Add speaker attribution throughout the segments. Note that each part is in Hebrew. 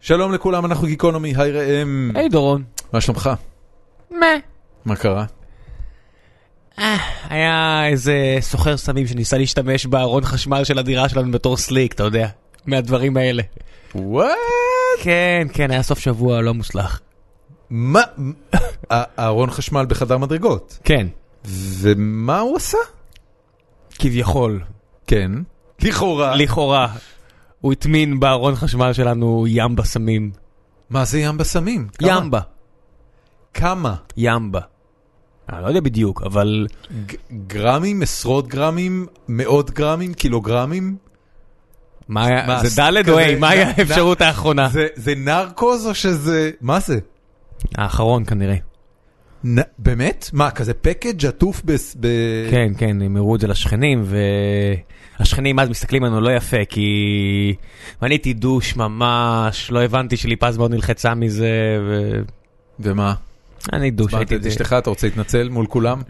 Speaker 1: שלום לכולם, אנחנו גיקונומי, היי ראם.
Speaker 2: היי דורון.
Speaker 1: מה שלומך?
Speaker 2: מה?
Speaker 1: מה קרה?
Speaker 2: היה איזה סוחר סמים שניסה להשתמש בארון חשמל של הדירה שלנו בתור סליק, אתה יודע, מהדברים האלה.
Speaker 1: וואט?
Speaker 2: כן, כן, היה סוף שבוע לא מוצלח.
Speaker 1: מה? ה- הארון חשמל בחדר מדרגות.
Speaker 2: כן,
Speaker 1: ומה הוא עשה?
Speaker 2: כביכול,
Speaker 1: כן. לכאורה.
Speaker 2: לכאורה. הוא הטמין בארון חשמל שלנו ימבה סמים.
Speaker 1: מה זה ים בסמים? כמה?
Speaker 2: ימבה.
Speaker 1: כמה?
Speaker 2: ימבה. אני לא יודע בדיוק, אבל
Speaker 1: ג- גרמים? עשרות גרמים? מאות גרמים? קילוגרמים?
Speaker 2: מה היה,
Speaker 1: מה,
Speaker 2: זה ד' או
Speaker 1: כזה-
Speaker 2: ה', מה היה
Speaker 1: נ-
Speaker 2: האפשרות האחרונה?
Speaker 1: זה- זה נרקוז או שזה... מה זה?
Speaker 2: האחרון כנראה.
Speaker 1: נ- באמת? מה, כזה פקאג' עטוף בס- ב...
Speaker 2: כן, כן, הם הראו את זה לשכנים, והשכנים אז מסתכלים עלינו לא יפה, כי מניתי דוש ממש, לא הבנתי שליפז מאוד נלחצה מזה,
Speaker 1: ומה?
Speaker 2: ואני דוש,
Speaker 1: שמעת
Speaker 2: הייתי...
Speaker 1: את אשתך, אתה רוצה להתנצל מול כולם?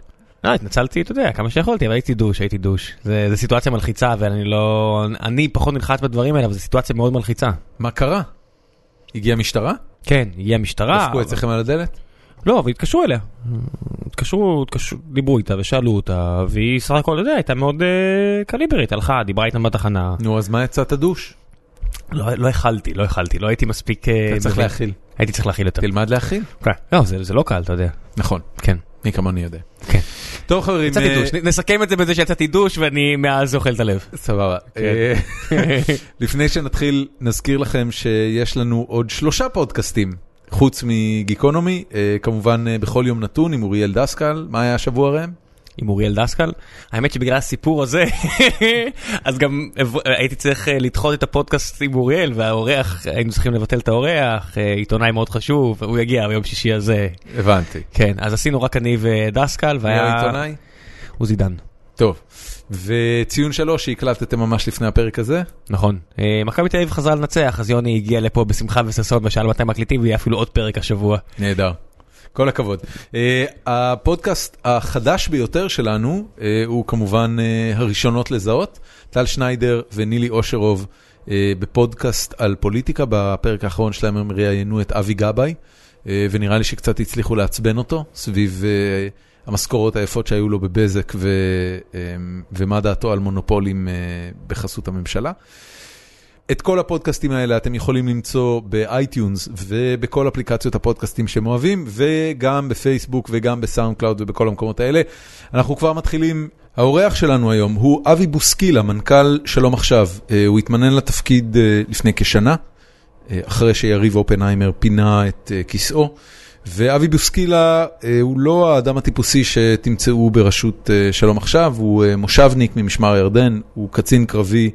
Speaker 2: לא, התנצלתי, אתה יודע, כמה שיכולתי, אבל הייתי דוש, הייתי דוש. זה, זה סיטואציה מלחיצה, ואני לא... אני פחות נלחץ בדברים האלה, אבל זו סיטואציה מאוד מלחיצה.
Speaker 1: מה קרה? הגיעה משטרה?
Speaker 2: כן, הגיעה משטרה.
Speaker 1: דפקו אצלכם על הדלת?
Speaker 2: לא, אבל התקשרו אליה. התקשרו, התקשרו, דיברו איתה ושאלו אותה, והיא סך הכל, אתה יודע, הייתה מאוד אה, קליברית, הלכה, דיברה איתם בתחנה.
Speaker 1: נו, אז מה יצאת דוש?
Speaker 2: לא, לא יכלתי, לא יכלתי, לא הייתי מספיק... אה,
Speaker 1: אתה צריך
Speaker 2: מבין.
Speaker 1: להכיל.
Speaker 2: הייתי צריך להכיל יותר.
Speaker 1: תלמד להכיל.
Speaker 2: כן. לא, זה, זה לא קל, אתה יודע.
Speaker 1: נכון,
Speaker 2: כן.
Speaker 1: מי כמוני יודע.
Speaker 2: כן.
Speaker 1: טוב חברים,
Speaker 2: יצאתי
Speaker 1: אה,
Speaker 2: דוש, נ- נסכם את זה בזה שיצאתי דוש ואני מאז אוכל את הלב.
Speaker 1: סבבה. אה, לפני שנתחיל, נזכיר לכם שיש לנו עוד שלושה פודקאסטים, חוץ מגיקונומי, אה, כמובן אה, בכל יום נתון עם אוריאל דסקל, מה היה השבוע ראם?
Speaker 2: עם אוריאל דסקל. האמת שבגלל הסיפור הזה, אז גם אב- הייתי צריך אה, לדחות את הפודקאסט עם אוריאל, והאורח, היינו צריכים לבטל את האורח, אה, עיתונאי מאוד חשוב, הוא יגיע ביום שישי הזה.
Speaker 1: הבנתי.
Speaker 2: כן, אז עשינו רק אני ודסקל,
Speaker 1: היה
Speaker 2: והיה...
Speaker 1: עיתונאי?
Speaker 2: עוזי דן.
Speaker 1: טוב. וציון שלוש שהקלטתם ממש לפני הפרק הזה,
Speaker 2: נכון. אה, מכבי תל אביב חזרה לנצח, אז יוני הגיע לפה בשמחה וששון ושאל מתי מקליטים, ויהיה אפילו עוד פרק השבוע.
Speaker 1: נהדר. כל הכבוד. אה, הפודקאסט החדש ביותר שלנו אה, הוא כמובן אה, הראשונות לזהות, טל שניידר ונילי אושרוב אה, בפודקאסט על פוליטיקה, בפרק האחרון שלהם הם ראיינו את אבי גבאי, אה, ונראה לי שקצת הצליחו לעצבן אותו סביב אה, המשכורות היפות שהיו לו בבזק ו, אה, ומה דעתו על מונופולים אה, בחסות הממשלה. את כל הפודקאסטים האלה אתם יכולים למצוא באייטיונס ובכל אפליקציות הפודקאסטים שהם אוהבים, וגם בפייסבוק וגם בסאונד קלאוד ובכל המקומות האלה. אנחנו כבר מתחילים. האורח שלנו היום הוא אבי בוסקילה, מנכ"ל שלום עכשיו. אה, הוא התמנן לתפקיד אה, לפני כשנה, אה, אחרי שיריב אופנהיימר פינה את אה, כיסאו. ואבי בוסקילה אה, הוא לא האדם הטיפוסי שתמצאו בראשות אה, שלום עכשיו, הוא אה, מושבניק ממשמר הירדן, הוא קצין קרבי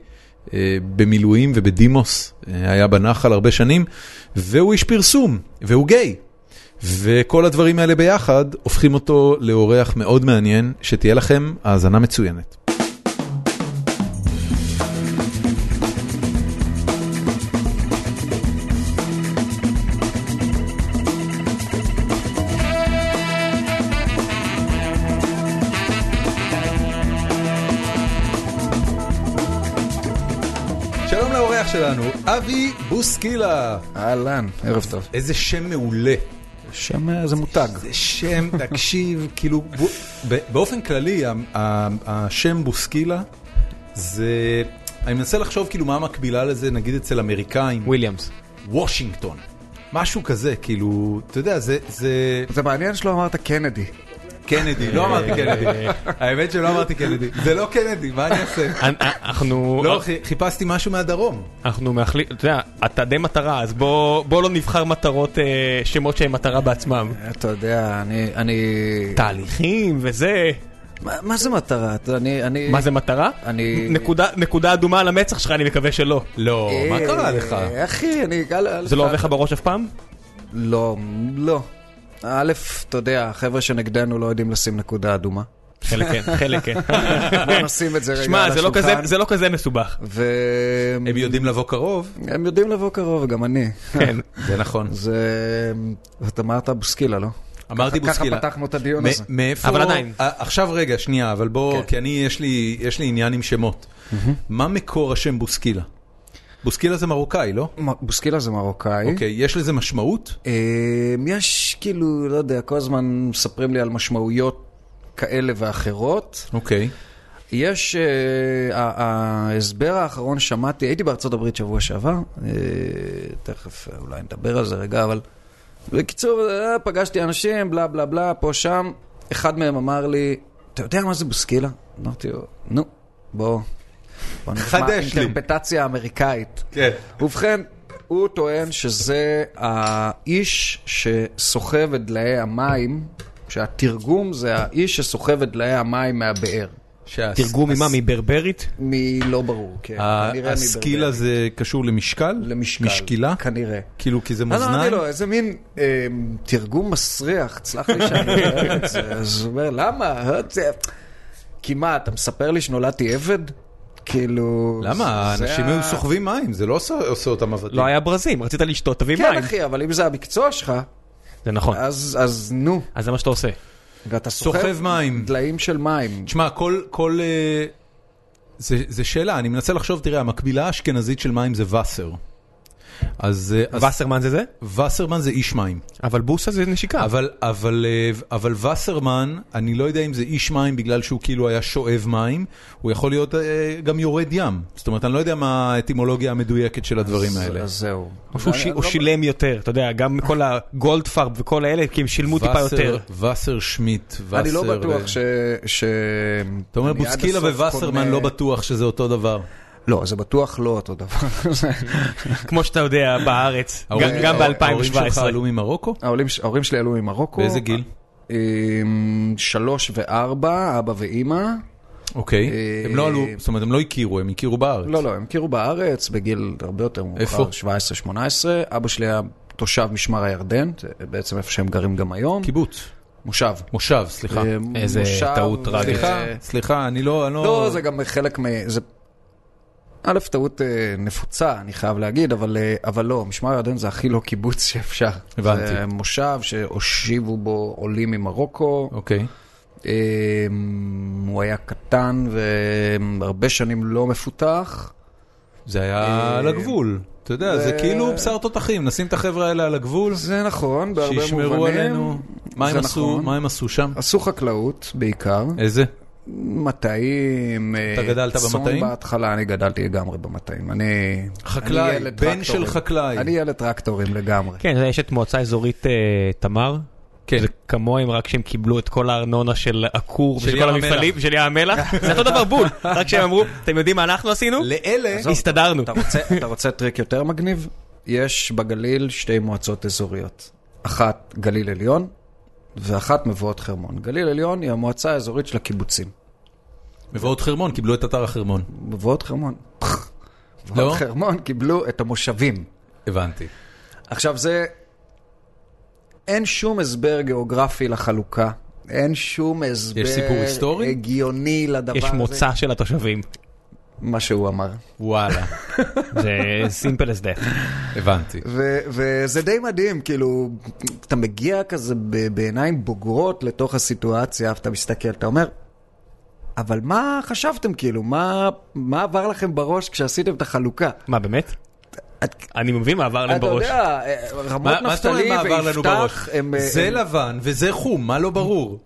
Speaker 1: אה, במילואים ובדימוס, אה, היה בנחל הרבה שנים, והוא איש פרסום, והוא גיי. וכל הדברים האלה ביחד הופכים אותו לאורח מאוד מעניין, שתהיה לכם האזנה מצוינת. שלום לאורח שלנו, אבי בוסקילה.
Speaker 3: אהלן, ערב טוב.
Speaker 1: איזה שם מעולה.
Speaker 3: שם אה, זה מותג.
Speaker 1: זה שם, תקשיב, כאילו, בו, ב- באופן כללי, ה- ה- השם בוסקילה, זה, אני מנסה לחשוב כאילו מה המקבילה לזה, נגיד אצל אמריקאים,
Speaker 2: וויליאמס.
Speaker 1: וושינגטון, משהו כזה, כאילו, אתה יודע, זה, זה,
Speaker 3: זה מעניין שלא אמרת קנדי.
Speaker 1: קנדי, לא אמרתי קנדי, האמת שלא אמרתי קנדי, זה לא קנדי, מה אני אעשה?
Speaker 2: אנ- אה, אנחנו...
Speaker 1: לא, חי- חיפשתי משהו מהדרום.
Speaker 2: אנחנו מאחלים, אתה יודע, אתה די מטרה, אז בוא, בוא לא נבחר מטרות, אה, שמות שהם מטרה בעצמם.
Speaker 3: אתה יודע, אני... אני...
Speaker 2: תהליכים וזה,
Speaker 3: מה מה זה מטרה? אתה- אני... אני...
Speaker 2: מה זה מטרה?
Speaker 3: אני-
Speaker 2: נקודה, נקודה אדומה על המצח שלך, אני מקווה שלא.
Speaker 1: לא,
Speaker 3: אה,
Speaker 1: מה קרה לך?
Speaker 3: אה, אחי, אני... אל-
Speaker 2: זה לא
Speaker 3: אל-
Speaker 2: עובר לך בראש אף פעם?
Speaker 3: לא, לא. א', אתה יודע, החבר'ה שנגדנו לא יודעים לשים נקודה אדומה.
Speaker 2: חלק כן, חלק כן.
Speaker 3: בוא נשים את זה רגע
Speaker 2: שמע,
Speaker 3: על
Speaker 2: זה לא
Speaker 3: השולחן.
Speaker 2: כזה- זה לא כזה מסובך.
Speaker 3: והם
Speaker 1: הם יודעים לבוא קרוב,
Speaker 3: יודעים לבוא קרוב, גם אני.
Speaker 2: כן.
Speaker 1: זה נכון.
Speaker 3: זה... אתה אמרת בוסקילה, לא?
Speaker 1: אמרתי
Speaker 3: ככה-
Speaker 1: בוסקילה.
Speaker 3: ככה פתחנו את הדיון
Speaker 1: מ-
Speaker 3: הזה.
Speaker 1: מאיפה...
Speaker 2: אבל עדיין.
Speaker 1: אה, עכשיו רגע, שנייה, אבל בוא,
Speaker 3: כן.
Speaker 1: כי אני, יש לי, יש לי עניין עם שמות. מה מקור השם בוסקילה? בוסקילה זה מרוקאי, לא?
Speaker 3: מ- בוסקילה זה מרוקאי.
Speaker 1: אוקיי, יש לזה משמעות?
Speaker 3: אה, יש כאילו, לא יודע, כל הזמן מספרים לי על משמעויות כאלה ואחרות.
Speaker 1: אוקיי.
Speaker 3: יש, אה, ה- ההסבר האחרון שמעתי, הייתי בארצות הברית שבוע שעבר, אה, תכף אה, אולי נדבר על זה רגע, אבל בקיצור, אה, פגשתי אנשים, בלה בלה בלה, פה שם, אחד מהם אמר לי, אתה יודע מה זה בוסקילה? אמרתי לו, נו, בוא, בוא נשמע
Speaker 1: חדש לי."
Speaker 3: אינטרפטציה אמריקאית.
Speaker 1: כן.
Speaker 3: ובכן, הוא טוען שזה האיש שסוחב את דלאי המים, שהתרגום זה האיש שסוחב את דלאי המים מהבאר.
Speaker 2: תרגום ממה? מברברית?
Speaker 3: מלא ברור, כן. כנראה
Speaker 1: הסקילה
Speaker 3: מברברית.
Speaker 1: זה קשור למשקל?
Speaker 3: למשקל. כן. לא,
Speaker 1: משקילה?
Speaker 3: כנראה.
Speaker 1: כאילו, כי זה
Speaker 3: אז אמרתי
Speaker 1: מאזניים?
Speaker 3: לו, איזה מין אה, תרגום מסריח, תסלח לי שאני אומר את זה. אז הוא אומר, למה? זה- כי מה, אתה מספר לי שנולדתי עבד? כאילו...
Speaker 1: למה?
Speaker 3: זה- זה
Speaker 1: האנשים היו
Speaker 3: ה-
Speaker 1: סוחבים מים, זה לא עושה- עושה אותם עבדים.
Speaker 2: לא היה ברזים, רצית לשתות, תביא
Speaker 3: כן,
Speaker 2: מים.
Speaker 3: אחי, אבל אם זה המקצוע שלך,
Speaker 2: זה נכון.
Speaker 1: אה,
Speaker 3: אז אז נו.
Speaker 2: אז זה מה שאתה עושה.
Speaker 3: ואתה
Speaker 1: סוחב
Speaker 3: סוחב
Speaker 1: מים.
Speaker 3: דליים של מים.
Speaker 1: תשמע, כל... כל אה, זה, זה שאלה, אני מנסה לחשוב, תראה, המקבילה האשכנזית של מים זה וסר. אז, אה, אז
Speaker 2: וסרמן זה זה?
Speaker 1: וסרמן זה איש מים.
Speaker 2: אבל בוסה זה נשיקה.
Speaker 1: אבל, אבל, אה, אבל וסרמן, אני לא יודע אם זה איש מים בגלל שהוא כאילו היה שואב מים, הוא יכול להיות אה, גם יורד ים. זאת אומרת, אני לא יודע מה האטימולוגיה המדויקת של הדברים
Speaker 3: אז-
Speaker 1: האלה.
Speaker 3: אז זהו.
Speaker 2: או שהוא
Speaker 3: אני-
Speaker 2: שי-
Speaker 3: אני
Speaker 2: או
Speaker 3: לא-
Speaker 2: שילם יותר, אתה יודע, גם כל הגולדפארב וכל האלה, כי הם שילמו טיפה
Speaker 1: וסר-
Speaker 2: יותר.
Speaker 1: וסר שמיט, וסר...
Speaker 3: אני לא
Speaker 1: אה,
Speaker 3: בטוח ש... ש...
Speaker 1: אתה אומר
Speaker 3: אני עד
Speaker 1: בוסקילה
Speaker 3: הסוף אה,
Speaker 1: ווסרמן
Speaker 3: קונה-
Speaker 1: לא בטוח שזה אותו דבר.
Speaker 3: לא, זה בטוח לא אותו דבר.
Speaker 2: כמו שאתה יודע, בארץ, גם-
Speaker 1: ההורים-
Speaker 2: גם
Speaker 1: ההורים שלך
Speaker 2: ב-2017.
Speaker 1: עלו ממרוקו?
Speaker 3: ההורים ש- ההורים שלי עלו ממרוקו.
Speaker 1: באיזה גיל?
Speaker 3: אמ, שלוש וארבע, אבא ואימא.
Speaker 1: אוקיי.
Speaker 3: אה,
Speaker 1: הם לא עלו, זאת אומרת, הם לא הכירו, הם הכירו בארץ.
Speaker 3: לא, לא, הם הכירו בארץ בגיל הרבה יותר מאוחר,
Speaker 1: איפה?
Speaker 3: 17-18. אבא שלי היה תושב משמר הירדן, זה בעצם איפה שהם גרים גם היום.
Speaker 1: קיבוץ.
Speaker 3: מושב.
Speaker 1: מושב, סליחה.
Speaker 3: אמ,
Speaker 2: איזה
Speaker 3: מושב,
Speaker 2: טעות
Speaker 3: אה,
Speaker 2: טרגית.
Speaker 1: סליחה, סליחה, אני לא... אני
Speaker 3: לא, זה גם חלק מ... זה... א', טעות אה, נפוצה, אני חייב להגיד, אבל, אה, אבל לא, משמר הירדן זה הכי לא קיבוץ שאפשר.
Speaker 1: הבנתי.
Speaker 3: זה מושב שהושיבו בו עולים ממרוקו.
Speaker 1: אוקיי.
Speaker 3: אה, אמ, הוא היה קטן והרבה שנים לא מפותח.
Speaker 1: זה היה
Speaker 3: אה,
Speaker 1: על הגבול. אתה יודע, זה
Speaker 3: זה-
Speaker 1: כאילו בשר תותחים, נשים את החבר'ה האלה על הגבול,
Speaker 3: זה נכון, בהרבה מובנים.
Speaker 1: שישמרו עלינו. מה הם
Speaker 3: זה
Speaker 1: עשו-
Speaker 3: נכון.
Speaker 1: מה הם עשו שם?
Speaker 3: עשו חקלאות בעיקר,
Speaker 1: איזה?
Speaker 3: מטעים. אה,
Speaker 1: אתה גדלת
Speaker 3: צאן
Speaker 1: במטעים?
Speaker 3: בהתחלה, אני גדלתי לגמרי במטעים. אני...
Speaker 1: חקלאי,
Speaker 3: אני ילד
Speaker 1: בן
Speaker 3: טרקטורים.
Speaker 1: של חקלאי.
Speaker 3: אני ילד טרקטורים לגמרי.
Speaker 2: כן, יש את מועצה אזורית אה, תמר.
Speaker 1: כן.
Speaker 2: זה כמוהם, רק שהם קיבלו את כל הארנונה של הכור
Speaker 1: של
Speaker 2: ושל
Speaker 1: ים
Speaker 2: כל
Speaker 1: המלח.
Speaker 2: המפעלים, של ים המלח. זה אותו דבר בול, רק שהם אמרו, אתם יודעים מה אנחנו עשינו?
Speaker 1: לאלה...
Speaker 3: עזוב,
Speaker 2: הסתדרנו.
Speaker 3: אתה רוצה, אתה רוצה טריק יותר מגניב? יש בגליל שתי מועצות אזוריות. אחת גליל עליון ואחת מבואות חרמון. גליל עליון היא המועצה האזורית של הקיבוצים.
Speaker 1: מבואות חרמון, קיבלו את אתר החרמון.
Speaker 3: מבואות חרמון. פח. מבואות
Speaker 1: לא?
Speaker 3: חרמון קיבלו את המושבים.
Speaker 1: הבנתי.
Speaker 3: עכשיו זה... אין שום הסבר גיאוגרפי לחלוקה. אין שום הסבר
Speaker 1: סיפור היסטורי?
Speaker 3: הגיוני לדבר
Speaker 2: יש
Speaker 3: הזה.
Speaker 2: מוצא של התושבים.
Speaker 3: מה שהוא אמר.
Speaker 1: וואלה,
Speaker 2: זה simple as that.
Speaker 1: הבנתי.
Speaker 3: ו- וזה די מדהים, כאילו, אתה מגיע כזה ב- בעיניים בוגרות לתוך הסיטואציה, ואתה מסתכל, אתה אומר, אבל מה חשבתם כאילו? מה, מה עבר לכם בראש כשעשיתם את החלוקה?
Speaker 2: מה, באמת? אני מבין מה עבר להם
Speaker 3: אתה
Speaker 2: בראש.
Speaker 3: יודע, אה, רמות
Speaker 1: מה מה זאת אומרת
Speaker 3: נפתלי
Speaker 1: מה עבר לנו בראש?
Speaker 3: ויפתח, הם... אה,
Speaker 1: זה
Speaker 3: הם-
Speaker 1: לבן וזה חום, מה לא ברור?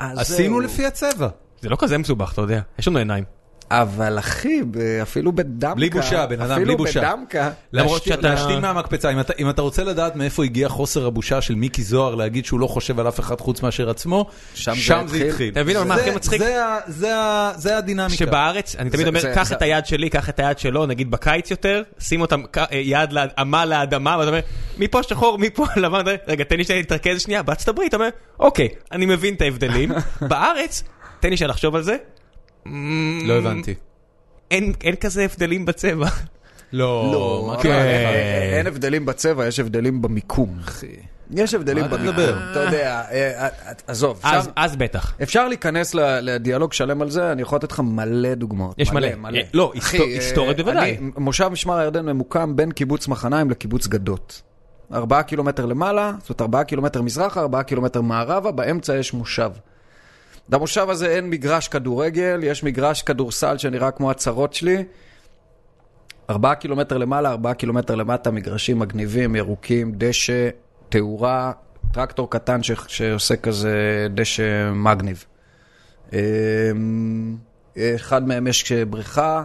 Speaker 3: אה, זהו.
Speaker 1: עשינו לפי הצבע.
Speaker 2: זה לא כזה מסובך, אתה יודע. יש לנו עיניים.
Speaker 3: אבל אחי, ב- אפילו בדמקה...
Speaker 1: בלי בושה, בן אדם, בלי בושה.
Speaker 3: אפילו בדמקה...
Speaker 2: למרות
Speaker 1: להשתיל-
Speaker 2: שאתה-
Speaker 1: להשתיל מהמקפצה, אם אתה- אם אתה רוצה לדעת מאיפה הגיע חוסר הבושה של מיקי זוהר להגיד שהוא לא חושב על אף אחד חוץ מאשר עצמו,
Speaker 3: שם זה
Speaker 1: שם זה
Speaker 3: התחיל.
Speaker 1: התחיל.
Speaker 2: אתה מבין אבל מה
Speaker 1: זה-
Speaker 2: הכי מצחיק?
Speaker 1: זה ה- זה ה- זה הדינמיקה.
Speaker 2: שבארץ, אני תמיד
Speaker 3: זה-
Speaker 2: אומר,
Speaker 3: זה-
Speaker 2: קח
Speaker 3: זה-
Speaker 2: את היד שלי, קח את היד שלו, נגיד בקיץ יותר, שים אותם ק- אה, יד ל- עמה לאדמה, ואתה אומר, מפה שחור, מפה לבן, אתה אומר, רגע, תן לי שנייה להתרכז שנייה, בארצות הברית, אתה אומר, אוקיי, אני מבין את ההבדלים, בארץ, תן לי שנייה לחשוב על זה,
Speaker 1: לא הבנתי.
Speaker 2: אין אין כזה הבדלים בצבע.
Speaker 1: לא, מה
Speaker 2: כן.
Speaker 3: אבל
Speaker 1: קרה
Speaker 3: אה, אין-
Speaker 1: לך?
Speaker 3: אין אין הבדלים בצבע, יש הבדלים במיקום. יש הבדלים
Speaker 1: מה אתה
Speaker 3: במיקום.
Speaker 1: מדבר?
Speaker 3: אתה יודע, אה, אה, עזוב, אפשר-
Speaker 2: אז- אז בטח.
Speaker 3: אפשר להיכנס ל- לדיאלוג שלם על זה, אני יכול לתת לך מלא דוגמאות.
Speaker 2: יש מלא. אה, לא,
Speaker 3: אחי,
Speaker 2: היסטור-
Speaker 3: אה,
Speaker 2: היסטורית בוודאי.
Speaker 3: אני- מושב משמר הירדן ממוקם בין קיבוץ מחניים לקיבוץ גדות. ארבעה קילומטר למעלה, זאת אומרת ארבעה קילומטר מזרחה, ארבעה קילומטר מערבה, באמצע יש מושב. במושב הזה אין מגרש כדורגל, יש מגרש כדורסל שנראה כמו הצרות שלי. ארבעה קילומטר למעלה, ארבעה קילומטר למטה, מגרשים מגניבים, ירוקים, דשא, תאורה, טרקטור קטן ש- שעושה כזה דשא מגניב. אמ, אחד מהם יש בריכה,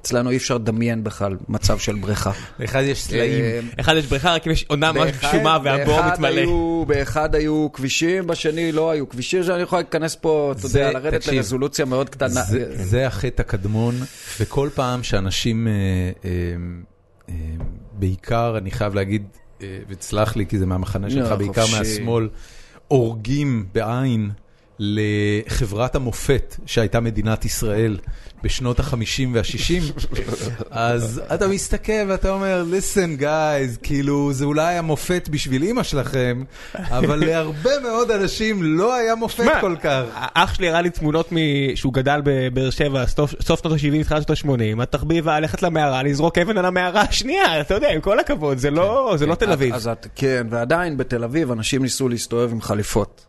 Speaker 3: אצלנו אי אפשר לדמיין בכלל מצב של בריכה.
Speaker 1: לאחד יש
Speaker 3: אמ,
Speaker 2: אחד יש בריכה, רק אם יש עונה ממש
Speaker 3: באחד-
Speaker 2: גשומה והבור
Speaker 3: באחד
Speaker 2: מתמלא.
Speaker 3: היו- באחד היו כבישים, בשני לא היו כבישים, שאני יכול להיכנס פה, אתה
Speaker 1: זה-
Speaker 3: יודע, לרדת
Speaker 1: תקשיב,
Speaker 3: לרזולוציה מאוד קטנה.
Speaker 1: זה, זה החטא הקדמון, וכל פעם שאנשים, אה, אה, אה, בעיקר, אני חייב להגיד, אה, ותסלח לי, כי זה מהמחנה שלך,
Speaker 3: לא,
Speaker 1: בעיקר
Speaker 3: חופשי.
Speaker 1: מהשמאל, הורגים בעין לחברת המופת שהייתה מדינת ישראל בשנות ה-50 וה-60, אז אתה מסתכל ואתה אומר, listen guys, כאילו, זה אולי המופת בשביל אימא שלכם, אבל להרבה מאוד אנשים לא היה מופת
Speaker 2: מה?
Speaker 1: כל כך.
Speaker 2: אח שלי הראה לי תמונות מ- שהוא גדל בבאר שבע, סוף סוף שנות ה-70, תחילת שנות ה-80, התחביב היה ללכת למערה, לזרוק אבן על המערה השנייה, אתה יודע, עם כל הכבוד, זה לא
Speaker 1: כן.
Speaker 2: זה לא תל אביב.
Speaker 3: אז את, כן, ועדיין בתל אביב אנשים ניסו להסתובב עם חליפות.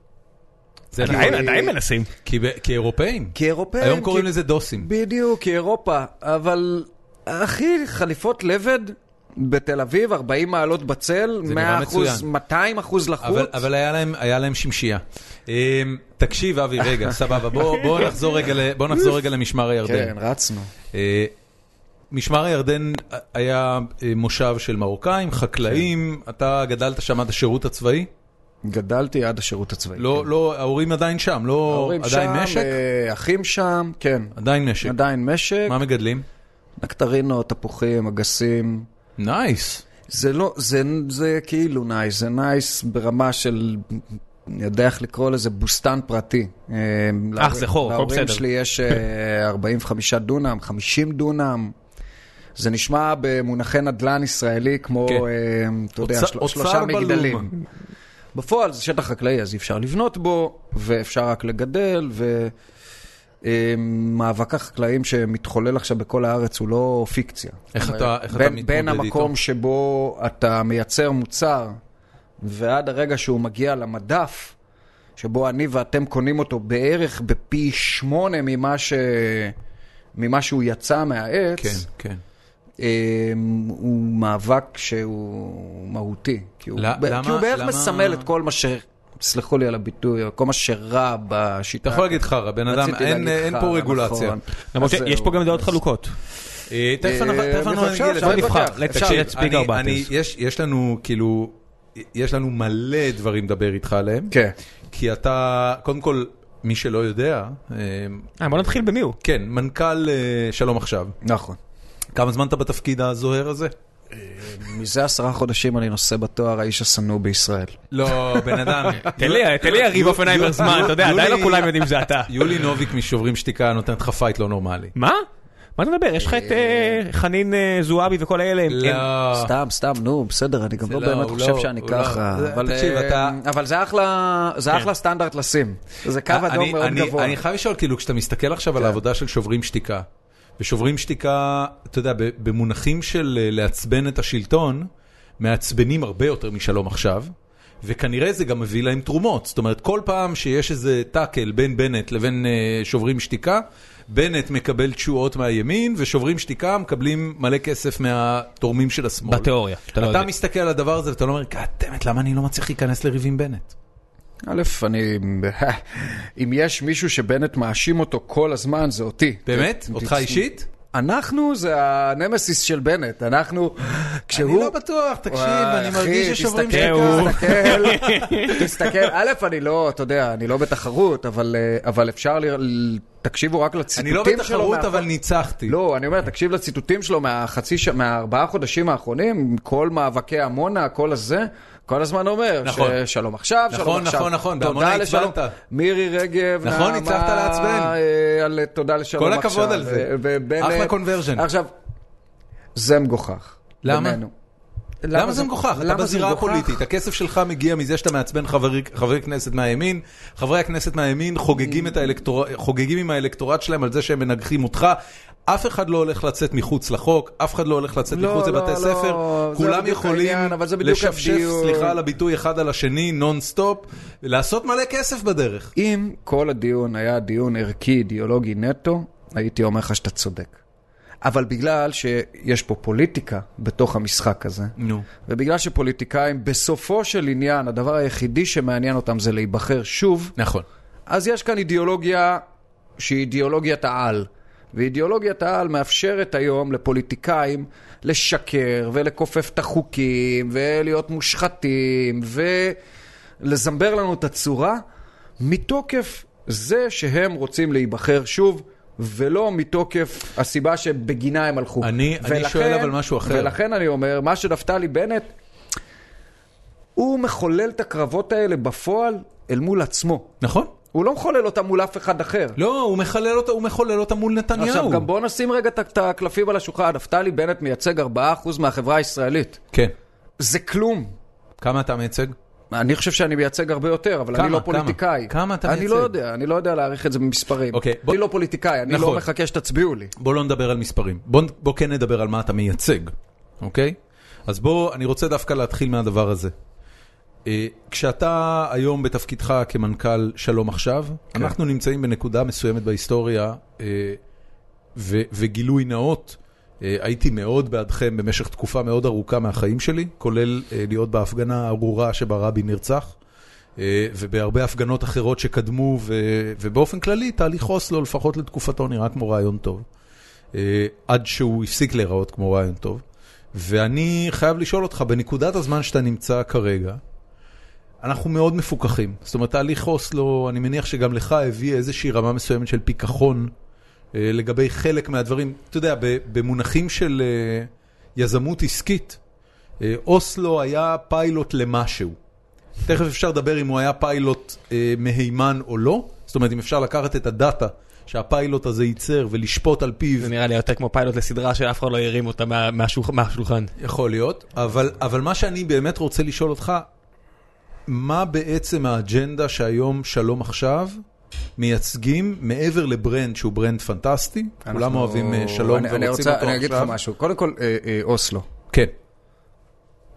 Speaker 1: זה
Speaker 2: עדיין
Speaker 1: נכון.
Speaker 2: עדיין מנסים.
Speaker 1: כי ב- כאירופאים.
Speaker 3: כאירופאים.
Speaker 1: היום
Speaker 3: כי-
Speaker 1: קוראים לזה דוסים.
Speaker 3: בדיוק, כאירופה. אבל, אחי, חליפות לבד בתל אביב, 40 מעלות בצל,
Speaker 1: זה
Speaker 3: 100
Speaker 1: נראה
Speaker 3: אחוז,
Speaker 1: מצוין.
Speaker 3: 200 אחוז
Speaker 1: אבל,
Speaker 3: לחוץ.
Speaker 1: אבל היה, להם, היה להם שמשייה. אמ, תקשיב אבי, רגע, סבבה, בוא, בוא, נחזור רגע ל, בוא נחזור רגע למשמר הירדן.
Speaker 3: כן, רצנו.
Speaker 1: אה, משמר הירדן היה אה, מושב של מרוקאים,
Speaker 3: כן.
Speaker 1: חקלאים, אתה גדלת שם עד השירות הצבאי?
Speaker 3: גדלתי עד השירות הצבאי.
Speaker 1: לא, לא, ההורים עדיין שם, לא,
Speaker 3: כן. ההורים
Speaker 1: עדיין
Speaker 3: שם,
Speaker 1: נשק?
Speaker 3: אה, אחים שם, כן.
Speaker 1: עדיין נשק.
Speaker 3: עדיין משק,
Speaker 1: מה מגדלים?
Speaker 3: נקטרינות, תפוחים, אגסים.
Speaker 1: נייס.
Speaker 3: זה לא, זה, זה כאילו נייס, זה נייס ברמה של, אני יודע איך לקרוא לזה, בוסתן פרטי. אה, להורים-
Speaker 2: זה חור, הכל
Speaker 3: להורים
Speaker 2: בסדר.
Speaker 3: שלי יש אה, 45 דונם, 50 דונם. זה נשמע במונחי נדל"ן ישראלי כמו,
Speaker 1: כן.
Speaker 3: אה, אתה יודע,
Speaker 1: אוצר-
Speaker 3: של-
Speaker 1: אוצר
Speaker 3: שלושה
Speaker 1: בלום.
Speaker 3: מגדלים. בפועל זה שטח חקלאי, אז אי אפשר לבנות בו, ואפשר רק לגדל, ומאבק החקלאים שמתחולל עכשיו בכל הארץ הוא לא פיקציה.
Speaker 1: איך אתה- איך אתה
Speaker 3: בין-
Speaker 1: מתמודד
Speaker 3: בין
Speaker 1: איתו?
Speaker 3: המקום שבו אתה מייצר מוצר, ועד הרגע שהוא מגיע למדף, שבו אני ואתם קונים אותו בערך בפי שמונה ממה, ש... ממה שהוא יצא מהעץ,
Speaker 1: כן, כן.
Speaker 3: אה, הוא מאבק שהוא מהותי. כי הוא,
Speaker 1: ל-
Speaker 3: ב-
Speaker 1: למה-
Speaker 3: כי הוא בערך
Speaker 1: למה-
Speaker 3: מסמל את כל מה ש... סלחו לי על הביטוי, כל מה שרע בשיטה.
Speaker 1: אתה יכול להגיד חרא, בן אדם,
Speaker 3: רציתי
Speaker 1: אין-
Speaker 3: להגיד
Speaker 1: אין
Speaker 3: חרא,
Speaker 1: פה רגולציה.
Speaker 3: נכון.
Speaker 2: למרות
Speaker 3: אז
Speaker 2: שיש
Speaker 3: זהו.
Speaker 2: פה גם דעות חלוקות.
Speaker 1: אה, תכף אנחנו
Speaker 3: אה,
Speaker 1: תכף אנחנו
Speaker 3: אפשר,
Speaker 1: נגיע לזה.
Speaker 3: אפשר
Speaker 2: נבחר.
Speaker 3: להתווכח,
Speaker 2: Let's
Speaker 3: אפשר.
Speaker 2: see it. speak
Speaker 1: אני-
Speaker 2: about
Speaker 1: אני-
Speaker 2: this.
Speaker 1: יש- יש לנו, כאילו, יש לנו מלא דברים לדבר איתך עליהם,
Speaker 3: כן.
Speaker 1: כי אתה, קודם כל, מי שלא יודע, אה,
Speaker 2: אה, בוא נתחיל במי הוא.
Speaker 1: כן, מנכ"ל אה, שלום עכשיו,
Speaker 3: נכון.
Speaker 1: כמה זמן אתה בתפקיד הזוהר הזה?
Speaker 3: מזה עשרה חודשים אני נושא בתואר האיש השנוא בישראל.
Speaker 1: לא, בן אדם.
Speaker 2: תן לי- תן לי יריב אופנהיימר זמן, אתה יודע, עדיין לא כולם יודעים שזה אתה.
Speaker 1: יולי נוביק משוברים שתיקה נותנת לך פייט לא נורמלי.
Speaker 2: מה? מה אתה מדבר? יש לך את אה, חנין אה, זועבי וכל האלה. הם-
Speaker 1: לא.
Speaker 2: הם-
Speaker 3: סתם, סתם, נו, בסדר, אני גם
Speaker 1: זה
Speaker 3: לא
Speaker 1: לא,
Speaker 3: באמת
Speaker 1: הוא
Speaker 3: חושב
Speaker 1: לא,
Speaker 3: שאני
Speaker 1: הוא לא.
Speaker 3: ככה.
Speaker 1: זה-
Speaker 3: אבל,
Speaker 1: תקשיב,
Speaker 3: אה,
Speaker 1: אתה- כן. אה,
Speaker 3: אבל זה אחלה זה אחלה סטנדרט לשים. זה קו אדום
Speaker 1: אני-
Speaker 3: מאוד
Speaker 1: אני-
Speaker 3: גבוה. כן.
Speaker 1: אני חייב לשאול, כאילו, כשאתה מסתכל עכשיו על העבודה של שוברים שתיקה, ושוברים שתיקה, אתה יודע, ב- במונחים של אה, לעצבן את השלטון, מעצבנים הרבה יותר משלום עכשיו. וכנראה זה גם מביא להם תרומות, זאת אומרת כל פעם שיש איזה טאקל בין בנט לבין אה, שוברים שתיקה, בנט מקבל תשואות מהימין ושוברים שתיקה מקבלים מלא כסף מהתורמים של השמאל.
Speaker 2: בתיאוריה, אתה לא
Speaker 1: אתה
Speaker 2: יודע.
Speaker 1: מסתכל על הדבר הזה ואתה לא אומר, גאד דמת, למה אני לא מצליח להיכנס לריב עם בנט?
Speaker 3: א', אני... אם יש מישהו שבנט מאשים אותו כל הזמן, זה אותי.
Speaker 1: באמת?
Speaker 3: ת-
Speaker 1: אותך
Speaker 3: ת-
Speaker 1: אישית?
Speaker 3: אנחנו זה הנמסיס של בנט, אנחנו... כשהוא...
Speaker 1: אני לא בטוח, תקשיב,
Speaker 3: וואי,
Speaker 1: אני
Speaker 3: אחי,
Speaker 1: מרגיש ששוברים
Speaker 3: תסתכל,
Speaker 1: שתיקה.
Speaker 3: תסתכל, תסתכל, א', אני לא, אתה יודע, אני לא בתחרות, אבל, אה, אבל אפשר ל... ל- תקשיבו רק
Speaker 1: אני
Speaker 3: לציטוטים
Speaker 1: לא
Speaker 3: שלו.
Speaker 1: בתחרות,
Speaker 3: מהחוק.
Speaker 1: אבל ניצחתי.
Speaker 3: לא, אני אומר,
Speaker 1: כן.
Speaker 3: תקשיב לציטוטים שלו מהחצי, ש... מהארבעה חודשים האחרונים, כל מאבקי עמונה, כל הזה, כל הזמן אומר,
Speaker 1: נכון.
Speaker 3: ששלום עכשיו,
Speaker 1: נכון,
Speaker 3: שלום
Speaker 1: נכון,
Speaker 3: עכשיו.
Speaker 1: נכון,
Speaker 3: תודה
Speaker 1: בעמונה
Speaker 3: לשלום.
Speaker 1: הצבנת.
Speaker 3: מירי רגב,
Speaker 1: נכון,
Speaker 3: נעמה,
Speaker 1: הצלחת לעצבן.
Speaker 3: אה, על תודה לשלום
Speaker 1: כל
Speaker 3: עכשיו.
Speaker 1: הכבוד על זה.
Speaker 3: ו- ובנט-
Speaker 1: אחלה conversion.
Speaker 3: עכשיו, זה מגוחך.
Speaker 1: למה?
Speaker 3: בינינו.
Speaker 1: למה זה מגוחך? אתה
Speaker 3: למה זה
Speaker 1: בזירה
Speaker 3: מגוחך?
Speaker 1: הפוליטית, הכסף שלך מגיע מזה שאתה מעצבן חברי- חברי כנסת מהימין, חברי הכנסת מהימין חוגגים את האלקטור- חוגגים עם האלקטורט שלהם על זה שהם מנגחים אותך. אף אחד לא הולך לצאת מחוץ לחוק, אף אחד לא הולך לצאת
Speaker 3: לא,
Speaker 1: מחוץ
Speaker 3: לא,
Speaker 1: לבתי
Speaker 3: לא,
Speaker 1: ספר,
Speaker 3: זה
Speaker 1: כולם
Speaker 3: בדיוק
Speaker 1: יכולים
Speaker 3: העניין, אבל זה בדיוק
Speaker 1: לשפשף,
Speaker 3: הדיון.
Speaker 1: סליחה על הביטוי, אחד על השני, נונסטופ, לעשות מלא כסף בדרך.
Speaker 3: אם כל הדיון היה דיון ערכי, אידיאולוגי נטו, הייתי אומר לך שאתה צודק. אבל בגלל שיש פה פוליטיקה בתוך המשחק הזה,
Speaker 4: נו.
Speaker 3: ובגלל שפוליטיקאים בסופו של עניין, הדבר היחידי שמעניין אותם זה להיבחר שוב,
Speaker 1: נכון.
Speaker 3: אז יש כאן אידיאולוגיה שהיא אידיאולוגיית העל. ואידיאולוגיית העל מאפשרת היום לפוליטיקאים לשקר ולכופף את החוקים ולהיות מושחתים ולזמבר לנו את הצורה מתוקף זה שהם רוצים להיבחר שוב. ולא מתוקף הסיבה שבגינה הם הלכו.
Speaker 1: אני- אני שואל אבל משהו אחר.
Speaker 3: ולכן אני אומר, מה שנפתלי בנט, הוא מחולל את הקרבות האלה בפועל אל מול עצמו.
Speaker 1: נכון?
Speaker 3: הוא לא מחולל אותה מול אף אחד אחר.
Speaker 1: לא, הוא מחולל אותה, הוא מחולל אותה מול נתניהו.
Speaker 3: עכשיו, גם בוא נשים רגע את- את הקלפים על השולחן. נפתלי בנט מייצג 4% מהחברה הישראלית.
Speaker 1: כן.
Speaker 3: זה כלום.
Speaker 1: כמה אתה מייצג?
Speaker 3: אני חושב שאני מייצג הרבה יותר, אבל
Speaker 1: כמה?
Speaker 3: אני לא
Speaker 1: כמה?
Speaker 3: פוליטיקאי.
Speaker 1: כמה אתה
Speaker 3: אני
Speaker 1: מייצג?
Speaker 3: לא יודע, אני לא יודע להעריך את זה במספרים.
Speaker 1: אוקיי, בוא-
Speaker 3: אני לא פוליטיקאי, אני
Speaker 1: נכון.
Speaker 3: לא מחכה שתצביעו לי.
Speaker 1: בוא לא נדבר על מספרים. בוא, בוא כן נדבר על מה אתה מייצג, אוקיי? אז בוא, אני רוצה דווקא להתחיל מהדבר הזה. אה, כשאתה היום בתפקידך כמנכ"ל שלום עכשיו, כן. אנחנו נמצאים בנקודה מסוימת בהיסטוריה, אה, ו, וגילוי נאות, אה, הייתי מאוד בעדכם במשך תקופה מאוד ארוכה מהחיים שלי, כולל אה, להיות בהפגנה הארורה שבה רבין נרצח. אה, ובהרבה הפגנות אחרות שקדמו, ו- ובאופן כללי, תהליך אוסלו, לפחות לתקופתו, נראה כמו רעיון טוב. אה, עד שהוא הפסיק להיראות כמו רעיון טוב. ואני חייב לשאול אותך, בנקודת הזמן שאתה נמצא כרגע, אנחנו מאוד מפוקחים. זאת אומרת, תהליך אוסלו, אני מניח שגם לך הביא איזושהי רמה מסוימת של פיכחון אה, לגבי חלק מהדברים. אתה יודע, ב- במונחים של אה, יזמות עסקית, אה, אוסלו היה פיילוט למשהו. תכף אפשר לדבר אם הוא היה פיילוט אה, מהימן או לא. זאת אומרת, אם אפשר לקחת את הדאטה שהפיילוט הזה ייצר ולשפוט על פיו
Speaker 2: זה נראה לי יותר כמו פיילוט לסדרה שאף אחד לא הרים אותה מה- מהשולח- מהשולחן.
Speaker 1: יכול להיות, אבל, אבל מה שאני באמת רוצה לשאול אותך, מה בעצם האג'נדה שהיום שלום עכשיו מייצגים מעבר לברנד שהוא ברנד פנטסטי? אנחנו... כולם
Speaker 3: אנחנו-
Speaker 1: אוהבים אה, שלום
Speaker 3: אני-
Speaker 1: ורוצים
Speaker 3: אני
Speaker 1: אותו
Speaker 3: רוצה-
Speaker 1: עכשיו.
Speaker 3: אני אגיד לך משהו. קודם כל, אה, אה, אוסלו.
Speaker 1: כן,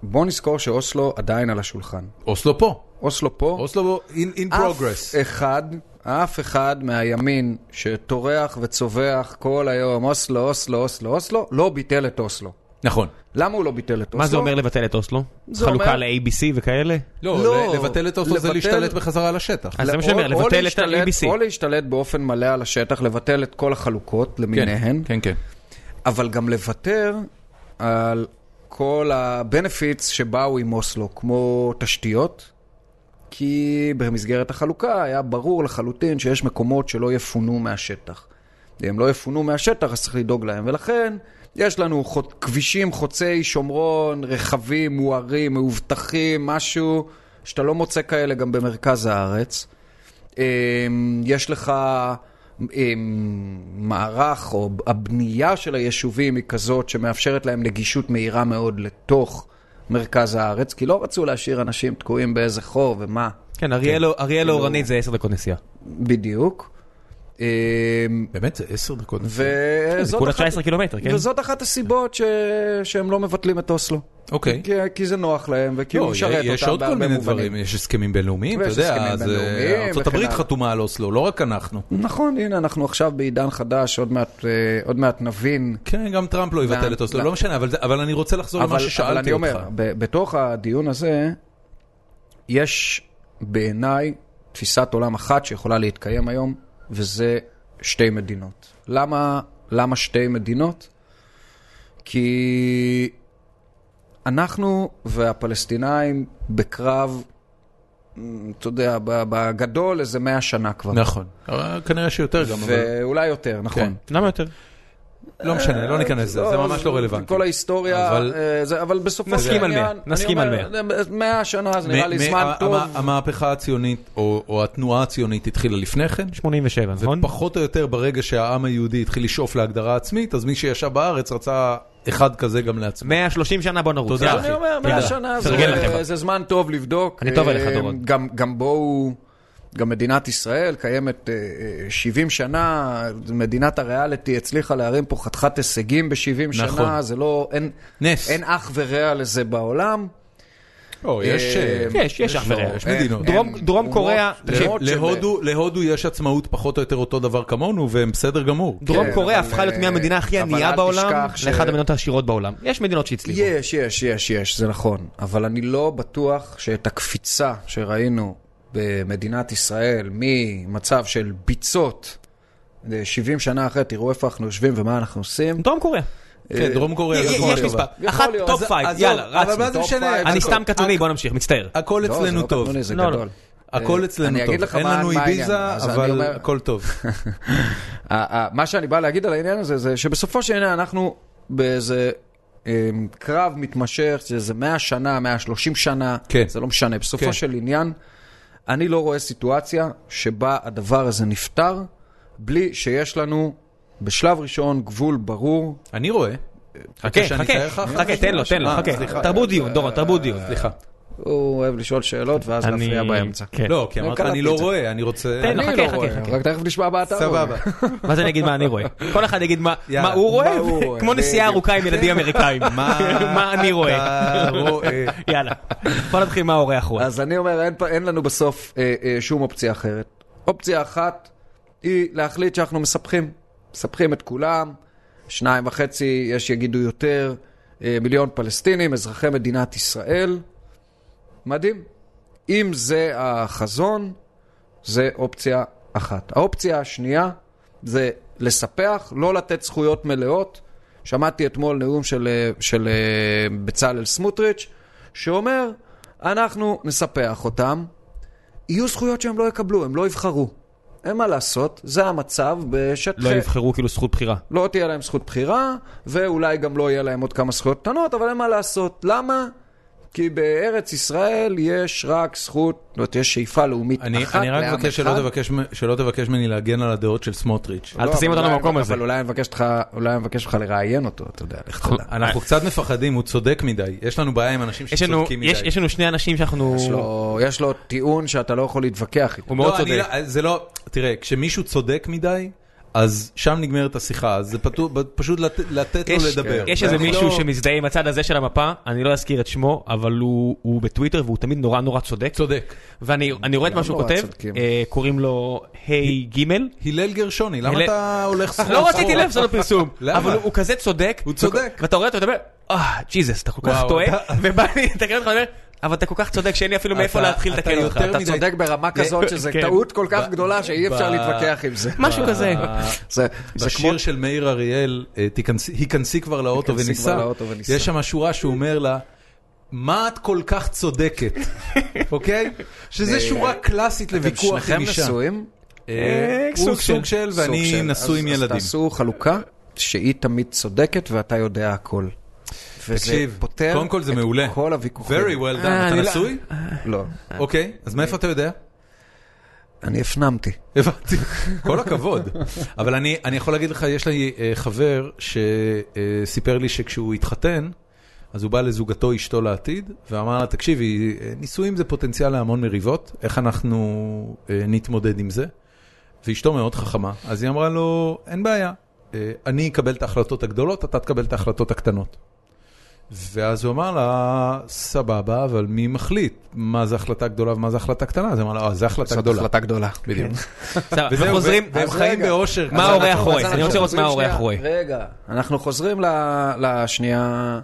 Speaker 3: בוא נזכור שאוסלו עדיין על השולחן.
Speaker 1: אוסלו פה,
Speaker 3: אוסלו פה.
Speaker 1: אוסלו in, in
Speaker 3: אוקיי. אף
Speaker 1: progress.
Speaker 3: אחד, אף אחד מהימין שטורח וצווח כל היום, אוסלו, אוסלו, אוסלו, אוסלו, לא ביטל את אוסלו.
Speaker 1: נכון.
Speaker 3: למה הוא לא ביטל את אוסלו?
Speaker 2: מה זה אומר לבטל את אוסלו?
Speaker 3: זה
Speaker 2: חלוקה
Speaker 3: אומר-
Speaker 2: ל-ABC וכאלה?
Speaker 1: לא,
Speaker 3: לא,
Speaker 1: לבטל את אוסלו זה
Speaker 3: לבטל-
Speaker 1: להשתלט בחזרה על השטח.
Speaker 2: אז זה מה שאני אומר,
Speaker 3: או- או
Speaker 2: לבטל את
Speaker 3: להשתלט-
Speaker 2: ה-ABC.
Speaker 3: או להשתלט באופן מלא על השטח, לבטל את כל החלוקות למיניהן,
Speaker 1: כן, כן, כן.
Speaker 3: אבל גם לוותר על כל ה-benefits שבאו עם אוסלו, כמו תשתיות, כי במסגרת החלוקה היה ברור לחלוטין שיש מקומות שלא יפונו מהשטח. אם לא יפונו מהשטח, אז צריך לדאוג להם. ולכן, יש לנו חוד, כבישים חוצי שומרון, רחבים, מוארים, מאובטחים, משהו שאתה לא מוצא כאלה גם במרכז הארץ. אמ, יש לך אמ, מערך, או הבנייה של היישובים היא כזאת שמאפשרת להם נגישות מהירה מאוד לתוך מרכז הארץ, כי לא רצו להשאיר אנשים תקועים באיזה חור ומה
Speaker 2: כן, אריאל אריאל אורנית זה 10 דקות נסיעה.
Speaker 3: בדיוק. אמ,
Speaker 1: באמת, זה עשר דקות.
Speaker 2: זה
Speaker 3: וזאת
Speaker 2: כולה
Speaker 3: אחת-
Speaker 2: 19 קילומטר, כן?
Speaker 3: וזאת אחת הסיבות ש... שהם לא מבטלים את אוסלו.
Speaker 1: אוקיי.
Speaker 3: כי, כן, כי זה נוח להם, וכי הוא
Speaker 1: לא,
Speaker 3: משרת
Speaker 1: יש
Speaker 3: אותם
Speaker 1: עוד כל
Speaker 3: בהרבה
Speaker 1: מיני
Speaker 3: מובנים.
Speaker 1: דברים, יש הסכמים בינלאומיים, אתה
Speaker 3: ויש
Speaker 1: יודע,
Speaker 3: הסכמים
Speaker 1: אז
Speaker 3: בינלאומיים
Speaker 1: אה, ארצות
Speaker 3: וכן
Speaker 1: הברית
Speaker 3: הלאה.
Speaker 1: חתומה על אוסלו, לא רק אנחנו.
Speaker 3: נכון, הנה, אנחנו עכשיו בעידן חדש, עוד מעט, אה, עוד מעט נבין.
Speaker 1: כן, גם טראמפ לא יבטל
Speaker 3: גם-
Speaker 1: את אוסלו,
Speaker 3: גם-
Speaker 1: לא משנה, אבל, זה- אבל אני רוצה לחזור למה
Speaker 3: אבל
Speaker 1: ששאלתי
Speaker 3: אני
Speaker 1: אותך.
Speaker 3: אומר, ב- בתוך הדיון הזה, יש בעיניי תפיסת עולם אחת שיכולה להתקיים היום, וזה שתי מדינות. למה, למה שתי מדינות? כי אנחנו והפלסטינאים בקרב, מ, אתה יודע, ב- בגדול איזה מאה שנה כבר.
Speaker 1: נכון, אבל כנראה שיותר גם, אבל
Speaker 3: ואולי יותר,
Speaker 1: כן.
Speaker 3: נכון.
Speaker 2: למה יותר?
Speaker 1: לא משנה, לא ניכנס לזה, זה ממש לא רלוונטי.
Speaker 3: כל ההיסטוריה,
Speaker 1: אבל-
Speaker 3: אבל, זה, אבל בסופו של
Speaker 2: נסכים על
Speaker 3: עניין...
Speaker 2: מאה,
Speaker 3: אני
Speaker 2: נסכים על
Speaker 3: אומר, אה, מאה שנה זה נראה
Speaker 1: מ-
Speaker 3: לי
Speaker 1: מ-
Speaker 3: זמן
Speaker 1: ה-
Speaker 3: טוב.
Speaker 1: המ- המהפכה הציונית, או או התנועה הציונית התחילה לפני כן,
Speaker 2: 87, נכון?
Speaker 1: ופחות או יותר ברגע שהעם היהודי התחיל לשאוף להגדרה עצמית, אז מי שישב בארץ רצה אחד כזה גם לעצמו.
Speaker 2: 130 שנה בוא נרוץ.
Speaker 1: תודה,
Speaker 2: יאללה,
Speaker 1: אחי.
Speaker 3: אני אומר,
Speaker 2: אה, תודה.
Speaker 3: מאה שנה זה,
Speaker 2: תרגל לכם.
Speaker 3: זה זמן טוב לבדוק.
Speaker 2: אני טוב
Speaker 3: אה,
Speaker 2: עליך, דורון.
Speaker 3: גם, גם בואו, גם מדינת ישראל קיימת אה, אה, 70 שנה, מדינת הריאליטי הצליחה להרים פה חתיכת הישגים ב-70
Speaker 1: נכון.
Speaker 3: שנה, זה לא, אין,
Speaker 1: נס.
Speaker 3: אין אח ורע לזה בעולם.
Speaker 1: או, יש,
Speaker 3: אה,
Speaker 1: אה,
Speaker 2: יש, יש אח
Speaker 3: לא,
Speaker 2: ורע.
Speaker 1: יש
Speaker 3: אין-
Speaker 1: מדינות.
Speaker 3: אין
Speaker 2: דרום- דרום
Speaker 3: אומות-
Speaker 2: קוריאה,
Speaker 3: אומות
Speaker 2: תקשיב,
Speaker 3: שב-
Speaker 1: להודו, להודו יש עצמאות פחות או יותר אותו דבר כמונו, והם בסדר גמור.
Speaker 2: דרום
Speaker 3: כן,
Speaker 2: קוריאה
Speaker 3: אבל,
Speaker 2: הפכה להיות
Speaker 3: אה,
Speaker 2: מהמדינה הכי
Speaker 3: אבל
Speaker 2: ענייה
Speaker 3: אל
Speaker 2: בעולם,
Speaker 3: תשכח ש-
Speaker 2: לאחת המדינות העשירות בעולם. יש מדינות שהצליחו.
Speaker 3: יש, יש, יש, יש, זה נכון. אבל אני לא בטוח שאת הקפיצה שראינו במדינת ישראל ממצב של ביצות, אה, 70 שנה אחרי, תראו איפה אנחנו יושבים ומה אנחנו עושים.
Speaker 2: דרום קוריה.
Speaker 1: כן, דרום קוריאה זה
Speaker 2: יש
Speaker 1: יכול
Speaker 2: יש
Speaker 1: להיות.
Speaker 2: מספר.
Speaker 3: יכול
Speaker 2: אחת,
Speaker 3: להיות.
Speaker 2: טופ
Speaker 1: אז-
Speaker 2: פייב,
Speaker 1: עזוב,
Speaker 2: יאללה,
Speaker 1: אבל
Speaker 2: רצנו.
Speaker 1: מה זה
Speaker 3: טופ
Speaker 1: משנה?
Speaker 3: פייב.
Speaker 2: אני
Speaker 1: הכל-
Speaker 2: סתם קטנוני,
Speaker 1: הכ-
Speaker 2: בוא נמשיך, מצטער.
Speaker 1: הכל
Speaker 3: לא, זה
Speaker 1: אצלנו
Speaker 3: לא
Speaker 1: טוב.
Speaker 3: קטנוני, זה
Speaker 2: לא, לא.
Speaker 3: גדול.
Speaker 1: הכל
Speaker 3: אה,
Speaker 1: אצלנו
Speaker 3: אני אגיד
Speaker 1: טוב.
Speaker 3: לך
Speaker 1: אין
Speaker 3: מה-
Speaker 1: לנו
Speaker 3: מה העניין.
Speaker 1: איביזה,
Speaker 3: אז אני
Speaker 1: אבל
Speaker 3: אומר-
Speaker 1: הכל טוב.
Speaker 3: ה- ה- מה שאני בא להגיד על העניין הזה, זה שבסופו של עניין אנחנו באיזה אה, קרב מתמשך, זה איזה 100 שנה, 130 שנה,
Speaker 1: כן.
Speaker 3: זה לא משנה. בסופו
Speaker 1: כן.
Speaker 3: של עניין, אני לא רואה סיטואציה שבה הדבר הזה נפתר, בלי שיש לנו בשלב ראשון גבול ברור.
Speaker 1: אני רואה.
Speaker 2: חכה,
Speaker 1: שאני אתאר לך?
Speaker 2: חכה, חכה, תן לו, תן לו,
Speaker 1: אה,
Speaker 2: חכה.
Speaker 1: סליחה.
Speaker 2: תרבות דיון, דורון, תרבות דיון.
Speaker 1: סליחה.
Speaker 3: הוא אוהב לשאול שאלות ואז
Speaker 2: אני-
Speaker 3: להפריע באמצע.
Speaker 2: כן.
Speaker 1: לא, כי
Speaker 3: לא
Speaker 1: אמרת
Speaker 3: קלטתי
Speaker 1: אני
Speaker 3: את
Speaker 1: לא
Speaker 3: זה.
Speaker 1: רואה, אני רוצה...
Speaker 2: תן לו,
Speaker 3: אני
Speaker 2: חכה,
Speaker 3: לא
Speaker 2: חכה,
Speaker 3: רואה,
Speaker 2: חכה.
Speaker 3: רק תכף נשמע באתר.
Speaker 1: סבבה.
Speaker 2: ואז אני אגיד מה אני רואה. כל אחד יגיד מה
Speaker 1: יאללה,
Speaker 2: מה הוא רואה,
Speaker 3: מה הוא
Speaker 2: ו-
Speaker 3: רואה,
Speaker 2: כמו נסיעה
Speaker 3: בדיוק.
Speaker 2: ארוכה עם ילדים אמריקאים. מה אני רואה.
Speaker 1: אתה רואה. אה,
Speaker 2: יאללה, בוא נתחיל מה האורח רואה.
Speaker 3: אז אני אומר, אין, פה- אין לנו בסוף אה, אה, שום אופציה אחרת. אופציה אחת היא להחליט שאנחנו מספחים. מספחים את כולם, שניים וחצי, יש יגידו יותר, אה, מיליון פלסטינים, אזרחי מדינת ישראל. מדהים. אם זה החזון, זה אופציה אחת. האופציה השנייה זה לספח, לא לתת זכויות מלאות. שמעתי אתמול נאום של, אה, של אה, בצלאל סמוטריץ', שאומר, אנחנו נספח אותם, יהיו זכויות שהם לא יקבלו, הם לא יבחרו. אין מה לעשות, זה המצב בשטחי...
Speaker 2: לא יבחרו כאילו זכות בחירה.
Speaker 3: לא תהיה להם זכות בחירה, ואולי גם לא יהיה להם עוד כמה זכויות קטנות, אבל אין מה לעשות. למה? כי בארץ ישראל יש רק זכות, זאת אומרת, יש שאיפה לאומית
Speaker 1: אני
Speaker 3: אחת
Speaker 1: אני רק
Speaker 3: לעם
Speaker 1: מבקש
Speaker 3: אחד.
Speaker 1: שלא תבקש מ- שלא תבקש ממני להגן על הדעות של סמוטריץ'.
Speaker 2: אל
Speaker 3: לא,
Speaker 2: תשים
Speaker 3: אבל
Speaker 2: אותנו
Speaker 3: אולי-
Speaker 2: במקום הזה.
Speaker 3: אבל אולי אני מבקש אותך- אולי אני מבקש ממך לראיין אותו, אתה יודע, לך תדע.
Speaker 1: אנחנו קצת מפחדים, הוא צודק מדי. יש לנו בעיה עם אנשים
Speaker 2: יש לנו-
Speaker 1: שצודקים אה, מדי.
Speaker 2: יש יש לנו שני אנשים שאנחנו...
Speaker 3: יש לו- יש לו טיעון שאתה לא יכול להתווכח איתו.
Speaker 2: הוא מאוד
Speaker 1: לא, אני
Speaker 2: צודק.
Speaker 1: לא- זה לא, תראה, כשמישהו צודק מדי, אז שם נגמרת השיחה, אז זה פתו- פשוט לת- לתת לו
Speaker 2: יש-
Speaker 1: לא לדבר.
Speaker 2: יש איזה
Speaker 1: אנחנו
Speaker 2: מישהו
Speaker 1: לא-
Speaker 2: שמזדהה עם הצד הזה של המפה, אני לא אזכיר את שמו, אבל הוא הוא בטוויטר והוא תמיד נורא נורא צודק.
Speaker 1: צודק.
Speaker 2: ואני אני רואה את מה שהוא
Speaker 3: נורא
Speaker 2: כותב,
Speaker 3: צודקים.
Speaker 2: אה, קוראים לו היי גימל.
Speaker 1: הלל גרשוני, למה
Speaker 2: הלל-
Speaker 1: אתה הולך סחור
Speaker 2: לא רציתי לעשות לו פרסום,
Speaker 1: למה?
Speaker 2: אבל הוא- הוא כזה צודק.
Speaker 1: הוא צודק.
Speaker 2: ואתה רואה אותו ואתה אומר, אה, ג'יזוס, אתה כל כך
Speaker 1: וואו,
Speaker 2: טועה,
Speaker 1: אתה-
Speaker 2: ובא לי לתקן אותך ואומר, אבל אתה כל כך צודק שאין לי אפילו מאיפה
Speaker 1: אתה-
Speaker 2: להתחיל
Speaker 1: אתה
Speaker 2: לתקן אותך.
Speaker 1: יותר
Speaker 3: אתה
Speaker 1: מדי-
Speaker 3: צודק ברמה כזאת שזו
Speaker 2: כן.
Speaker 3: טעות כל כך גדולה שאי אפשר
Speaker 1: ב-
Speaker 3: להתווכח עם זה.
Speaker 2: משהו כזה.
Speaker 3: זה זה כמו
Speaker 1: בשיר של מאיר אריאל, אה, "תיכנסי- היכנסי כבר לאוטו
Speaker 3: היכנסי כבר
Speaker 1: וניסע,
Speaker 3: לאוטו וניסע.
Speaker 1: יש שם שורה שהוא אומר לה, מה את כל כך צודקת, אוקיי?
Speaker 2: אה,
Speaker 1: שזה שורה קלאסית לוויכוח עם
Speaker 3: שניכם
Speaker 1: אישה.
Speaker 3: נשואים?
Speaker 1: אה,
Speaker 2: סוג
Speaker 1: הוא
Speaker 2: של-
Speaker 1: סוג של,
Speaker 3: סוג
Speaker 1: ואני
Speaker 3: של-
Speaker 1: נשוי עם
Speaker 3: אז-
Speaker 1: ילדים.
Speaker 3: אז תעשו חלוקה שהיא תמיד צודקת ואתה יודע הכל. וזה
Speaker 1: תקשיב,
Speaker 3: פותר
Speaker 1: קודם כל זה
Speaker 3: את
Speaker 1: מעולה.
Speaker 3: כל
Speaker 1: Very
Speaker 3: הוויכוחים.
Speaker 1: well done,
Speaker 2: אה,
Speaker 1: אתה
Speaker 2: אני לא- אה,
Speaker 1: נשוי?
Speaker 3: לא,
Speaker 1: אוקיי, אז מאיפה אתה יודע?
Speaker 3: אני הפנמתי.
Speaker 1: הבנתי, כל הכבוד. אבל אני, אני יכול להגיד לך, יש לי אה, חבר שסיפר לי שכשהוא התחתן, אז הוא בא לזוגתו, אשתו לעתיד, ואמר לה, תקשיבי, אה, נישואים זה פוטנציאל להמון מריבות, איך אנחנו אה, נתמודד עם זה? ואשתו מאוד חכמה, אז היא אמרה לו, אין בעיה, אה, אני אקבל את ההחלטות הגדולות, אתה תקבל את ההחלטות הקטנות. ואז הוא אמר לה, סבבה, אבל מי מחליט? מה זה החלטה גדולה ומה זה החלטה קטנה? אז היא אמרה לו, "אה, זה החלטה
Speaker 3: זאת
Speaker 1: גדולה.
Speaker 3: החלטה גדולה.
Speaker 1: בדיוק.
Speaker 2: סבבה,
Speaker 1: וזהו,
Speaker 2: אנחנו חוזרים,
Speaker 1: והם
Speaker 3: אז
Speaker 1: חיים
Speaker 3: רגע.
Speaker 1: באושר.
Speaker 2: מה
Speaker 1: אז
Speaker 2: האורח
Speaker 1: אנחנו-
Speaker 2: רואה?
Speaker 1: אז
Speaker 2: אני רוצה לראות מה
Speaker 3: חוזרים
Speaker 2: האורח
Speaker 3: שנייה-
Speaker 2: רואה.
Speaker 3: רגע, אנחנו חוזרים ל- לשנייה,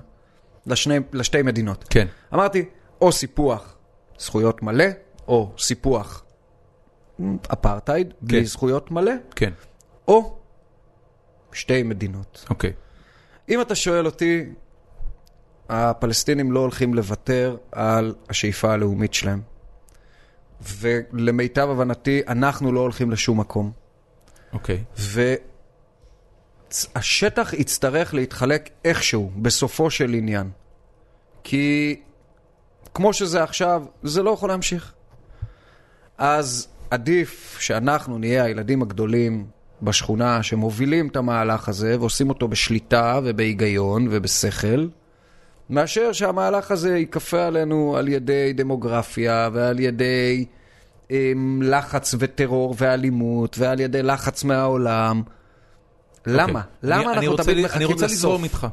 Speaker 3: לשני- לשתי מדינות.
Speaker 1: כן.
Speaker 3: אמרתי, או סיפוח זכויות מלא, או סיפוח אפרטהייד,
Speaker 1: כן.
Speaker 3: בלי זכויות מלא,
Speaker 1: כן,
Speaker 3: או שתי מדינות.
Speaker 1: אוקיי.
Speaker 3: אם אתה שואל אותי, הפלסטינים לא הולכים לוותר על השאיפה הלאומית שלהם. ולמיטב הבנתי, אנחנו לא הולכים לשום מקום.
Speaker 1: אוקיי.
Speaker 3: והשטח יצטרך להתחלק איכשהו, בסופו של עניין. כי כמו שזה עכשיו, זה לא יכול להמשיך. אז עדיף שאנחנו נהיה הילדים הגדולים בשכונה שמובילים את המהלך הזה ועושים אותו בשליטה ובהיגיון ובשכל, מאשר שהמהלך הזה ייכפה עלינו על ידי דמוגרפיה ועל ידי אמ, לחץ וטרור ואלימות ועל ידי לחץ מהעולם. למה? למה
Speaker 1: אוקיי. כן. אני- אני
Speaker 3: אנחנו
Speaker 1: רוצה
Speaker 3: תמיד
Speaker 1: ל-
Speaker 3: מחכים לסוף?
Speaker 1: אני רוצה לזרום איתך,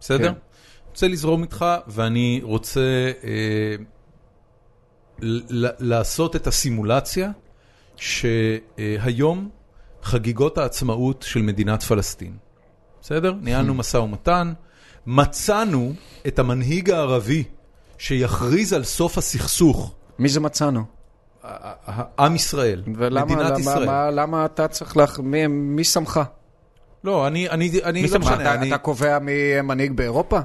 Speaker 1: בסדר?
Speaker 3: כן.
Speaker 1: אני רוצה לזרום איתך, ואני רוצה אה, ל- ל- לעשות את הסימולציה שהיום חגיגות העצמאות של מדינת פלסטין. בסדר?
Speaker 3: Hmm.
Speaker 1: ניהלנו משא ומתן, מצאנו את המנהיג הערבי שיכריז על סוף הסכסוך,
Speaker 3: מי זה מצאנו?
Speaker 1: ה- ה- ה- עם ישראל,
Speaker 3: ולמה
Speaker 1: מדינת
Speaker 3: למה,
Speaker 1: ישראל.
Speaker 3: מה, למה אתה צריך לך... מי, מי שמך?
Speaker 1: לא, אני, אני, אני
Speaker 2: מי
Speaker 1: לא
Speaker 2: שמך?
Speaker 1: משנה,
Speaker 3: אתה,
Speaker 1: אני...
Speaker 3: אתה קובע מי יהיה מנהיג באירופה?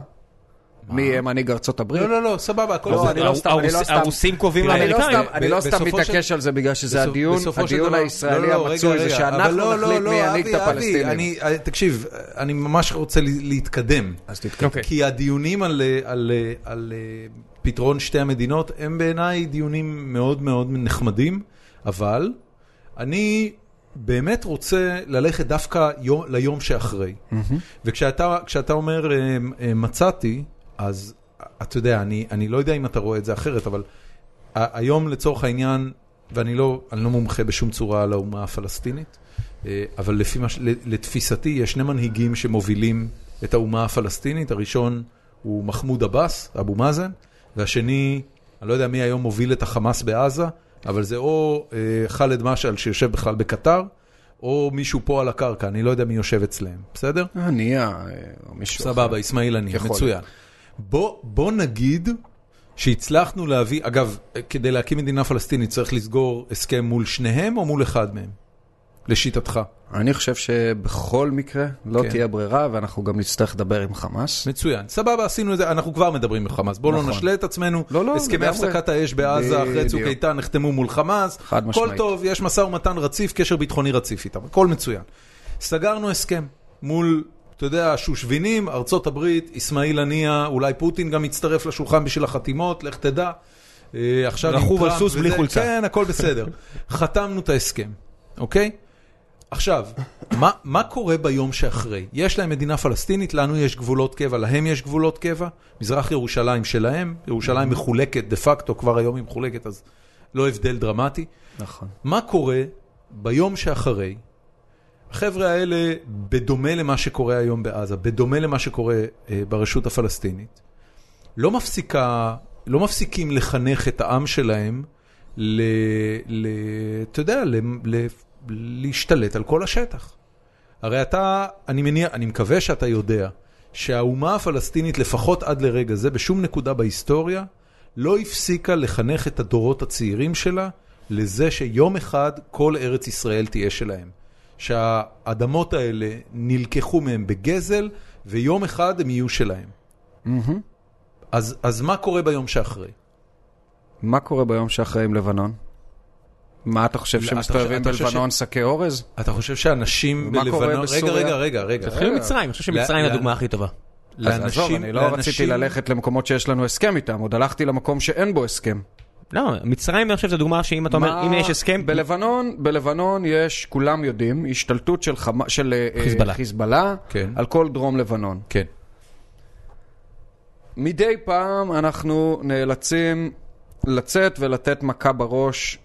Speaker 3: מי יהיה מנהיג ארצות הברית?
Speaker 1: לא, לא, לא, סבבה, הכל
Speaker 3: לא,
Speaker 1: בסדר.
Speaker 3: אני לא סתם, אני לא
Speaker 2: הרוס-
Speaker 3: סתם.
Speaker 2: הרוסים קובעים
Speaker 1: תראה,
Speaker 3: אני לא
Speaker 2: לאמריקאים.
Speaker 3: סתם, אני לא סתם
Speaker 1: בסופו
Speaker 3: מתעקש
Speaker 1: של-
Speaker 3: על זה בגלל שזה
Speaker 1: בסוף-
Speaker 3: הדיון,
Speaker 1: בסופו של
Speaker 3: הדיון
Speaker 1: דבר- לא,
Speaker 3: הישראלי
Speaker 1: לא,
Speaker 3: המצוי
Speaker 1: רגע,
Speaker 3: זה
Speaker 1: רגע, אבל
Speaker 3: שאנחנו
Speaker 1: לא, לא,
Speaker 3: נחליט
Speaker 1: לא,
Speaker 3: מי ינהיג
Speaker 1: אבי,
Speaker 3: את
Speaker 1: אבי,
Speaker 3: הפלסטינים.
Speaker 1: אני- אה, תקשיב, אני ממש רוצה ל- להתקדם.
Speaker 3: אז תתקדם.
Speaker 2: אוקיי.
Speaker 1: כי הדיונים על, אה, על, אה, על אה, פתרון שתי המדינות הם בעיניי דיונים מאוד מאוד נחמדים, אבל אני באמת רוצה ללכת דווקא יום, ליום שאחרי. וכשאתה כשאתה אומר אה, אה, מצאתי, אז אה, אתה יודע, אני, אני לא יודע אם אתה רואה את זה אחרת, אבל ה- היום לצורך העניין, ואני לא, אני לא מומחה בשום צורה על האומה הפלסטינית, אה, אבל לפי מה, ש- לתפיסתי יש שני מנהיגים שמובילים את האומה הפלסטינית, הראשון הוא מחמוד עבאס, אבו מאזן, והשני, אני לא יודע מי היום מוביל את החמאס בעזה, אבל זה או אה, ח'אלד משעל שיושב בכלל בקטר, או מישהו פה על הקרקע, אני לא יודע מי יושב אצלם, בסדר?
Speaker 3: אה, נהיה אה, או מישהו.
Speaker 1: סבבה, אסמאעיל הנייה,
Speaker 3: יכול
Speaker 1: מצוין. בוא, בוא נגיד שהצלחנו להביא, אגב, אה, כדי להקים מדינה פלסטינית צריך לסגור הסכם מול שניהם או מול אחד מהם? לשיטתך.
Speaker 3: אני חושב שבכל מקרה לא
Speaker 1: כן.
Speaker 3: תהיה ברירה, ואנחנו גם נצטרך לדבר עם חמאס.
Speaker 1: מצוין. סבבה, עשינו את זה, אנחנו כבר מדברים עם חמאס. בואו לא
Speaker 3: נכון.
Speaker 1: נשלה את עצמנו.
Speaker 3: לא, לא,
Speaker 1: הסכמי
Speaker 3: לגמרי.
Speaker 1: הפסקת האש בעזה אחרי צוק
Speaker 3: בדיוק.
Speaker 1: איתן נחתמו מול חמאס.
Speaker 3: חד
Speaker 1: כל
Speaker 3: משמעית.
Speaker 1: טוב, יש משא ומתן רציף, קשר ביטחוני רציף איתם. הכל מצוין. סגרנו הסכם מול, אתה יודע, השושבינים, ארצות הברית, אסמאעיל הנייה, אולי פוטין גם יצטרף לשולחן בשביל החתימות, לך תדע. אה, עכשיו עם
Speaker 2: רכוב על
Speaker 1: טראמפ
Speaker 2: סוס בלי
Speaker 1: וזה-
Speaker 2: חולצה.
Speaker 1: כן, הכל בסדר. חתמנו את ההסכם, אוקיי? עכשיו, מה, מה קורה ביום שאחרי? יש להם מדינה פלסטינית, לנו יש גבולות קבע, להם יש גבולות קבע, מזרח ירושלים שלהם, ירושלים מחולקת דה פקטו, כבר היום היא מחולקת, אז לא הבדל דרמטי.
Speaker 3: נכון.
Speaker 1: מה קורה ביום שאחרי? החבר'ה האלה, בדומה למה שקורה היום בעזה, בדומה למה שקורה אה, ברשות הפלסטינית, לא מפסיקה, לא מפסיקים לחנך את העם שלהם ל... ל אתה יודע, ל, ל, להשתלט על כל השטח. הרי אתה, אני מניח, אני מקווה שאתה יודע שהאומה הפלסטינית, לפחות עד לרגע זה, בשום נקודה בהיסטוריה, לא הפסיקה לחנך את הדורות הצעירים שלה לזה שיום אחד כל ארץ ישראל תהיה שלהם. שהאדמות האלה נלקחו מהם בגזל, ויום אחד הם יהיו שלהם.
Speaker 3: מהמם.
Speaker 1: אז, אז מה קורה ביום שאחרי?
Speaker 3: מה קורה ביום שאחרי עם לבנון? מה אתה חושב
Speaker 1: לא,
Speaker 3: שמסתובבים
Speaker 1: אתה חושב- אתה
Speaker 3: בלבנון שקי אורז?
Speaker 1: אתה חושב שאנשים
Speaker 3: ומה
Speaker 1: בלבנון...
Speaker 3: קורה
Speaker 1: רגע,
Speaker 3: בסוריה?
Speaker 1: רגע, רגע, רגע.
Speaker 2: תתחיל עם מצרים, אני חושב שמצרים
Speaker 1: לא,
Speaker 2: היא הדוגמה הכי טובה.
Speaker 3: אז עזוב, אני לא רציתי ללכת למקומות שיש לנו הסכם איתם, עוד הלכתי למקום שאין בו הסכם.
Speaker 2: לא, מצרים אני חושב שזו דוגמה שאם אתה אומר,
Speaker 3: מה-
Speaker 2: אם יש הסכם,
Speaker 3: בלבנון, בלבנון יש, כולם יודעים, השתלטות של, חמ... של אה, אה,
Speaker 2: חיזבאללה.
Speaker 3: חיזבאללה
Speaker 1: כן.
Speaker 3: על כל דרום לבנון.
Speaker 1: כן.
Speaker 3: מדי פעם אנחנו נאלצים לצאת ולתת מכה בראש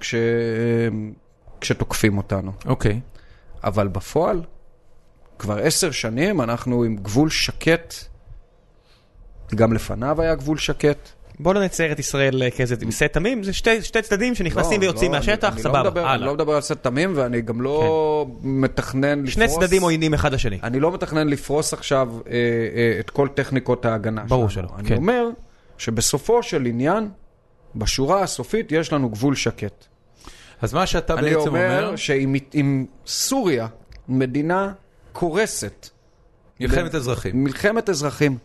Speaker 3: כש... כשתוקפים אותנו.
Speaker 1: אוקיי.
Speaker 3: אבל בפועל, כבר עשר שנים אנחנו עם גבול שקט. גם לפניו היה גבול שקט.
Speaker 2: בוא לא נצייר את ישראל אה, כאיזה מסי תמים, זה שתי שתי צדדים שנכנסים
Speaker 3: לא,
Speaker 2: ויוצאים
Speaker 3: לא,
Speaker 2: מהשטח,
Speaker 3: אני- אני לא מדבר-
Speaker 2: סבבה,
Speaker 3: אני
Speaker 2: הלאה.
Speaker 3: לא מדבר על סט תמים, ואני גם לא מתכנן לפרוס...
Speaker 2: שני צדדים עוינים אחד לשני.
Speaker 3: אני לא מתכנן לפרוס עכשיו אה, אה, את כל טכניקות ההגנה
Speaker 2: ברור
Speaker 3: שלנו.
Speaker 2: שלא,
Speaker 3: אני
Speaker 2: כן.
Speaker 3: אומר שבסופו של עניין, בשורה הסופית יש לנו גבול שקט.
Speaker 1: אז מה שאתה
Speaker 3: אני
Speaker 1: בעצם אומר,
Speaker 3: אומר שאם אם סוריה, מדינה קורסת,
Speaker 1: מלחמת אזרחים,
Speaker 3: מלחמת אזרחים,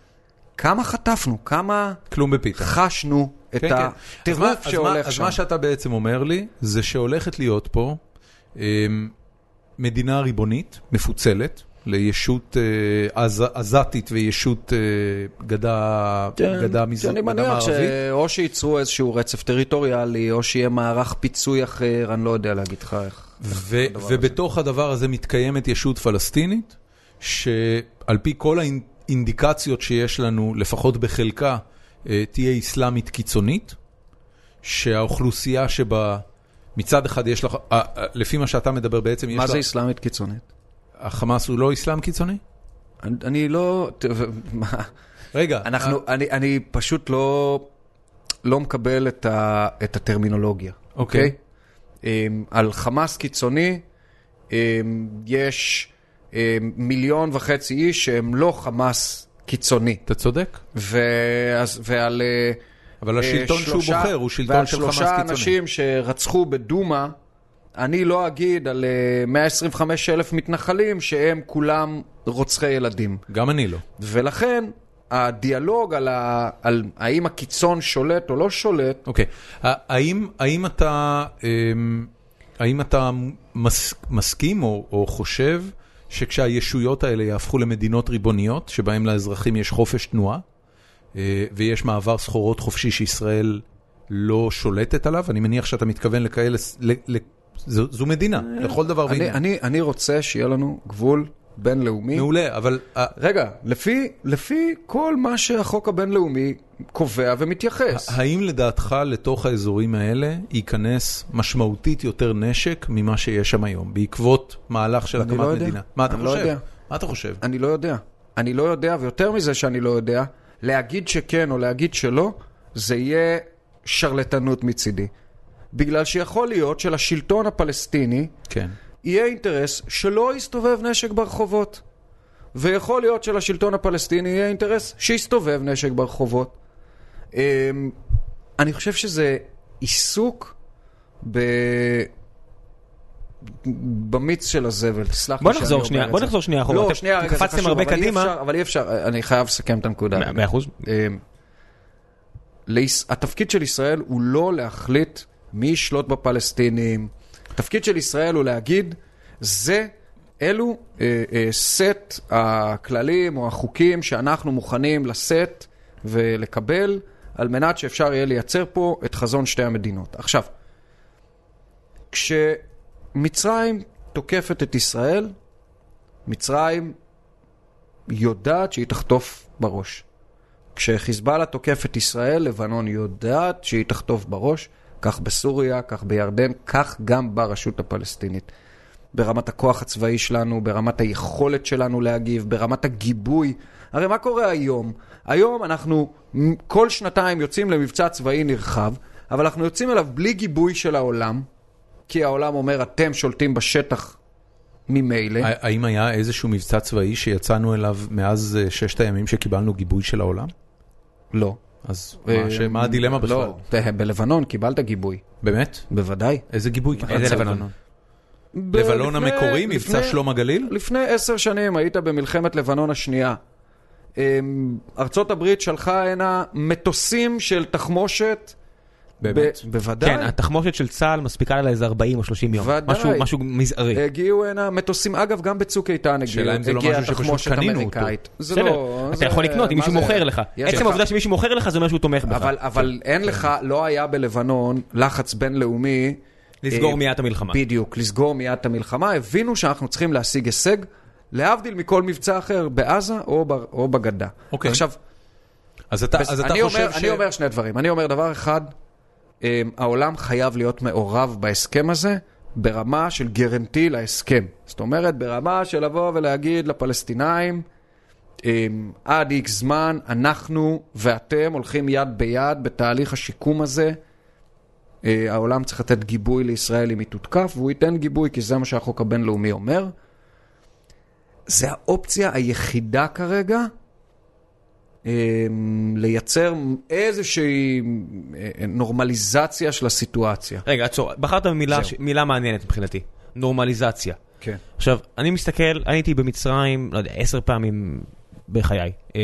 Speaker 3: כמה חטפנו, כמה
Speaker 1: כלום בפיתה.
Speaker 3: חשנו את
Speaker 1: כן, כן. אז מה-
Speaker 3: הטירוף
Speaker 1: אז מה-
Speaker 3: שהולך
Speaker 1: אז
Speaker 3: שם.
Speaker 1: מה שאתה בעצם אומר לי, זה שהולכת להיות פה אמ, מדינה ריבונית, מפוצלת, לישות אה, עז- עזתית וישות אה, גדה
Speaker 3: כן,
Speaker 1: גדה מזר-
Speaker 3: אני
Speaker 1: גדה
Speaker 3: מניח
Speaker 1: מערבית.
Speaker 3: שאו שייצרו איזשהו רצף טריטוריאלי, או שיהיה מערך פיצוי אחר, אני לא יודע להגיד לך איך.
Speaker 1: ו- ובתוך הדבר הזה מתקיימת ישות פלסטינית, שעל פי כל האינדיקציות שיש לנו, לפחות בחלקה, אה, תהיה אסלאמית קיצונית, שהאוכלוסייה שבה, מצד אחד יש לך, אה, אה, לפי מה שאתה מדבר בעצם, יש
Speaker 3: מה זה
Speaker 1: לה,
Speaker 3: אסלאמית קיצונית?
Speaker 1: החמאס הוא לא אסלאם קיצוני?
Speaker 3: אני- אני לא... ת- ו- מה?
Speaker 1: רגע, אה.
Speaker 3: אנחנו, אני- אני פשוט לא... לא מקבל את, ה, את הטרמינולוגיה,
Speaker 1: אוקיי.
Speaker 3: אוקיי? אמ, על חמאס קיצוני אמ, יש אמ, מיליון וחצי איש שהם לא חמאס קיצוני.
Speaker 1: אתה צודק,
Speaker 3: ואז, ועל... אה,
Speaker 1: אבל
Speaker 3: אה,
Speaker 1: השלטון שהוא
Speaker 3: שלושה-
Speaker 1: בוחר הוא שלטון של חמאס
Speaker 3: ועל שלושה
Speaker 1: קיצוני.
Speaker 3: אנשים שרצחו בדומא, אני לא אגיד על אה, 125 אלף מתנחלים שהם כולם רוצחי ילדים.
Speaker 1: גם אני לא.
Speaker 3: ולכן הדיאלוג על, ה... על האם הקיצון שולט או לא שולט,
Speaker 1: אוקיי. ה- האם, האם אתה, אמ, האם אתה מס, מסכים או, או חושב שכשהישויות האלה יהפכו למדינות ריבוניות, שבהן לאזרחים יש חופש תנועה, אה, ויש מעבר סחורות חופשי שישראל לא שולטת עליו, אני מניח שאתה מתכוון לכאלה, ס- ל, ל, זו, זו מדינה, לכל דבר
Speaker 3: אה, אני,
Speaker 1: ועניין.
Speaker 3: אני, אני רוצה שיהיה לנו גבול בינלאומי.
Speaker 1: מעולה, אבל אה,
Speaker 3: רגע, לפי, לפי כל מה שהחוק הבינלאומי קובע ומתייחס.
Speaker 1: האם לדעתך לתוך האזורים האלה ייכנס משמעותית יותר נשק ממה שיש שם היום, בעקבות מהלך של
Speaker 3: אני
Speaker 1: הקמת
Speaker 3: לא יודע.
Speaker 1: מדינה? מה אתה
Speaker 3: אני לא
Speaker 1: חושב?
Speaker 3: יודע.
Speaker 1: מה אתה חושב?
Speaker 3: אני לא יודע. אני לא יודע, ויותר מזה שאני לא יודע, להגיד שכן או להגיד שלא, זה יהיה שרלטנות מצידי. בגלל שיכול להיות שלשלטון הפלסטיני
Speaker 1: כן.
Speaker 3: יהיה אינטרס שלא יסתובב נשק ברחובות. ויכול להיות שלשלטון הפלסטיני יהיה אינטרס שיסתובב נשק ברחובות. אמ, אני חושב שזה עיסוק ב... במיץ של הזבל, תסלח
Speaker 2: בוא
Speaker 3: לי שאני
Speaker 2: נחזור
Speaker 3: אומר
Speaker 2: שנייה-
Speaker 3: את
Speaker 2: בוא
Speaker 3: זה.
Speaker 2: נחזור שנייה אחורה.
Speaker 3: לא,
Speaker 2: אתם-
Speaker 3: שנייה,
Speaker 2: אתם
Speaker 3: רגע, זה
Speaker 2: קפצתם
Speaker 3: חשוב,
Speaker 2: הרבה
Speaker 3: אבל אי
Speaker 2: קדימה.
Speaker 3: אפשר- אבל אי אפשר, אני חייב לסכם את הנקודה.
Speaker 2: מאה- מאה אחוז.
Speaker 3: אמ, ליש- התפקיד של ישראל הוא לא להחליט מי ישלוט בפלסטינים. התפקיד של ישראל הוא להגיד, זה, אלו אה, אה, סט הכללים או החוקים שאנחנו מוכנים לשאת ולקבל, על מנת שאפשר יהיה לייצר פה את חזון שתי המדינות. עכשיו, כשמצרים תוקפת את ישראל, מצרים יודעת שהיא תחטוף בראש. כשחיזבאללה תוקף את ישראל, לבנון יודעת שהיא תחטוף בראש, כך בסוריה, כך בירדן, כך גם ברשות הפלסטינית. ברמת הכוח הצבאי שלנו, ברמת היכולת שלנו להגיב, ברמת הגיבוי. הרי מה קורה היום? היום אנחנו מ- כל שנתיים יוצאים למבצע צבאי נרחב, אבל אנחנו יוצאים אליו בלי גיבוי של העולם, כי העולם אומר, אתם שולטים בשטח ממילא.
Speaker 1: ה- האם היה איזשהו מבצע צבאי שיצאנו אליו מאז אה, ששת הימים שקיבלנו גיבוי של העולם?
Speaker 3: לא.
Speaker 1: אז
Speaker 2: אה,
Speaker 1: מה ש- מה הדילמה בכלל?
Speaker 3: לא, ת- בלבנון קיבלת גיבוי,
Speaker 1: באמת?
Speaker 3: בוודאי.
Speaker 1: איזה גיבוי קיבלת?
Speaker 2: איזה לבנון?
Speaker 1: לבנון
Speaker 3: לפני-
Speaker 1: המקורי, מבצע
Speaker 3: לפני-
Speaker 1: שלום הגליל?
Speaker 3: לפני עשר שנים היית במלחמת לבנון השנייה. אמ, ארצות הברית שלחה הנה מטוסים של תחמושת.
Speaker 1: באמת?
Speaker 3: ב- בוודאי.
Speaker 2: כן, התחמושת של צה"ל מספיקה לה איזה 40 או 30 יום.
Speaker 3: ודאי. אה,
Speaker 2: משהו- משהו מזערי.
Speaker 3: הגיעו הנה מטוסים, אגב, גם בצוק איתן הגיעו,
Speaker 1: שאלה אם זה לא
Speaker 3: הגיעה
Speaker 1: משהו שפשוט
Speaker 3: תחמושת
Speaker 1: קנינו אותו.
Speaker 3: אמריקאית. זה
Speaker 2: בסדר,
Speaker 3: לא-
Speaker 2: אתה
Speaker 3: זה-
Speaker 2: יכול לקנות אם
Speaker 3: מה
Speaker 2: מישהו
Speaker 3: זה?
Speaker 2: מוכר לך.
Speaker 3: יש
Speaker 2: עצם
Speaker 3: לך-
Speaker 2: העובדה כן. שמישהו מוכר לך זה אומר שהוא תומך בך.
Speaker 3: אבל, אבל אין לך, לא היה בלבנון לחץ בינלאומי.
Speaker 2: לסגור
Speaker 3: אה,
Speaker 2: מיד את המלחמה.
Speaker 3: בדיוק, לסגור מיד את המלחמה. הבינו שאנחנו צריכים להשיג הישג, להבדיל מכל מבצע אחר, בעזה או, ב, או בגדה.
Speaker 1: אוקיי.
Speaker 3: עכשיו,
Speaker 1: אז אתה אז אתה
Speaker 3: אני, אומר,
Speaker 1: חושב ש...
Speaker 3: אני אומר שני דברים. אני אומר דבר אחד, אה, העולם חייב להיות מעורב בהסכם הזה ברמה של גרנטי להסכם. זאת אומרת, ברמה של לבוא ולהגיד לפלסטינאים, אה, עד איקס זמן, אנחנו ואתם הולכים יד ביד בתהליך השיקום הזה. אה, העולם צריך לתת גיבוי לישראל אם היא תותקף, והוא ייתן גיבוי כי זה מה שהחוק הבינלאומי אומר. זה האופציה היחידה כרגע אמ, לייצר איזושהי אה, נורמליזציה של הסיטואציה.
Speaker 2: רגע, עצור, בחרת במילה ש- מילה מעניינת מבחינתי, נורמליזציה.
Speaker 3: כן.
Speaker 2: עכשיו, אני מסתכל, אני הייתי במצרים, לא יודע, עשר פעמים בחיי. אמ,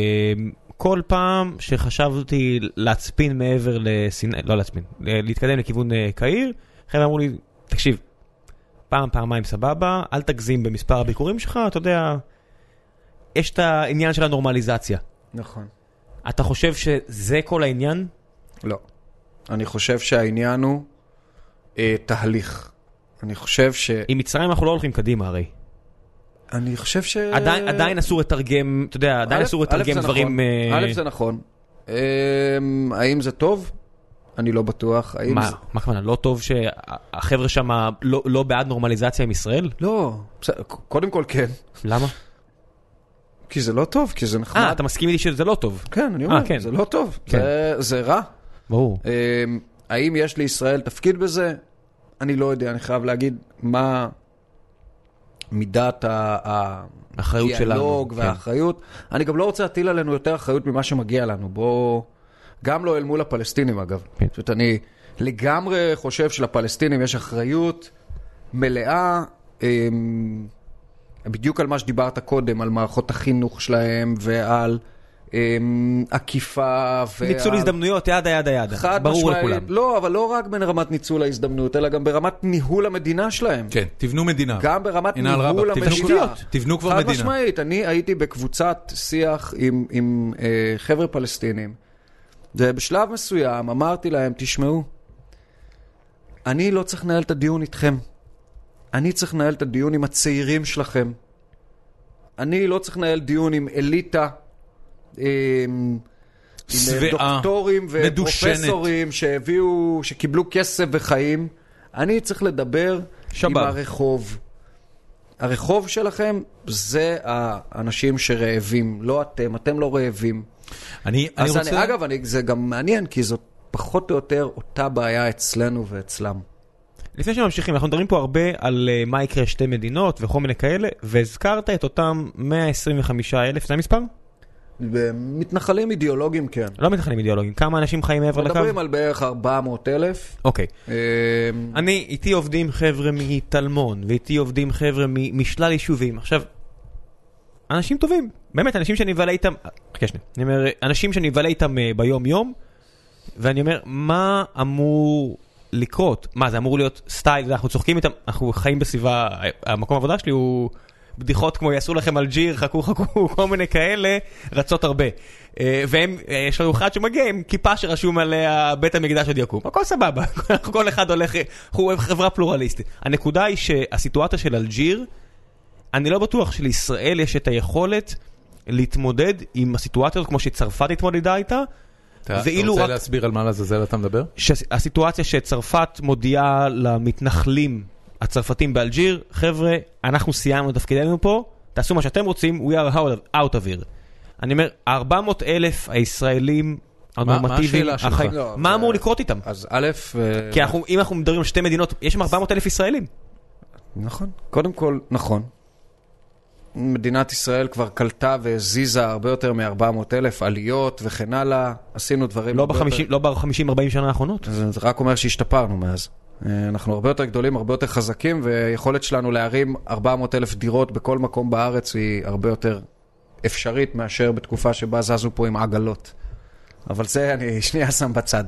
Speaker 2: כל פעם שחשבתי להצפין מעבר לסיני, לא להצפין, ל- להתקדם לכיוון אה, קהיר, חבר'ה אמרו לי, תקשיב, פעם, פעמיים סבבה, אל תגזים במספר הביקורים שלך, אתה יודע, יש את העניין של הנורמליזציה.
Speaker 3: נכון.
Speaker 2: אתה חושב שזה כל העניין?
Speaker 3: לא. אני חושב שהעניין הוא אה, תהליך. אני חושב ש...
Speaker 2: עם מצרים אנחנו לא הולכים קדימה הרי.
Speaker 3: אני חושב ש...
Speaker 2: עדיין, עדיין אסור לתרגם, אתה יודע, עדיין
Speaker 3: א',
Speaker 2: אסור
Speaker 3: א',
Speaker 2: לתרגם
Speaker 3: זה
Speaker 2: דברים...
Speaker 3: נכון.
Speaker 2: אה,
Speaker 3: א', זה נכון. אמ, האם זה טוב? אני לא בטוח. האם
Speaker 2: מה,
Speaker 3: זה-
Speaker 2: מה הכוונה, לא טוב שהחבר'ה שם לא, לא בעד נורמליזציה עם ישראל?
Speaker 3: לא. בסדר, ק- קודם כל כן.
Speaker 2: למה?
Speaker 3: כי זה לא טוב, כי זה נחמד.
Speaker 2: אה, אתה מסכים איתי שזה לא טוב.
Speaker 3: כן, אני אומר,
Speaker 2: אה, כן.
Speaker 3: זה לא טוב.
Speaker 2: כן.
Speaker 3: זה- זה רע.
Speaker 2: ברור.
Speaker 3: אה, האם יש לישראל תפקיד בזה? אני לא יודע, אני חייב להגיד מה מידת ה- ה-
Speaker 2: האחריות שלנו,
Speaker 3: הדיאלוג
Speaker 2: כן.
Speaker 3: והאחריות. אני גם לא רוצה להטיל עלינו יותר אחריות ממה שמגיע לנו. בואו... גם לא אל מול הפלסטינים, אגב.
Speaker 2: כן.
Speaker 3: פשוט אני לגמרי חושב שלפלסטינים יש אחריות מלאה. אמ, בדיוק על מה שדיברת קודם, על מערכות החינוך שלהם ועל אמ, עקיפה ועל...
Speaker 2: כן. ניצול הזדמנויות, ידה, ידה, ידה.
Speaker 3: חד
Speaker 2: ברור
Speaker 3: משמעית.
Speaker 2: לכולם.
Speaker 3: לא, אבל לא רק ברמת ניצול ההזדמנות, אלא גם ברמת ניהול המדינה שלהם.
Speaker 1: כן, תבנו מדינה.
Speaker 3: גם ברמת
Speaker 1: הנה על
Speaker 3: ניהול
Speaker 1: רבאק,
Speaker 3: המדינה.
Speaker 1: תבנו כבר- תבנו כבר
Speaker 3: חד
Speaker 1: מדינה.
Speaker 3: משמעית, אני הייתי בקבוצת שיח עם, עם אה, חבר'ה פלסטינים, ובשלב מסוים אמרתי להם, תשמעו, אני לא צריך לנהל את הדיון איתכם. אני צריך לנהל את הדיון עם הצעירים שלכם. אני לא צריך לנהל דיון עם אליטה, אה, עם אה,
Speaker 1: שבעה,
Speaker 3: דוקטורים
Speaker 1: מדושנת.
Speaker 3: ופרופסורים שהביאו, שקיבלו כסף וחיים. אני צריך לדבר עם
Speaker 2: שבת.
Speaker 3: הרחוב. הרחוב שלכם זה האנשים שרעבים, לא אתם, אתם לא רעבים.
Speaker 1: אני אני
Speaker 3: אז
Speaker 1: רוצה...
Speaker 3: אני, אגב, אני, זה גם מעניין, כי זאת פחות או יותר אותה בעיה אצלנו ואצלם.
Speaker 2: לפני שממשיכים, אנחנו מדברים פה הרבה על אה, מה יקרה שתי מדינות וכל מיני כאלה, והזכרת את אותם 125 אלף, זה המספר?
Speaker 3: מתנחלים אידיאולוגיים, כן.
Speaker 2: לא מתנחלים אידיאולוגיים, כמה אנשים חיים מעבר לקו?
Speaker 3: מדברים על בערך 400 אלף. אה,
Speaker 2: אוקיי.
Speaker 3: Mm.
Speaker 2: אני, איתי עובדים חבר'ה מטלמון, ואיתי עובדים חבר'ה מ- משלל יישובים. עכשיו, אנשים טובים, באמת, אנשים שאני מבלה איתם, אה, חכה שנייה, אני אומר, אנשים שאני מבלה איתם אה, ביום-יום, ואני אומר, מה אמור לקרות? מה, זה אמור להיות סטייל, אתה יודע, אנחנו צוחקים איתם, אנחנו חיים בסביבה, אה, המקום העבודה שלי הוא... בדיחות כמו יעשו לכם אלג'יר, חכו חכו, כל מיני כאלה, רצות הרבה. אה, והם, אה, יש לנו אחד שמגיע עם כיפה שרשום עליה בית המקדש עוד יקום. הכל סבבה, אנחנו כל אחד הולך, אנחנו חברה פלורליסטית. הנקודה היא שהסיטואציה של אלג'יר, אני לא בטוח שלישראל יש את היכולת להתמודד עם הסיטואציה הזאת כמו שצרפת התמודדה איתה.
Speaker 1: אתה אתה
Speaker 2: ואילו
Speaker 1: רוצה
Speaker 2: רק-
Speaker 1: להסביר על מה לעזאזל אתה מדבר?
Speaker 2: שהסיטואציה שצרפת מודיעה למתנחלים הצרפתים באלג'יר, חבר'ה, אנחנו סיימנו את תפקידנו פה, תעשו מה שאתם רוצים, we are out- out of here. אני אומר, 400 אלף הישראלים
Speaker 1: מה
Speaker 2: הנורמטיביים,
Speaker 1: השאלה שלך?
Speaker 2: החיים-
Speaker 3: לא,
Speaker 2: מה
Speaker 3: זה-
Speaker 2: אמור לקרות איתם?
Speaker 3: אז א', אה,
Speaker 2: כי אנחנו- אם אנחנו מדברים על שתי מדינות, יש שם 400 אלף ישראלים.
Speaker 3: נכון. קודם כל, נכון. מדינת ישראל כבר קלטה והזיזה הרבה יותר מ-400 אלף עליות וכן הלאה. עשינו דברים...
Speaker 2: לא
Speaker 3: הרבה יותר-
Speaker 2: ב-50-40 שנה האחרונות.
Speaker 3: זה זה רק אומר שהשתפרנו מאז. אה, אנחנו הרבה יותר גדולים, הרבה יותר חזקים, והיכולת שלנו להרים 400 אלף דירות בכל מקום בארץ היא הרבה יותר אפשרית מאשר בתקופה שבה זזו פה עם עגלות. אבל זה אני שנייה שם בצד.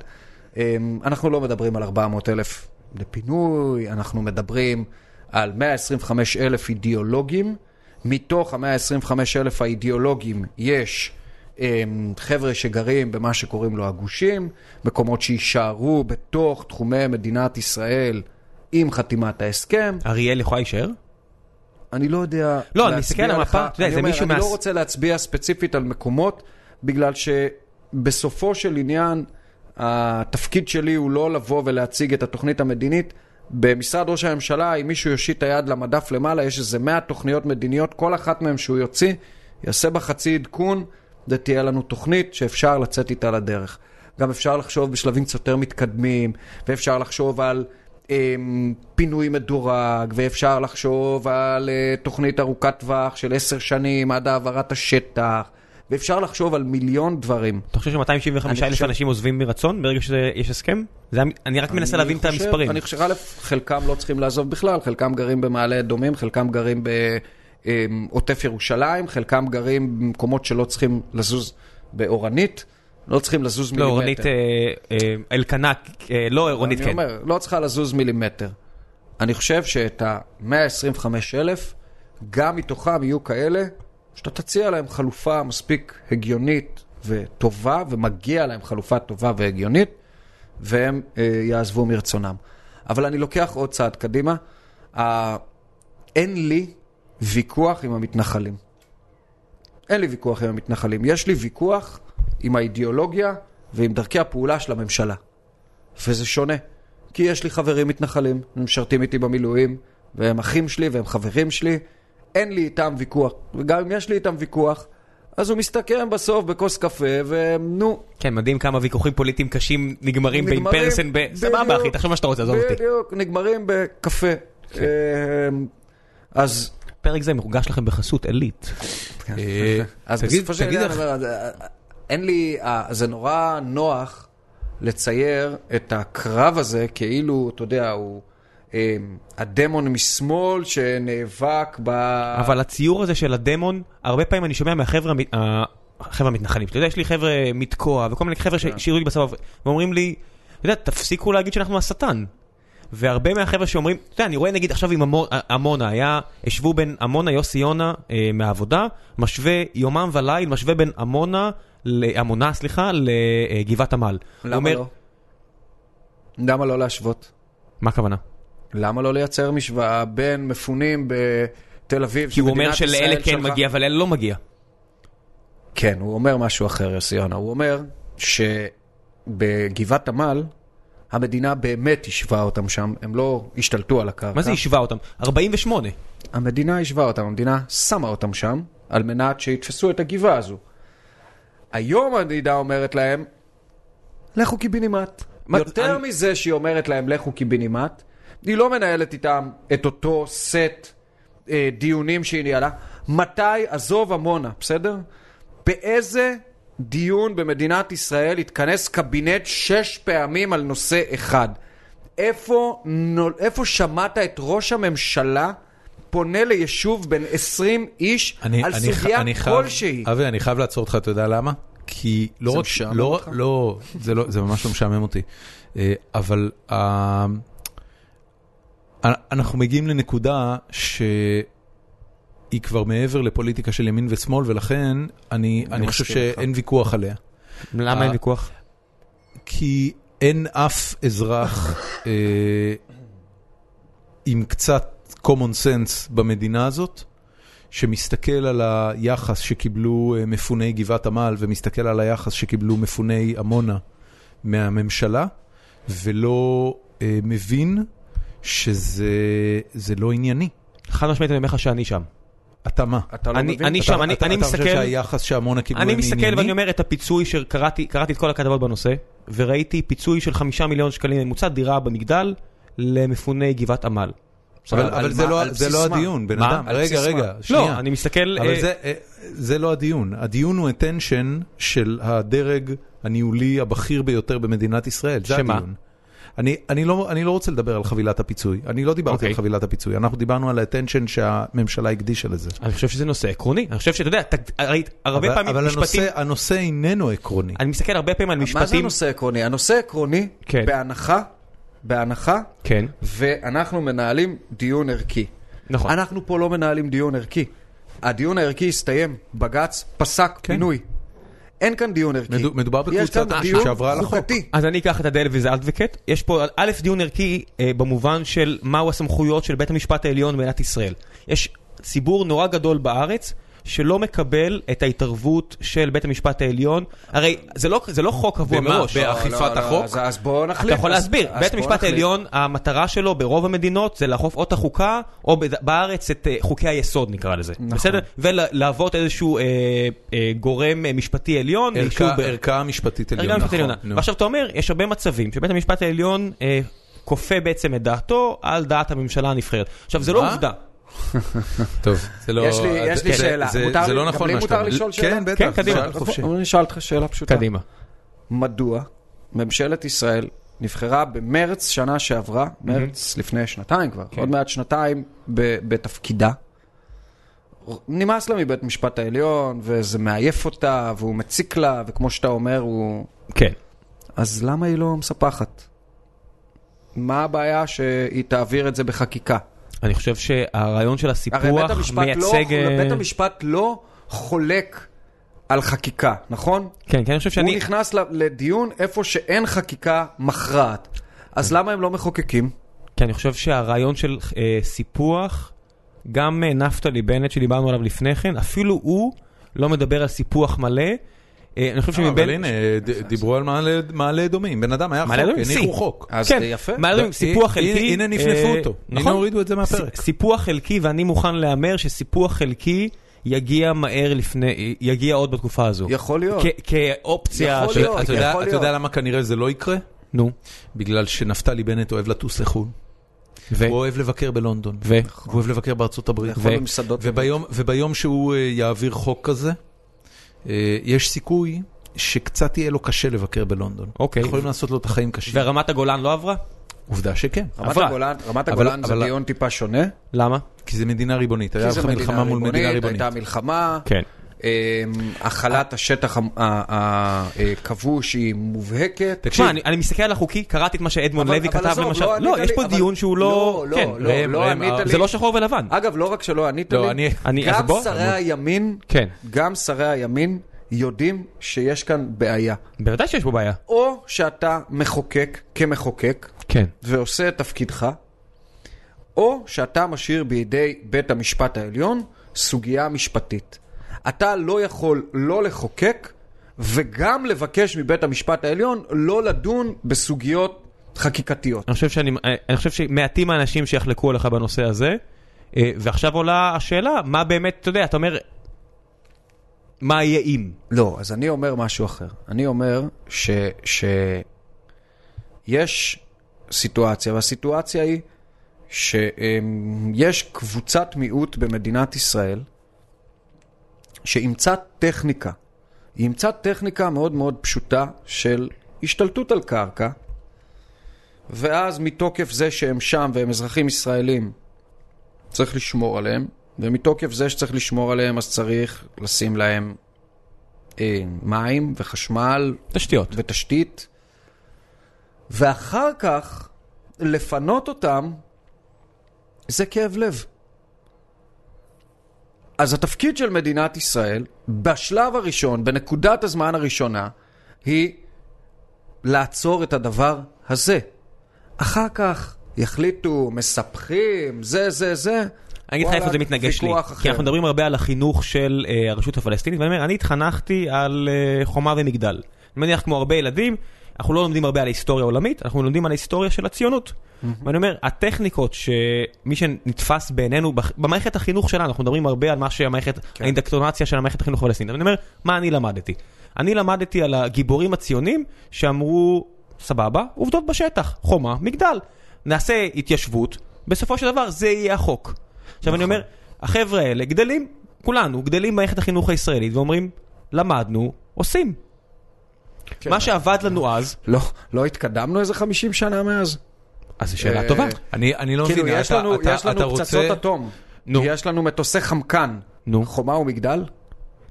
Speaker 3: אה, אנחנו לא מדברים על 400 אלף לפינוי, אנחנו מדברים על 125 אלף אידיאולוגים. מתוך ה-125 אלף האידיאולוגים יש אה, חבר'ה שגרים במה שקוראים לו הגושים, מקומות שיישארו בתוך תחומי מדינת ישראל עם חתימת ההסכם.
Speaker 2: אריאל יכולה להישאר?
Speaker 3: אני לא יודע
Speaker 2: לא, אני
Speaker 3: להצביע
Speaker 2: מסתכל על
Speaker 3: לך.
Speaker 2: המפה, אתה יודע,
Speaker 3: אני
Speaker 2: זה
Speaker 3: אומר,
Speaker 2: מישהו
Speaker 3: אני
Speaker 2: מהס-
Speaker 3: לא רוצה להצביע ספציפית על מקומות, בגלל שבסופו של עניין, התפקיד שלי הוא לא לבוא ולהציג את התוכנית המדינית. במשרד ראש הממשלה, אם מישהו יושיט את היד למדף למעלה, יש איזה 100 תוכניות מדיניות, כל אחת מהן שהוא יוציא, יעשה בה חצי עדכון, זה תהיה לנו תוכנית שאפשר לצאת איתה לדרך. גם אפשר לחשוב בשלבים קצת יותר מתקדמים, ואפשר לחשוב על אמ, פינוי מדורג, ואפשר לחשוב על אה, תוכנית ארוכת טווח של עשר שנים עד העברת השטח, ואפשר לחשוב על מיליון דברים.
Speaker 2: אתה חושב ש-275
Speaker 3: אני
Speaker 2: אלף
Speaker 3: חושב-
Speaker 2: אנשים עוזבים מרצון ברגע שיש הסכם? זה המ- אני רק מנסה
Speaker 3: אני
Speaker 2: להבין את
Speaker 3: חושב-
Speaker 2: המספרים.
Speaker 3: אני חושב, א', חלקם לא צריכים לעזוב בכלל, חלקם גרים במעלה אדומים, חלקם גרים בעוטף ירושלים, חלקם גרים במקומות שלא צריכים לזוז באורנית, לא צריכים לזוז
Speaker 2: לא,
Speaker 3: מילימטר.
Speaker 2: רונית אה, אה, אלקנה, אה, לא רונית
Speaker 3: אני
Speaker 2: כן.
Speaker 3: אומר, לא צריכה לזוז מילימטר. אני חושב שאת ה-125 אלף, גם מתוכם יהיו כאלה שאתה תציע להם חלופה מספיק הגיונית וטובה, ומגיע להם חלופה טובה והגיונית, והם אה, יעזבו מרצונם. אבל אני לוקח עוד צעד קדימה. ה- אין לי ויכוח עם המתנחלים. אין לי ויכוח עם המתנחלים. יש לי ויכוח עם האידיאולוגיה ועם דרכי הפעולה של הממשלה. וזה שונה. כי יש לי חברים מתנחלים, הם משרתים איתי במילואים, והם אחים שלי והם חברים שלי, אין לי איתם ויכוח. וגם אם יש לי איתם ויכוח, אז הוא מסתכם בסוף בכוס קפה, ונו,
Speaker 2: כן, מדהים כמה ויכוחים פוליטיים קשים נגמרים בין
Speaker 3: נגמרים,
Speaker 2: פרסן ב... סבבה,
Speaker 3: בדיוק.
Speaker 2: אחי, תחשוב מה שאתה רוצה, עזוב אותי.
Speaker 3: בדיוק, נגמרים בקפה. אה, אז
Speaker 2: פרק זה מורגש לכם בחסות עילית.
Speaker 1: אה,
Speaker 3: אז
Speaker 1: תגיד-
Speaker 3: בסופו של
Speaker 1: תגיד
Speaker 3: עניין,
Speaker 1: לך-
Speaker 3: אבל, אה, אין לי, אה, זה נורא נוח לצייר את הקרב הזה כאילו, אתה יודע, הוא אה, הדמון משמאל שנאבק ב...
Speaker 2: אבל הציור הזה של הדמון, הרבה פעמים אני שומע מהחבר'ה המ- ה- החבר'ה המתנחלים. אתה יודע, יש לי חבר'ה מתקוע וכל מיני
Speaker 3: כן.
Speaker 2: חבר'ה ש- שירו לי בסבבה, ואומרים לי, אתה יודע, תפסיקו להגיד שאנחנו השטן. והרבה מהחבר'ה שאומרים, אתה יודע, אני רואה נגיד עכשיו עם עמו- עמונה, היה, השוו בין עמונה, יוסי יונה אה, מהעבודה, משווה יומם וליל, משווה בין עמונה, ל- עמונה, סליחה, לגבעת עמל. הוא
Speaker 3: למה
Speaker 2: אומר,
Speaker 3: לא? למה לא להשוות?
Speaker 2: מה הכוונה?
Speaker 3: למה לא לייצר משוואה בין מפונים בתל אביב,
Speaker 2: כי הוא אומר
Speaker 3: שמדינת ישראל
Speaker 2: שלאלה כן
Speaker 3: שלחה-
Speaker 2: מגיע ולאלה לא מגיע.
Speaker 3: כן, הוא אומר משהו אחר, יוסי יונה. הוא אומר שבגבעת עמל, המדינה באמת השווה אותם שם, הם לא השתלטו על הקרקע.
Speaker 2: מה זה השווה אותם? 48.
Speaker 3: אה, המדינה השווה אותם, המדינה שמה אותם שם, על מנת שיתפסו את הגבעה הזו. היום המדינה אומרת להם, לכו קיבינימט.
Speaker 2: מה-
Speaker 3: יותר
Speaker 2: אני-
Speaker 3: מזה שהיא אומרת להם, לכו קיבינימט, היא לא מנהלת איתם את אותו סט אה, דיונים שהיא ניהלה. מתי, עזוב עמונה, בסדר? באיזה דיון במדינת ישראל התכנס קבינט שש פעמים על נושא אחד? איפה, נול- איפה שמעת את ראש הממשלה פונה ליישוב בין 20 איש
Speaker 1: אני,
Speaker 3: על
Speaker 1: אני,
Speaker 3: סוגיה
Speaker 1: אני חייב,
Speaker 3: כלשהי?
Speaker 1: אבי, אני חייב לעצור אותך, אתה יודע למה? כי לא
Speaker 3: זה
Speaker 1: רק...
Speaker 3: משעמם
Speaker 1: לא,
Speaker 3: אותך?
Speaker 1: לא, זה לא, זה ממש לא משעמם אותי. אה, אבל אה, אנ- אנחנו מגיעים לנקודה שהיא כבר מעבר לפוליטיקה של ימין ושמאל, ולכן אני, אני חושב
Speaker 3: מסכים איתך.
Speaker 1: שאין ויכוח עליה.
Speaker 2: למה אין ויכוח?
Speaker 1: כי אין אף אזרח אה, עם קצת common sense במדינה הזאת, שמסתכל על היחס שקיבלו אה, מפוני גבעת עמל ומסתכל על היחס שקיבלו מפוני עמונה מהממשלה, ולא אה, מבין שזה זה לא ענייני.
Speaker 2: חד משמעית אני אומר לך שאני שם.
Speaker 1: אתה מה?
Speaker 3: אתה לא
Speaker 2: אני-
Speaker 3: מבין?
Speaker 2: אני
Speaker 3: אתה-
Speaker 2: שם, אני-
Speaker 1: אתה, אתה
Speaker 2: מסתכל-
Speaker 1: חושב שהיחס שעמונה קיבלו הם
Speaker 2: אני
Speaker 1: ענייני?
Speaker 2: מסתכל ואני אומר את הפיצוי שקראתי, קראתי את כל הכתבות בנושא, וראיתי פיצוי של חמישה מיליון שקלים ממוצע דירה במגדל למפוני גבעת עמל.
Speaker 1: אבל,
Speaker 3: על-
Speaker 1: אבל
Speaker 3: על
Speaker 1: זה,
Speaker 3: מה?
Speaker 1: לא,
Speaker 3: על
Speaker 1: זה
Speaker 3: בסיס
Speaker 1: לא
Speaker 3: מה?
Speaker 1: הדיון, בן
Speaker 2: מה?
Speaker 1: אדם.
Speaker 3: על
Speaker 1: רגע,
Speaker 3: בסיס
Speaker 1: רגע,
Speaker 3: מה?
Speaker 1: שנייה.
Speaker 2: לא, אני מסתכל...
Speaker 1: אבל
Speaker 2: אה,
Speaker 1: זה, אה, זה לא הדיון, הדיון הוא הטנשן של הדרג הניהולי הבכיר ביותר במדינת ישראל, זה
Speaker 2: שמה?
Speaker 1: הדיון. אני, אני, לא, אני לא רוצה לדבר על חבילת הפיצוי, אני לא דיברתי
Speaker 2: אוקיי.
Speaker 1: על חבילת הפיצוי, אנחנו דיברנו על הטנשן שהממשלה הקדישה לזה.
Speaker 2: אני חושב שזה נושא עקרוני. אני חושב שאתה יודע, אתה- הרי הרבה
Speaker 1: אבל,
Speaker 2: פעמים
Speaker 1: אבל
Speaker 2: משפטים...
Speaker 1: הנושא, הנושא איננו עקרוני.
Speaker 2: אני מסתכל הרבה פעמים על
Speaker 3: מה זה
Speaker 2: משפטים...
Speaker 3: הנושא העקרוני? הנושא העקרוני,
Speaker 2: כן.
Speaker 3: בהנחה, בהנחה,
Speaker 2: כן,
Speaker 3: ואנחנו מנהלים דיון ערכי.
Speaker 2: נכון.
Speaker 3: אנחנו פה לא מנהלים דיון ערכי. הדיון הערכי הסתיים, בג"ץ פסק
Speaker 1: כן.
Speaker 3: פינוי. אין כאן דיון ערכי.
Speaker 1: מדו- מדובר
Speaker 3: יש כאן
Speaker 1: בקבוצת
Speaker 3: דיון
Speaker 1: שעברה על החוק.
Speaker 3: חוקתי.
Speaker 2: אז אני אקח את הדלוויז אדווקט, יש פה א' דיון ערכי אה, במובן של מהו הסמכויות של בית המשפט העליון במדינת ישראל. יש ציבור נורא גדול בארץ שלא מקבל את ההתערבות של בית המשפט העליון, הרי זה לא, זה לא חוק קבוע
Speaker 1: במה?
Speaker 2: מראש.
Speaker 1: בא-
Speaker 3: לא,
Speaker 1: אכיפת
Speaker 3: לא, לא,
Speaker 1: החוק?
Speaker 3: אז- אז בואו נחליט.
Speaker 2: אתה יכול
Speaker 3: אז-
Speaker 2: להסביר,
Speaker 3: אז
Speaker 2: בית
Speaker 3: בואו
Speaker 2: המשפט
Speaker 3: נחליט.
Speaker 2: העליון, המטרה שלו ברוב המדינות זה לאכוף או את החוקה, או בד- בארץ את אה, חוקי היסוד נקרא לזה,
Speaker 3: נכון.
Speaker 2: בסדר? ולהוות איזשהו אה, אה, גורם אה, משפטי עליון. ליישוב
Speaker 1: ערכה-
Speaker 2: ב-
Speaker 1: ערכאה משפטית עליונה.
Speaker 2: ערכאה משפטית
Speaker 1: נכון,
Speaker 2: עליונה.
Speaker 1: נו.
Speaker 2: ועכשיו אתה אומר, יש הרבה מצבים שבית המשפט העליון אה, כופה בעצם את דעתו על דעת הממשלה הנבחרת. עכשיו, זה לא
Speaker 1: מה?
Speaker 2: עובדה.
Speaker 1: טוב, זה לא...
Speaker 3: יש לי- יש לי
Speaker 1: זה-
Speaker 3: שאלה.
Speaker 1: זה-
Speaker 3: מותר
Speaker 1: זה
Speaker 3: לי-
Speaker 1: לא
Speaker 3: גם
Speaker 1: נכון
Speaker 3: לי
Speaker 1: מה
Speaker 3: מותר
Speaker 1: שאתה אומר.
Speaker 3: לשאול שאלה?
Speaker 1: כן, בטח.
Speaker 2: כן, קדימה.
Speaker 1: שאל חופשי.
Speaker 3: אבל אני אשאל אותך שאלה פשוטה.
Speaker 2: קדימה.
Speaker 3: מדוע ממשלת ישראל נבחרה במרץ שנה שעברה,
Speaker 2: Mhm.
Speaker 3: מרץ לפני שנתיים כבר,
Speaker 2: כן.
Speaker 3: עוד מעט שנתיים ב- בתפקידה. נמאס לה מבית משפט העליון, וזה מעייף אותה, והוא מציק לה, וכמו שאתה אומר, הוא...
Speaker 2: כן.
Speaker 3: אז למה היא לא מספחת? מה הבעיה שהיא תעביר את זה בחקיקה?
Speaker 2: אני חושב שהרעיון של
Speaker 3: הרי בית
Speaker 2: הסיפוח
Speaker 3: המשפט, לא,
Speaker 2: מייצג... אה,
Speaker 3: בית המשפט לא חולק על חקיקה, נכון?
Speaker 2: כן, כן, אני חושב
Speaker 3: שאני...
Speaker 2: שאני...
Speaker 3: הוא נכנס ל- לדיון איפה שאין חקיקה מכרעת. אז למה הם לא מחוקקים?
Speaker 2: כי כן, אני חושב שהרעיון של אה, סיפוח, גם אה, נפתלי בנט שדיברנו עליו לפני כן, אפילו הוא לא מדבר על סיפוח מלא. אה, אני חושב
Speaker 1: אה, אבל
Speaker 2: שמבין...
Speaker 1: הנה, ד- דיברו על מעלה- מעלה אדומים. בן אדם היה חוק,
Speaker 2: מעלה אדומים,
Speaker 1: הניחו
Speaker 2: שיא.
Speaker 1: חוק.
Speaker 3: אז
Speaker 2: כן,
Speaker 3: זה יפה. אה,
Speaker 2: מעלה אדומים,
Speaker 1: הנה-
Speaker 2: סיפוח חלקי.
Speaker 1: הנה נפנפו
Speaker 2: אה,
Speaker 1: אותו. הנה
Speaker 2: נכון.
Speaker 1: הורידו את זה מהפרק.
Speaker 2: ס- סיפוח חלקי, ואני מוכן להמר שסיפוח חלקי יגיע מהר לפני, אה, יגיע עוד בתקופה הזו.
Speaker 3: יכול להיות.
Speaker 2: כ- כאופציה
Speaker 3: יכול
Speaker 2: של...
Speaker 3: להיות.
Speaker 1: אתה יודע-
Speaker 3: יכול
Speaker 1: אתה יודע
Speaker 3: להיות.
Speaker 1: למה כנראה זה לא יקרה?
Speaker 2: נו,
Speaker 1: בגלל שנפתלי בנט אוהב לטוס לחו"ל.
Speaker 2: ו...
Speaker 1: הוא אוהב לבקר בלונדון.
Speaker 2: ו...
Speaker 1: הוא אוהב לבקר בארצות הברית.
Speaker 3: יכול
Speaker 2: ו-
Speaker 3: במסעדות.
Speaker 1: וביום, וביום שהוא אה, יעביר חוק כזה, אה, יש סיכוי שקצת יהיה לו קשה לבקר בלונדון.
Speaker 2: אוקיי.
Speaker 1: יכולים לעשות לו את החיים קשים.
Speaker 2: ורמת הגולן לא עברה?
Speaker 1: עובדה שכן,
Speaker 3: רמת
Speaker 2: עברה.
Speaker 3: הגולן, רמת
Speaker 1: אבל-
Speaker 3: הגולן זה
Speaker 1: אבל-
Speaker 3: דיון טיפה שונה.
Speaker 2: למה?
Speaker 1: כי זה מדינה ריבונית. היה
Speaker 3: כי זה
Speaker 1: לך מלחמה מול מדינה ריבונית.
Speaker 3: הייתה מלחמה.
Speaker 2: כן.
Speaker 3: אמ, החלת השטח המ- ה- ה- הכבוש היא מובהקת.
Speaker 1: תקשיב,
Speaker 2: תשמע, אני, אני מסתכל על החוקים, קראתי את מה שאדמונד
Speaker 3: אבל-
Speaker 2: לוי
Speaker 3: אבל
Speaker 2: כתב
Speaker 3: עזוב,
Speaker 2: למשל.
Speaker 3: לא ענית
Speaker 2: לא, יש
Speaker 3: לי,
Speaker 2: פה
Speaker 3: אבל-
Speaker 2: דיון שהוא לא...
Speaker 3: לא, לא,
Speaker 2: כן,
Speaker 3: לא,
Speaker 2: ראם,
Speaker 3: לא
Speaker 2: ראם,
Speaker 3: ענית לי.
Speaker 2: זה לא שחור ולבן.
Speaker 3: אגב, לא רק שלא ענית לי,
Speaker 1: לא, אני...
Speaker 2: אני, אז
Speaker 3: גם
Speaker 2: בוא,
Speaker 3: שרי הימין,
Speaker 2: כן.
Speaker 3: גם שרי הימין יודעים שיש כאן בעיה.
Speaker 2: בוודאי שיש פה בעיה.
Speaker 3: או שאתה מחוקק כמחוקק
Speaker 2: כן.
Speaker 3: ועושה את תפקידך, או שאתה משאיר בידי בית המשפט העליון סוגיה משפטית. אתה לא יכול לא לחוקק וגם לבקש מבית המשפט העליון לא לדון בסוגיות חקיקתיות.
Speaker 2: אני חושב, שאני, אני חושב שמעטים האנשים שיחלקו עליך בנושא הזה, אה, ועכשיו עולה השאלה, מה באמת, אתה יודע, אתה אומר, מה יהיה אם?
Speaker 3: לא, אז אני אומר משהו אחר. אני אומר ש... ש... יש סיטואציה, והסיטואציה היא שיש קבוצת מיעוט במדינת ישראל שאימצה טכניקה. היא אימצה טכניקה מאוד מאוד פשוטה של השתלטות על קרקע, ואז מתוקף זה שהם שם והם אזרחים ישראלים, צריך לשמור עליהם, ומתוקף זה שצריך לשמור עליהם אז צריך לשים להם אה, מים וחשמל
Speaker 2: תשתיות.
Speaker 3: ותשתית, ואחר כך לפנות אותם, זה כאב לב. אז התפקיד של מדינת ישראל, בשלב הראשון, בנקודת הזמן הראשונה, היא לעצור את הדבר הזה. אחר כך יחליטו, מספחים, זה, זה, זה.
Speaker 2: אני אגיד לך איפה
Speaker 3: וואלה,
Speaker 2: זה מתנגש לי,
Speaker 3: ויכוח
Speaker 2: כי
Speaker 3: אחר.
Speaker 2: אנחנו מדברים הרבה על החינוך של אה, הרשות הפלסטינית, ואני אומר, אני התחנכתי על אה, חומה ומגדל. אני מניח כמו הרבה ילדים, אנחנו לא לומדים הרבה על ההיסטוריה העולמית, אנחנו לומדים על ההיסטוריה של הציונות. ואני אומר, הטכניקות שמי שנתפס בעינינו, בח- במערכת החינוך שלנו, אנחנו מדברים הרבה על מה
Speaker 3: כן.
Speaker 2: שהמערכת, האינדקטונציה של המערכת החינוך הפלסטינית, אבל אני אומר, מה אני למדתי? אני למדתי על הגיבורים הציונים שאמרו, סבבה, עובדות בשטח, חומה, מגדל. נעשה התיישבות, בסופו של דבר זה יהיה החוק. עכשיו אני
Speaker 3: נכון.
Speaker 2: אומר, החבר'ה האלה גדלים, כולנו גדלים במערכת החינוך הישראלית ואומרים, למדנו, עושים.
Speaker 3: כן.
Speaker 2: מה שעבד לנו אז,
Speaker 3: לא, לא התקדמנו איזה 50 שנה מאז.
Speaker 2: אז זו שאלה
Speaker 3: אה,
Speaker 2: טובה.
Speaker 1: אני, אני לא
Speaker 3: כאילו,
Speaker 1: מבין,
Speaker 3: יש לנו,
Speaker 1: אתה,
Speaker 3: יש
Speaker 1: אתה, אתה
Speaker 3: לנו
Speaker 1: רוצה...
Speaker 3: פצצות אטום.
Speaker 2: נו.
Speaker 3: יש לנו מטוסי חמקן.
Speaker 2: נו.
Speaker 3: חומה ומגדל.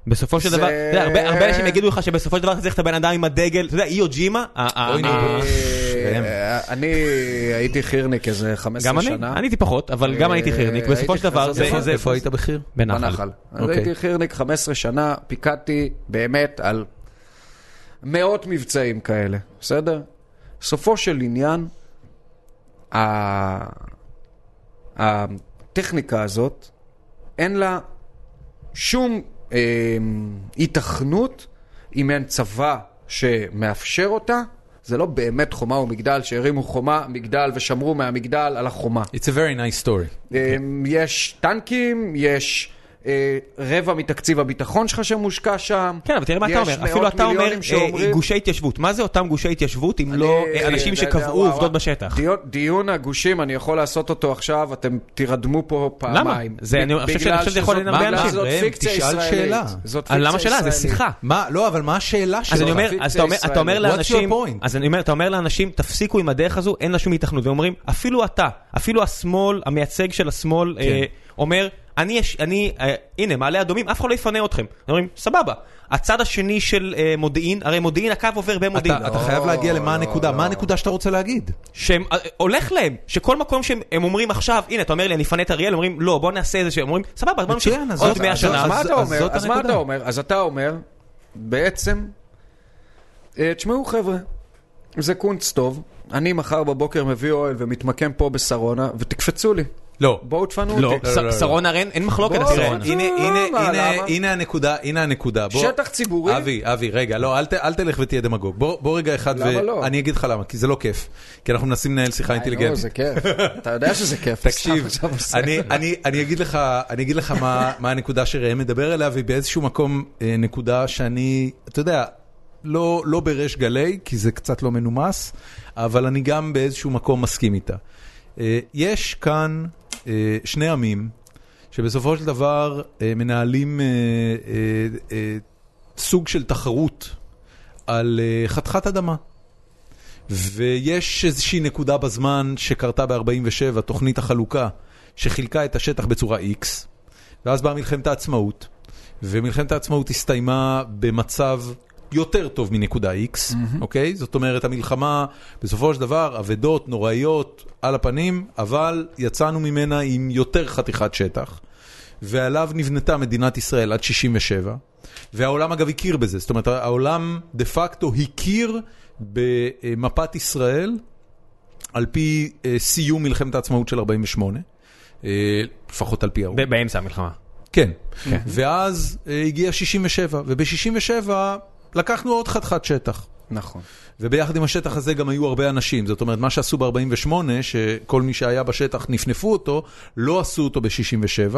Speaker 2: בסופו של
Speaker 3: זה-
Speaker 2: דבר, אתה יודע, הרבה הרבה אנשים יגידו לך שבסופו של דבר אתה צריך את הבן אדם עם הדגל, אתה יודע, איו ג'ימה, ה- ה-
Speaker 1: אוי, נו.
Speaker 2: ה-
Speaker 1: אה,
Speaker 3: אה, אני הייתי חירניק איזה 15
Speaker 2: גם אני,
Speaker 3: שנה.
Speaker 2: אני טיפה פחות, אבל גם
Speaker 3: אה,
Speaker 2: הייתי חירניק,
Speaker 3: הייתי
Speaker 2: בסופו של דבר
Speaker 3: חזר
Speaker 2: זה...
Speaker 1: איפה,
Speaker 3: בנחל.
Speaker 2: זה-
Speaker 1: איפה היית בחיר?
Speaker 2: בנחל.
Speaker 3: בנחל. אז
Speaker 1: אוקיי.
Speaker 3: הייתי חירניק 15 שנה, פיקדתי באמת על מאות מבצעים כאלה, בסדר? סופו של עניין, ה- הטכניקה הזאת, אין לה שום אה, התכנות אם אין צבא שמאפשר אותה. זה לא באמת חומה ומגדל, שהרימו חומה, מגדל ושמרו מהמגדל על החומה.
Speaker 1: It's a very nice story.
Speaker 2: אוקיי.
Speaker 3: אמ, יש טנקים, יש אה, רבע מתקציב הביטחון שלך שמושקע שם.
Speaker 2: כן, אבל תראה מה אתה
Speaker 3: יש
Speaker 2: אומר,
Speaker 3: מאות
Speaker 2: אפילו אתה אומר
Speaker 3: מיליונים
Speaker 2: אה,
Speaker 3: שאומרים-
Speaker 2: גושי התיישבות, מה זה אותם גושי התיישבות אם לא
Speaker 3: אני-
Speaker 2: אה, אנשים
Speaker 3: אני-
Speaker 2: שקבעו
Speaker 3: וואו,
Speaker 2: עובדות
Speaker 3: וואו.
Speaker 2: בשטח?
Speaker 3: דיון, דיון הגושים, אני יכול לעשות אותו עכשיו, אתם תירדמו פה פעמיים.
Speaker 2: זה- אני
Speaker 3: ב-
Speaker 2: חושב ש-
Speaker 3: בגלל
Speaker 2: אני חושב שזה יכול
Speaker 3: שזאת-
Speaker 2: לעניין הרבה
Speaker 3: בגלל
Speaker 2: אנשים.
Speaker 3: שזאת
Speaker 1: ראם,
Speaker 3: פיקציה
Speaker 1: תשאל
Speaker 3: ישראלית.
Speaker 1: שאלה.
Speaker 3: זאת
Speaker 2: אה, למה
Speaker 3: פיקציה
Speaker 2: שאלה? זה
Speaker 3: ישראלית.
Speaker 2: שיחה.
Speaker 1: מה, לא, אבל מה השאלה שלך?
Speaker 2: אז אני אומר,
Speaker 3: הפיקציה
Speaker 2: אז אתה אומר, אתה אומר
Speaker 3: הישראלית.
Speaker 2: לאנשים,
Speaker 1: What's your point?
Speaker 2: אז אני אומר, אתה אומר לאנשים, תפסיקו עם הדרך הזו, אין לה שום התכנות, ואומרים, אפילו אתה, אפילו השמאל, המייצג של
Speaker 1: כן.
Speaker 2: השמאל, אה, אומר, אני, יש, אני, אה, הנה, מעלה אדומים, אף אחד לא יפנה אתכם. אומרים, סבבה. הצד השני של אה, מודיעין, הרי מודיעין, הקו עובר
Speaker 3: אה,
Speaker 2: במודיעין.
Speaker 1: אתה, אתה חייב להגיע למה הנקודה, מה הנקודה שאתה רוצה להגיד?
Speaker 2: שהולך אה, להם, שכל מקום שהם הם אומרים עכשיו, הנה, אתה אומר לי, אני אפנה את אריאל, אומרים, לא, בוא נעשה איזה שהם אומרים, סבבה, בוא נמשיך
Speaker 1: מצוין, אז
Speaker 2: עוד
Speaker 1: זאת-
Speaker 2: 100
Speaker 1: אז
Speaker 2: שנה.
Speaker 3: אז מה
Speaker 1: אז-
Speaker 3: אתה
Speaker 1: אז
Speaker 3: אומר?
Speaker 1: זאת
Speaker 3: אז מה
Speaker 1: הנקודה.
Speaker 3: אתה אומר? אז אתה אומר, בעצם, אה, תשמעו חבר'ה, זה קונץ טוב, אני מחר בבוקר מביא אוהל ומתמקם פה בשרונה, ותקפצו לי.
Speaker 1: לא.
Speaker 3: בואו תפנו
Speaker 2: לא,
Speaker 3: אותי.
Speaker 1: לא, לא,
Speaker 2: ס- שרון הרן, אין מחלוקת על
Speaker 3: בוא,
Speaker 2: שרון.
Speaker 3: בוא,
Speaker 1: הנה, הנה,
Speaker 3: אה, מה,
Speaker 1: הנה,
Speaker 3: למה?
Speaker 1: הנה הנקודה, הנה הנקודה. בוא-
Speaker 3: שטח ציבורי?
Speaker 1: אבי, אבי, רגע, לא, אל ת- אל תלך ותהיה דמגוג. בוא בוא רגע אחד,
Speaker 3: למה לא?
Speaker 1: ואני אגיד לך למה, כי זה לא כיף. כי אנחנו מנסים לנהל שיחה
Speaker 3: אה, נו, זה
Speaker 1: אינטליגנטית.
Speaker 3: כיף. אתה יודע שזה כיף. סתם
Speaker 1: תקשיב,
Speaker 3: עכשיו עושה.
Speaker 1: אני- אני- אני אגיד לך- אני אגיד לך מה- מה הנקודה שראם מדבר עליה, והיא באיזשהו מקום אה, נקודה שאני, אתה יודע, לא לא בריש גלי, כי זה קצת לא מנומס, אבל אני גם באיזשהו מקום מסכים איתה. אה, יש כאן אה, שני עמים שבסופו של דבר אה, מנהלים אה, אה, אה, סוג של תחרות על אה, חתיכת אדמה. ויש איזושהי נקודה בזמן שקרתה ב-47, תוכנית החלוקה, שחילקה את השטח בצורה X, ואז באה מלחמת העצמאות, ומלחמת העצמאות הסתיימה במצב יותר טוב מנקודה X, אוקיי? זאת אומרת, המלחמה, בסופו של דבר, אבדות נוראיות על הפנים, אבל יצאנו ממנה עם יותר חתיכת שטח. ועליו נבנתה מדינת ישראל עד 67, והעולם אגב הכיר בזה, זאת אומרת העולם דה פקטו הכיר במפת ישראל על פי אה, סיום מלחמת העצמאות של 48, אה, לפחות על פי האו"ם.
Speaker 2: ב- באמצע המלחמה.
Speaker 1: כן. ואז אה, הגיע 67, וב-67 לקחנו עוד חתיכת שטח.
Speaker 3: נכון.
Speaker 1: וביחד עם השטח הזה גם היו הרבה אנשים. זאת אומרת, מה שעשו ב-48, שכל מי שהיה בשטח נפנפו אותו, לא עשו אותו ב-67,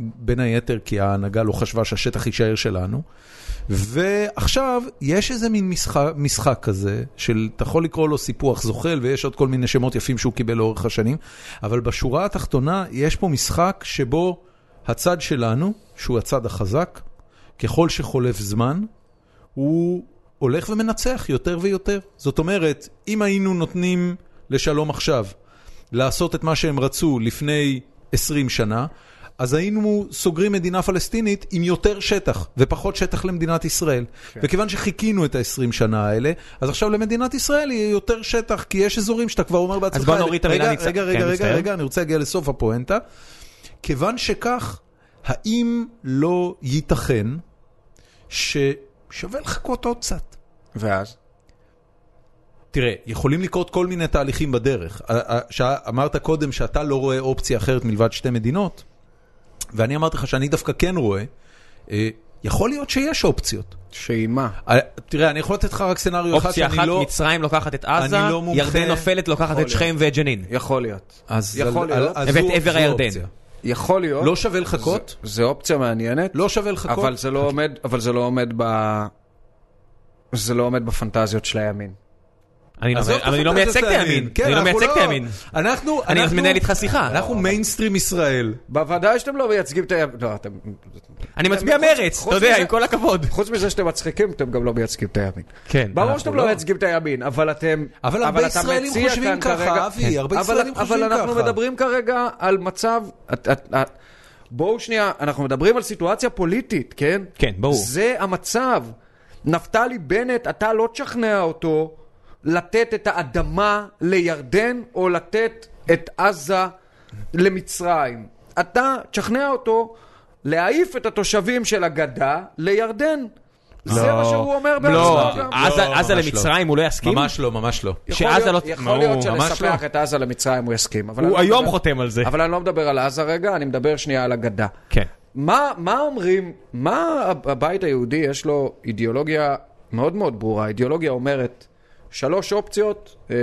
Speaker 1: בין היתר כי ההנהגה לא חשבה שהשטח יישאר שלנו. ועכשיו, יש איזה מין משחק, משחק כזה, של, אתה יכול לקרוא לו סיפוח זוחל, ויש עוד כל מיני שמות יפים שהוא קיבל לאורך השנים, אבל בשורה התחתונה, יש פה משחק שבו הצד שלנו, שהוא הצד החזק, ככל שחולף זמן, הוא הולך ומנצח יותר ויותר. זאת אומרת, אם היינו נותנים לשלום עכשיו לעשות את מה שהם רצו לפני 20 שנה, אז היינו סוגרים מדינה פלסטינית עם יותר שטח ופחות שטח למדינת ישראל. כן. וכיוון שחיכינו את ה-20 שנה האלה, אז עכשיו למדינת ישראל יהיה יותר שטח, כי יש אזורים שאתה כבר אומר בעצמך...
Speaker 2: בוא נוריד את המילה
Speaker 1: רגע,
Speaker 2: ניצ-
Speaker 1: רגע,
Speaker 2: כן,
Speaker 1: רגע, רגע,
Speaker 2: מצטער.
Speaker 1: רגע, אני רוצה להגיע לסוף הפואנטה. כיוון שכך, האם לא ייתכן ששווה לחכות עוד קצת?
Speaker 3: ואז?
Speaker 1: תראה, יכולים לקרות כל מיני תהליכים בדרך. א- א- שא- אמרת קודם שאתה לא רואה אופציה אחרת מלבד שתי מדינות, ואני אמרתי לך שאני דווקא כן רואה. אה, יכול להיות שיש אופציות.
Speaker 3: שאימה.
Speaker 1: אה, תראה, אני יכול לתת לך רק סצנריו אחד
Speaker 2: אופציה
Speaker 1: שאני
Speaker 2: אחת,
Speaker 1: לא...
Speaker 2: מצרים לוקחת את עזה,
Speaker 1: אני לא מומחה.
Speaker 2: ירדן נופלת לוקחת את שכם ואת ג'נין.
Speaker 3: יכול להיות.
Speaker 1: אז
Speaker 3: יכול
Speaker 1: על-
Speaker 3: להיות.
Speaker 1: אז
Speaker 2: ואת
Speaker 1: זו-
Speaker 2: עבר
Speaker 1: זו
Speaker 2: הירדן.
Speaker 1: אופציה.
Speaker 3: יכול להיות.
Speaker 1: לא שווה לחכות?
Speaker 3: זה אופציה מעניינת.
Speaker 1: לא שווה לחכות?
Speaker 3: אבל זה לא עומד, אבל זה לא עומד ב... זה לא עומד בפנטזיות של הימין.
Speaker 2: אני לא-
Speaker 1: עזוב את
Speaker 2: אבל אני לא
Speaker 1: הפנטזיות
Speaker 2: מייצג את
Speaker 1: של הימין.
Speaker 2: הימין.
Speaker 1: כן,
Speaker 2: אני לא
Speaker 1: אנחנו
Speaker 2: מייצג את הימין.
Speaker 1: אנחנו...
Speaker 2: אני
Speaker 1: אנחנו-
Speaker 2: מנהל איתך שיחה.
Speaker 1: אנחנו מיינסטרים ישראל.
Speaker 3: בוודאי שאתם לא מייצגים את הימין. לא, אתם...
Speaker 2: אני מצביע
Speaker 3: חוץ-
Speaker 2: מרץ,
Speaker 3: חוץ
Speaker 2: אתה יודע,
Speaker 3: מזה-
Speaker 2: עם כל הכבוד.
Speaker 3: חוץ מזה שאתם מצחיקים, אתם גם לא מייצגים את הימין.
Speaker 2: כן,
Speaker 3: ברור
Speaker 2: אנחנו
Speaker 3: שאתם
Speaker 2: לא.
Speaker 3: לא מייצגים את הימין, אבל אתם...
Speaker 1: אבל הרבה
Speaker 3: אתה
Speaker 1: ישראלים
Speaker 3: מציע
Speaker 1: חושבים
Speaker 3: כאן
Speaker 1: ככה,
Speaker 3: כרגע-
Speaker 1: אבי,
Speaker 3: כן.
Speaker 1: הרבה
Speaker 3: אבל-
Speaker 1: ישראלים חושבים
Speaker 3: אבל אנחנו
Speaker 1: ככה.
Speaker 3: מדברים כרגע על מצב... את- את- את- בואו שנייה, אנחנו מדברים על סיטואציה פוליטית, כן?
Speaker 2: כן, ברור.
Speaker 3: זה המצב. נפתלי בנט, אתה לא תשכנע אותו לתת את האדמה לירדן או לתת את עזה למצרים. אתה תשכנע אותו להעיף את התושבים של הגדה לירדן. זה מה שהוא אומר
Speaker 2: לא,
Speaker 3: בעצמו גם.
Speaker 2: עזה-
Speaker 1: לא,
Speaker 2: עזה
Speaker 1: ממש לא.
Speaker 2: למצרים הוא לא יסכים?
Speaker 1: ממש לא, ממש לא.
Speaker 3: יכול
Speaker 2: שעזה
Speaker 3: להיות-
Speaker 2: לא-
Speaker 3: יכול
Speaker 2: מה,
Speaker 3: להיות
Speaker 2: הוא ממש
Speaker 3: שלספח
Speaker 2: לא.
Speaker 3: את עזה למצרים הוא יסכים. אבל
Speaker 2: הוא
Speaker 3: אני לא
Speaker 2: היום
Speaker 3: מדבר-
Speaker 2: חותם על זה.
Speaker 3: אבל אני לא מדבר על עזה רגע, אני מדבר שנייה על הגדה.
Speaker 2: כן.
Speaker 3: מה, מה אומרים, מה הב- הבית היהודי יש לו אידיאולוגיה מאוד מאוד ברורה, אידיאולוגיה אומרת שלוש אופציות, אה,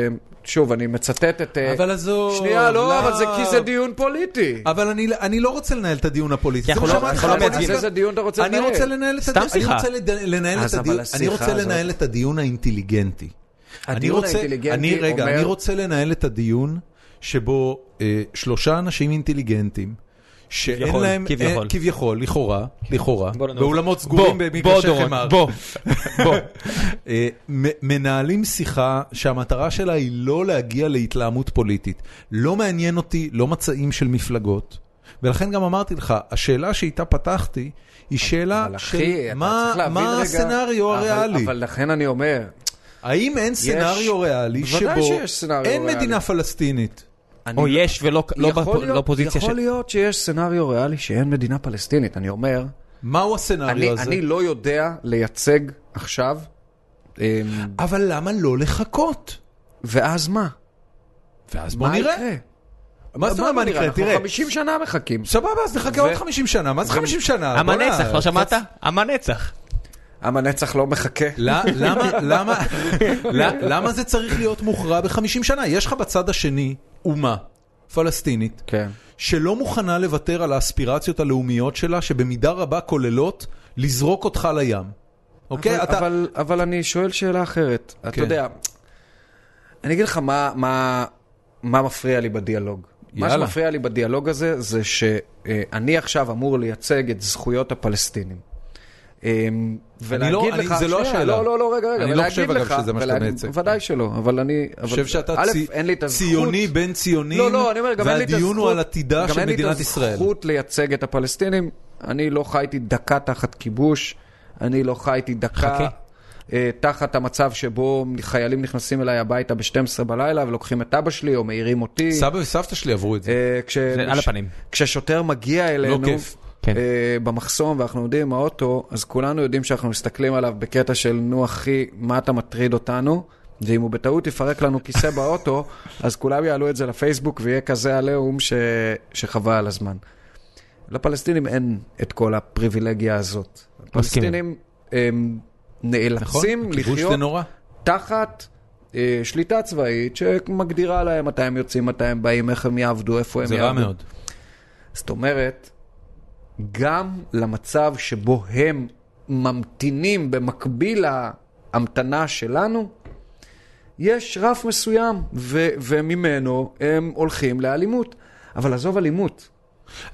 Speaker 3: שוב, אני מצטט את... אה,
Speaker 1: אבל עזוב,
Speaker 3: שנייה, לא,
Speaker 1: לא.
Speaker 3: אבל זה כי זה דיון פוליטי.
Speaker 1: אבל אני, אני לא רוצה לנהל את הדיון הפוליטי. זה
Speaker 2: כי אנחנו
Speaker 1: מה
Speaker 2: לא-
Speaker 1: שאמרתי
Speaker 2: אנחנו
Speaker 1: לך,
Speaker 2: לא
Speaker 1: הפוליטיקה-
Speaker 2: מייצגים.
Speaker 3: איזה דיון אתה רוצה
Speaker 1: אני
Speaker 3: לנהל?
Speaker 1: רוצה לנהל את
Speaker 2: סתם
Speaker 1: הדיון, אני
Speaker 2: שיחה.
Speaker 1: רוצה לד- לנהל את
Speaker 3: אז אבל
Speaker 1: הדיון, אני
Speaker 3: השיחה
Speaker 1: רוצה
Speaker 3: הזאת-
Speaker 1: לנהל את הדיון האינטליגנטי. אני
Speaker 3: הדיון
Speaker 1: רוצה-
Speaker 3: האינטליגנטי
Speaker 1: אני- רגע,
Speaker 3: אומר-
Speaker 1: אני רוצה לנהל את הדיון שבו אה, שלושה אנשים אינטליגנטים, שאין
Speaker 2: כביכול,
Speaker 1: להם, אה,
Speaker 2: כביכול.
Speaker 1: כביכול, לכאורה, לכאורה,
Speaker 2: בוא ננוח.
Speaker 1: באולמות סגורים
Speaker 2: בוא,
Speaker 1: במגרשי
Speaker 2: בוא, דורון,
Speaker 1: חמר,
Speaker 2: בוא, בוא.
Speaker 1: אה, מ- מנהלים שיחה שהמטרה שלה היא לא להגיע להתלהמות פוליטית. לא מעניין אותי, לא מצעים של מפלגות. ולכן גם אמרתי לך, השאלה שאיתה פתחתי היא שאלה
Speaker 3: אבל
Speaker 1: של
Speaker 3: אחי, אתה
Speaker 1: מה,
Speaker 3: צריך להבין
Speaker 1: מה
Speaker 3: רגע...
Speaker 1: הסצנריו
Speaker 3: אבל-
Speaker 1: הריאלי.
Speaker 3: אבל לכן אני אומר,
Speaker 1: האם אין סצנריו ריאלי
Speaker 3: בוודאי
Speaker 1: שבו
Speaker 3: שיש סצנריו
Speaker 1: אין
Speaker 3: ריאלי.
Speaker 1: מדינה פלסטינית?
Speaker 3: אני
Speaker 2: או יש ולא לא
Speaker 3: יכול
Speaker 2: בפו-
Speaker 3: להיות-
Speaker 2: לא פוזיציה
Speaker 3: יכול
Speaker 2: של...
Speaker 3: להיות שיש סצנריו ריאלי שאין מדינה פלסטינית, אני אומר,
Speaker 1: מהו
Speaker 3: אני,
Speaker 1: הסצנריו הזה?
Speaker 3: אני לא יודע לייצג עכשיו, אמ,
Speaker 1: אבל למה לא לחכות?
Speaker 3: ואז מה?
Speaker 1: ואז בוא
Speaker 3: מה
Speaker 1: נראה.
Speaker 3: יקרה?
Speaker 1: מה זאת אומרת מה נקרא?
Speaker 3: אנחנו
Speaker 1: תראה.
Speaker 3: 50 שנה מחכים.
Speaker 1: סבבה, אז נחכה עוד 50 שנה, מה זה 50 שנה?
Speaker 2: עם
Speaker 1: בוא'נה,
Speaker 3: אה,
Speaker 2: הנצח, לא
Speaker 1: קצת-
Speaker 2: שמעת? עם הנצח.
Speaker 3: עם הנצח לא מחכה.
Speaker 1: ל- למה, למה, ל- למה זה צריך להיות מוכרע ב-50 שנה? יש לך בצד השני אומה פלסטינית,
Speaker 3: כן.
Speaker 1: שלא מוכנה לוותר על האספירציות הלאומיות שלה, שבמידה רבה כוללות לזרוק אותך לים. אוקיי?
Speaker 3: אבל,
Speaker 1: אתה...
Speaker 3: אבל, אבל אני שואל שאלה אחרת. אתה
Speaker 1: כן.
Speaker 3: יודע, אני אגיד לך מה, מה, מה מפריע לי בדיאלוג.
Speaker 1: יאללה.
Speaker 3: מה שמפריע לי בדיאלוג הזה, זה שאני עכשיו אמור לייצג את זכויות הפלסטינים. אמ, ולהגיד
Speaker 1: לא- אני-
Speaker 3: לך,
Speaker 1: זה לא
Speaker 3: שנייה,
Speaker 1: השאלה.
Speaker 3: לא, לא, לא, רגע, רגע,
Speaker 1: אני לא
Speaker 3: ולהגיד
Speaker 1: חושב, אגב,
Speaker 3: לך-
Speaker 1: שזה מה שאתה
Speaker 3: ולהגיד-
Speaker 1: מייצג.
Speaker 3: ודאי שלא, אבל אני...
Speaker 1: אני חושב שאתה צי-
Speaker 3: אין לי את הזכות...
Speaker 1: ציוני בין ציונים,
Speaker 3: לא, לא, אני אומר, גם אין לי את הזכות...
Speaker 1: והדיון הוא על עתידה
Speaker 3: גם
Speaker 1: של
Speaker 3: אין לי את
Speaker 1: מדינת ישראל.
Speaker 3: הזכות לייצג את הפלסטינים. אני לא חייתי דקה תחת כיבוש, אני לא חייתי
Speaker 2: חכה.
Speaker 3: דקה אה, תחת המצב שבו חיילים נכנסים אליי הביתה ב-12 בלילה ולוקחים את אבא שלי או מעירים אותי.
Speaker 1: סבא וסבתא שלי עברו את זה. לא
Speaker 3: אה, כש...
Speaker 2: זה על הפנים.
Speaker 3: כששוטר מגיע אלינו,
Speaker 1: כיף.
Speaker 2: כן.
Speaker 3: אה, במחסום ואנחנו עומדים עם האוטו, אז כולנו יודעים שאנחנו מסתכלים עליו בקטע של נו אחי, מה אתה מטריד אותנו? ואם הוא בטעות יפרק לנו כיסא באוטו, אז כולם יעלו את זה לפייסבוק ויהיה כזה עליהום ש... שחבל על הזמן. לפלסטינים אין את כל הפריבילגיה הזאת. הפלסטינים הם
Speaker 1: נכון?
Speaker 3: נאלצים
Speaker 1: כיבוש
Speaker 3: לחיות
Speaker 1: זה נורא.
Speaker 3: תחת אה, שליטה צבאית שמגדירה להם מתי הם יוצאים, מתי הם באים, איך הם יעבדו, איפה הם
Speaker 1: זה
Speaker 3: יעבדו.
Speaker 1: רע מאוד.
Speaker 3: זאת אומרת, גם למצב שבו הם ממתינים במקביל להמתנה שלנו, יש רף מסוים, ו- וממנו הם הולכים לאלימות. אבל עזוב אלימות.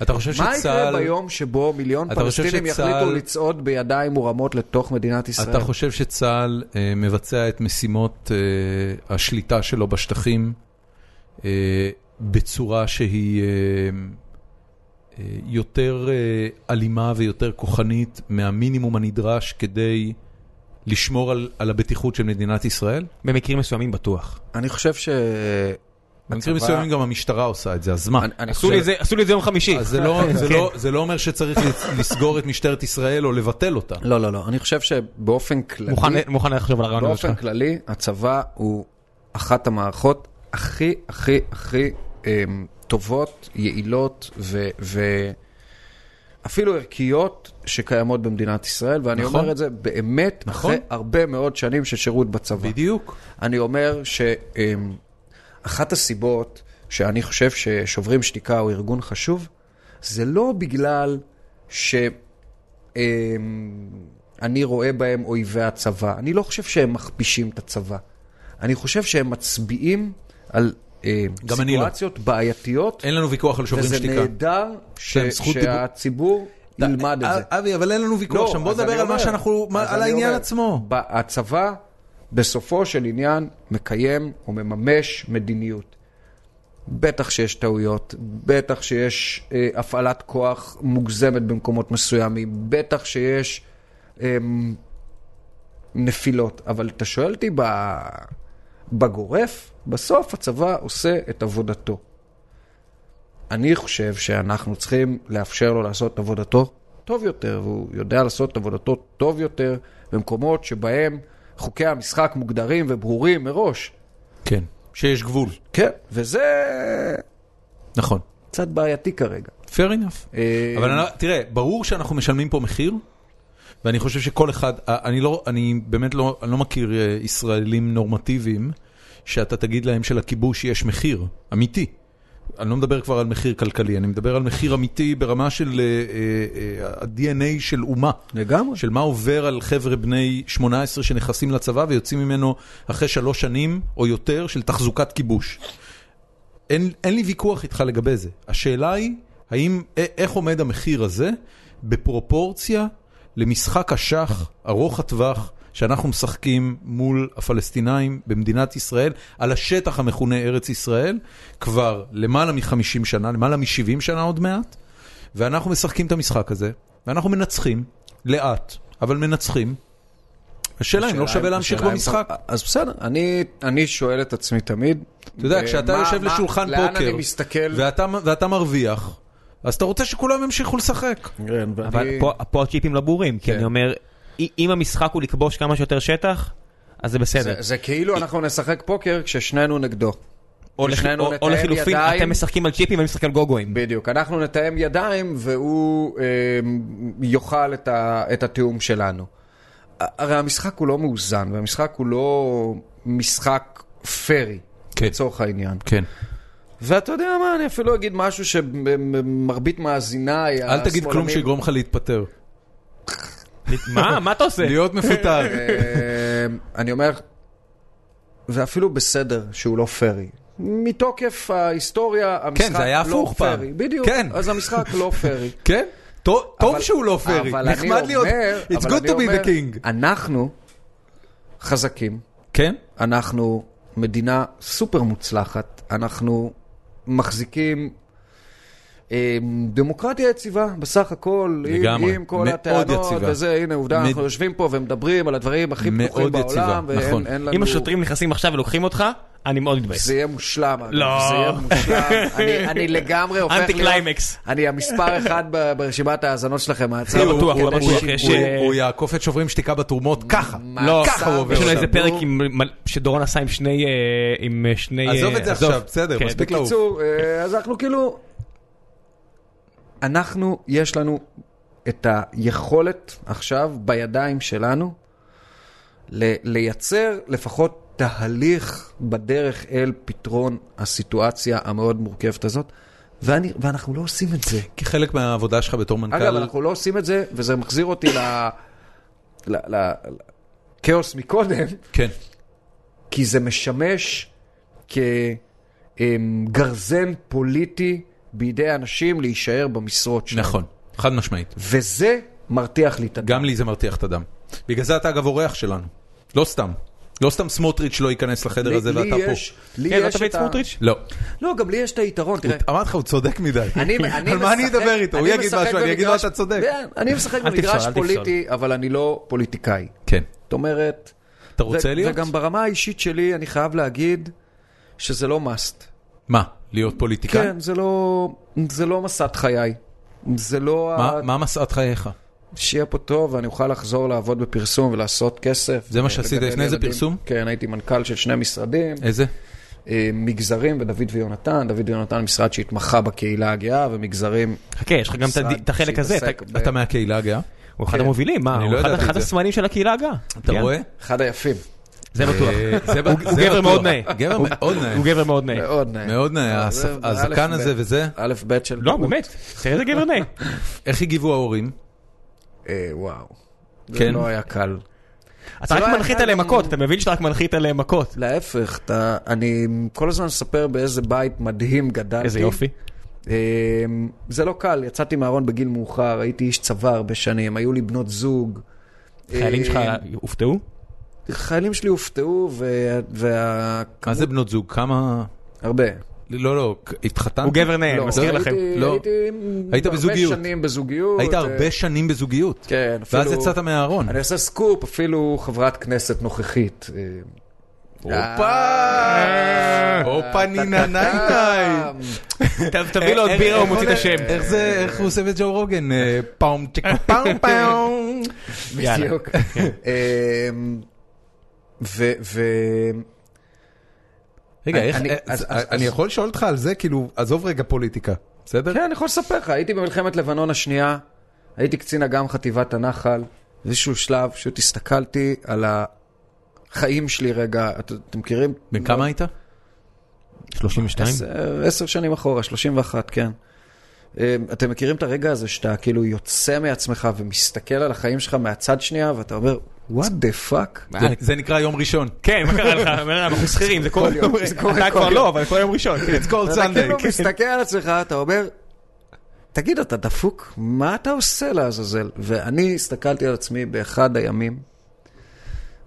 Speaker 1: אתה חושב
Speaker 3: מה יקרה
Speaker 1: שצה"ל...
Speaker 3: ביום שבו מיליון
Speaker 1: אתה חושב
Speaker 3: פלסטינים
Speaker 1: שצה"ל-
Speaker 3: יחליטו לצעוד בידיים מורמות לתוך מדינת ישראל?
Speaker 1: אתה חושב שצה"ל אה, מבצע את משימות אה, השליטה שלו בשטחים אה, בצורה שהיא אה, אה, יותר אה, אלימה ויותר כוחנית מהמינימום הנדרש כדי לשמור על, על הבטיחות של מדינת ישראל?
Speaker 2: במקרים מסוימים בטוח.
Speaker 3: אני חושב ש...
Speaker 1: במקרים
Speaker 3: הצבא-
Speaker 1: מסוימים גם המשטרה עושה את זה, אז מה?
Speaker 3: אני- אני
Speaker 2: עשו לי את
Speaker 3: חושב-
Speaker 2: זה- עשו לי את זה יום חמישי.
Speaker 1: אז זה לא, זה,
Speaker 2: כן.
Speaker 1: לא, זה לא אומר שצריך לסגור את משטרת ישראל או לבטל אותה.
Speaker 3: לא, לא, לא. אני חושב שבאופן כללי...
Speaker 2: מוכן- מוכן לחשוב על הרעיון הזה
Speaker 3: באופן
Speaker 2: שלך.
Speaker 3: כללי, הצבא הוא אחת המערכות הכי, הכי, הכי אמ, טובות, יעילות ו... ו... אפילו ערכיות שקיימות במדינת ישראל, ואני
Speaker 1: נכון.
Speaker 3: נכון. אומר את זה באמת
Speaker 1: נכון.
Speaker 3: נכון. אחרי הרבה מאוד שנים של שירות בצבא.
Speaker 1: בדיוק.
Speaker 3: אני אומר שאחת הסיבות שאני חושב ששוברים שתיקה הוא ארגון חשוב, זה לא בגלל שאני רואה בהם אויבי הצבא. אני לא חושב שהם מכפישים את הצבא. אני חושב שהם מצביעים על אה,
Speaker 1: גם אני לא.
Speaker 3: סיטואציות בעייתיות,
Speaker 1: אין לנו ויכוח על שוברים
Speaker 3: וזה
Speaker 1: שתיקה.
Speaker 3: נהדר ש-
Speaker 1: שהם זכות דיבור.
Speaker 3: שהציבור ילמד את זה.
Speaker 1: אה, אבי, אבל אין לנו ויכוח שם, בוא
Speaker 3: לא, אז אני
Speaker 1: נדבר על מה
Speaker 3: אומר,
Speaker 1: שאנחנו, מה-
Speaker 3: אז
Speaker 1: על
Speaker 3: אני
Speaker 1: העניין
Speaker 3: אומר,
Speaker 1: עצמו.
Speaker 3: ב- הצבא בסופו של עניין מקיים או מממש מדיניות. בטח שיש טעויות, בטח שיש אה, הפעלת כוח מוגזמת במקומות מסוימים, בטח שיש אה, נפילות. אבל אתה שואל אותי ב- בגורף, בסוף הצבא עושה את עבודתו. אני חושב שאנחנו צריכים לאפשר לו לעשות את עבודתו טוב יותר, והוא יודע לעשות את עבודתו טוב יותר במקומות שבהם חוקי המשחק מוגדרים וברורים מראש.
Speaker 1: כן. שיש גבול.
Speaker 3: כן. וזה
Speaker 1: נכון.
Speaker 3: קצת בעייתי כרגע.
Speaker 1: fair enough.
Speaker 3: אה,
Speaker 1: אבל אני- לא- תראה, ברור שאנחנו משלמים פה מחיר, ואני חושב שכל אחד, אה, אני לא, אני באמת לא, אני לא מכיר אה, ישראלים נורמטיביים, שאתה תגיד להם שלכיבוש יש מחיר, אמיתי. אני לא מדבר כבר על מחיר כלכלי, אני מדבר על מחיר אמיתי ברמה של אה, אה, אה, ה-DNA של אומה.
Speaker 3: לגמרי.
Speaker 1: של מה עובר על חבר'ה בני 18 שנכנסים לצבא ויוצאים ממנו אחרי שלוש שנים או יותר של תחזוקת כיבוש. אין, אין לי ויכוח איתך לגבי זה. השאלה היא, האם, א- איך עומד המחיר הזה בפרופורציה למשחק השח ארוך הטווח שאנחנו משחקים מול הפלסטינאים במדינת ישראל, על השטח המכונה ארץ ישראל, כבר למעלה מ-50 שנה, למעלה מ-70 שנה עוד מעט, ואנחנו משחקים את המשחק הזה, ואנחנו מנצחים, לאט, אבל מנצחים. השאלה אם לא שווה להמשיך
Speaker 3: השאלה אם-
Speaker 1: במשחק.
Speaker 3: אז בסדר, אני, אני שואל את עצמי תמיד.
Speaker 1: אתה יודע,
Speaker 3: אה,
Speaker 1: כשאתה
Speaker 3: מה-
Speaker 1: יושב
Speaker 3: מה-
Speaker 1: לשולחן
Speaker 3: לאן
Speaker 1: פוקר,
Speaker 3: אני מסתכל?
Speaker 1: ואתה, ואתה מרוויח, אז אתה רוצה שכולם ימשיכו לשחק.
Speaker 3: כן, ואני-
Speaker 2: אבל פה- פה הצ'יפים לא ברורים, כי
Speaker 3: כן.
Speaker 2: אני אומר, אי- אם המשחק הוא לכבוש כמה שיותר שטח, אז זה
Speaker 3: זה,
Speaker 2: בסדר.
Speaker 3: זה כאילו אנחנו נשחק פוקר כששנינו נגדו. או
Speaker 2: לח-
Speaker 3: שנינו
Speaker 2: או- או
Speaker 3: נתאם
Speaker 2: לחילופין,
Speaker 3: ידיים.
Speaker 2: אתם משחקים על צ'יפים ואני משחק על גוגויים.
Speaker 3: בדיוק, אנחנו נתאם ידיים והוא אה, יאכל את, ה, את התיאום שלנו. הרי המשחק הוא לא מאוזן, והמשחק הוא לא משחק פרי,
Speaker 1: כן.
Speaker 3: לצורך העניין.
Speaker 1: כן.
Speaker 3: ואתה יודע מה, אני אפילו לא אגיד משהו שמרבית מאזיניי,
Speaker 1: אל תגיד
Speaker 3: השמאלנים-
Speaker 1: כלום שיגרום לך להתפטר.
Speaker 3: אה.
Speaker 2: מה? מה אתה עושה?
Speaker 1: להיות מפוטר.
Speaker 3: אה, אני אומר, זה אפילו בסדר שהוא לא פרי. מתוקף ההיסטוריה, המשחק
Speaker 1: זה היה
Speaker 3: לא
Speaker 1: הפוך פעם.
Speaker 3: פרי. בדיוק,
Speaker 1: כן.
Speaker 3: אז המשחק לא פרי.
Speaker 1: כן? טוב טוב
Speaker 3: אבל-
Speaker 1: שהוא לא פרי.
Speaker 3: אבל אני
Speaker 1: נחמד להיות...
Speaker 3: אומר-
Speaker 1: It's
Speaker 3: אבל
Speaker 1: good
Speaker 3: אני
Speaker 1: to be
Speaker 3: אומר,
Speaker 1: the king.
Speaker 3: אנחנו חזקים,
Speaker 1: כן?
Speaker 3: אנחנו מדינה סופר מוצלחת, אנחנו מחזיקים אה, דמוקרטיה יציבה בסך הכל, עם-
Speaker 1: לגמרי,
Speaker 3: עם כל
Speaker 1: מאוד
Speaker 3: הטענות
Speaker 1: יציבה.
Speaker 3: וזה, הנה עובדה,
Speaker 1: מד-
Speaker 3: אנחנו יושבים פה ומדברים על הדברים הכי
Speaker 1: מאוד
Speaker 3: פתוחים
Speaker 1: יציבה,
Speaker 3: בעולם, ואין
Speaker 1: נכון.
Speaker 3: אין לנו...
Speaker 2: אם השוטרים נכנסים עכשיו ולוקחים אותך, אני מאוד מתבאס.
Speaker 3: זה יהיה מושלם, אגב,
Speaker 2: לא.
Speaker 3: זה יהיה מושלם, אני- אני לגמרי הופך להיות...
Speaker 2: אנטי קליימקס.
Speaker 3: אני המספר אחד ב- ברשימת ההאזנות שלכם, ההצעה.
Speaker 2: לא בטוח, לא
Speaker 1: הוא-
Speaker 2: בטוח,
Speaker 1: הוא-
Speaker 2: יש,
Speaker 1: הוא-
Speaker 2: אה,
Speaker 1: הוא יעקוף את שוברים שתיקה בתרומות ככה.
Speaker 3: מה,
Speaker 2: לא,
Speaker 3: ככה הוא עובר
Speaker 2: יש לנו
Speaker 3: אותם.
Speaker 2: איזה פרק
Speaker 3: נו.
Speaker 2: עם מל- שדורון עשה עם שני... אה, עם אה, שני... אה,
Speaker 1: עזוב את זה עכשיו, בסדר,
Speaker 2: כן,
Speaker 1: מספיק לעוף.
Speaker 3: בקיצור, אה, אז אנחנו כאילו... אנחנו, יש לנו את היכולת עכשיו בידיים שלנו ל- לייצר לפחות תהליך בדרך אל פתרון הסיטואציה המאוד מורכבת הזאת, ואני, ואנחנו לא עושים את זה.
Speaker 1: כחלק מהעבודה שלך בתור מנכ"ל...
Speaker 3: אגב, אנחנו לא עושים את זה, וזה מחזיר אותי ל- ל- ל- לכאוס מקודם,
Speaker 1: כן,
Speaker 3: כי זה משמש כגרזן פוליטי בידי אנשים להישאר במשרות שלהם.
Speaker 1: נכון, חד משמעית.
Speaker 3: וזה מרתיח לי את הדם.
Speaker 1: גם לי זה מרתיח את הדם. בגלל זה אתה אגב אורח שלנו. לא סתם. לא סתם סמוטריץ' לא ייכנס לחדר
Speaker 3: לי-
Speaker 1: הזה
Speaker 3: לי
Speaker 1: ואתה
Speaker 3: יש-
Speaker 1: פה.
Speaker 3: לי
Speaker 2: כן, לא
Speaker 3: יש
Speaker 2: תביא את
Speaker 3: ה-
Speaker 2: סמוטריץ'?
Speaker 1: לא.
Speaker 3: לא, גם לי יש את היתרון, תראה.
Speaker 1: אמרתי לך, הוא צודק מדי.
Speaker 3: אני, אני
Speaker 1: על מה אני
Speaker 3: משחק-
Speaker 1: אדבר איתו? הוא
Speaker 3: אני
Speaker 1: יגיד
Speaker 3: משחק
Speaker 1: משהו, אני אגיד לו
Speaker 3: במגרש-
Speaker 1: אתה צודק.
Speaker 3: כן, אני משחק
Speaker 2: אל תפסול, אל
Speaker 3: במגרש
Speaker 2: תפסול.
Speaker 3: פוליטי, אבל אני לא פוליטיקאי.
Speaker 1: כן.
Speaker 3: זאת אומרת...
Speaker 1: אתה רוצה
Speaker 3: ו-
Speaker 1: להיות?
Speaker 3: וגם ברמה האישית שלי, אני חייב להגיד שזה לא must.
Speaker 1: מה? להיות פוליטיקאי?
Speaker 3: כן, זה לא, זה לא מסת חיי. זה לא...
Speaker 1: מה-
Speaker 3: ה-
Speaker 1: מה מסעת חייך?
Speaker 3: שיהיה פה טוב ואני אוכל לחזור לעבוד בפרסום ולעשות כסף.
Speaker 1: זה מה
Speaker 3: ו-
Speaker 1: שעשית
Speaker 3: ולגדל
Speaker 1: לפני זה,
Speaker 3: ילדים.
Speaker 1: פרסום?
Speaker 3: כן, הייתי מנכ"ל של שני משרדים,
Speaker 1: איזה?
Speaker 3: אה, מגזרים ודוד ויונתן, דוד ויונתן משרד שהתמחה בקהילה הגאה ומגזרים...
Speaker 2: חכה, יש לך גם את
Speaker 3: משרד
Speaker 2: הד- את החלק הזה. אתה-
Speaker 3: שהתעסק ב-
Speaker 1: אתה מהקהילה הגאה?
Speaker 2: הוא אחד
Speaker 3: כן.
Speaker 2: המובילים, מה?
Speaker 1: אני
Speaker 2: הוא
Speaker 1: לא
Speaker 2: אחד-
Speaker 1: ידעתי את
Speaker 2: אחד
Speaker 1: זה.
Speaker 2: הסמנים של הקהילה הגאה.
Speaker 1: אתה
Speaker 2: כן.
Speaker 1: רואה?
Speaker 3: אחד היפים.
Speaker 2: זה בטוח.
Speaker 1: אה, זה ב-
Speaker 2: הוא
Speaker 1: זה
Speaker 2: גבר
Speaker 1: בטוח.
Speaker 2: מאוד נאה.
Speaker 1: גבר מאוד נאה.
Speaker 2: הוא גבר מאוד נאה.
Speaker 3: מאוד נאה.
Speaker 1: אה. מאוד נאה,
Speaker 3: אה, זה-
Speaker 1: הספ-
Speaker 3: זה
Speaker 1: הזקן
Speaker 3: א',
Speaker 1: הזה
Speaker 3: ב'.
Speaker 1: וזה.
Speaker 3: א', ב' של...
Speaker 2: לא,
Speaker 3: טעות.
Speaker 2: באמת. תראה איזה גבר נאה.
Speaker 1: איך הגיבו ההורים?
Speaker 3: אה, וואו. זה
Speaker 1: כן.
Speaker 3: לא היה קל.
Speaker 2: אתה רק
Speaker 3: לא היה
Speaker 2: מנחית
Speaker 3: קל.
Speaker 2: עליהם מכות, אתה מבין שאתה רק מנחית עליהם מכות.
Speaker 3: להפך, אתה, אני כל הזמן מספר באיזה בית מדהים גדלתי.
Speaker 2: איזה יופי.
Speaker 1: אה,
Speaker 3: אמ, זה לא קל, יצאתי מהארון בגיל מאוחר, הייתי איש צבא הרבה שנים, היו לי בנות זוג.
Speaker 2: חיילים
Speaker 3: אמ,
Speaker 2: שלך
Speaker 1: אה,
Speaker 2: הופתעו?
Speaker 3: חיילים שלי הופתעו, ו... וה...
Speaker 1: מה זה בנות זוג? כמה...
Speaker 3: הרבה.
Speaker 1: לא, לא, התחתנת?
Speaker 2: הוא גבר נאה, אני
Speaker 3: לא,
Speaker 2: מזכיר
Speaker 3: הייתי-
Speaker 2: לכם.
Speaker 1: לא.
Speaker 3: הייתי
Speaker 1: היית בזוגיות.
Speaker 3: הרבה שנים בזוגיות.
Speaker 1: היית
Speaker 3: אה,
Speaker 1: הרבה שנים בזוגיות.
Speaker 3: כן,
Speaker 1: ואז
Speaker 3: אפילו-
Speaker 1: יצאת מהארון.
Speaker 3: אני עושה סקופ, אפילו חברת כנסת נוכחית. אה,
Speaker 1: הופה! הופה נינה
Speaker 3: אה,
Speaker 1: נייניי!
Speaker 2: ת- תביא
Speaker 1: אה,
Speaker 2: לו עוד בירה, הוא מוציא את השם.
Speaker 1: איך זה, איך הוא עושה את ג'ו רוגן? אה, פאום צ'קה פאום פאום.
Speaker 2: כן. יאללה.
Speaker 3: בדיוק. אמ, ו... ו-
Speaker 1: רגע, איך,
Speaker 3: אני-
Speaker 1: אה,
Speaker 3: אז-
Speaker 1: אה,
Speaker 3: אז-
Speaker 1: אני
Speaker 3: אז-
Speaker 1: יכול לשאול אותך על זה? כאילו, עזוב רגע פוליטיקה, בסדר?
Speaker 3: כן, אני יכול לספר לך, הייתי במלחמת לבנון השנייה, הייתי קצין אג"ם חטיבת הנחל, באיזשהו שלב פשוט הסתכלתי על החיים שלי רגע, את, אתם מכירים?
Speaker 1: בן כמה היית?
Speaker 2: 32?
Speaker 1: אה,
Speaker 3: עשר- עשר שנים אחורה, 31, כן. אה, אתם מכירים את הרגע הזה שאתה כאילו יוצא מעצמך ומסתכל על החיים שלך מהצד שנייה, ואתה אומר, what the fuck?
Speaker 1: זה- זה נקרא יום ראשון.
Speaker 2: כן, מה קרה לך? אומר, אנחנו שכירים, זה כל יום.
Speaker 3: זה קורה
Speaker 2: אתה
Speaker 3: כל
Speaker 2: כבר
Speaker 3: יום.
Speaker 2: לא, אבל כל יום ראשון. כן.
Speaker 1: It's called
Speaker 3: אתה כאילו
Speaker 1: Sunday.
Speaker 3: מסתכל על עצמך, אתה אומר, תגיד, אתה דפוק? מה אתה עושה לעזאזל? ואני הסתכלתי על עצמי באחד הימים,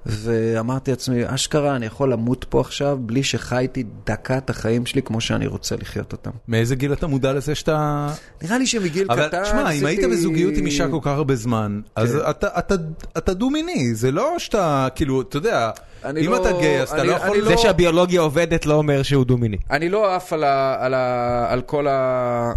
Speaker 3: ואמרתי לעצמי, אשכרה, אני יכול למות פה עכשיו בלי שחייתי דקת החיים שלי כמו שאני רוצה לחיות אותם.
Speaker 1: מאיזה גיל אתה מודע לזה שאתה...
Speaker 3: נראה לי שמגיל
Speaker 1: אבל
Speaker 3: קטן...
Speaker 1: תשמע, אם
Speaker 3: עשיתי- כן.
Speaker 1: היית בזוגיות עם אישה כל כך הרבה זמן, אז אתה- אתה- אתה דו-מיני, זה לא שאתה, כאילו, אתה יודע,
Speaker 3: אני
Speaker 1: אם
Speaker 3: לא-
Speaker 1: אתה גיי, אז אתה
Speaker 3: אני-
Speaker 1: לא יכול...
Speaker 3: אני
Speaker 1: לא-
Speaker 2: זה שהביולוגיה עובדת לא אומר שהוא דו-מיני.
Speaker 3: אני לא עף על, ה, על, ה, על כל ה...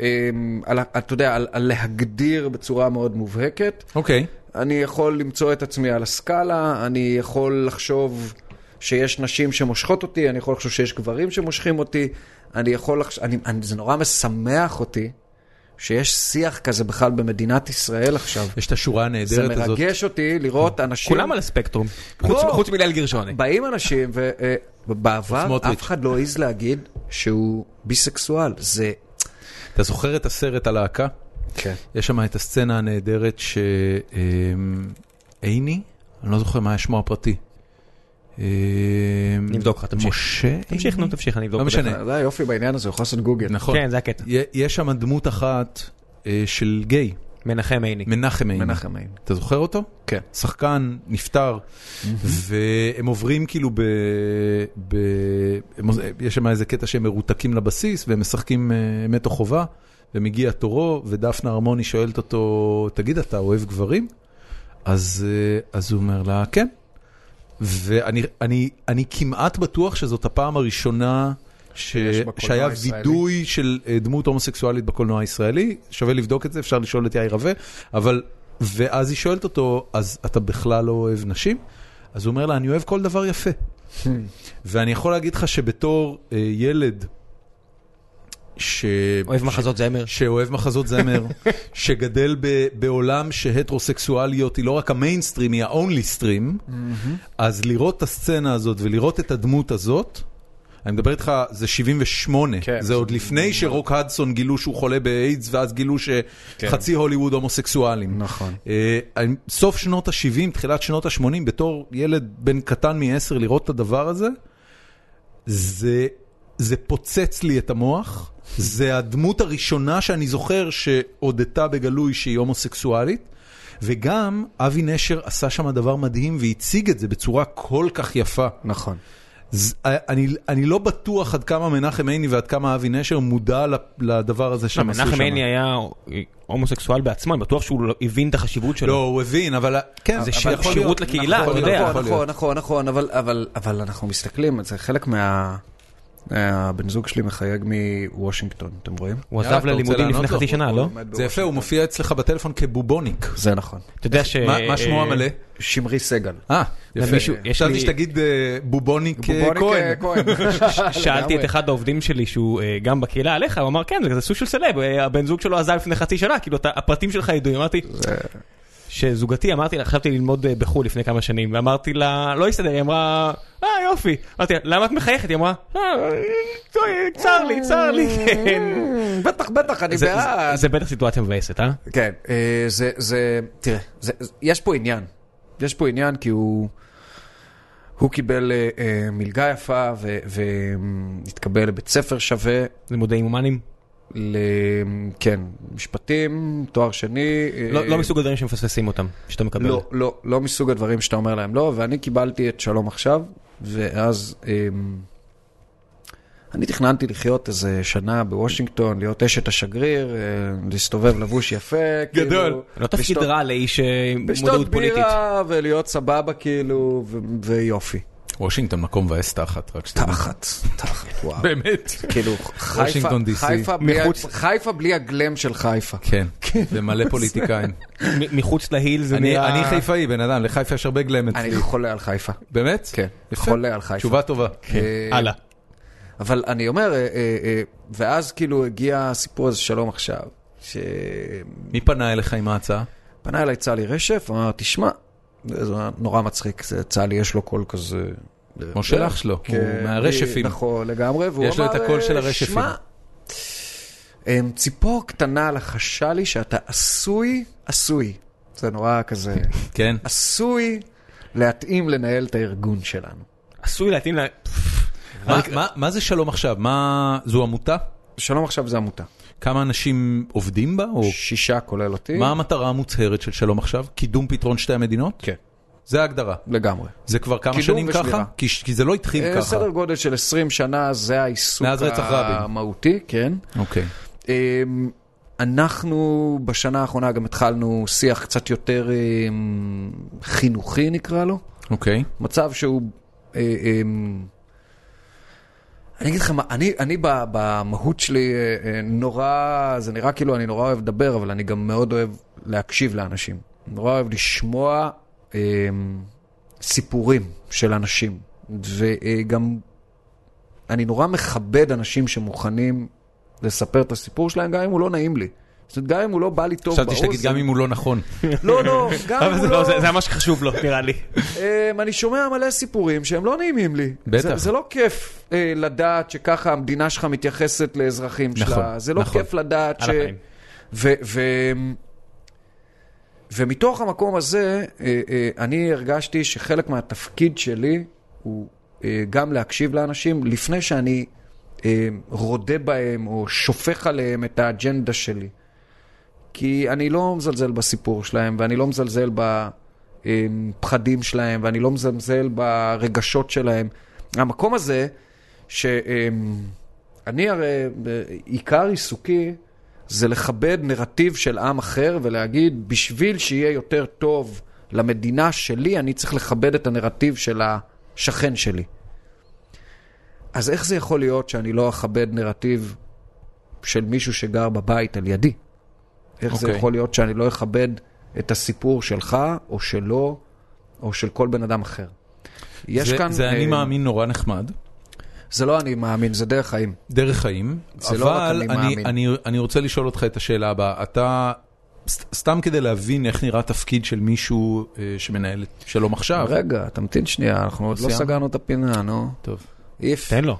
Speaker 3: אמ, על, ה- אתה יודע, על, על להגדיר בצורה מאוד מובהקת.
Speaker 1: אוקיי.
Speaker 3: אני יכול למצוא את עצמי על הסקאלה, אני יכול לחשוב שיש נשים שמושכות אותי, אני יכול לחשוב שיש גברים שמושכים אותי, אני יכול לחשוב, אני, אני, זה נורא משמח אותי שיש שיח כזה בכלל במדינת ישראל עכשיו.
Speaker 1: יש את השורה הנהדרת
Speaker 3: זה
Speaker 1: הזאת.
Speaker 3: מרגש אותי לראות אנשים...
Speaker 1: כאילו-
Speaker 2: כולם על הספקטרום, חוץ-
Speaker 3: לא.
Speaker 2: חוץ מליל גרשוני.
Speaker 3: באים אנשים, ובעבר
Speaker 1: סמוטריץ'.
Speaker 3: אף אחד לא העז להגיד שהוא ביסקסואל. זה...
Speaker 1: אתה זוכר את הסרט הלהקה?
Speaker 3: כן.
Speaker 1: יש שם את הסצנה הנהדרת שעיני, אני לא זוכר מה שמו הפרטי. אה,
Speaker 2: נבדוק לך, תמשיך.
Speaker 1: משה?
Speaker 2: תמשיך, נו,
Speaker 1: עיני?
Speaker 2: תמשיך, אני אבדוק.
Speaker 1: לא
Speaker 2: בדרך
Speaker 1: משנה.
Speaker 2: כלל.
Speaker 3: זה היופי בעניין הזה, הוא יכול לעשות גוגל.
Speaker 1: נכון.
Speaker 2: כן, זה הקטע.
Speaker 1: י- יש שם דמות אחת אה, של גיי,
Speaker 2: מנחם עיני.
Speaker 1: מנחם עיני.
Speaker 3: מנחם עין.
Speaker 1: אתה זוכר אותו?
Speaker 3: כן.
Speaker 1: שחקן, נפטר, והם עוברים כאילו ב... ב... הם... עוז- יש שם איזה קטע שהם מרותקים לבסיס והם משחקים אה, אמת או חובה, ומגיע תורו, ודפנה ארמוני שואלת אותו, תגיד, אתה אוהב גברים? אז, אה, אז הוא אומר לה, כן. ואני אני, אני כמעט בטוח שזאת הפעם הראשונה ש...
Speaker 3: בקולנוע
Speaker 1: שהיה
Speaker 3: הישראלי.
Speaker 1: וידוי של אה, דמות הומוסקסואלית בקולנוע הישראלי, שווה לבדוק את זה, אפשר לשאול את יאיר רווה, אבל, ואז היא שואלת אותו, אז אתה בכלל לא אוהב נשים? אז הוא אומר לה, אני אוהב כל דבר יפה. ואני יכול להגיד לך שבתור אה, ילד, ש...
Speaker 2: אוהב מחזות זמר.
Speaker 1: שאוהב מחזות זמר, שגדל ב- בעולם שהטרוסקסואליות היא לא רק המיינסטרים, היא ה-only stream,
Speaker 3: Mm-hmm.
Speaker 1: אז לראות את הסצנה הזאת ולראות את הדמות הזאת, אני מדבר איתך, זה 78,
Speaker 3: כן.
Speaker 1: זה עוד לפני שרוק הדסון גילו שהוא חולה באיידס, ואז גילו שחצי הוליווד הומוסקסואלים.
Speaker 3: כן. נכון.
Speaker 1: אה, אני- סוף שנות ה-70, תחילת שנות ה-80, בתור ילד בן קטן מ-10 לראות את הדבר הזה, זה, זה פוצץ לי את המוח, זה הדמות הראשונה שאני זוכר שהודתה בגלוי שהיא הומוסקסואלית, וגם אבי נשר עשה שם דבר מדהים והציג את זה בצורה כל כך יפה.
Speaker 3: נכון.
Speaker 1: ז, אני, אני לא בטוח עד כמה מנחם עיני ועד כמה אבי נשר מודע ל- לדבר הזה שהם עשו שם.
Speaker 2: לא, מנחם עיני היה הומוסקסואל בעצמו, אני בטוח שהוא לא- הבין את החשיבות
Speaker 1: לא,
Speaker 2: שלו.
Speaker 1: הוא הבין, אבל... כן,
Speaker 2: זה
Speaker 1: אבל
Speaker 2: שיר-
Speaker 1: יכול להיות.
Speaker 2: שירות לקהילה,
Speaker 1: יכול
Speaker 2: אתה
Speaker 1: להיות,
Speaker 2: יודע.
Speaker 1: יכול
Speaker 3: נכון,
Speaker 1: להיות.
Speaker 3: נכון, נכון, נכון, אבל, אבל, אבל אנחנו מסתכלים, זה חלק מה... אה, הבן זוג שלי מחייג מוושינגטון, אתם רואים?
Speaker 2: הוא
Speaker 1: יאללה,
Speaker 2: עזב
Speaker 1: אתה רוצה
Speaker 2: ללימודים
Speaker 1: לענות
Speaker 2: לפני
Speaker 1: לו?
Speaker 2: חצי שנה,
Speaker 3: הוא
Speaker 2: לא?
Speaker 3: לומד
Speaker 1: זה יפה,
Speaker 3: בוושינגטון.
Speaker 1: הוא מופיע אצלך בטלפון כבובוניק.
Speaker 3: זה נכון.
Speaker 2: אתה יודע ש...
Speaker 1: מה מה
Speaker 2: אה,
Speaker 1: שמו המלא?
Speaker 3: שמרי סגל.
Speaker 1: אה, יפה.
Speaker 2: מישהו- יש
Speaker 1: חשבתי
Speaker 2: לי-
Speaker 1: שתגיד אה, בובוניק אה,
Speaker 3: בובוניק,
Speaker 1: כהן.
Speaker 3: אה, כהן.
Speaker 2: שאלתי את אחד העובדים שלי שהוא אה, גם בקהילה עליך, הוא אמר כן, זה כזה סוג של סלב, אה, הבן זוג שלו עזב לפני חצי שנה, כאילו אתה- הפרטים שלך ידועים, אמרתי, שזוגתי, אמרתי לה, חשבתי ללמוד אה, בחו"ל לפני כמה שנים, ואמרתי לה, לא הסתדר, היא אמרה, אה יופי, אמרתי לה, למה את מחייכת? היא אמרה, "אה, אה, צר לי, צר לי, כן.
Speaker 3: "אמ, בטח, בטח, אני
Speaker 2: זה- זה-
Speaker 3: בעד.
Speaker 2: זה בטח סיטואציה מבאסת, אה?
Speaker 3: כן, אה, זה, זה, תראה, זה, זה- יש פה עניין. יש פה עניין כי הוא, הוא קיבל אה, אה, מלגה יפה ו- והתקבל לבית ספר שווה,
Speaker 2: לימודי הומנים?
Speaker 3: ל... כן, משפטים, תואר שני. אה,
Speaker 2: לא לא מסוג הדברים שמפספסים אותם, שאתה מקבל.
Speaker 3: לא, לא, לא מסוג הדברים שאתה אומר להם לא, ואני קיבלתי את שלום עכשיו, ואז אמ, אני תכננתי לחיות איזה שנה בוושינגטון, להיות אשת השגריר, אה, להסתובב לבוש יפה, כאילו...
Speaker 1: גדול.
Speaker 2: לא תפקיד
Speaker 3: לשתות-
Speaker 2: רע לאיש אה, עם מודעות
Speaker 3: לשתות
Speaker 2: פוליטית.
Speaker 3: בירה ולהיות סבבה כאילו, ו- ויופי.
Speaker 1: וושינגטון מקום מבאס תחת, רק שתדע.
Speaker 3: תחת, תחת, וואו.
Speaker 1: באמת.
Speaker 3: כאילו, חיפה,
Speaker 1: וושינגטון DC.
Speaker 3: חיפה, בלי, ה-
Speaker 2: מחוץ-
Speaker 3: חיפה בלי הגלם של חיפה.
Speaker 1: כן, זה מלא פוליטיקאים.
Speaker 2: מ- מחוץ להיל זה
Speaker 1: אני
Speaker 2: נראה...
Speaker 1: אני חיפאי, בן אדם, לחיפה יש הרבה גלם
Speaker 3: אני
Speaker 1: אצלי.
Speaker 3: חולה על חיפה.
Speaker 1: באמת?
Speaker 3: כן,
Speaker 1: יפה.
Speaker 3: חולה על חיפה.
Speaker 1: תשובה טובה.
Speaker 3: אה,
Speaker 2: הלאה.
Speaker 3: אבל אני אומר, אה, אה, אה, ואז כאילו הגיע הסיפור הזה, שלום עכשיו, שפנה
Speaker 1: מי פנה אליך עם ההצעה?
Speaker 3: אליי צלי רשף, אמר, תשמע, זה נורא מצחיק, זה- צלי יש לו קול כזה... אה,
Speaker 1: כמו של אח שלו, הוא
Speaker 3: כן,
Speaker 1: מהרשפים.
Speaker 3: נכון, לגמרי, והוא אמר,
Speaker 1: יש לו את הקול של
Speaker 3: אה,
Speaker 1: הרשפים.
Speaker 3: שמע, אמ, ציפור קטנה לחשה לי שאתה עשוי, עשוי. זה נורא כזה,
Speaker 1: כן.
Speaker 3: עשוי להתאים לנהל את הארגון שלנו.
Speaker 2: עשוי להתאים ל...
Speaker 1: מה- מה- מה זה שלום עכשיו? מה, זו עמותה?
Speaker 3: שלום עכשיו זה עמותה.
Speaker 1: כמה אנשים עובדים בה? או
Speaker 3: שישה כולל אותי.
Speaker 1: מה המטרה המוצהרת של שלום עכשיו? קידום פתרון שתי המדינות?
Speaker 3: כן.
Speaker 1: זה ההגדרה.
Speaker 3: לגמרי.
Speaker 1: זה כבר כמה
Speaker 3: קידום
Speaker 1: שנים
Speaker 3: ושמירה.
Speaker 1: ככה? כי ש- כי זה לא התחיל
Speaker 3: אה,
Speaker 1: ככה.
Speaker 3: סדר גודל של 20 שנה זה העיסוק
Speaker 1: מאז רצח רבין.
Speaker 3: המהותי, כן.
Speaker 1: אוקיי.
Speaker 3: אמ, אנחנו בשנה האחרונה גם התחלנו שיח קצת יותר אמ, חינוכי נקרא לו.
Speaker 1: אוקיי.
Speaker 3: מצב שהוא... אה, אמ, אני אגיד לכם, מה, אני, אני ב- במהות שלי אה, אה, נורא, זה נראה כאילו אני נורא אוהב לדבר, אבל אני גם מאוד אוהב להקשיב לאנשים. נורא אוהב לשמוע אמ, סיפורים אה, של אנשים. וגם אני נורא מכבד אנשים שמוכנים לספר את הסיפור שלהם, גם אם הוא לא נעים לי. זאת אומרת, גם אם הוא לא בא לי טוב באוזן.
Speaker 1: חשבתי שתגיד גם אם הוא לא נכון.
Speaker 3: לא, לא, גם אם
Speaker 2: אבל
Speaker 3: הוא
Speaker 2: זה
Speaker 3: לא...
Speaker 2: לא- זה זה מה שחשוב לו, נראה לי.
Speaker 3: אמ, אני שומע מלא סיפורים שהם לא נעימים לי.
Speaker 1: בטח.
Speaker 3: זה, זה לא כיף אה, לדעת שככה המדינה שלך מתייחסת לאזרחים
Speaker 1: נכון,
Speaker 3: שלה. זה לא
Speaker 1: נכון.
Speaker 3: כיף לדעת
Speaker 2: על
Speaker 3: ש...
Speaker 2: הפנים.
Speaker 3: ו, ו, ומתוך המקום הזה, אה, אה, אני הרגשתי שחלק מהתפקיד שלי הוא אה, גם להקשיב לאנשים לפני שאני אה, רודה בהם או שופך עליהם את האג'נדה שלי. כי אני לא מזלזל בסיפור שלהם, ואני לא מזלזל בפחדים שלהם, ואני לא מזלזל ברגשות שלהם. המקום הזה, שאני הרי, עיקר עיסוקי זה לכבד נרטיב של עם אחר ולהגיד, בשביל שיהיה יותר טוב למדינה שלי, אני צריך לכבד את הנרטיב של השכן שלי. אז איך זה יכול להיות שאני לא אכבד נרטיב של מישהו שגר בבית על ידי? איך okay. זה
Speaker 1: אוקיי.
Speaker 3: יכול להיות שאני לא אכבד את הסיפור שלך, או שלו, או של כל בן אדם אחר? יש
Speaker 1: זה-
Speaker 3: כאן...
Speaker 1: זה אני
Speaker 3: אה,
Speaker 1: מאמין נורא נחמד.
Speaker 3: זה לא אני מאמין, זה דרך חיים.
Speaker 1: דרך חיים,
Speaker 3: זה
Speaker 1: אבל
Speaker 3: לא רק אני
Speaker 1: אני,
Speaker 3: מאמין.
Speaker 1: אני, אני רוצה לשאול אותך את השאלה הבאה. אתה, ס- סתם כדי להבין איך נראה תפקיד של מישהו אה, שמנהל את שלום עכשיו,
Speaker 3: רגע, תמתין שנייה, אנחנו עוד לא
Speaker 1: סיימנו?
Speaker 3: סגרנו את הפינה, נו.
Speaker 1: טוב,
Speaker 3: איף.
Speaker 2: תן לו.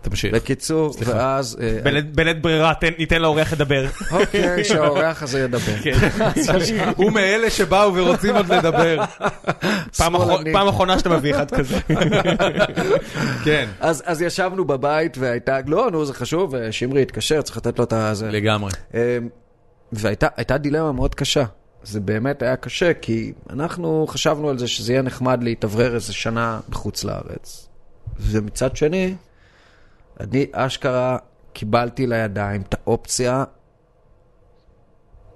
Speaker 1: תמשיך.
Speaker 3: בקיצור,
Speaker 1: סליחה.
Speaker 3: ואז... אה,
Speaker 2: בלית- בלית ברירה, תן- ניתן לאורח לדבר.
Speaker 3: אוקיי, שהאורח הזה ידבר.
Speaker 1: כן. הוא מאלה שבאו ורוצים עוד לדבר.
Speaker 2: פעם אחרון-
Speaker 3: שמאלני.
Speaker 2: פעם אחרונה שאתה מביא אחד כזה.
Speaker 1: כן,
Speaker 3: אז אז ישבנו בבית והייתה, לא, נו, זה חשוב, אה, שמרי התקשר, צריך לתת לו את ה... זה.
Speaker 1: לגמרי.
Speaker 3: אה, והייתה הייתה דילמה מאוד קשה. זה באמת היה קשה, כי אנחנו חשבנו על זה שזה יהיה נחמד להתאוורר איזה שנה בחוץ לארץ. ומצד שני, אני אשכרה קיבלתי לידיים את האופציה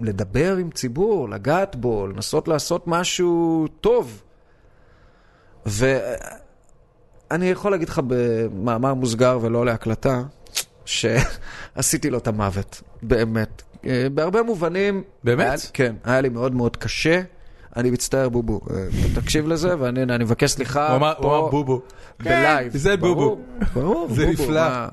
Speaker 3: לדבר עם ציבור, לגעת בו, לנסות לעשות משהו טוב. ואני יכול להגיד לך במאמר מוסגר ולא להקלטה, שעשיתי לו את המוות, באמת. אה, בהרבה מובנים...
Speaker 1: באמת?
Speaker 3: היה, כן, היה לי מאוד מאוד קשה. אני מצטער, בובו, אה, תקשיב לזה, ואני אני מבקש סליחה.
Speaker 1: הוא אמר-
Speaker 3: פה-
Speaker 1: הוא אמר בובו.
Speaker 3: כן.
Speaker 1: כן,
Speaker 3: בלייב.
Speaker 1: זה
Speaker 3: ברור,
Speaker 1: בובו.
Speaker 3: ברור,
Speaker 1: זה
Speaker 3: בובו,
Speaker 1: נפלא.
Speaker 3: מה-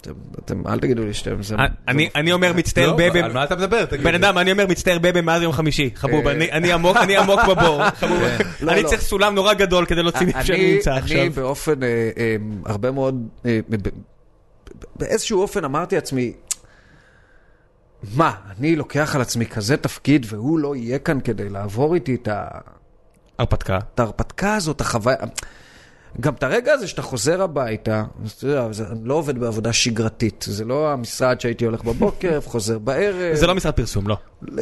Speaker 3: אתם, אתם, אל תגידו לי שאתם... זה-
Speaker 2: אני- אני אומר מצטער
Speaker 1: לא,
Speaker 2: בבם.
Speaker 1: על מה אתה מדבר? תגיד.
Speaker 2: בן אדם, אני אומר מצטער בבם מאז יום חמישי. חבוב,
Speaker 3: אה.
Speaker 2: אני- אני עמוק, אני עמוק בבור. חבוב.
Speaker 3: לא,
Speaker 2: אני
Speaker 3: לא.
Speaker 2: צריך סולם נורא גדול כדי להוציא
Speaker 3: אני-
Speaker 2: מישהו שאני נמצא עכשיו.
Speaker 3: אני באופן, אה, אה, הרבה מאוד, אה, ב- ב- ב- באיזשהו אופן אמרתי לעצמי, מה, אני לוקח על עצמי כזה תפקיד והוא לא יהיה כאן כדי לעבור איתי את ה...
Speaker 2: הרפתקה.
Speaker 3: את ההרפתקה הזאת, החוויה... גם את הרגע הזה שאתה חוזר הביתה, אז אתה יודע, זה- אני לא עובד בעבודה שגרתית, זה לא המשרד שהייתי הולך בבוקר, חוזר בערב.
Speaker 2: זה לא משרד פרסום, לא.
Speaker 3: אמ,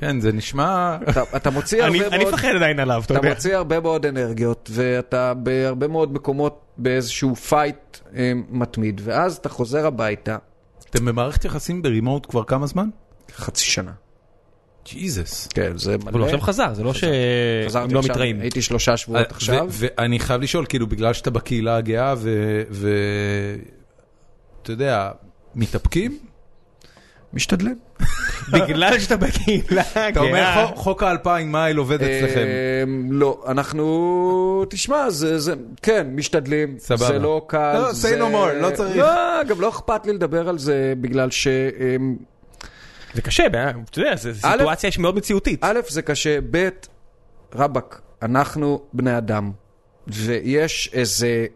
Speaker 1: כן, זה נשמע...
Speaker 3: אתה- אתה מוציא הרבה
Speaker 2: אני
Speaker 3: מאוד...
Speaker 2: אני מפחד עדיין עליו, אתה
Speaker 3: אתה
Speaker 2: יודע.
Speaker 3: מוציא הרבה מאוד אנרגיות, ואתה בהרבה מאוד מקומות באיזשהו פייט אה, מתמיד, ואז אתה חוזר הביתה
Speaker 1: אתם במערכת יחסים ברימוט כבר כמה זמן?
Speaker 3: חצי שנה.
Speaker 1: ג'יזוס.
Speaker 3: כן, זה מלא.
Speaker 2: אבל הוא עכשיו חזר, זה לא שהם
Speaker 3: חזרתי
Speaker 2: לא אה,
Speaker 3: עכשיו, אה.
Speaker 2: מתראים.
Speaker 3: הייתי שלושה שבועות עכשיו.
Speaker 1: אה, ואני חייב לשאול, כאילו, בגלל שאתה בקהילה הגאה ו... ו- אתה יודע, מתאפקים?
Speaker 3: משתדלים.
Speaker 2: בגלל שאתה בקהילה כן.
Speaker 1: אתה אומר,
Speaker 2: הגאה.
Speaker 1: "חוק- חוק האלפיים מייל עובד אצלכם.
Speaker 3: אמ, לא, אנחנו... תשמע, זה... זה- כן, משתדלים.
Speaker 1: סבבה.
Speaker 3: זה לא קל.
Speaker 1: לא, say
Speaker 3: זה-
Speaker 1: no more, לא צריך.
Speaker 3: לא, גם לא אכפת לי לדבר על זה, בגלל ש... אמ,
Speaker 2: זה קשה, בעיה, אתה יודע, זו
Speaker 3: א',
Speaker 2: סיטואציה שמאוד מציאותית.
Speaker 3: א', זה קשה, ב', רבאק, אנחנו בני אדם, ויש איזה...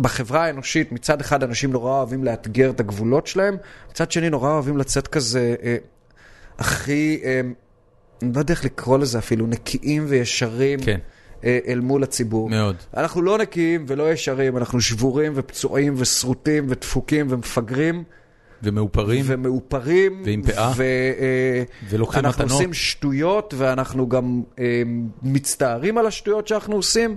Speaker 3: בחברה האנושית, מצד אחד אנשים נורא אוהבים לאתגר את הגבולות שלהם, מצד שני נורא אוהבים לצאת כזה, אה, הכי, אה, אני לא יודע איך לקרוא לזה אפילו, נקיים וישרים
Speaker 1: כן.
Speaker 3: אה, אל מול הציבור.
Speaker 1: מאוד.
Speaker 3: אנחנו לא נקיים ולא ישרים, אנחנו שבורים ופצועים וסרוטים ודפוקים ומפגרים.
Speaker 1: ומאופרים.
Speaker 3: ומאופרים.
Speaker 1: ועם פאה.
Speaker 3: ו, אה,
Speaker 1: ולוקחים
Speaker 3: אנחנו
Speaker 1: מתנות.
Speaker 3: עושים שטויות, ואנחנו גם אה, מצטערים על השטויות שאנחנו עושים,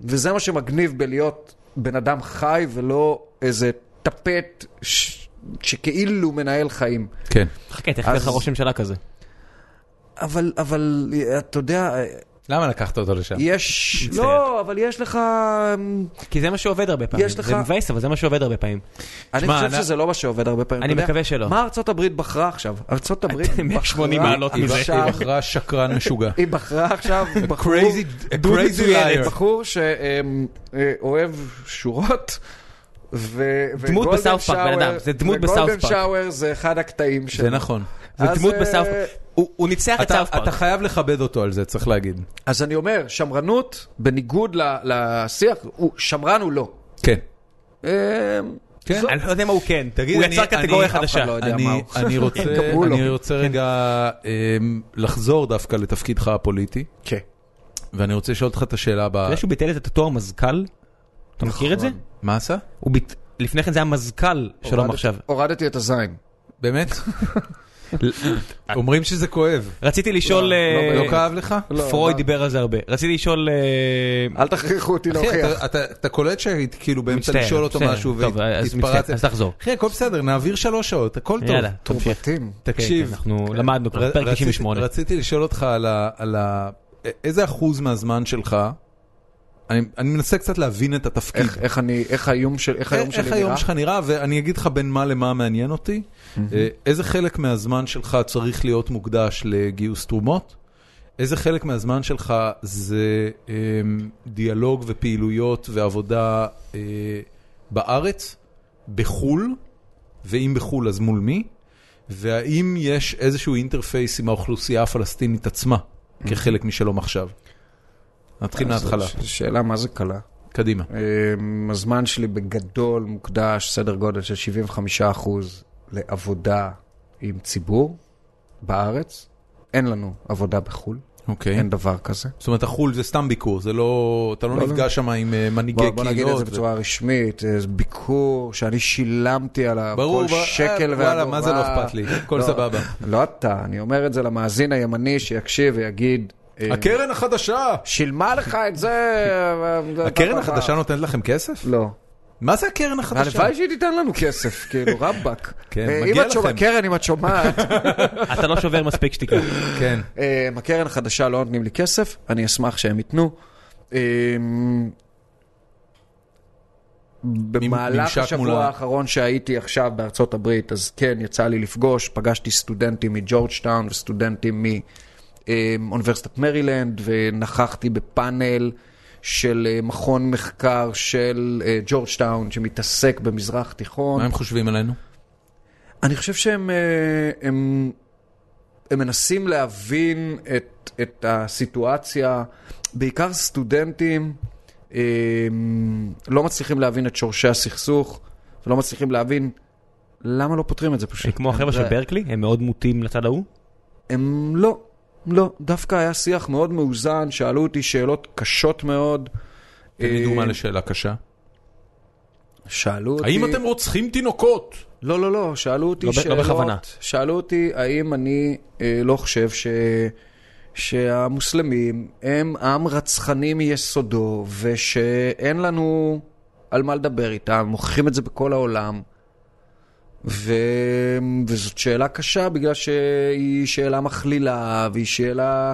Speaker 3: וזה מה שמגניב בלהיות בן אדם חי ולא איזה טפט ש... שכאילו מנהל חיים.
Speaker 1: כן.
Speaker 2: חכה, תכף יהיה לך
Speaker 3: אז-
Speaker 2: ראש ממשלה כזה.
Speaker 3: אבל, אבל, אה, אתה יודע, אה,
Speaker 1: למה לקחת אותו לשם?
Speaker 3: יש,
Speaker 2: מצטער.
Speaker 3: לא, אבל יש לך... אמ,
Speaker 2: כי זה מה שעובד הרבה פעמים.
Speaker 3: יש לך-
Speaker 2: זה מבאס, אבל זה מה שעובד הרבה פעמים.
Speaker 3: אני
Speaker 1: שמע,
Speaker 3: חושב
Speaker 1: אני-
Speaker 3: שזה לא מה שעובד הרבה פעמים.
Speaker 2: אני
Speaker 3: אתה יודע,
Speaker 2: מקווה שלא.
Speaker 3: מה ארצות הברית בחרה עכשיו? ארצות הברית
Speaker 2: אתם 180
Speaker 3: בחרה
Speaker 2: מעלות
Speaker 1: היא
Speaker 2: מזה.
Speaker 1: בחרה-
Speaker 3: עכשיו-
Speaker 1: היא בחרה שקרן משוגע.
Speaker 3: היא בחרה עכשיו בחור...
Speaker 1: crazy- a
Speaker 3: דוד
Speaker 1: crazy
Speaker 3: מצוין,
Speaker 1: liar.
Speaker 3: בחור שאוהב אה, שורות. ו-
Speaker 2: דמות
Speaker 3: וגולדן
Speaker 2: בסאוף פארק, בן
Speaker 3: שאואר-
Speaker 2: אדם, זה דמות בסאוף
Speaker 3: וגולדן
Speaker 2: פארק.
Speaker 3: שאואר זה אחד הקטעים שלו.
Speaker 1: זה נכון.
Speaker 2: זה
Speaker 3: אז,
Speaker 2: דמות
Speaker 3: אה,
Speaker 2: בסאוף הוא הוא ניצח את
Speaker 1: אתה
Speaker 2: סאוף
Speaker 1: אתה
Speaker 2: פארק.
Speaker 1: חייב לכבד אותו על זה, צריך להגיד.
Speaker 3: אז אני אומר, שמרנות, בניגוד ל- לשיח, הוא שמרן הוא לא.
Speaker 1: כן.
Speaker 3: אה,
Speaker 1: כן.
Speaker 3: זו-
Speaker 2: אני לא יודע מה הוא כן.
Speaker 1: תגיד,
Speaker 2: הוא
Speaker 1: אני-
Speaker 2: יצר קטגוריה
Speaker 1: אני- אף אחד
Speaker 2: חדשה.
Speaker 3: לא יודע.
Speaker 1: אני-
Speaker 3: מה הוא.
Speaker 1: אני רוצה-
Speaker 3: גם הוא לא.
Speaker 1: אני רוצה רגע אמ, לחזור דווקא לתפקידך הפוליטי,
Speaker 3: כן.
Speaker 1: ואני רוצה לשאול אותך את השאלה
Speaker 2: אתה
Speaker 1: הבאה.
Speaker 2: יודע שהוא ביטל את התואר מזכ"ל? אתה מכיר את זה?
Speaker 1: מה עשה?
Speaker 2: הוא ביט... לפני כן זה היה מזכ"ל, שלום
Speaker 3: הורדתי-
Speaker 2: עכשיו.
Speaker 3: הורדתי את הזין.
Speaker 1: באמת? אומרים שזה כואב.
Speaker 2: רציתי לשאול, אה,
Speaker 1: לא כאב לך?
Speaker 3: לא,
Speaker 2: פרויד
Speaker 3: לא.
Speaker 2: דיבר על זה הרבה. רציתי לשאול, אה,
Speaker 3: אל תכריחו אותי
Speaker 1: אחי,
Speaker 3: להוכיח.
Speaker 1: אתה- אתה- אתה קולט שהייתי כאילו באמצע
Speaker 2: מצטער,
Speaker 1: לשאול אותו
Speaker 2: בסדר.
Speaker 1: משהו
Speaker 2: טוב, אז מצטער, אז תחזור.
Speaker 1: אחי, הכל בסדר, נעביר שלוש שעות, הכל טוב.
Speaker 2: יאללה, תמשיך.
Speaker 3: תורבתים.
Speaker 1: תקשיב,
Speaker 2: כן, אנחנו למדנו כבר,
Speaker 1: ר-
Speaker 2: פרק
Speaker 1: רציתי-
Speaker 2: 98.
Speaker 1: רציתי לשאול אותך על ה- על ה... א- איזה אחוז מהזמן שלך, אני אני מנסה קצת להבין את התפקיד.
Speaker 3: איך- איך אני, איך האיום של- איך
Speaker 2: אה,
Speaker 3: היום
Speaker 1: איך
Speaker 3: שלי נראה?
Speaker 1: היום שלך נראה, ואני אגיד לך בין מה למה מעניין אותי. אה, איזה חלק מהזמן שלך צריך להיות מוקדש לגיוס תרומות? איזה חלק מהזמן שלך זה אה, דיאלוג ופעילויות ועבודה אה, בארץ, בחו"ל, ואם בחו"ל אז מול מי? והאם יש איזשהו אינטרפייס עם האוכלוסייה הפלסטינית עצמה כחלק משלום עכשיו? נתחיל
Speaker 3: אז
Speaker 1: מההתחלה,
Speaker 3: ש- שאלה מה זה קלה.
Speaker 1: קדימה.
Speaker 3: אמ, הזמן שלי בגדול מוקדש סדר גודל של 75% לעבודה עם ציבור בארץ. אין לנו עבודה בחו"ל,
Speaker 1: אוקיי.
Speaker 3: אין דבר כזה.
Speaker 1: זאת אומרת, החו"ל זה סתם ביקור, זה לא, אתה לא
Speaker 3: לא, לא.
Speaker 1: נפגש שם עם אה, מנהיגי
Speaker 3: בוא,
Speaker 1: קהילות.
Speaker 3: בוא נגיד את זה בצורה רשמית, אה, זה ביקור שאני שילמתי עליו
Speaker 1: ברור,
Speaker 3: כל
Speaker 1: ב- אה,
Speaker 3: שקל ואגורה.
Speaker 1: וואלה, מה זה לא אכפת לי, הכל
Speaker 3: לא,
Speaker 1: סבבה.
Speaker 3: לא אתה, אני אומר את זה למאזין הימני שיקשיב ויגיד, אה,
Speaker 1: הקרן החדשה!
Speaker 3: שילמה לך את זה... אה,
Speaker 1: הקרן החדשה נותנת לכם כסף?
Speaker 3: לא.
Speaker 1: מה זה הקרן החדשה?
Speaker 3: הלוואי שהיא תיתן לנו כסף, כאילו, רבאק.
Speaker 1: כן,
Speaker 3: אה,
Speaker 1: מגיע
Speaker 3: אם את שומעת,
Speaker 1: לכם.
Speaker 3: קרן, אם את שומעת,
Speaker 2: אתה לא שובר מספיק שתיקה.
Speaker 1: כן.
Speaker 3: אה, הקרן החדשה לא נותנים לי כסף, אני אשמח שהם ייתנו. אה, במהלך
Speaker 1: ממשק מול ה-
Speaker 3: השבוע האחרון שהייתי עכשיו בארצות הברית, אז כן, יצא לי לפגוש, פגשתי סטודנטים מג'ורג'טאון וסטודנטים מאוניברסיטת מרילנד, ונכחתי בפאנל של אה, מכון מחקר של אה, ג'ורג'טאון שמתעסק במזרח תיכון.
Speaker 1: מה הם חושבים עלינו?
Speaker 3: אני חושב שהם אה, הם, הם מנסים להבין את, את הסיטואציה, בעיקר סטודנטים אה, לא מצליחים להבין את שורשי הסכסוך, ולא מצליחים להבין למה לא פותרים את זה פשוט.
Speaker 2: אה, כמו החבר'ה של
Speaker 3: זה-
Speaker 2: ברקלי, הם מאוד מוטים לצד ההוא.
Speaker 3: הם לא, לא, דווקא היה שיח מאוד מאוזן, שאלו אותי שאלות קשות מאוד.
Speaker 1: הם ידעו
Speaker 3: אה,
Speaker 1: מה לשאלה קשה.
Speaker 3: שאלו אותי...
Speaker 1: האם אתם רוצחים תינוקות?
Speaker 3: לא, לא, לא, שאלו אותי
Speaker 2: לא ב- לא
Speaker 3: שאלות.
Speaker 2: בכוונה.
Speaker 3: שאלו אותי האם אני אה, לא חושב ש... שהמוסלמים הם עם רצחני מיסודו, ושאין לנו על מה לדבר איתם, מוכיחים את זה בכל העולם. ו... וזאת שאלה קשה, בגלל שהיא שאלה מכלילה, והיא שאלה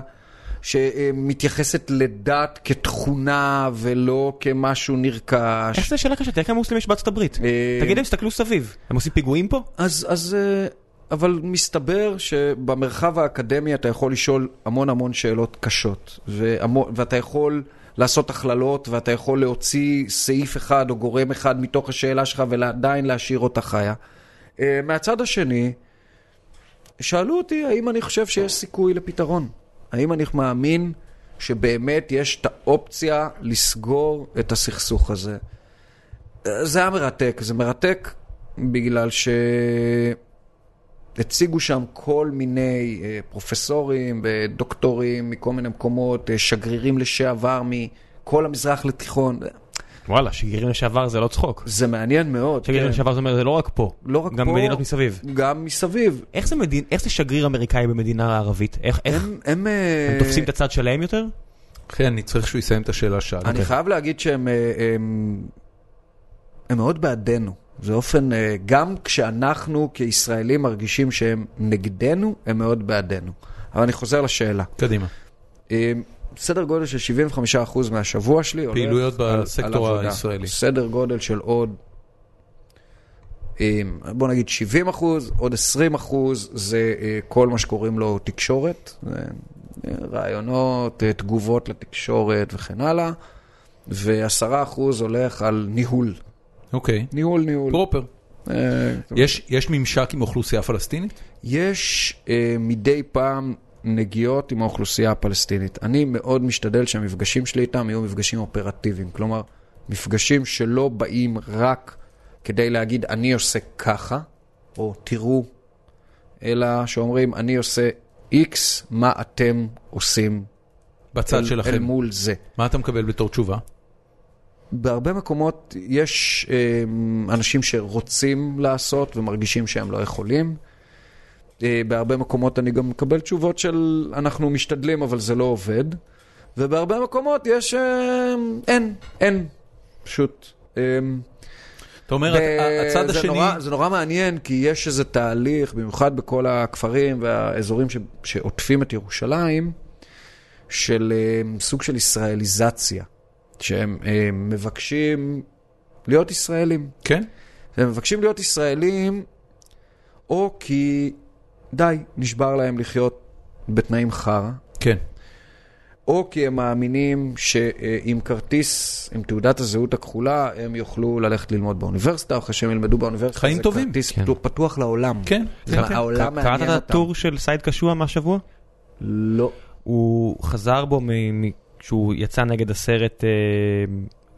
Speaker 3: שמתייחסת לדת כתכונה ולא כמשהו נרכש.
Speaker 2: איך זה שאלה קשה? תראה כמה מוסלמים יש בארצות הברית.
Speaker 3: אה,
Speaker 2: תגיד להם, תסתכלו סביב. הם עושים פיגועים פה?
Speaker 3: אז, אז, אה, אבל מסתבר שבמרחב האקדמי אתה יכול לשאול המון המון שאלות קשות, והמון, ואתה יכול לעשות הכללות, ואתה יכול להוציא סעיף אחד או גורם אחד מתוך השאלה שלך ועדיין להשאיר אותה חיה. אה, מהצד השני, שאלו אותי האם אני חושב שיש סיכוי לפתרון. האם אני מאמין שבאמת יש את האופציה לסגור את הסכסוך הזה. זה היה מרתק, זה מרתק בגלל שהציגו שם כל מיני אה, פרופסורים ודוקטורים מכל מיני מקומות, אה, שגרירים לשעבר מכל המזרח לתיכון,
Speaker 2: וואלה, שגרירים לשעבר זה לא צחוק.
Speaker 3: זה מעניין מאוד.
Speaker 2: שגרירים
Speaker 3: כן.
Speaker 2: לשעבר זה אומר, זה לא רק פה.
Speaker 3: לא רק
Speaker 2: גם
Speaker 3: פה,
Speaker 2: במדינות מסביב.
Speaker 3: גם מסביב.
Speaker 2: איך זה מדין- איך זה שגריר אמריקאי במדינה ערבית? איך איך-
Speaker 3: הם, אה, הם,
Speaker 2: הם תופסים את הצד שלהם יותר?
Speaker 1: אחי, כן, אני צריך שהוא יסיים את השאלה אוקיי. שאלה.
Speaker 3: אני חייב להגיד שהם אה, הם, הם מאוד בעדנו. זה אופן, אה, גם כשאנחנו כישראלים מרגישים שהם נגדנו, הם מאוד בעדנו. אבל אני חוזר לשאלה.
Speaker 1: קדימה.
Speaker 3: אה, סדר גודל של 75% מהשבוע שלי הולך
Speaker 1: פעילויות
Speaker 3: על- על
Speaker 1: בסקטור
Speaker 3: עבודה.
Speaker 1: הישראלי.
Speaker 3: סדר גודל של עוד, אה, בוא נגיד 70 אחוז, עוד 20 אחוז זה אה, כל מה שקוראים לו תקשורת, אה, אה, רעיונות, אה, תגובות לתקשורת וכן הלאה, ו-10 אחוז הולך על ניהול,
Speaker 1: אוקיי,
Speaker 3: ניהול, ניהול.
Speaker 1: פרופר.
Speaker 3: אה,
Speaker 1: יש יש ממשק עם אוכלוסייה פלסטינית?
Speaker 3: יש אה, מדי פעם נגיעות עם האוכלוסייה הפלסטינית. אני מאוד משתדל שהמפגשים שלי איתם יהיו מפגשים אופרטיביים. כלומר, מפגשים שלא באים רק כדי להגיד, אני עושה ככה, או תראו, אלא שאומרים, אני עושה X, מה אתם עושים
Speaker 1: בצד
Speaker 3: אל, אל
Speaker 1: שלכם.
Speaker 3: מול זה.
Speaker 1: מה אתה מקבל בתור תשובה?
Speaker 3: בהרבה מקומות יש אמ, אנשים שרוצים לעשות ומרגישים שהם לא יכולים. אה, בהרבה מקומות אני גם מקבל תשובות של אנחנו משתדלים אבל זה לא עובד. ובהרבה מקומות יש אמ, אין, אין, פשוט. אמ,
Speaker 1: אתה אומר,
Speaker 3: ו-
Speaker 1: הצד
Speaker 3: זה
Speaker 1: השני...
Speaker 3: נורא, זה נורא מעניין, כי יש איזה תהליך, במיוחד בכל הכפרים והאזורים ש, שעוטפים את ירושלים, של אה, סוג של ישראליזציה, שהם אה, מבקשים להיות ישראלים.
Speaker 1: כן?
Speaker 3: הם מבקשים להיות ישראלים, או כי די, נשבר להם לחיות בתנאים חרא,
Speaker 1: כן.
Speaker 3: או כי הם מאמינים שעם כרטיס, עם תעודת הזהות הכחולה, הם יוכלו ללכת ללמוד באוניברסיטה, אחרי שהם ילמדו באוניברסיטה.
Speaker 1: חיים
Speaker 3: זה
Speaker 1: טובים.
Speaker 3: כרטיס
Speaker 2: כן.
Speaker 3: כן. פתוח לעולם.
Speaker 1: כן,
Speaker 3: זה
Speaker 1: כן, כן.
Speaker 3: העולם
Speaker 2: קראת
Speaker 3: מעניין
Speaker 2: את
Speaker 3: אותם.
Speaker 2: הטור של סייד קשוע מהשבוע?
Speaker 3: לא.
Speaker 2: הוא חזר בו מ- מ- כשהוא יצא נגד הסרט, אה,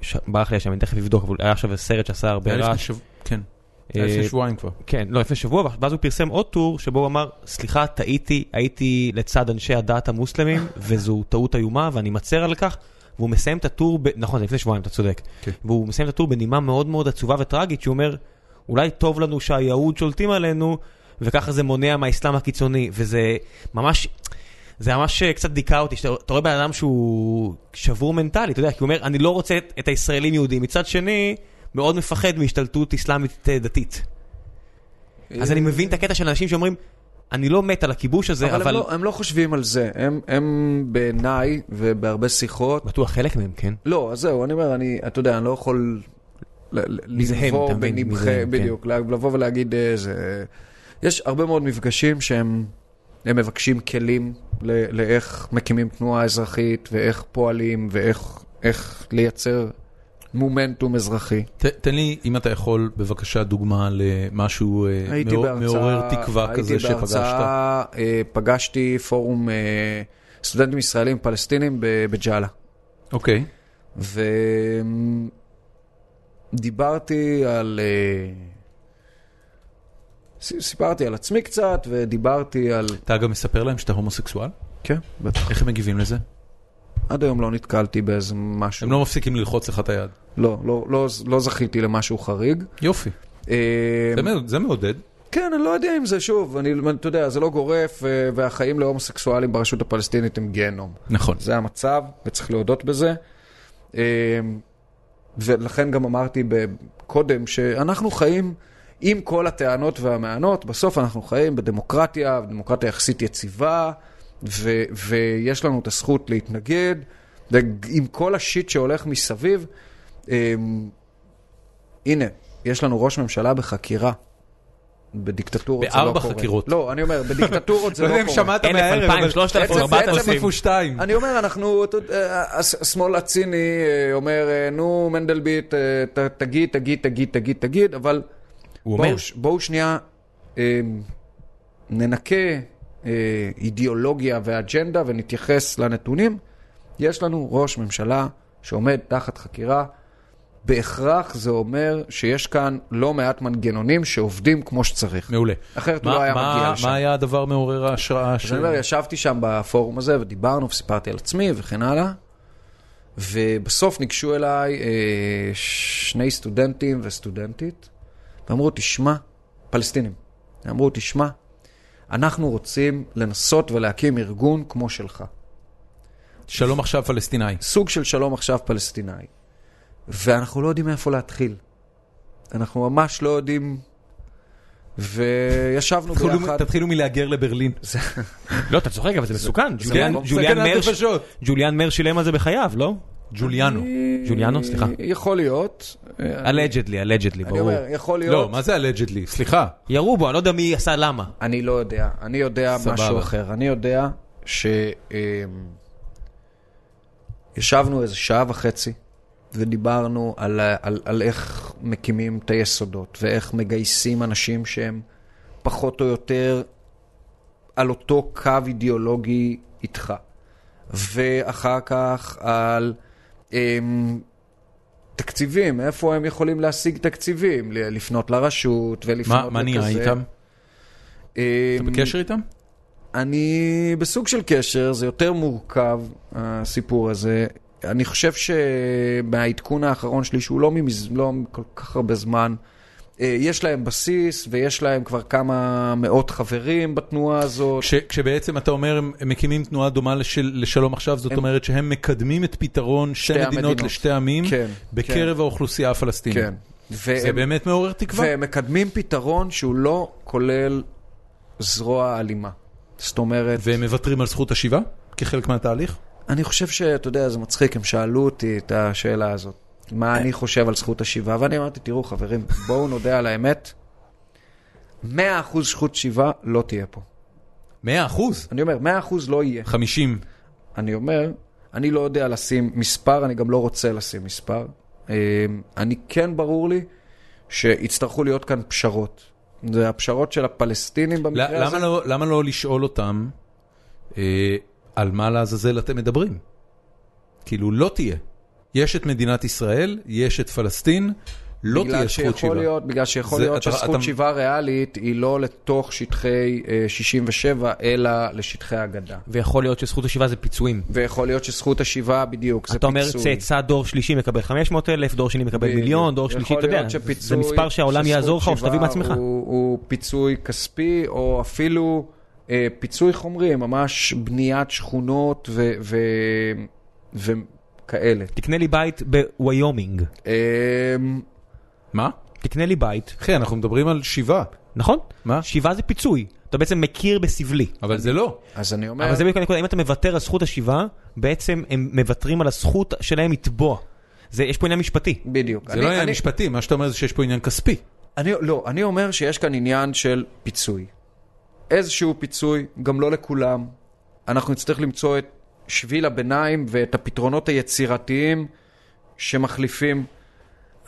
Speaker 2: ש- ברח לי השם, אני תכף אבדוק, אבל היה עכשיו סרט שעשה הרבה
Speaker 1: היה לפני
Speaker 2: רעש.
Speaker 1: שבוע- כן, היה
Speaker 2: אה,
Speaker 1: לפני שבועיים כבר.
Speaker 2: כן, לא, לפני שבוע, ואז הוא פרסם עוד טור שבו הוא אמר, סליחה, טעיתי, הייתי לצד אנשי הדת המוסלמים, וזו טעות איומה, ואני מצר על כך. והוא מסיים את הטור, ב... נכון, זה לפני שבועיים, אתה צודק.
Speaker 1: כן.
Speaker 2: והוא מסיים את הטור בנימה מאוד מאוד עצובה וטראגית, שהוא אומר, אולי טוב לנו שהיהוד שולטים עלינו, וככה זה מונע מהאסלאם הקיצוני, וזה ממש... זה ממש אה, קצת דיכא אותי, שאתה אתה רואה בן אדם שהוא שבור מנטלי, אתה יודע, כי הוא אומר, אני לא רוצה את, את הישראלים יהודים. מצד שני, מאוד מפחד מהשתלטות אסלאמית אה, דתית. אז אני מבין את הקטע של אנשים שאומרים, אני לא מת על הכיבוש הזה,
Speaker 3: אבל,
Speaker 2: אבל...
Speaker 3: הם, לא, הם לא חושבים על זה. הם, הם בעיניי, ובהרבה שיחות,
Speaker 2: בטוח חלק מהם, כן?
Speaker 3: לא, אז זהו, אני אומר, אני, אתה יודע, אני לא יכול ל- ל-
Speaker 2: מי זה הם,
Speaker 3: לבוא
Speaker 2: אתה מבין? מי
Speaker 3: בנבחי,
Speaker 2: זה הם, כן.
Speaker 3: בדיוק, לה- לבוא ולהגיד איזה... יש הרבה מאוד מפגשים שהם הם מבקשים כלים ל- לאיך מקימים תנועה אזרחית, ואיך פועלים, ואיך איך לייצר מומנטום אזרחי.
Speaker 1: ת- תן לי, אם אתה יכול, בבקשה, דוגמה למשהו אה,
Speaker 3: הייתי
Speaker 1: מאור-
Speaker 3: בהרצאה...
Speaker 1: מעורר תקווה כזה
Speaker 3: הייתי
Speaker 1: שפגשת.
Speaker 3: בהרצאה, אה, פגשתי פורום אה, סטודנטים ישראלים פלסטינים ב- בג'אלה.
Speaker 1: אוקיי,
Speaker 3: ודיברתי על... אה, ס- סיפרתי על עצמי קצת, ודיברתי על...
Speaker 1: אתה אגב מספר להם שאתה הומוסקסואל?
Speaker 3: כן, בטח.
Speaker 1: איך הם מגיבים לזה?
Speaker 3: עד היום לא נתקלתי באיזה משהו.
Speaker 1: הם לא מפסיקים ללחוץ לך את היד.
Speaker 3: לא, לא, לא, לא זכיתי למשהו חריג.
Speaker 1: יופי,
Speaker 3: אה,
Speaker 1: זה מאוד- זה מעודד.
Speaker 3: כן, אני לא יודע אם זה, שוב, אני, אתה יודע, זה לא גורף, אה, והחיים להומוסקסואלים ברשות הפלסטינית הם גיהנום.
Speaker 1: נכון.
Speaker 3: זה המצב, וצריך להודות בזה. אמ, ולכן גם אמרתי ב- קודם שאנחנו חיים עם כל הטענות והמענות, בסוף אנחנו חיים בדמוקרטיה, דמוקרטיה יחסית יציבה, ו- ויש לנו את הזכות להתנגד, ועם כל השיט שהולך מסביב, אמ, הנה, יש לנו ראש ממשלה בחקירה. בדיקטטורות זה לא
Speaker 1: בארבע
Speaker 3: קורה.
Speaker 1: חקירות.
Speaker 3: לא, אני אומר, בדיקטטורות זה
Speaker 1: לא
Speaker 3: לא
Speaker 1: יודע
Speaker 3: קורה.
Speaker 1: אם שמעת
Speaker 2: אלף,
Speaker 1: מהערב,
Speaker 2: אלפיים,
Speaker 1: אבל-
Speaker 2: שלושת אלפים,
Speaker 1: עצם-
Speaker 2: ארבעת
Speaker 1: עצם
Speaker 2: אלפים.
Speaker 1: מפושטיים.
Speaker 3: אני אומר, אנחנו, אתה יודע, הס- השמאל הציני אה, אומר, אה, נו, מנדלבליט, אה, ת- תגיד, תגיד, תגיד, תגיד, תגיד, אבל
Speaker 2: הוא אומר.
Speaker 3: בואו ש- בואו שנייה אה, ננקה אה, אידיאולוגיה ואג'נדה ונתייחס לנתונים. יש לנו ראש ממשלה שעומד תחת חקירה. בהכרח זה אומר שיש כאן לא מעט מנגנונים שעובדים כמו שצריך.
Speaker 1: מעולה.
Speaker 3: אחרת הוא
Speaker 1: מה-
Speaker 3: לא היה
Speaker 1: מה-
Speaker 3: מגיע לשם.
Speaker 1: מה היה הדבר מעורר ההשראה ש...
Speaker 3: אז אני
Speaker 2: כן.
Speaker 3: אומר, ישבתי שם בפורום הזה ודיברנו וסיפרתי על עצמי וכן הלאה. ובסוף ניגשו אליי אה, שני סטודנטים וסטודנטית, ואמרו, תשמע, פלסטינים, אמרו, תשמע, אנחנו רוצים לנסות ולהקים ארגון כמו שלך.
Speaker 1: שלום עכשיו פלסטיני.
Speaker 3: סוג של שלום עכשיו פלסטיני. ואנחנו לא יודעים מאיפה להתחיל. אנחנו ממש לא יודעים... וישבנו
Speaker 1: תתחילו-
Speaker 3: ביחד.
Speaker 1: תתחילו מלהגר לברלין.
Speaker 2: לא, אתה צוחק, אבל זה מסוכן.
Speaker 1: כן,
Speaker 2: ג'וליאן-
Speaker 1: סכנת
Speaker 2: ג'וליאן מר-
Speaker 1: נפשות.
Speaker 2: ג'וליאן מר שילם על זה בחייו, לא?
Speaker 1: ג'וליאנו.
Speaker 2: ג'וליאנו, סליחה.
Speaker 3: אה, יכול להיות. אה,
Speaker 2: אלג'דלי, אלג'דלי,
Speaker 3: אני
Speaker 2: ברור.
Speaker 3: אומר, יכול להיות.
Speaker 1: לא, מה זה allegedly? סליחה.
Speaker 2: ירו בו, אני לא יודע מי עשה למה.
Speaker 3: אני לא יודע, אני יודע
Speaker 1: סבבה.
Speaker 3: משהו אחר. אני יודע ש... אמ, ישבנו איזה שעה וחצי ודיברנו על, ה- על, על איך מקימים את היסודות ואיך מגייסים אנשים שהם פחות או יותר על אותו קו אידיאולוגי איתך. ואחר כך על... אמ, תקציבים, איפה הם יכולים להשיג תקציבים, ל- לפנות לרשות ולפנות
Speaker 1: מה מה נהיה
Speaker 3: לכזה.
Speaker 1: איתם?
Speaker 3: אמ,
Speaker 1: אתה בקשר איתם?
Speaker 3: אני בסוג של קשר, זה יותר מורכב, הסיפור הזה. אני חושב שמהעדכון האחרון שלי, שהוא לא, ממז... לא כל כך הרבה זמן, אה, יש להם בסיס ויש להם כבר כמה מאות חברים בתנועה הזאת.
Speaker 1: כש- כשבעצם אתה אומר הם הם מקימים תנועה דומה לשל- לשלום עכשיו, זאת אומרת שהם מקדמים את פתרון שתי מדינות
Speaker 3: המדינות.
Speaker 1: לשתי עמים
Speaker 3: כן,
Speaker 1: בקרב האוכלוסייה הפלסטינית.
Speaker 3: כן. והם...
Speaker 1: זה באמת מעורר תקווה.
Speaker 3: והם מקדמים פתרון שהוא לא כולל זרוע אלימה. זאת אומרת...
Speaker 1: והם מוותרים על זכות השיבה כחלק מהתהליך?
Speaker 3: אני חושב שאתה יודע, זה מצחיק, הם שאלו אותי את השאלה הזאת, מה
Speaker 1: אה.
Speaker 3: אני חושב על זכות השיבה, ואני אמרתי, תראו חברים, בואו נודה על האמת, 100% זכות שיבה לא תהיה פה.
Speaker 1: 100 אחוז.
Speaker 3: אני אומר, 100% לא יהיה.
Speaker 1: 50.
Speaker 3: אני אומר, אני לא יודע לשים מספר, אני גם לא רוצה לשים מספר. אמ, אני כן ברור לי שיצטרכו להיות כאן פשרות. זה הפשרות של הפלסטינים
Speaker 1: ל-
Speaker 3: במקרה הזה.
Speaker 1: למה לא- למה לא לשאול אותם אה, על מה לעזאזל אתם מדברים? כאילו, לא תהיה. יש את מדינת ישראל, יש את פלסטין, לא
Speaker 3: בגלל
Speaker 1: תהיה זכות
Speaker 3: שיכול
Speaker 1: שיבה.
Speaker 3: להיות, בגלל שיכול
Speaker 1: זה-
Speaker 3: להיות
Speaker 1: אתה-
Speaker 3: שזכות
Speaker 1: אתה-
Speaker 3: שיבה ריאלית היא לא לתוך שטחי אה, 67, אלא לשטחי הגדה.
Speaker 2: ויכול להיות שזכות השיבה זה פיצויים.
Speaker 3: ויכול להיות שזכות השיבה בדיוק, זה
Speaker 2: אתה אומר
Speaker 3: פיצוי.
Speaker 2: צאצא דור שלישי מקבל 500 אלף, דור שני מקבל מיליון, דור
Speaker 3: יכול
Speaker 2: שלישי, אתה יודע,
Speaker 3: להיות
Speaker 2: זה- זה
Speaker 3: שפיצוי
Speaker 2: מספר שהעולם
Speaker 3: של
Speaker 2: יעזור
Speaker 3: זכות
Speaker 2: לך או שתביא
Speaker 3: שיבה
Speaker 2: בעצמך.
Speaker 3: הוא, הוא פיצוי כספי, או אפילו אה, פיצוי חומרי, ממש בניית שכונות ו... ו... וכאלה.
Speaker 2: תקנה לי בית בוויומינג,
Speaker 3: אה,
Speaker 1: מה?
Speaker 2: תקנה לי בית,
Speaker 1: אחי, אנחנו מדברים על שיבה,
Speaker 2: נכון?
Speaker 1: מה?
Speaker 2: שיבה זה פיצוי, אתה בעצם מכיר בסבלי.
Speaker 1: אבל זה לא.
Speaker 3: אז אני אומר...
Speaker 2: אבל זה בדיוק הנקודה, אם אתה מוותר על זכות השיבה, בעצם הם מוותרים על הזכות שלהם לתבוע. זה, יש פה עניין משפטי.
Speaker 3: בדיוק.
Speaker 1: זה לא עניין משפטי, מה שאתה אומר זה שיש פה עניין כספי.
Speaker 3: אני, לא, אני אומר שיש כאן עניין של פיצוי. איזשהו פיצוי, גם לא לכולם. אנחנו נצטרך למצוא את שביל הביניים ואת הפתרונות היצירתיים שמחליפים.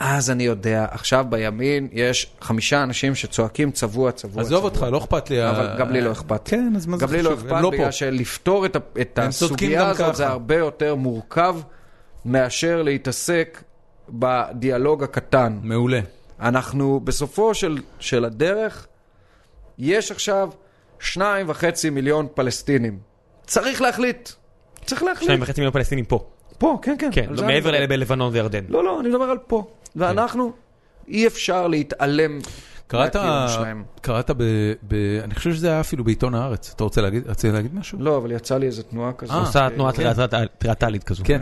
Speaker 3: אז אני יודע, עכשיו בימין יש חמישה אנשים שצועקים צבוע, צבוע,
Speaker 1: עזוב
Speaker 3: צבוע.
Speaker 1: אותך, לא אכפת לי. ה-
Speaker 3: אבל גם לי לא אכפת.
Speaker 1: כן, אז מה זה
Speaker 3: גם לי לא
Speaker 1: חשוב? הם
Speaker 3: אכפת,
Speaker 1: לא פה.
Speaker 3: בגלל שלפתור את, ה- את
Speaker 1: הם צודקים
Speaker 3: הסוגיה
Speaker 1: גם
Speaker 3: הזאת זה
Speaker 1: ככה.
Speaker 3: הרבה יותר מורכב מאשר להתעסק בדיאלוג הקטן.
Speaker 1: מעולה.
Speaker 3: אנחנו בסופו של, של הדרך, יש עכשיו שניים וחצי מיליון פלסטינים. צריך להחליט. צריך להחליט.
Speaker 2: שניים וחצי מיליון פלסטינים פה.
Speaker 3: פה, כן, כן.
Speaker 2: כן,
Speaker 3: על
Speaker 2: לא
Speaker 3: זה אני
Speaker 2: מעבר
Speaker 3: מדבר.
Speaker 2: לאלה בלבנון וירדן.
Speaker 3: לא, לא, אני מדבר על פה. ואנחנו, אי אפשר להתעלם
Speaker 1: קראת,
Speaker 3: מהקיום שלהם.
Speaker 1: קראת ב, ב... אני חושב שזה היה אפילו בעיתון הארץ. אתה רוצה להגיד, רצית להגיד משהו?
Speaker 3: לא, אבל יצא לי איזו תנועה כזו.
Speaker 1: אה,
Speaker 2: עושה תנועה טריאטלית כזו.
Speaker 1: כן.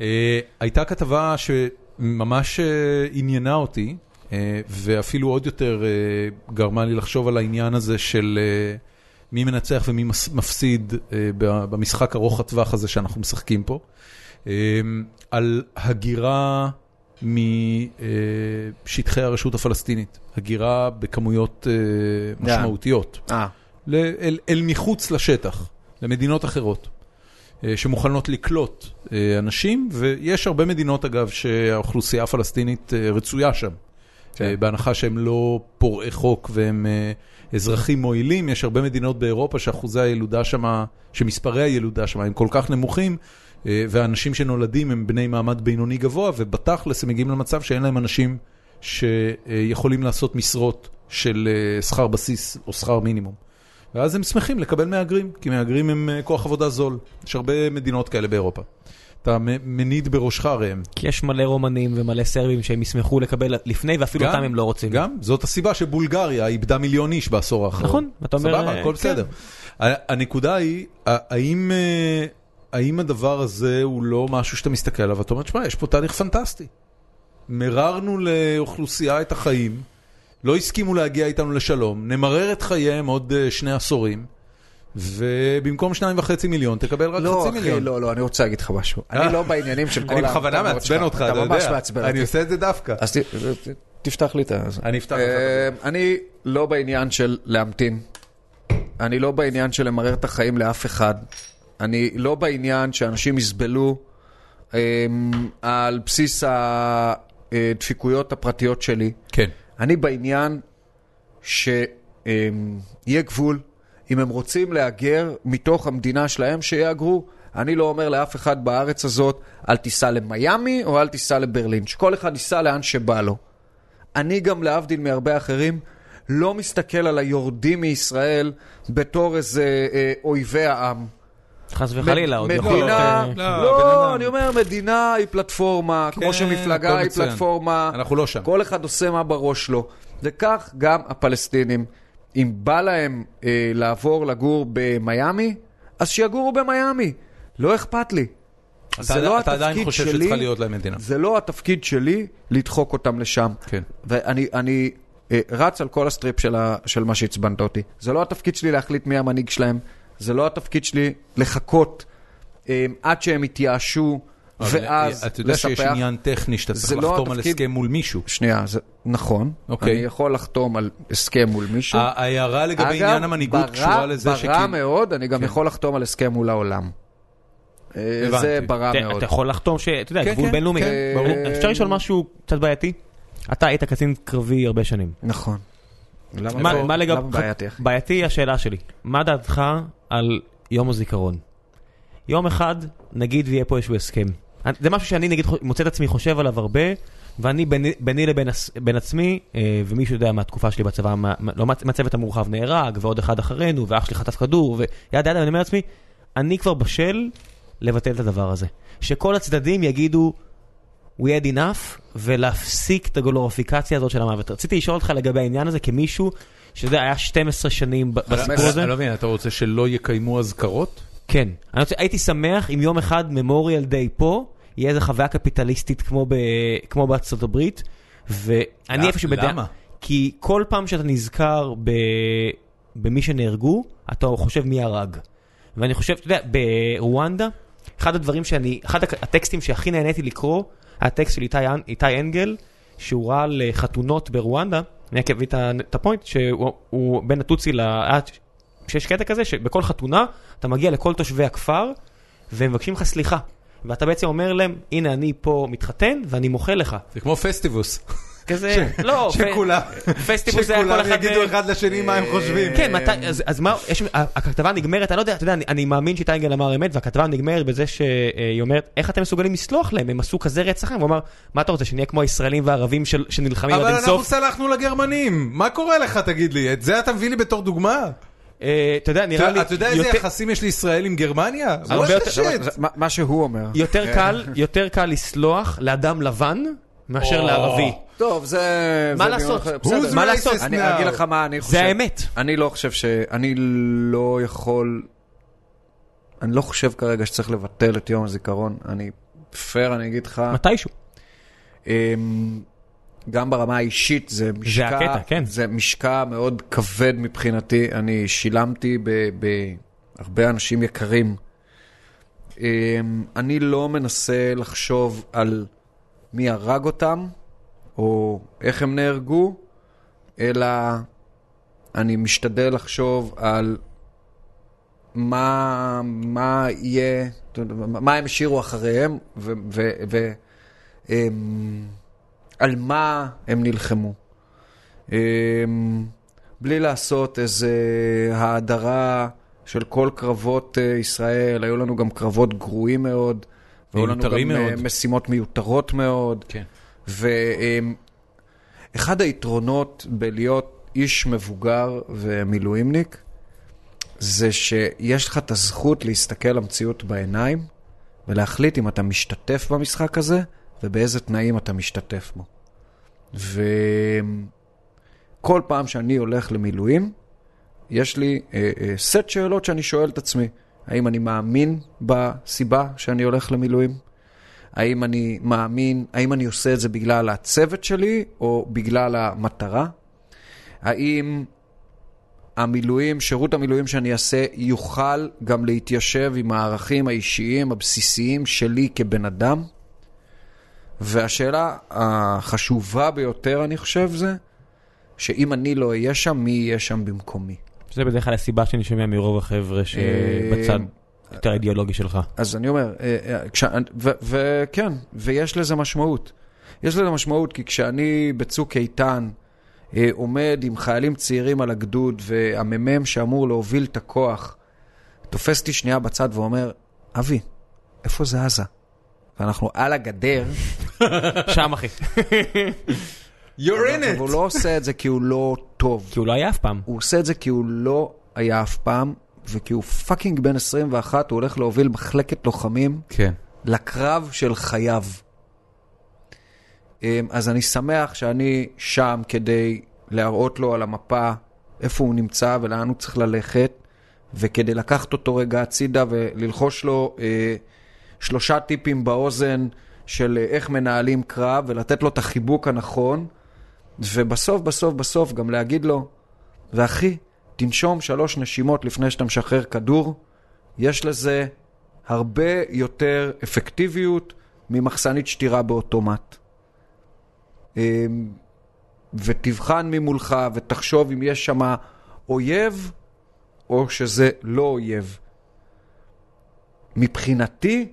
Speaker 1: אה, הייתה כתבה שממש אה, עניינה אותי, אה, ואפילו עוד יותר אה, גרמה לי לחשוב על העניין הזה של אה, מי מנצח ומי מס- מפסיד אה, ב- במשחק ארוך הטווח הזה שאנחנו משחקים פה, אה, על הגירה משטחי הרשות הפלסטינית, הגירה בכמויות אה,
Speaker 3: לאן?
Speaker 1: משמעותיות.
Speaker 3: אה,
Speaker 1: ל- אל, אל מחוץ לשטח, למדינות אחרות, אה, שמוכנות לקלוט אה, אנשים, ויש הרבה מדינות אגב שהאוכלוסייה הפלסטינית אה, רצויה שם. אה, בהנחה שהם לא פורעי חוק והם אה, אזרחים מועילים, יש הרבה מדינות באירופה שאחוזי הילודה שם, שמספרי הילודה שם הם כל כך נמוכים, אה, והאנשים שנולדים הם בני מעמד בינוני גבוה, ובתכלס הם מגיעים למצב שאין להם אנשים שיכולים לעשות משרות של אה, שכר בסיס או שכר מינימום. ואז הם שמחים לקבל מהגרים, כי מהגרים הם אה, כוח עבודה זול. יש הרבה מדינות כאלה באירופה. אתה מ- מניד בראשך ראם.
Speaker 2: כי יש מלא רומנים ומלא סרבים שהם ישמחו לקבל לפני ואפילו אותם הם לא רוצים.
Speaker 1: גם, זאת הסיבה שבולגריה איבדה מיליון איש בעשור האחרון.
Speaker 2: נכון, אתה אומר,
Speaker 1: סבבה,
Speaker 2: אה,
Speaker 1: הכל
Speaker 2: כן.
Speaker 1: בסדר. ה- הנקודה היא, ה- האם, אה, האם הדבר הזה הוא לא משהו שאתה מסתכל עליו ואתה אומר, תשמע, יש פה תהליך פנטסטי. מררנו לאוכלוסייה את החיים, לא הסכימו להגיע איתנו לשלום, נמרר את חייהם עוד אה, שני עשורים, ובמקום שניים וחצי מיליון תקבל רק
Speaker 3: לא,
Speaker 1: חצי
Speaker 3: אחי,
Speaker 1: מיליון.
Speaker 3: לא, לא, אני רוצה להגיד לך משהו. אני לא בעניינים של כל
Speaker 1: אני בכוונה
Speaker 3: ההמתנות שלך.
Speaker 1: מעצבן אותך, אתה יודע.
Speaker 3: אתה ממש מעצבן
Speaker 1: אני
Speaker 3: אותי.
Speaker 1: עושה את זה דווקא.
Speaker 3: אז ת- ת- תפתח לי את ה... זה.
Speaker 1: אני אפתח לך.
Speaker 3: אה, אני לא בעניין של להמתין. אני לא בעניין של למרר את החיים לאף אחד. אני לא בעניין שאנשים יסבלו אה, על בסיס הדפיקויות הפרטיות שלי.
Speaker 1: כן.
Speaker 3: אני בעניין שיהיה גבול. אם הם רוצים להגר מתוך המדינה שלהם, שיהגרו. אני לא אומר לאף אחד בארץ הזאת, אל תיסע למיאמי או אל תיסע לברלין. שכל אחד ייסע לאן שבא לו. אני גם, להבדיל מהרבה אחרים, לא מסתכל על היורדים מישראל בתור איזה אה, אויבי העם.
Speaker 2: חס וחלילה, עוד יכול להיות...
Speaker 3: מדינה,
Speaker 2: אה,
Speaker 1: לא, הבן אדם.
Speaker 3: לא, אני אומר, מדינה היא פלטפורמה,
Speaker 1: כן,
Speaker 3: כמו שמפלגה
Speaker 1: הכל
Speaker 3: היא
Speaker 1: מצוין.
Speaker 3: פלטפורמה.
Speaker 1: אנחנו לא שם.
Speaker 3: כל אחד עושה מה בראש שלו. וכך גם הפלסטינים. אם בא להם אה, לעבור לגור במיאמי, אז שיגורו במיאמי. לא אכפת לי.
Speaker 1: אתה
Speaker 3: זה לא
Speaker 1: אתה עדיין
Speaker 3: התפקיד
Speaker 1: חושב
Speaker 3: שלי-
Speaker 1: שצריכה להיות להם מדינה.
Speaker 3: זה לא התפקיד שלי לדחוק אותם לשם.
Speaker 1: כן.
Speaker 3: ואני אני, אה, רץ על כל הסטריפ של, ה, של מה שעצבנת אותי. זה לא התפקיד שלי להחליט מי המנהיג שלהם, זה לא התפקיד שלי לחכות אה, עד שהם יתייאשו,
Speaker 1: אבל,
Speaker 3: ואז
Speaker 1: אה, אתה יודע שיש
Speaker 3: לספח.
Speaker 1: עניין טכני שאתה
Speaker 3: זה
Speaker 1: צריך
Speaker 3: לא
Speaker 1: לחתום על
Speaker 3: התפקיד-
Speaker 1: הסכם מול מישהו.
Speaker 3: שנייה, זה, נכון.
Speaker 1: אוקיי.
Speaker 3: אני יכול לחתום על הסכם מול מישהו.
Speaker 1: ההערה לגבי
Speaker 3: אגב,
Speaker 1: עניין המנהיגות
Speaker 3: ברע-
Speaker 1: קשורה לזה
Speaker 3: ברע
Speaker 1: שכאילו... כן.
Speaker 3: מאוד, אני גם יכול לחתום על הסכם מול העולם. אה,
Speaker 1: הבנתי.
Speaker 3: זה ברע
Speaker 2: אתה-
Speaker 3: מאוד.
Speaker 2: אתה יכול לחתום ש... אתה יודע,
Speaker 1: כן,
Speaker 2: גבול
Speaker 1: כן,
Speaker 2: בינלאומי.
Speaker 1: כן,
Speaker 3: ברור.
Speaker 2: אה, אפשר לשאול משהו קצת בעייתי? אתה היית קצין קרבי הרבה שנים.
Speaker 3: נכון. למה
Speaker 2: מה-
Speaker 3: פה-
Speaker 2: מה לגב-
Speaker 3: למה בעייתי, אחי?
Speaker 2: בעייתי היא השאלה שלי. מה דעתך על יום הזיכרון? יום אחד, נגיד ויהיה פה איזשהו הסכם. זה משהו שאני נגיד חו- מוצא את עצמי חושב עליו הרבה, ואני ביני, ביני לבין הס- בין עצמי, אה, ומי שיודע מהתקופה שלי בצבא, מה, מה- לא, מהצ- מהצוות המורחב נהרג, ועוד אחד אחרינו, ואח שלי חטף כדור, וידה ידה, ואני אומר לעצמי, אני כבר בשל לבטל את הדבר הזה. שכל הצדדים יגידו, we had enough, ולהפסיק את הגלוריפיקציה הזאת של המוות. רציתי לשאול אותך לגבי העניין הזה כמישהו, שאתה יודע, היה 12 שנים ב- בסיפור הזה.
Speaker 1: אני לא מבין, אתה רוצה שלא יקיימו אזכרות?
Speaker 2: כן. אני רוצה, הייתי שמח אם יום אחד ממוריאל דיי פה, יהיה איזה חוויה קפיטליסטית כמו, ב, כמו בארצות הברית, ואני
Speaker 1: למה?
Speaker 2: איפשהו בדעה...
Speaker 1: אה, למה?
Speaker 2: כי כל פעם שאתה נזכר ב, במי שנהרגו, אתה חושב מי הרג. ואני חושב, אתה יודע, ברואנדה, אחד הדברים שאני, אחד הק- הטקסטים שהכי נהניתי לקרוא, היה טקסט של איתי, אנ- איתי אנגל, שהוא ראה על אה, חתונות ברואנדה, אני רק אביא את ה- את הפוינט, שהוא הוא בין הטוצי ל... היה שיש קטע כזה שבכל חתונה אתה מגיע לכל תושבי הכפר והם מבקשים לך סליחה. ואתה בעצם אומר להם, הנה אני פה מתחתן ואני מוחל לך.
Speaker 1: זה כמו פסטיבוס.
Speaker 2: כזה, לא,
Speaker 1: שכולם,
Speaker 2: פסטיבוס זה היה כל אחד...
Speaker 1: יגידו
Speaker 2: אה,
Speaker 1: אחד לשני מה הם חושבים.
Speaker 2: כן, מתי, אז, אז מה, יש, הכתבה נגמרת, אני לא יודע, אתה יודע, אני, אני מאמין שטייגל אמר אמת, והכתבה נגמרת בזה שהיא אומרת, איך אתם מסוגלים לסלוח להם, הם עשו כזה רצח, והוא אמר, מה אתה רוצה, שנהיה כמו הישראלים והערבים של, שנלחמים עד
Speaker 1: אבל אנחנו
Speaker 2: אינסוף?
Speaker 1: סלחנו לגרמנים, מה קורה לך תגיד לי? את זה אתה מביא לי בתור דוגמה?
Speaker 2: אה, אתה יודע, נראה לי,
Speaker 1: אתה יודע איזה
Speaker 2: יותר,
Speaker 1: יחסים יש לישראל עם גרמניה?
Speaker 2: הרבה
Speaker 1: What the
Speaker 2: יותר-
Speaker 1: shit?
Speaker 3: זה- מה- מה שהוא אומר.
Speaker 1: כן.
Speaker 2: יותר קל, יותר קל לסלוח לאדם לבן מאשר
Speaker 1: או.
Speaker 2: לערבי.
Speaker 3: טוב, זה...
Speaker 2: מה
Speaker 3: זה
Speaker 2: לעשות?
Speaker 3: דיון אחר.
Speaker 2: Who's
Speaker 3: בסדר, מה
Speaker 1: racist
Speaker 3: לעשות?
Speaker 1: now?
Speaker 3: אני אגיד לך מה אני חושב.
Speaker 2: זה האמת.
Speaker 3: אני לא חושב ש... אני לא יכול... אני לא חושב כרגע שצריך לבטל את יום הזיכרון. אני... פייר, אני אגיד לך...
Speaker 2: מתישהו.
Speaker 3: אמ, גם ברמה האישית זה משקע,
Speaker 2: הקטע, כן.
Speaker 3: זה משקע מאוד כבד מבחינתי. אני שילמתי בהרבה אנשים יקרים. אמ, אני לא מנסה לחשוב על מי הרג אותם, או איך הם נהרגו, אלא אני משתדל לחשוב על מה, מה יהיה, מה הם השאירו אחריהם, ו... ו, ו אמ, על מה הם נלחמו. אמ, בלי לעשות איזה האדרה של כל קרבות אה, ישראל, היו לנו גם קרבות גרועים מאוד, והיו לנו
Speaker 1: מיותרים
Speaker 3: גם אה,
Speaker 1: מאוד.
Speaker 3: משימות מיותרות מאוד.
Speaker 1: כן.
Speaker 3: ואחד היתרונות בלהיות איש מבוגר ומילואימניק, זה שיש לך את הזכות להסתכל למציאות בעיניים, ולהחליט אם אתה משתתף במשחק הזה, ובאיזה תנאים אתה משתתף בו. וכל פעם שאני הולך למילואים, יש לי אה, אה, סט שאלות שאני שואל את עצמי. האם אני מאמין בסיבה שאני הולך למילואים? האם אני מאמין, האם אני עושה את זה בגלל הצוות שלי או בגלל המטרה? האם המילואים, שירות המילואים שאני אעשה, יוכל גם להתיישב עם הערכים האישיים הבסיסיים שלי כבן אדם? והשאלה החשובה ביותר, אני חושב, זה שאם אני לא אהיה שם, מי יהיה שם במקומי?
Speaker 2: שזה בדרך כלל הסיבה שאני שומע מרוב
Speaker 1: אה,
Speaker 2: החבר'ה שבצד יותר האידיאולוגי שלך.
Speaker 3: אז אני אומר, אה, אה, כש- ו- וכן, ויש לזה משמעות. יש לזה משמעות, כי כשאני בצוק איתן אה, עומד עם חיילים צעירים על הגדוד, והמ"מ שאמור להוביל את הכוח, תופס אותי שנייה בצד ואומר, אבי, איפה זה עזה? ואנחנו על הגדר,
Speaker 2: שם אחי.
Speaker 1: You're in
Speaker 3: אבל הוא לא עושה את זה כי הוא לא טוב.
Speaker 2: כי הוא לא היה אף פעם.
Speaker 3: הוא עושה את זה כי הוא לא היה אף פעם, וכי הוא פאקינג בן 21, הוא הולך להוביל מחלקת לוחמים
Speaker 1: כן.
Speaker 3: לקרב של חייו. אמ, אז אני שמח שאני שם כדי להראות לו על המפה איפה הוא נמצא ולאן הוא צריך ללכת, וכדי לקחת אותו רגע הצידה וללחוש לו אה, שלושה טיפים באוזן של אה, איך מנהלים קרב, ולתת לו את החיבוק הנכון, ובסוף, בסוף, בסוף גם להגיד לו, ואחי, תנשום שלוש נשימות לפני שאתה משחרר כדור, יש לזה הרבה יותר אפקטיביות ממחסנית שתירה באוטומט. אמ, ותבחן ממולך ותחשוב אם יש שם אויב או שזה לא אויב. מבחינתי,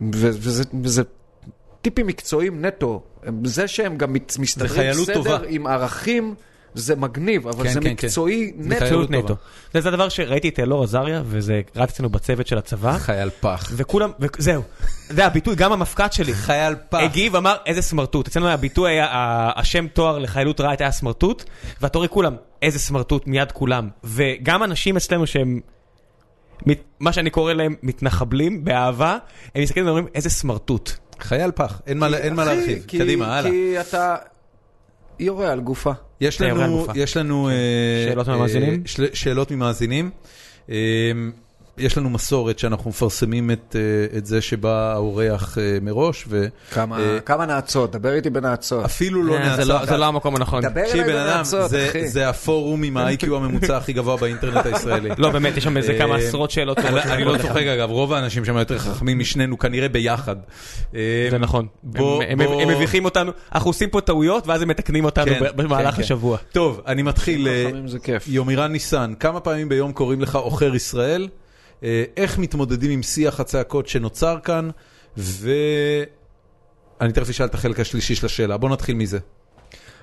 Speaker 3: ו- וזה, וזה טיפים מקצועיים נטו, זה שהם גם מת- מסתדרים
Speaker 1: חיילות טובה.
Speaker 3: בסדר עם ערכים, זה מגניב, אבל
Speaker 1: כן,
Speaker 3: זה
Speaker 1: כן,
Speaker 3: מקצועי
Speaker 1: זה
Speaker 3: נטו.
Speaker 1: חיילות
Speaker 2: חיילות נטו.
Speaker 1: טובה.
Speaker 2: זה זה הדבר שראיתי את אלאור עזריה, וזה רץ אצלנו בצוות של הצבא,
Speaker 1: חייל פח.
Speaker 2: וכולם, וזהו. זה הביטוי, גם המפקד שלי.
Speaker 1: חייל פח.
Speaker 2: הגיב, אמר, איזה סמרטוט. אצלנו הביטוי היה, ה- השם תואר לחיילות רעת היה סמרטוט, ואתה רואה כולם, איזה סמרטוט, מיד כולם. וגם אנשים אצלנו שהם, מת- מה שאני קורא להם מתנחבלים, באהבה, הם מסתכלים ואומרים, איזה סמרטוט.
Speaker 1: חייל פח. אין מה- אין מה
Speaker 3: אחי,
Speaker 1: להרחיב.
Speaker 3: כי-
Speaker 1: קדימה, הלאה.
Speaker 3: כי אתה יורה על גופה.
Speaker 1: יש
Speaker 2: תארי
Speaker 1: לנו,
Speaker 2: הגופה.
Speaker 1: יש לנו... אה,
Speaker 2: שאלות
Speaker 1: אה,
Speaker 2: מהמאזינים?
Speaker 1: של- שאלות ממאזינים. אה, יש לנו מסורת שאנחנו מפרסמים את, אה, את זה שבא האורח אה, מראש,
Speaker 3: כמה,
Speaker 1: אה,
Speaker 3: כמה נאצות, דבר איתי בנאצות.
Speaker 1: ואפילו לא
Speaker 2: אה, זה
Speaker 1: נעשה...
Speaker 2: לא- זה לא המקום הנכון.
Speaker 3: דבר
Speaker 1: תקשיב,
Speaker 3: אליי
Speaker 1: בן אדם,
Speaker 3: בנאצות,
Speaker 1: זה-
Speaker 3: אחי.
Speaker 1: זה הפורום עם ה-IQ הממוצע הכי גבוה באינטרנט הישראלי.
Speaker 2: לא, באמת, יש שם איזה כמה
Speaker 1: אה,
Speaker 2: עשרות שאלות אה, טובות.
Speaker 1: אני אני לא
Speaker 2: שמגיעות לך.
Speaker 1: צוחק אגב, רוב האנשים שם יותר חכמים משנינו כנראה ביחד. אה,
Speaker 2: זה נכון.
Speaker 1: בוא-
Speaker 2: הם- הם-
Speaker 1: בוא-
Speaker 2: הם מביכים אותנו, אנחנו עושים פה טעויות, ואז הם מתקנים אותנו
Speaker 1: כן,
Speaker 2: ב- במהלך
Speaker 1: כן, כן.
Speaker 2: השבוע.
Speaker 1: טוב, אני מתחיל. אה,
Speaker 3: חכמים זה כיף.
Speaker 1: יומירן ניסן, כמה פעמים ביום קוראים לך עוכר ישראל? אה, איך מתמודדים עם שיח הצעקות שנוצר כאן? ו... אני תכף אשאל את החלק השלישי של השאלה, בוא נתחיל מזה.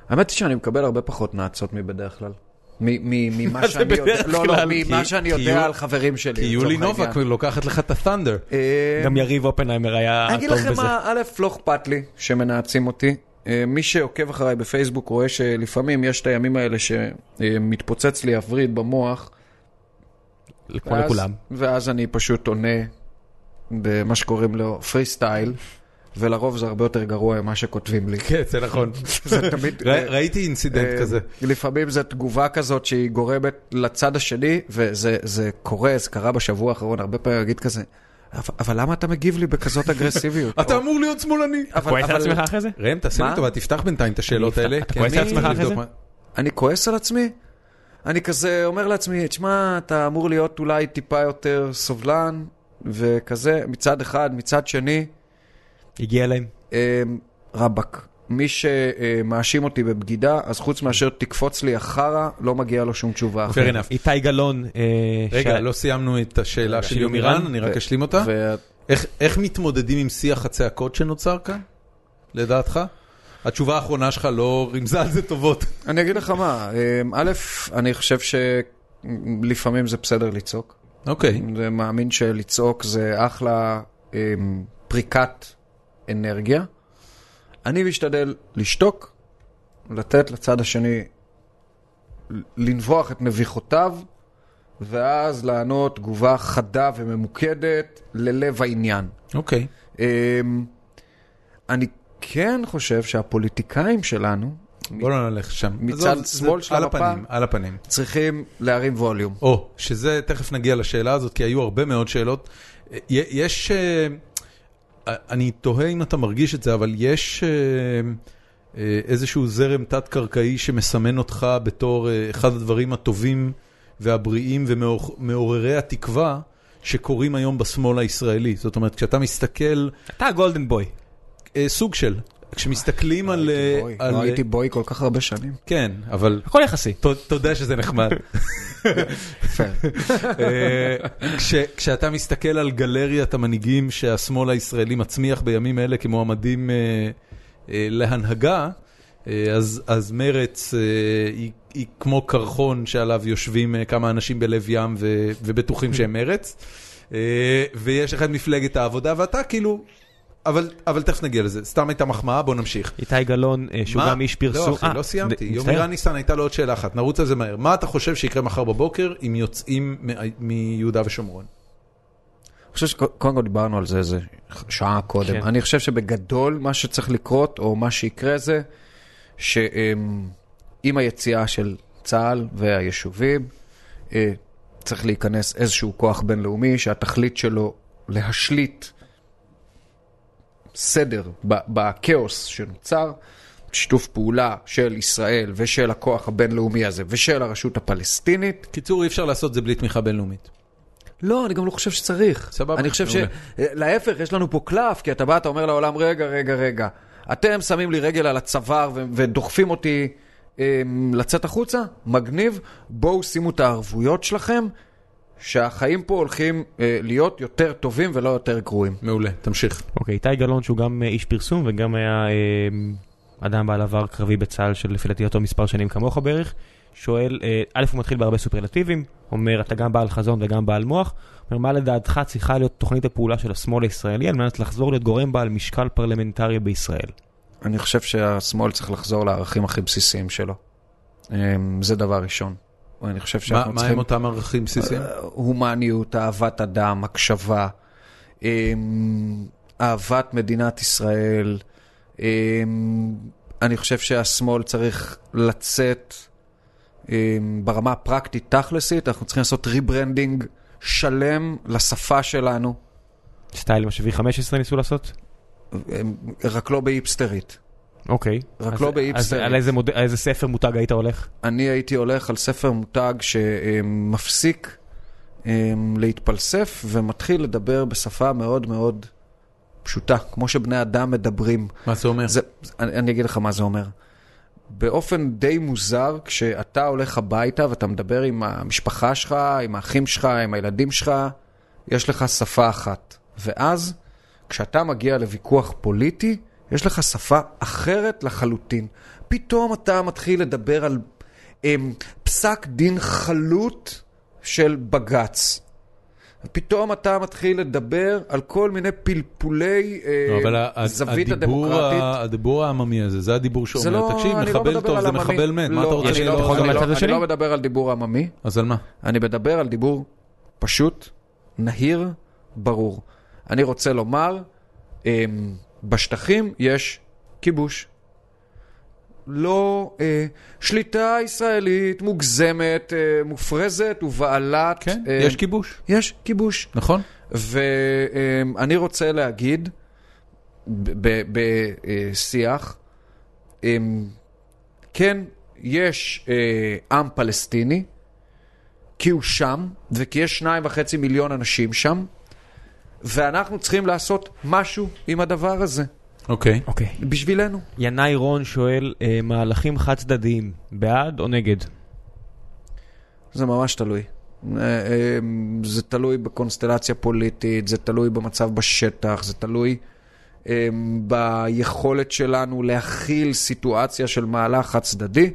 Speaker 3: האמת היא שאני מקבל הרבה פחות נאצות מבדרך כלל. מ- מ- ממה
Speaker 2: זה
Speaker 3: שאני יודע,
Speaker 2: בדרך
Speaker 3: לא, לא,
Speaker 2: כלל?
Speaker 3: ממה
Speaker 1: כי-
Speaker 3: שאני
Speaker 1: כי
Speaker 3: יודע
Speaker 1: יו-
Speaker 3: על חברים שלי.
Speaker 1: כי יולי
Speaker 3: לצורך
Speaker 1: נובק
Speaker 3: העניין.
Speaker 1: לוקחת לך את הת'אנדר.
Speaker 3: אה,
Speaker 2: גם יריב אופנהיימר היה
Speaker 3: אני אגיד
Speaker 2: טוב
Speaker 3: לכם
Speaker 2: בזה.
Speaker 3: מה, א', לא אכפת לי שמנאצים אותי. אה, מי שעוקב אחריי בפייסבוק רואה שלפעמים יש את הימים האלה שמתפוצץ לי הווריד במוח.
Speaker 2: כמו
Speaker 3: ואז-
Speaker 2: לכולם.
Speaker 3: ואז אני פשוט עונה במה שקוראים לו פרי סטייל, ולרוב זה הרבה יותר גרוע ממה שכותבים לי.
Speaker 1: כן, זה נכון.
Speaker 3: זה תמיד...
Speaker 1: ר- ראיתי אינסידנט
Speaker 3: אה,
Speaker 1: כזה.
Speaker 3: לפעמים זו תגובה כזאת שהיא גורמת לצד השני, וזה זה קורה, זה קרה בשבוע האחרון, הרבה פעמים להגיד כזה, "אבל- אבל למה אתה מגיב לי בכזאת אגרסיביות?
Speaker 1: אתה אמור להיות שמאלני.
Speaker 3: אבל-
Speaker 2: כועס על
Speaker 3: אבל-
Speaker 2: עצמך אחרי זה?
Speaker 1: ראם, תעשה לי
Speaker 3: מה?
Speaker 1: טובה, תפתח בינתיים את השאלות
Speaker 2: אפתח.
Speaker 1: האלה.
Speaker 2: אתה
Speaker 1: כי
Speaker 2: כועס
Speaker 1: אני
Speaker 2: על עצמך אחרי
Speaker 1: אבדוק
Speaker 2: זה?
Speaker 1: מה-
Speaker 3: אני כועס על עצמי? אני כזה אומר לעצמי, תשמע, אתה אמור להיות אולי טיפה יותר סובלן, וכזה, מצד אחד, מצד שני,
Speaker 2: הגיע אליהם.
Speaker 3: אה, רבאק. מי שמאשים אותי בבגידה, אז חוץ מאשר תקפוץ לי החרא, לא מגיעה לו שום תשובה.
Speaker 1: Fair enough.
Speaker 2: כן. איתי גלאון. אה,
Speaker 1: רגע,
Speaker 2: ש-
Speaker 1: לא סיימנו את השאלה
Speaker 2: רגע,
Speaker 1: של
Speaker 2: של
Speaker 1: יומירן,
Speaker 2: יומירן?
Speaker 1: אני רק אשלים אותה.
Speaker 3: ו-
Speaker 1: איך, איך מתמודדים עם שיח הצעקות שנוצר כאן, לדעתך? התשובה האחרונה שלך לא רימזה על זה טובות.
Speaker 3: אני אגיד לך מה, אמ, א', אני חושב שלפעמים זה בסדר לצעוק.
Speaker 1: אוקיי.
Speaker 3: אני מאמין שלצעוק זה אחלה אמ, פריקת אנרגיה. אני משתדל לשתוק, לתת לצד השני ל- לנבוח את נביחותיו, ואז לענות תגובה חדה וממוקדת ללב העניין.
Speaker 1: אוקיי.
Speaker 3: אמ, אני כן חושב שהפוליטיקאים שלנו,
Speaker 1: בוא לא נלך שם.
Speaker 3: מצד
Speaker 1: עזוב, זה-
Speaker 3: שמאל של
Speaker 1: על
Speaker 3: המפה?
Speaker 1: הפנים, על הפנים.
Speaker 3: צריכים להרים ווליום.
Speaker 1: או, שזה, תכף נגיע לשאלה הזאת, כי היו הרבה מאוד שאלות. אה, יש, אה, אני תוהה אם אתה מרגיש את זה, אבל יש אה, אה, איזשהו זרם תת-קרקעי שמסמן אותך בתור אה, אחד הדברים הטובים והבריאים ומעוררי התקווה שקורים היום בשמאל הישראלי. זאת אומרת, כשאתה מסתכל,
Speaker 2: אתה הגולדן בוי.
Speaker 1: אה, סוג של, כשמסתכלים על... אה,
Speaker 3: בוי.
Speaker 1: על-
Speaker 3: לא הייתי בוי כל כך הרבה שנים.
Speaker 1: כן, אבל
Speaker 2: הכל יחסי.
Speaker 1: ת- תודה שזה נחמד. אה, כש, כשאתה מסתכל על גלריית המנהיגים שהשמאל הישראלי מצמיח בימים אלה כמועמדים אה, אה, להנהגה, אה, אז, אז מרץ אה, היא, היא כמו קרחון שעליו יושבים אה, כמה אנשים בלב ים ו, ובטוחים שהם מרץ, אה, ויש לך את מפלגת העבודה ואתה כאילו... אבל, אבל תכף נגיע לזה, סתם הייתה מחמאה, בוא נמשיך.
Speaker 2: איתי גלאון, אה, שהוא
Speaker 1: מה?
Speaker 2: גם איש פרסום.
Speaker 1: לא, אחי,
Speaker 2: אה,
Speaker 1: לא סיימתי.
Speaker 2: מצטער.
Speaker 1: יומירה ניסן, הייתה לו עוד שאלה אחת, נרוץ על זה מהר. מה אתה חושב שיקרה מחר בבוקר אם יוצאים מ- מיהודה ושומרון?
Speaker 3: אני חושב שקודם כל דיברנו על זה איזה שעה קודם.
Speaker 2: כן.
Speaker 3: אני חושב שבגדול מה שצריך לקרות, או מה שיקרה זה, שעם היציאה של צה"ל והיישובים, אה, צריך להיכנס איזשהו כוח בינלאומי שהתכלית שלו להשליט סדר ב- בכאוס שנוצר, שיתוף פעולה של ישראל ושל הכוח הבינלאומי הזה ושל הרשות הפלסטינית,
Speaker 1: קיצור, אי אפשר לעשות את זה בלי תמיכה בינלאומית.
Speaker 3: לא, אני גם לא חושב שצריך.
Speaker 1: סבבה,
Speaker 3: אני חושב ש...
Speaker 1: מעולה.
Speaker 3: להפך, יש לנו פה קלף, כי אתה בא, אתה אומר לעולם, רגע, רגע, רגע, אתם שמים לי רגל על הצוואר ו- ודוחפים אותי אמ, לצאת החוצה? מגניב, בואו שימו את הערבויות שלכם, שהחיים פה הולכים אה, להיות יותר טובים ולא יותר גרועים.
Speaker 1: מעולה, תמשיך.
Speaker 2: אוקיי, איתי גלאון שהוא גם אה, איש פרסום וגם היה אה, אדם בעל עבר קרבי בצה"ל של לפי דעתי אותו מספר שנים כמוך בערך, שואל, אה, א' הוא מתחיל בהרבה סופרלטיבים, אומר אתה גם בעל חזון וגם בעל מוח, אומר מה לדעתך צריכה להיות תוכנית הפעולה של השמאל הישראלי על מנת לחזור להיות גורם בעל משקל פרלמנטרי בישראל.
Speaker 3: אני חושב שהשמאל צריך לחזור לערכים הכי בסיסיים שלו. אמ, זה דבר ראשון. אני חושב
Speaker 1: מה
Speaker 3: שאנחנו
Speaker 1: מה
Speaker 3: צריכים...
Speaker 1: הם אותם ערכים בסיסיים?
Speaker 3: הומניות, אהבת אדם, הקשבה, אמ, אהבת מדינת ישראל. אמ, אני חושב שהשמאל צריך לצאת אמ, ברמה הפרקטית תכלסית, אנחנו צריכים לעשות ריברנדינג שלם לשפה שלנו,
Speaker 2: סטייל מה ש 15 ניסו לעשות?
Speaker 3: אמ, רק לא בהיפסטרית.
Speaker 2: אוקיי.
Speaker 3: רק
Speaker 2: אז-
Speaker 3: לא באיפס
Speaker 2: אז
Speaker 3: ארץ.
Speaker 2: על איזה מוד- על איזה ספר מותג היית הולך?
Speaker 3: אני הייתי הולך על ספר מותג שמפסיק אמ, להתפלסף ומתחיל לדבר בשפה מאוד מאוד פשוטה, כמו שבני אדם מדברים.
Speaker 1: מה זה אומר?
Speaker 3: זה, אני, אני אגיד לך מה זה אומר. באופן די מוזר, כשאתה הולך הביתה ואתה מדבר עם המשפחה שלך, עם האחים שלך, עם הילדים שלך, יש לך שפה אחת. ואז, כשאתה מגיע לוויכוח פוליטי, יש לך שפה אחרת לחלוטין. פתאום אתה מתחיל לדבר על הם, פסק דין חלוט של בג"ץ. פתאום אתה מתחיל לדבר על כל מיני פלפולי
Speaker 1: לא,
Speaker 3: אה,
Speaker 1: אבל ה- ה-
Speaker 3: זווית
Speaker 1: הדיבור ה-
Speaker 3: הדמוקרטית.
Speaker 1: הדיבור העממי הזה, זה הדיבור
Speaker 3: זה לא,
Speaker 1: שאומר, תקשיב,
Speaker 3: אני לא
Speaker 1: מחבל
Speaker 3: מדבר
Speaker 1: טוב
Speaker 3: על
Speaker 1: זה
Speaker 3: עממי.
Speaker 1: מחבל מת, מה
Speaker 3: לא,
Speaker 1: אתה רוצה
Speaker 3: אני
Speaker 1: שיהיה
Speaker 3: לא-
Speaker 1: לו?
Speaker 2: יכול גם
Speaker 3: אני לא-
Speaker 2: לצד השני?
Speaker 3: אני לא מדבר על דיבור עממי,
Speaker 1: אז על מה?
Speaker 3: אני מדבר על דיבור פשוט, נהיר, ברור. אני רוצה לומר, אמ, בשטחים יש כיבוש. לא אה, שליטה ישראלית מוגזמת, אה, מופרזת ובעלת...
Speaker 1: כן,
Speaker 3: אה,
Speaker 1: יש כיבוש,
Speaker 3: יש כיבוש.
Speaker 1: נכון?
Speaker 3: ואני רוצה להגיד בשיח, אמ, כן, יש אה, עם פלסטיני, כי הוא שם, וכי יש שניים וחצי מיליון אנשים שם, ואנחנו צריכים לעשות משהו עם הדבר הזה,
Speaker 1: אוקיי.
Speaker 2: אוקיי.
Speaker 3: בשבילנו.
Speaker 2: ינאי רון שואל, אה, מהלכים חד צדדיים, בעד או נגד?
Speaker 3: זה ממש תלוי. אה, אה, זה תלוי בקונסטלציה פוליטית, זה תלוי במצב בשטח, זה תלוי אה, ביכולת שלנו להכיל סיטואציה של מהלך חד צדדי.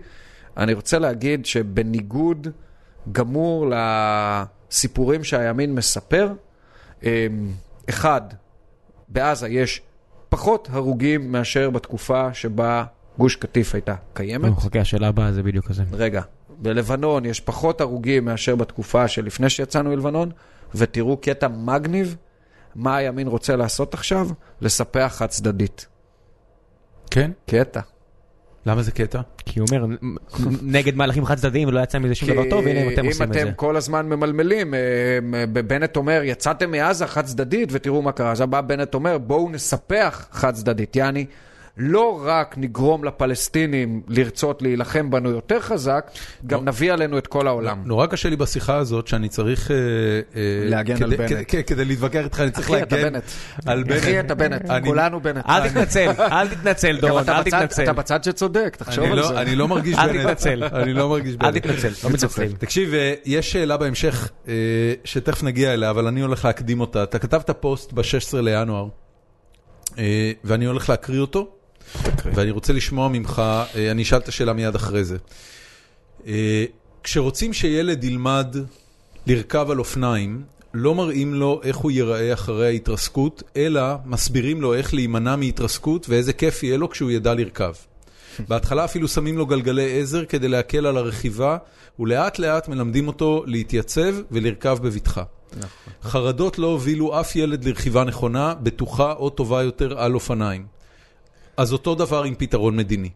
Speaker 3: אני רוצה להגיד שבניגוד גמור לסיפורים שהימין מספר, אה, אחד, בעזה יש פחות הרוגים מאשר בתקופה שבה גוש קטיף הייתה קיימת.
Speaker 2: לא, חכה, השאלה הבאה זה בדיוק כזה.
Speaker 3: רגע, בלבנון יש פחות הרוגים מאשר בתקופה שלפני שיצאנו מלבנון, ותראו קטע מגניב, מה הימין רוצה לעשות עכשיו? לספח חד צדדית.
Speaker 1: כן?
Speaker 3: קטע.
Speaker 1: למה זה קטע?
Speaker 2: כי הוא אומר, נ- נ- נגד מהלכים חד צדדיים ולא יצא מזה שום דבר לא טוב, הנה אתם עושים את
Speaker 3: אם
Speaker 2: זה.
Speaker 3: אתם כל הזמן ממלמלים, אה, אה, בנט אומר, יצאתם מעזה חד צדדית, ותראו מה קרה. אז הבא בנט אומר, בואו נספח חד צדדית. יעני, לא רק נגרום לפלסטינים לרצות להילחם בנו יותר חזק, גם נביא עלינו את כל העולם.
Speaker 1: נורא קשה לי בשיחה הזאת שאני צריך... אה, אה,
Speaker 3: להגן
Speaker 1: כדי-
Speaker 3: על בנט.
Speaker 1: כדי- כן, כדי להתווכח איתך, אני צריך
Speaker 3: אחי, אתה
Speaker 1: להגן
Speaker 3: בנט.
Speaker 1: על בנט.
Speaker 3: אחי, אתה בנט.
Speaker 1: אני-
Speaker 3: כולנו בנט.
Speaker 2: אל תתנצל, אל תתנצל
Speaker 3: גם
Speaker 2: דורון,
Speaker 3: אתה
Speaker 2: אל
Speaker 3: בצד-
Speaker 2: תתנצל.
Speaker 3: אתה בצד שצודק, תחשוב
Speaker 1: לא, אני
Speaker 3: על
Speaker 1: לא-
Speaker 3: זה.
Speaker 1: אני לא מרגיש
Speaker 2: אל
Speaker 1: בנט.
Speaker 2: תתנצל.
Speaker 1: אני לא מרגיש בנט.
Speaker 2: אל תתנצל, לא מתנצל.
Speaker 1: תקשיב, אה, יש שאלה בהמשך, אה, שתכף נגיע אליה, אבל אני הולך להקדים אותה. אתה כתבת פוסט ב-16 לינואר, אה, ואני הולך להקריא אותו, ואני רוצה לשמוע ממך, אה, אני אשאל את השאלה מיד אחרי זה. אה, כשרוצים שילד ילמד לרכב על אופניים, לא מראים לו איך הוא ייראה אחרי ההתרסקות, אלא מסבירים לו איך להימנע מהתרסקות ואיזה כיף יהיה לו כשהוא ידע לרכב. בהתחלה אפילו שמים לו גלגלי עזר כדי להקל על הרכיבה, ולאט לאט מלמדים אותו להתייצב ולרכב בבטחה. חרדות לא הובילו אף ילד לרכיבה נכונה, בטוחה או טובה יותר על אופניים. אז אותו דבר עם פתרון מדיני.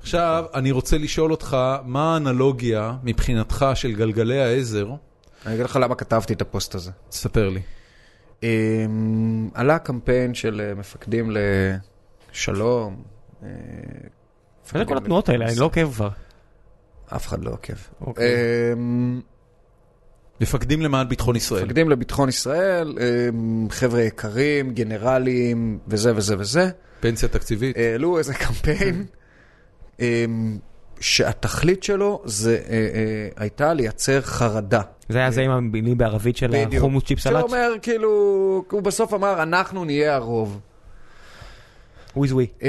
Speaker 1: עכשיו, אני רוצה לשאול אותך, מה האנלוגיה מבחינתך של גלגלי העזר?
Speaker 3: אני אגיד לך למה כתבתי את הפוסט הזה.
Speaker 1: תספר לי.
Speaker 3: אמ, עלה קמפיין של אה, מפקדים לשלום. אה,
Speaker 2: זה כל התנועות האלה, אני לא עוקב כבר.
Speaker 3: אף אחד לא עוקב.
Speaker 2: אוקיי.
Speaker 3: אמ,
Speaker 1: מפקדים למען ביטחון ישראל.
Speaker 3: מפקדים לביטחון ישראל, אמ, חבר'ה יקרים, גנרלים, וזה וזה וזה.
Speaker 1: פנסיה תקציבית.
Speaker 3: העלו איזה קמפיין אמ, שהתכלית שלו זה, אה, אה, הייתה לייצר חרדה.
Speaker 2: זה היה זה
Speaker 3: אה,
Speaker 2: עם המילים בערבית של החומוס צ'יפ סלט?
Speaker 3: שאומר, כאילו, הוא בסוף אמר, אנחנו נהיה הרוב.
Speaker 2: וויז ווי.
Speaker 3: אה,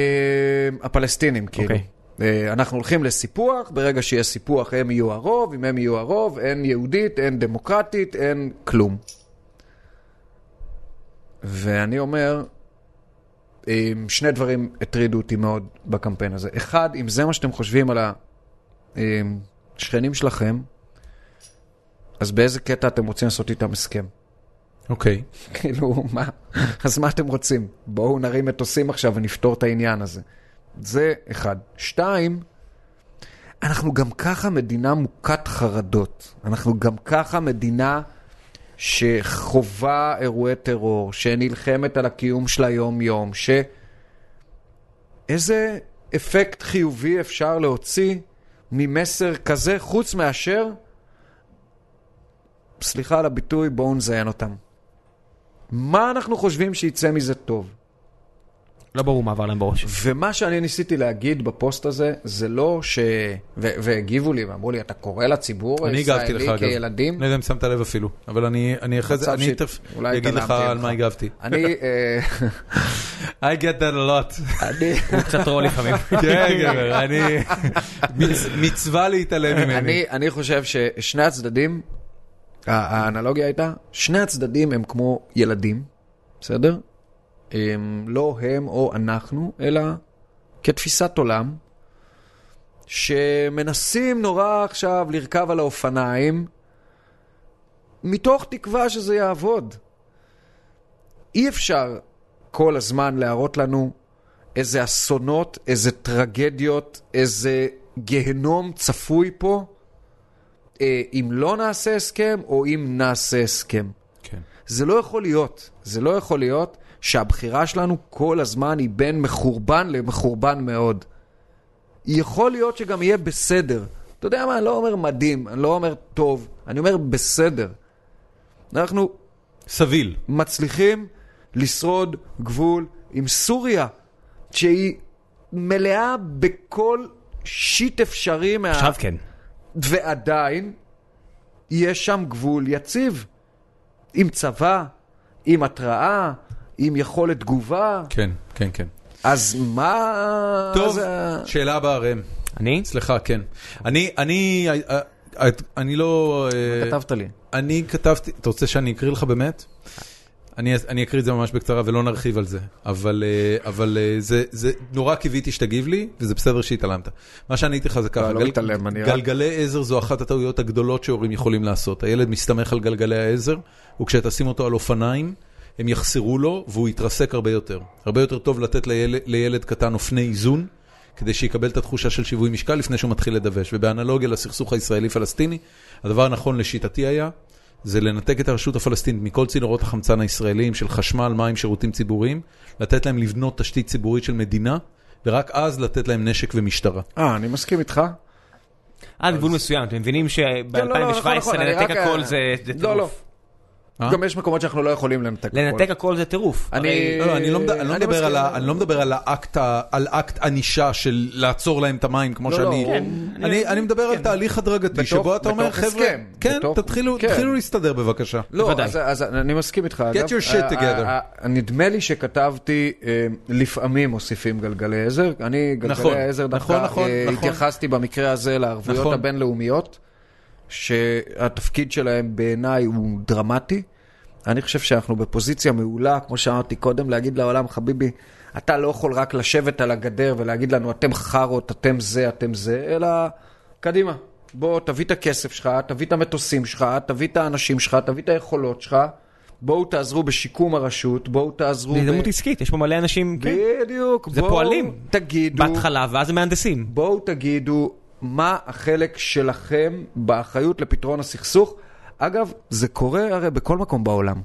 Speaker 3: הפלסטינים, כאילו.
Speaker 2: אוקיי.
Speaker 3: אה, אנחנו הולכים לסיפוח, ברגע שיהיה סיפוח הם יהיו הרוב, אם הם יהיו הרוב, אין יהודית, אין דמוקרטית, אין כלום. ואני אומר, אה, שני דברים הטרידו אותי מאוד בקמפיין הזה. אחד, אם זה מה שאתם חושבים על השכנים שלכם, אז באיזה קטע אתם רוצים לעשות איתם הסכם?
Speaker 1: אוקיי.
Speaker 3: כאילו, מה? אז מה אתם רוצים? בואו נרים מטוסים עכשיו ונפתור את העניין הזה. זה אחד. שתיים, אנחנו גם ככה מדינה מוכת חרדות. אנחנו גם ככה מדינה שחווה אירועי טרור, שנלחמת על הקיום שלה יום-יום, ש... איזה אפקט חיובי אפשר להוציא ממסר כזה, חוץ מאשר, סליחה על הביטוי, בואו נזיין אותם. מה אנחנו חושבים שיצא מזה טוב?
Speaker 2: לא ברור מה עבר להם בראש.
Speaker 3: ומה שאני ניסיתי להגיד בפוסט הזה, זה לא ש... ו- והגיבו לי ואמרו לי, אתה קורא לציבור
Speaker 1: אני הגבתי לך,
Speaker 3: הישראלי
Speaker 1: אגב.
Speaker 3: כילדים?
Speaker 1: לא יודע אם שמת לב אפילו, אבל אני אני אחרי זה,
Speaker 3: מצב
Speaker 1: אני
Speaker 3: שהת-
Speaker 1: תכף
Speaker 3: אולי
Speaker 1: אגיד לך
Speaker 3: התעלמתי
Speaker 1: על מה
Speaker 3: ממך.
Speaker 1: הגבתי.
Speaker 3: אני... אה,
Speaker 1: I get that a lot.
Speaker 3: אני...
Speaker 2: הוא קצת טרול לפעמים.
Speaker 1: כן, גבר, אני... מצ- מצווה להתעלם ממני.
Speaker 3: אני, אני חושב ששני הצדדים, ה- האנלוגיה הייתה, שני הצדדים הם כמו ילדים, בסדר? הם, לא הם או אנחנו, אלא כתפיסת עולם, שמנסים נורא עכשיו לרכב על האופניים, מתוך תקווה שזה יעבוד. אי אפשר כל הזמן להראות לנו איזה אסונות, איזה טרגדיות, איזה גיהנום צפוי פה, אה, אם לא נעשה הסכם או אם נעשה הסכם.
Speaker 1: כן.
Speaker 3: זה לא יכול להיות. זה לא יכול להיות שהבחירה שלנו כל הזמן היא בין מחורבן למחורבן מאוד. יכול להיות שגם יהיה בסדר. אתה יודע מה, אני לא אומר מדהים, אני לא אומר טוב, אני אומר בסדר. אנחנו
Speaker 1: סביל.
Speaker 3: מצליחים לשרוד גבול עם סוריה, שהיא מלאה בכל שיט אפשרי מה...
Speaker 2: עכשיו כן.
Speaker 3: ועדיין יש שם גבול יציב. עם צבא, עם התראה, עם יכולת תגובה.
Speaker 1: כן, כן, כן.
Speaker 3: אז מה... אה,
Speaker 1: טוב,
Speaker 3: זה-
Speaker 1: שאלה הבאה, ראם.
Speaker 2: אני?
Speaker 1: אצלך, כן. אני, אני, אה, אה, אני לא... אה,
Speaker 3: כתבת לי.
Speaker 1: אני כתבתי, אתה רוצה שאני אקריא לך באמת? אני, אני אקריא את זה ממש בקצרה ולא נרחיב על זה, אבל, אה, אבל אה, זה, זה נורא קיוויתי שתגיב לי, וזה בסדר שהתעלמת. מה שעניתי לך זה ככה,
Speaker 3: לא מתעלם, אני רק-
Speaker 1: גלגלי עזר זו אחת הטעויות הגדולות שהורים יכולים לעשות. הילד מסתמך על גלגלי העזר, וכשתשים אותו על אופניים, הם יחסרו לו והוא יתרסק הרבה יותר. הרבה יותר טוב לתת לילד, לילד קטן אופני איזון, כדי שיקבל את התחושה של שיווי משקל לפני שהוא מתחיל לדווש. ובאנלוגיה לסכסוך הישראלי-פלסטיני, הדבר הנכון לשיטתי היה, זה לנתק את הרשות הפלסטינית מכל צינורות החמצן הישראליים של חשמל, מים, שירותים ציבוריים, לתת להם לבנות תשתית ציבורית של מדינה, ורק אז לתת להם נשק ומשטרה.
Speaker 3: אה, אני מסכים איתך.
Speaker 2: עד אה, גבול מסוים, אתם מבינים
Speaker 3: כן, לא, לא, נכון,
Speaker 2: שב-2017
Speaker 3: נכון, אני
Speaker 2: לנתק
Speaker 3: רק-
Speaker 2: הכל זה זה
Speaker 3: לא, לא.
Speaker 2: טירוף.
Speaker 1: אה?
Speaker 3: גם יש מקומות שאנחנו לא יכולים לנתק הכל.
Speaker 2: לנתק הכל זה טירוף.
Speaker 3: אה, אני...
Speaker 1: לא, לא, אני לא מד- אני לא מדבר
Speaker 3: מסכים.
Speaker 1: על ה- אני לא מדבר על האקט ה- על אקט ענישה של לעצור להם את המים כמו
Speaker 3: לא, לא,
Speaker 1: שאני...
Speaker 3: כן,
Speaker 1: אני- אני מדבר על תהליך הדרגתי
Speaker 3: בתוך-
Speaker 1: שבו אתה אומר,
Speaker 3: בתוך
Speaker 1: חבר'ה,
Speaker 3: הסכם,
Speaker 1: כן,
Speaker 3: בתוך-
Speaker 1: תתחילו
Speaker 3: כן.
Speaker 1: תתחילו להסתדר בבקשה.
Speaker 3: לא,
Speaker 2: בוודאי.
Speaker 3: אז, אז אני מסכים איתך. Get
Speaker 1: your shit together.
Speaker 3: אה, נדמה לי שכתבתי, אה, לפעמים מוסיפים גלגלי עזר. אני גלגלי
Speaker 1: נכון,
Speaker 3: עזר דווקא
Speaker 1: נכון, נכון,
Speaker 3: אה,
Speaker 1: נכון.
Speaker 3: התייחסתי במקרה הזה לערבויות
Speaker 1: נכון.
Speaker 3: הבינלאומיות, שהתפקיד שלהם בעיניי הוא דרמטי. אני חושב שאנחנו בפוזיציה מעולה, כמו שאמרתי קודם, להגיד לעולם, חביבי, אתה לא יכול רק לשבת על הגדר ולהגיד לנו, אתם חארות, אתם זה, אתם זה, אלא קדימה. בוא, תביא את הכסף שלך, תביא את המטוסים שלך, תביא את האנשים שלך, תביא את היכולות שלך. בואו תעזרו בשיקום הרשות, בואו תעזרו...
Speaker 2: זה
Speaker 3: ב-
Speaker 2: הזדמנות עסקית, יש פה מלא אנשים, כן,
Speaker 3: בדיוק.
Speaker 2: זה
Speaker 3: בואו
Speaker 2: פועלים.
Speaker 3: תגידו...
Speaker 2: בהתחלה, ואז הם מהנדסים.
Speaker 3: בואו תגידו מה החלק שלכם באחריות לפתרון הסכסוך. אגב, זה קורה הרי בכל מקום בעולם.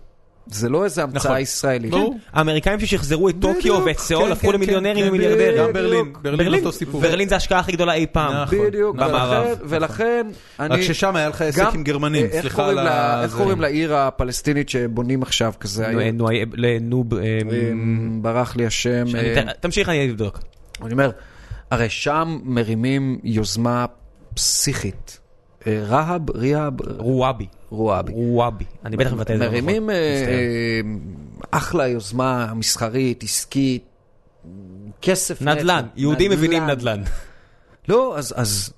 Speaker 3: זה לא איזה המצאה
Speaker 2: נכון.
Speaker 3: ישראלית.
Speaker 1: ברור.
Speaker 2: האמריקאים ששחזרו את טוקיו
Speaker 1: בדיוק,
Speaker 2: ואת סאול
Speaker 1: כן,
Speaker 2: הפכו
Speaker 1: כן,
Speaker 2: למיליונרים
Speaker 1: כן, כן,
Speaker 2: ומיליארדרים.
Speaker 1: גם ברלין, ברלין אותו סיפור.
Speaker 2: ברלין זה ההשקעה הכי גדולה אי פעם.
Speaker 1: נכון.
Speaker 3: כן, בדיוק,
Speaker 2: נכון. במערב,
Speaker 3: ולכן, ולכן אני...
Speaker 1: רק ששם היה לך עסק
Speaker 3: גם-
Speaker 1: עם גרמנים,
Speaker 3: אה, איך
Speaker 1: סליחה
Speaker 3: קוראים
Speaker 1: על
Speaker 3: לה-
Speaker 1: ה-
Speaker 3: איך
Speaker 1: זה.
Speaker 3: קוראים לעיר הפלסטינית שבונים עכשיו כזה?
Speaker 2: נו, אה,
Speaker 3: העיר-
Speaker 2: נו, אה, ל- נו, ב- אה,
Speaker 3: אמ, ברח לי השם.
Speaker 2: אני-
Speaker 3: אה,
Speaker 2: תמשיך, אני אבדוק.
Speaker 3: אני אומר, הרי שם מרימים יוזמה פסיכית. אה, רהב, ריהב,
Speaker 2: רוואבי.
Speaker 3: רועבי.
Speaker 2: רוואבי. אני בטח מבטא את זה. לא
Speaker 3: מרימים
Speaker 2: נכון.
Speaker 3: אה,
Speaker 2: מצטער.
Speaker 3: אה, אחלה יוזמה מסחרית, עסקית, כסף.
Speaker 2: נדל"ן.
Speaker 3: נטו.
Speaker 2: יהודים מבינים נדל"ן.
Speaker 3: לא, אז, אז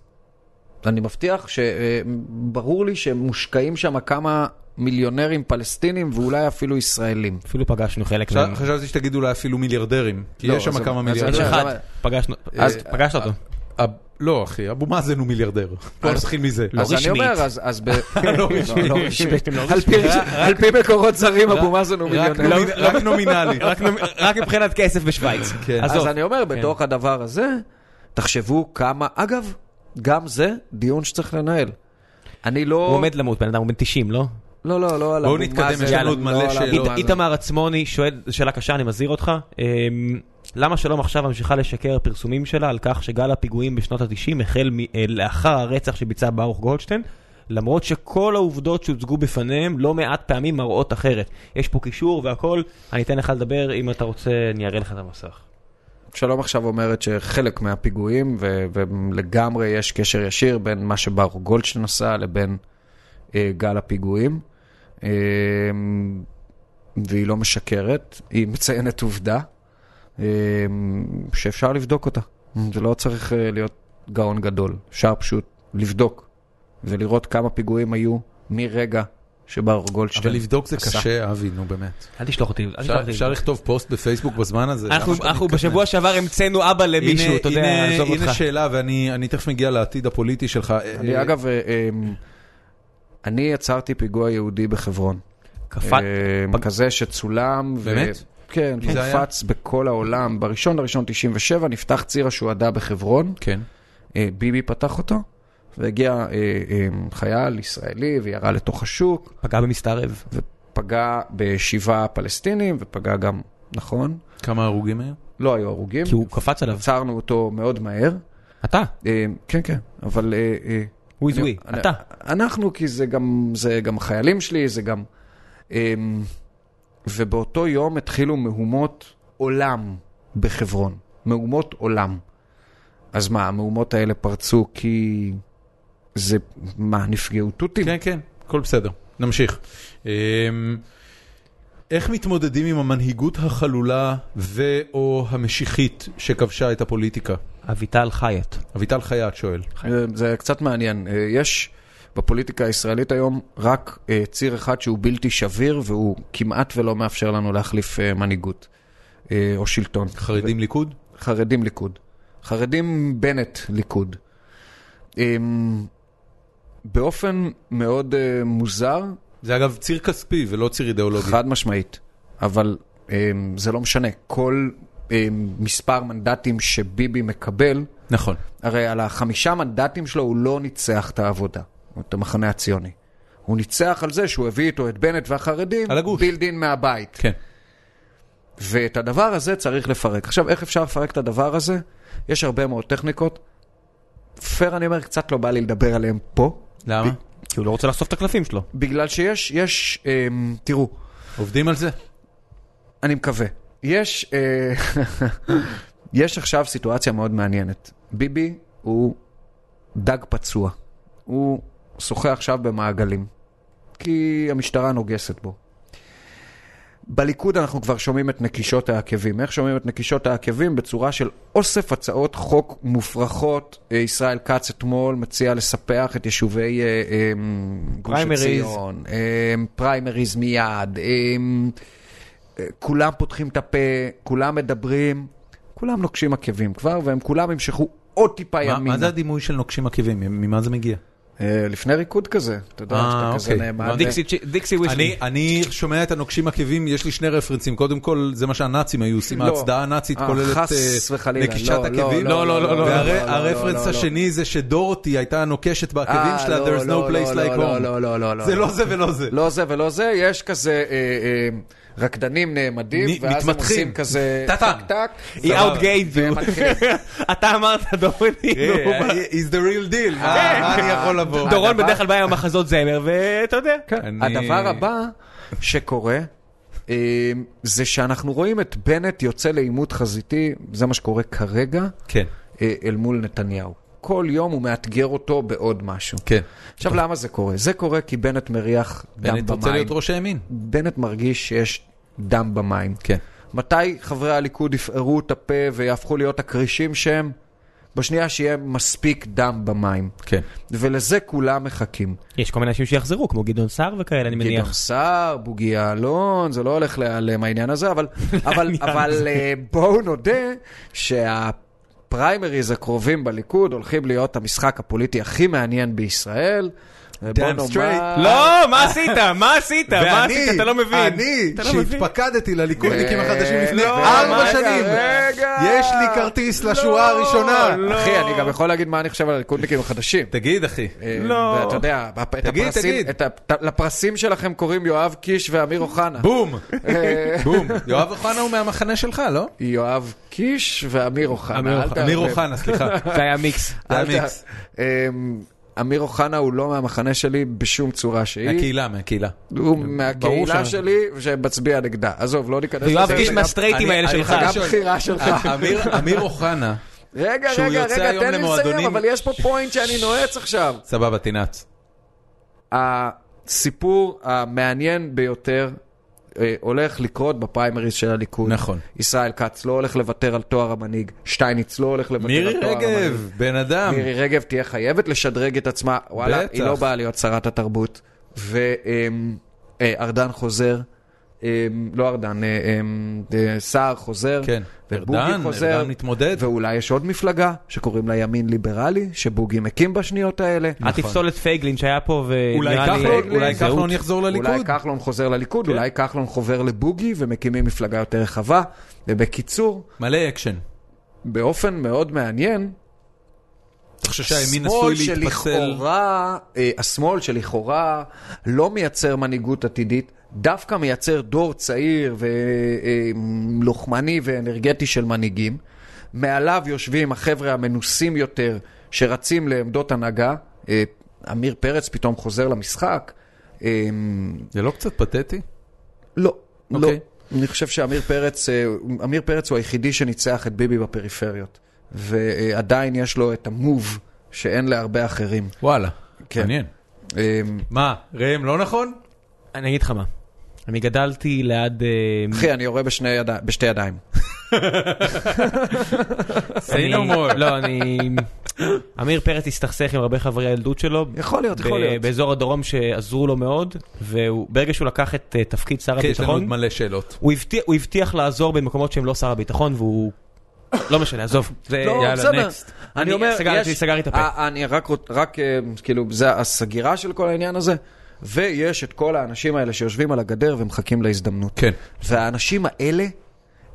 Speaker 3: אני מבטיח שברור לי שמושקעים שם כמה מיליונרים פלסטינים ואולי אפילו ישראלים.
Speaker 2: אפילו פגשנו חלק
Speaker 1: עכשיו,
Speaker 2: מהם.
Speaker 1: חשבתי שתגיד אולי אפילו מיליארדרים, כי
Speaker 3: לא,
Speaker 1: יש
Speaker 3: אז-
Speaker 1: שם כמה
Speaker 3: אז-
Speaker 2: יש
Speaker 1: מיליארדרים.
Speaker 3: אז-
Speaker 2: אחד,
Speaker 3: למה-
Speaker 2: פגשנו,
Speaker 1: אה,
Speaker 2: אז פגשת אותו.
Speaker 1: אב- לא אחי, אבו מאזן הוא מיליארדר. בוא נתחיל מזה.
Speaker 2: לא
Speaker 3: אה, אז אני
Speaker 2: רשמית.
Speaker 3: אומר, אז, אז ב...
Speaker 1: לא רשמית.
Speaker 3: לא רשמית. על פי- על פי מקורות זרים אבו מאזן הוא
Speaker 1: רק
Speaker 3: מיליונר.
Speaker 2: לא-
Speaker 1: נומינ- רק נומינלי.
Speaker 2: רק נ- רק מבחינת כסף בשוויץ.
Speaker 1: כן.
Speaker 2: עזוב.
Speaker 3: אז אני אומר, בתוך הדבר הזה, תחשבו כמה, אגב, גם זה דיון שצריך לנהל. אני לא...
Speaker 2: הוא עומד למות, בן אדם הוא בן 90, לא?
Speaker 3: לא, לא, לא על
Speaker 1: בואו
Speaker 3: אבו
Speaker 1: נתקדם,
Speaker 3: מאזן,
Speaker 1: יש לנו
Speaker 3: לא
Speaker 1: עוד
Speaker 3: על
Speaker 1: מלא
Speaker 3: אבו
Speaker 1: שאלות.
Speaker 3: מאזן.
Speaker 2: איתמר- איתמר עצמוני שואל שאלה קשה, אני מזהיר אותך. אמ, למה שלום עכשיו ממשיכה לשקר פרסומים שלה על כך שגל הפיגועים בשנות ה-90 החל מ- אה, לאחר הרצח שביצע ברוך גולדשטיין? למרות שכל העובדות שהוצגו בפניהם לא מעט פעמים מראות אחרת. יש פה קישור והכל, אני אתן לך לדבר, אם אתה רוצה אני אראה לך את המסך.
Speaker 3: שלום עכשיו אומרת שחלק מהפיגועים, ו- ולגמרי יש קשר ישיר בין מה שברוך גולדשטיין עשה לבין אה, גל הפיגועים. אה, והיא לא משקרת, היא מציינת עובדה אה, שאפשר לבדוק אותה. זה לא צריך אה, להיות גאון גדול, אפשר פשוט לבדוק ולראות כמה פיגועים היו מרגע שברוך
Speaker 1: אבל
Speaker 3: גולדשטיין.
Speaker 1: לבדוק זה
Speaker 3: עשה.
Speaker 1: קשה, אבי, נו באמת.
Speaker 2: אל תשלוח אותי, אל
Speaker 1: אפשר-
Speaker 2: תשלח אותי.
Speaker 1: אפשר לכתוב פוסט בפייסבוק בזמן הזה.
Speaker 2: אנחנו-
Speaker 1: למה שאתה
Speaker 2: אנחנו
Speaker 1: מתכוון?
Speaker 2: בשבוע שעבר המצאנו אבא למישהו,
Speaker 1: הנה-
Speaker 2: אתה יודע,
Speaker 1: הנה-
Speaker 2: עזוב
Speaker 1: הנה
Speaker 2: אותך.
Speaker 1: שאלה, ואני אני תכף מגיע לעתיד הפוליטי שלך.
Speaker 3: אני
Speaker 1: אה,
Speaker 3: אגב, אה, אה, אני יצרתי פיגוע יהודי בחברון.
Speaker 2: קפץ,
Speaker 3: אה, כזה שצולם. ו-
Speaker 1: באמת?
Speaker 3: כן,
Speaker 1: מי זה היה?
Speaker 3: הופץ בכל העולם. בראשון לראשון 97 נפתח ציר השוהדא בחברון,
Speaker 1: כן.
Speaker 3: אה, ביבי פתח אותו, והגיע אה, אה, חייל ישראלי וירה לתוך השוק,
Speaker 2: פגע במסתערב.
Speaker 3: ופגע בשבעה פלסטינים, ופגע גם, נכון?
Speaker 1: כמה הרוגים היו?
Speaker 3: לא היו הרוגים,
Speaker 2: כי הוא קפץ עליו.
Speaker 3: עצרנו אותו מאוד מהר.
Speaker 2: אתה,
Speaker 3: אה, כן, כן, אבל... אה, אה,
Speaker 2: הוא is
Speaker 3: אני-
Speaker 2: we,
Speaker 3: אני-
Speaker 2: אתה.
Speaker 3: אנחנו, כי זה גם, זה גם חיילים שלי, זה גם... אמ, ובאותו יום התחילו מהומות עולם בחברון. מהומות עולם. אז מה, המהומות האלה פרצו כי... זה, מה, נפגעו תותים?
Speaker 1: כן, כן, הכל בסדר. נמשיך. אמ, איך מתמודדים עם המנהיגות החלולה ו/או המשיחית שכבשה את הפוליטיקה?
Speaker 2: אביטל חיית.
Speaker 1: אביטל חייט שואל.
Speaker 3: אה, זה קצת מעניין. אה, יש בפוליטיקה הישראלית היום רק אה, ציר אחד שהוא בלתי שביר, והוא כמעט ולא מאפשר לנו להחליף אה, מנהיגות אה, או שלטון.
Speaker 1: חרדים ליכוד?
Speaker 3: חרדים ליכוד. חרדים בנט ליכוד. אמ, באופן מאוד אה, מוזר,
Speaker 1: זה אגב ציר כספי ולא ציר אידיאולוגי.
Speaker 3: חד משמעית, אבל אמ, זה לא משנה. כל אמ, מספר מנדטים שביבי מקבל,
Speaker 1: נכון.
Speaker 3: הרי על החמישה מנדטים שלו הוא לא ניצח את העבודה, או את המחנה הציוני. הוא ניצח על זה שהוא הביא איתו את בנט והחרדים,
Speaker 1: על הגוש.
Speaker 3: בילדין מהבית.
Speaker 1: כן.
Speaker 3: ואת הדבר הזה צריך לפרק. עכשיו, איך אפשר לפרק את הדבר הזה? יש הרבה מאוד טכניקות. פייר, אני אומר, קצת לא בא לי לדבר עליהן פה,
Speaker 1: למה?
Speaker 2: כי הוא לא רוצה לחשוף את הקלפים שלו.
Speaker 3: בגלל שיש, יש, אה, תראו,
Speaker 1: עובדים על זה?
Speaker 3: אני מקווה. יש, אה, יש עכשיו סיטואציה מאוד מעניינת. ביבי הוא דג פצוע. הוא שוחה עכשיו במעגלים, כי המשטרה נוגסת בו. בליכוד אנחנו כבר שומעים את נקישות העקבים. איך שומעים את נקישות העקבים? בצורה של אוסף הצעות חוק מופרכות. אה, ישראל כץ אתמול מציע לספח את יישובי אה, אה, גוש
Speaker 2: פריימריז.
Speaker 3: עציון, אה, פריימריז מיד, אה, כולם פותחים את הפה, כולם מדברים, כולם נוקשים עקבים כבר, והם כולם ימשכו עוד טיפה
Speaker 1: מה-
Speaker 3: ימינה.
Speaker 1: מה זה הדימוי של נוקשים עקבים? ממה זה מגיע?
Speaker 3: אה, לפני ריקוד כזה, אתה יודע,
Speaker 1: אה,
Speaker 3: שאתה כזה
Speaker 1: אוקיי.
Speaker 3: נאמן. אה,
Speaker 1: הבנתי.
Speaker 2: לא, דיקסי צ'י- דיקסי ווישלי.
Speaker 1: אני, אני שומע את הנוקשים עקבים, יש לי שני רפרנסים. קודם כל, זה מה שהנאצים היו עושים,
Speaker 3: לא.
Speaker 1: ההצדעה הנאצית
Speaker 3: אה,
Speaker 1: כוללת
Speaker 3: חס
Speaker 1: אה,
Speaker 3: וחלילה.
Speaker 1: נקישת
Speaker 3: לא, לא,
Speaker 1: עקבים.
Speaker 3: לא,
Speaker 2: לא, לא, לא,
Speaker 1: והרי-
Speaker 3: לא, לא,
Speaker 1: הרפרנס
Speaker 3: לא, לא.
Speaker 1: השני זה שדורותי הייתה נוקשת בעקבים
Speaker 3: אה,
Speaker 1: שלה,
Speaker 3: לא,
Speaker 1: there's
Speaker 3: לא,
Speaker 1: no place
Speaker 3: לא,
Speaker 1: like
Speaker 3: לא,
Speaker 1: home.
Speaker 3: לא, לא, לא, לא.
Speaker 1: זה לא זה ולא זה.
Speaker 3: לא זה ולא זה, יש כזה אה, אה, רקדנים נעמדים,
Speaker 1: נ-
Speaker 3: ואז הם
Speaker 1: מתמתחים.
Speaker 3: עושים כזה
Speaker 1: טק, טק.
Speaker 3: טק,
Speaker 2: היא
Speaker 1: סבבה.
Speaker 2: outgate you. אתה אמרת דורון, כאילו,
Speaker 1: אה, is the real deal,
Speaker 3: אה,
Speaker 1: מה מה אני יכול לבוא?
Speaker 2: דורון
Speaker 3: הדבר-
Speaker 2: בדרך כלל בא עם המחזות זמר, ואתה יודע.
Speaker 1: אני-
Speaker 3: הדבר הבא שקורה, אה, זה שאנחנו רואים את בנט יוצא לעימות חזיתי, זה מה שקורה כרגע,
Speaker 1: כן,
Speaker 3: אה, אל מול נתניהו. כל יום הוא מאתגר אותו בעוד משהו.
Speaker 1: כן.
Speaker 3: עכשיו, למה זה קורה? זה קורה כי בנט מריח דם
Speaker 1: אני רוצה
Speaker 3: במים.
Speaker 1: להיות ראש הימין.
Speaker 3: בנט מרגיש שיש דם במים.
Speaker 1: כן.
Speaker 3: מתי חברי הליכוד יפערו את הפה ויהפכו להיות הכרישים שהם? בשנייה שיהיה מספיק דם במים.
Speaker 1: כן.
Speaker 3: ולזה כולם מחכים.
Speaker 2: יש כל מיני אנשים שיחזרו, כמו גדעון סער וכאלה, אני מניח.
Speaker 3: גדעון סער, בוגי יעלון, זה לא הולך להיעלם העניין הזה, אבל, אבל,
Speaker 2: העניין
Speaker 3: אבל
Speaker 2: הזה.
Speaker 3: אה, בואו נודה שהפריימריז הקרובים בליכוד הולכים להיות המשחק הפוליטי הכי מעניין בישראל. ובוא
Speaker 1: Damn
Speaker 3: נאמר-
Speaker 1: straight.
Speaker 2: לא, מה עשית? מה עשית?
Speaker 3: אה,
Speaker 2: מה עשית? אתה לא מבין.
Speaker 1: אני,
Speaker 2: אתה לא מבין.
Speaker 1: שהתפקדתי לליכודניקים
Speaker 3: אה,
Speaker 1: החדשים לפני
Speaker 2: לא,
Speaker 1: ארבע
Speaker 2: רגע,
Speaker 1: שנים,
Speaker 3: רגע. לא,
Speaker 1: יש לי כרטיס לשורה הראשונה.
Speaker 2: לא.
Speaker 3: אחי, אני גם יכול להגיד מה אני חושב על הליכודניקים החדשים.
Speaker 1: תגיד, אחי.
Speaker 3: אה,
Speaker 2: לא.
Speaker 3: ואתה יודע, הפ- את
Speaker 1: תגיד,
Speaker 3: הפרסים,
Speaker 1: תגיד.
Speaker 3: את ה- לפרסים שלכם קוראים יואב קיש ואמיר אוחנה.
Speaker 1: בום,
Speaker 3: אה,
Speaker 1: בום. יואב אוחנה הוא מהמחנה שלך, לא?
Speaker 3: יואב קיש ואמיר אוחנה.
Speaker 2: אמיר
Speaker 3: אל
Speaker 2: אוחנה.
Speaker 3: תערבב.
Speaker 1: אמיר אוחנה, סליחה.
Speaker 2: זה היה מיקס.
Speaker 1: זה
Speaker 3: אל ת-
Speaker 1: המיקס.
Speaker 3: אמ, אמיר אוחנה הוא לא מהמחנה שלי בשום צורה שהיא.
Speaker 1: מהקהילה, מהקהילה.
Speaker 3: הוא
Speaker 2: ברור
Speaker 3: מהקהילה
Speaker 2: ש-
Speaker 3: שלי שמצביע נגדה. עזוב, לא ניכנס לזה.
Speaker 2: ויואב קיש
Speaker 3: וגם-
Speaker 2: מהסטרייטים
Speaker 1: אני-
Speaker 2: האלה
Speaker 1: אני
Speaker 2: שלך.
Speaker 1: חייב
Speaker 3: גם
Speaker 1: לשאול.
Speaker 3: בחירה שלך.
Speaker 1: אמיר- אמיר אוחנה,
Speaker 3: רגע,
Speaker 1: אה, שהוא
Speaker 3: רגע,
Speaker 1: יוצא
Speaker 3: רגע,
Speaker 1: היום
Speaker 3: תן לי לסיים,
Speaker 1: למועדונים-
Speaker 3: אבל יש פה פוינט שאני נועץ עכשיו.
Speaker 1: סבבה, תנעץ.
Speaker 3: הסיפור המעניין ביותר אה, הולך לקרות בפריימריז של הליכוד.
Speaker 1: נכון.
Speaker 3: ישראל כץ לא הולך לוותר על תואר המנהיג, שטייניץ לא הולך לוותר
Speaker 1: מירי
Speaker 3: על תואר המנהיג.
Speaker 1: רגב, בן אדם.
Speaker 3: מירי רגב תהיה חייבת לשדרג את עצמה, וואלה,
Speaker 1: בטח.
Speaker 3: היא לא באה להיות שרת התרבות. וארדן חוזר, אמ, לא ארדן, אה, אמ, אה, סער חוזר,
Speaker 1: כן.
Speaker 3: ובוגי
Speaker 1: ארדן,
Speaker 3: חוזר,
Speaker 1: ארדן מתמודד.
Speaker 3: ואולי יש עוד מפלגה שקוראים לה ימין ליברלי, שבוגי מקים בשניות האלה.
Speaker 2: אל תפסול את פייגלין שהיה פה,
Speaker 1: אולי
Speaker 2: ונראה לי...
Speaker 1: כחלון, אולי
Speaker 2: זהות.
Speaker 1: כחלון יחזור
Speaker 3: אולי
Speaker 1: לליכוד. כן.
Speaker 3: כחלון חוזר לליכוד, אולי כחלון חובר לבוגי ומקימים מפלגה יותר רחבה. ובקיצור,
Speaker 1: מלא אקשן.
Speaker 3: באופן מאוד מעניין,
Speaker 1: אתה חושב שהימין
Speaker 3: שמאל
Speaker 1: עשוי להתפצל?
Speaker 3: שלכאורה, אה, השמאל שלכאורה לא מייצר מנהיגות עתידית, דווקא מייצר דור צעיר ולוחמני ואנרגטי של מנהיגים. מעליו יושבים החבר'ה המנוסים יותר שרצים לעמדות הנהגה. אה, עמיר פרץ פתאום חוזר למשחק. אה,
Speaker 1: זה לא קצת פתטי?
Speaker 3: לא, לא.
Speaker 1: אוקיי.
Speaker 3: אני חושב שעמיר פרץ, אה, עמיר פרץ הוא היחידי שניצח את ביבי בפריפריות. ועדיין יש לו את המוב שאין להרבה אחרים.
Speaker 1: וואלה,
Speaker 3: כן.
Speaker 1: מעניין.
Speaker 3: אמ,
Speaker 1: מה, ראם לא נכון?
Speaker 2: אני אגיד לך מה. אני גדלתי ליד... אה,
Speaker 3: אחי, אני יורה בשני ידי- בשתי ידיים.
Speaker 1: say no more.
Speaker 2: לא, אני... עמיר פרץ הסתכסך עם הרבה חברי הילדות שלו.
Speaker 3: יכול להיות, יכול
Speaker 2: ב-
Speaker 3: להיות.
Speaker 2: באזור הדרום שעזרו לו מאוד, וברגע שהוא לקח את אה, תפקיד שר
Speaker 1: כן, יש לנו עוד
Speaker 2: הביטחון,
Speaker 1: מלא שאלות.
Speaker 2: הוא הבטיח- הוא הבטיח לעזור במקומות שהם לא שר הביטחון, והוא... לא משנה, עזוב. זה-
Speaker 3: לא,
Speaker 2: יאללה,
Speaker 3: בסדר.
Speaker 2: next.
Speaker 3: אני אומר,
Speaker 2: סגרתי-
Speaker 3: יש-
Speaker 2: סגרתי את הפה.
Speaker 3: אה, אני רק, רוצ- רק, אה, כאילו, זה הסגירה של כל העניין הזה. ויש את כל האנשים האלה שיושבים על הגדר ומחכים להזדמנות.
Speaker 1: כן.
Speaker 3: והאנשים האלה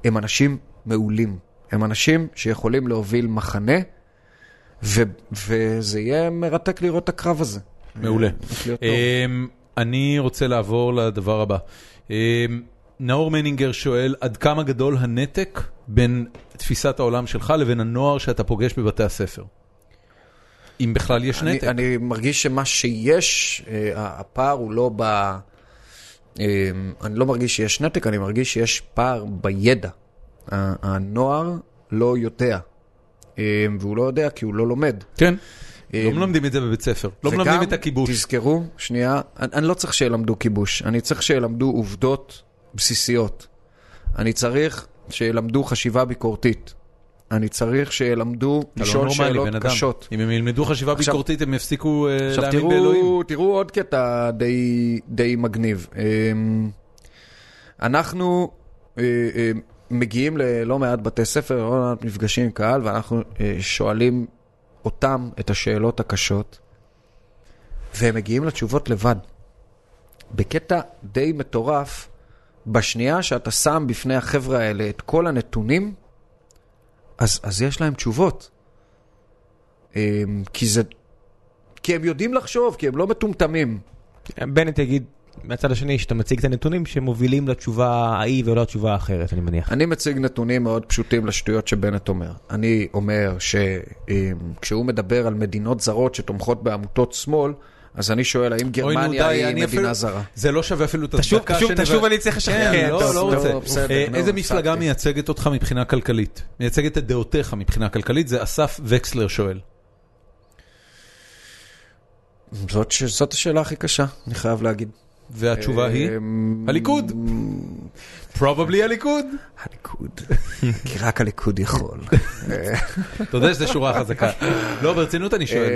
Speaker 3: הם אנשים מעולים. הם אנשים שיכולים להוביל מחנה, ו- וזה יהיה מרתק לראות את הקרב הזה.
Speaker 1: מעולה.
Speaker 3: הולך להיות טוב.
Speaker 1: אמ, אני רוצה לעבור לדבר הבא. אמ, נאור מנינגר שואל, עד כמה גדול הנתק בין תפיסת העולם שלך לבין הנוער שאתה פוגש בבתי הספר? אם בכלל יש
Speaker 3: אני-
Speaker 1: נתק.
Speaker 3: אני מרגיש שמה שיש, אה, הפער הוא לא ב... אה, אני לא מרגיש שיש נתק, אני מרגיש שיש פער בידע. ה- הנוער לא יודע, אה, והוא לא יודע כי הוא לא לומד.
Speaker 1: כן.
Speaker 3: אה,
Speaker 1: לא מלמדים את זה בבית ספר. לא
Speaker 3: וגם,
Speaker 1: מלמדים את הכיבוש.
Speaker 3: תזכרו, שנייה, אני, אני לא צריך שילמדו כיבוש, אני צריך שילמדו עובדות בסיסיות. אני צריך שילמדו חשיבה ביקורתית. אני צריך שילמדו
Speaker 1: אתה לא
Speaker 3: לשאול
Speaker 1: נורמלי,
Speaker 3: שאלות
Speaker 1: בן אדם.
Speaker 3: קשות.
Speaker 1: אם הם ילמדו חשיבה
Speaker 3: עכשיו-
Speaker 1: ביקורתית, הם יפסיקו אה,
Speaker 3: עכשיו
Speaker 1: להאמין באלוהים.
Speaker 3: תראו, תראו עוד קטע די, די מגניב. אמ, אנחנו אה, אה, מגיעים ללא מעט בתי ספר, לא מעט מפגשים עם קהל, ואנחנו אה, שואלים אותם את השאלות הקשות, והם מגיעים לתשובות לבד. בקטע די מטורף, בשנייה שאתה שם בפני החבר'ה האלה את כל הנתונים, אז, אז יש להם תשובות. אמ, כי זה, כי הם יודעים לחשוב, כי הם לא מטומטמים.
Speaker 2: בנט יגיד מהצד השני שאתה מציג את הנתונים שמובילים לתשובה ההיא ולא התשובה האחרת, אני מניח.
Speaker 3: אני מציג נתונים מאוד פשוטים לשטויות שבנט אומר. אני אומר שכשהוא מדבר על מדינות זרות שתומכות בעמותות שמאל, אז אני שואל האם
Speaker 1: אוי, נו,
Speaker 3: גרמניה
Speaker 1: די,
Speaker 3: היא
Speaker 1: אני
Speaker 3: מדינה
Speaker 1: אפילו-
Speaker 3: זרה.
Speaker 1: זה לא שווה אפילו את
Speaker 2: תשוב-
Speaker 1: הדקה
Speaker 2: תשוב-
Speaker 1: שנבז-
Speaker 2: תשוב, אני צריך
Speaker 1: כן,
Speaker 2: לשכנע. כן,
Speaker 1: לא,
Speaker 2: טוב,
Speaker 1: לא
Speaker 3: טוב,
Speaker 1: רוצה.
Speaker 3: בסדר,
Speaker 1: אה,
Speaker 3: נו,
Speaker 1: איזה מפלגה
Speaker 3: הפסקתי.
Speaker 1: מייצגת אותך מבחינה כלכלית? מייצגת את דעותיך מבחינה כלכלית? זה אסף וקסלר שואל.
Speaker 3: זאת, ש... זאת השאלה הכי קשה, אני חייב להגיד.
Speaker 1: והתשובה היא?
Speaker 3: אמ,
Speaker 1: הליכוד. Probably הליכוד.
Speaker 3: הליכוד. כי רק הליכוד יכול.
Speaker 1: אתה יודע שזו שורה חזקה. לא, ברצינות אני שואל.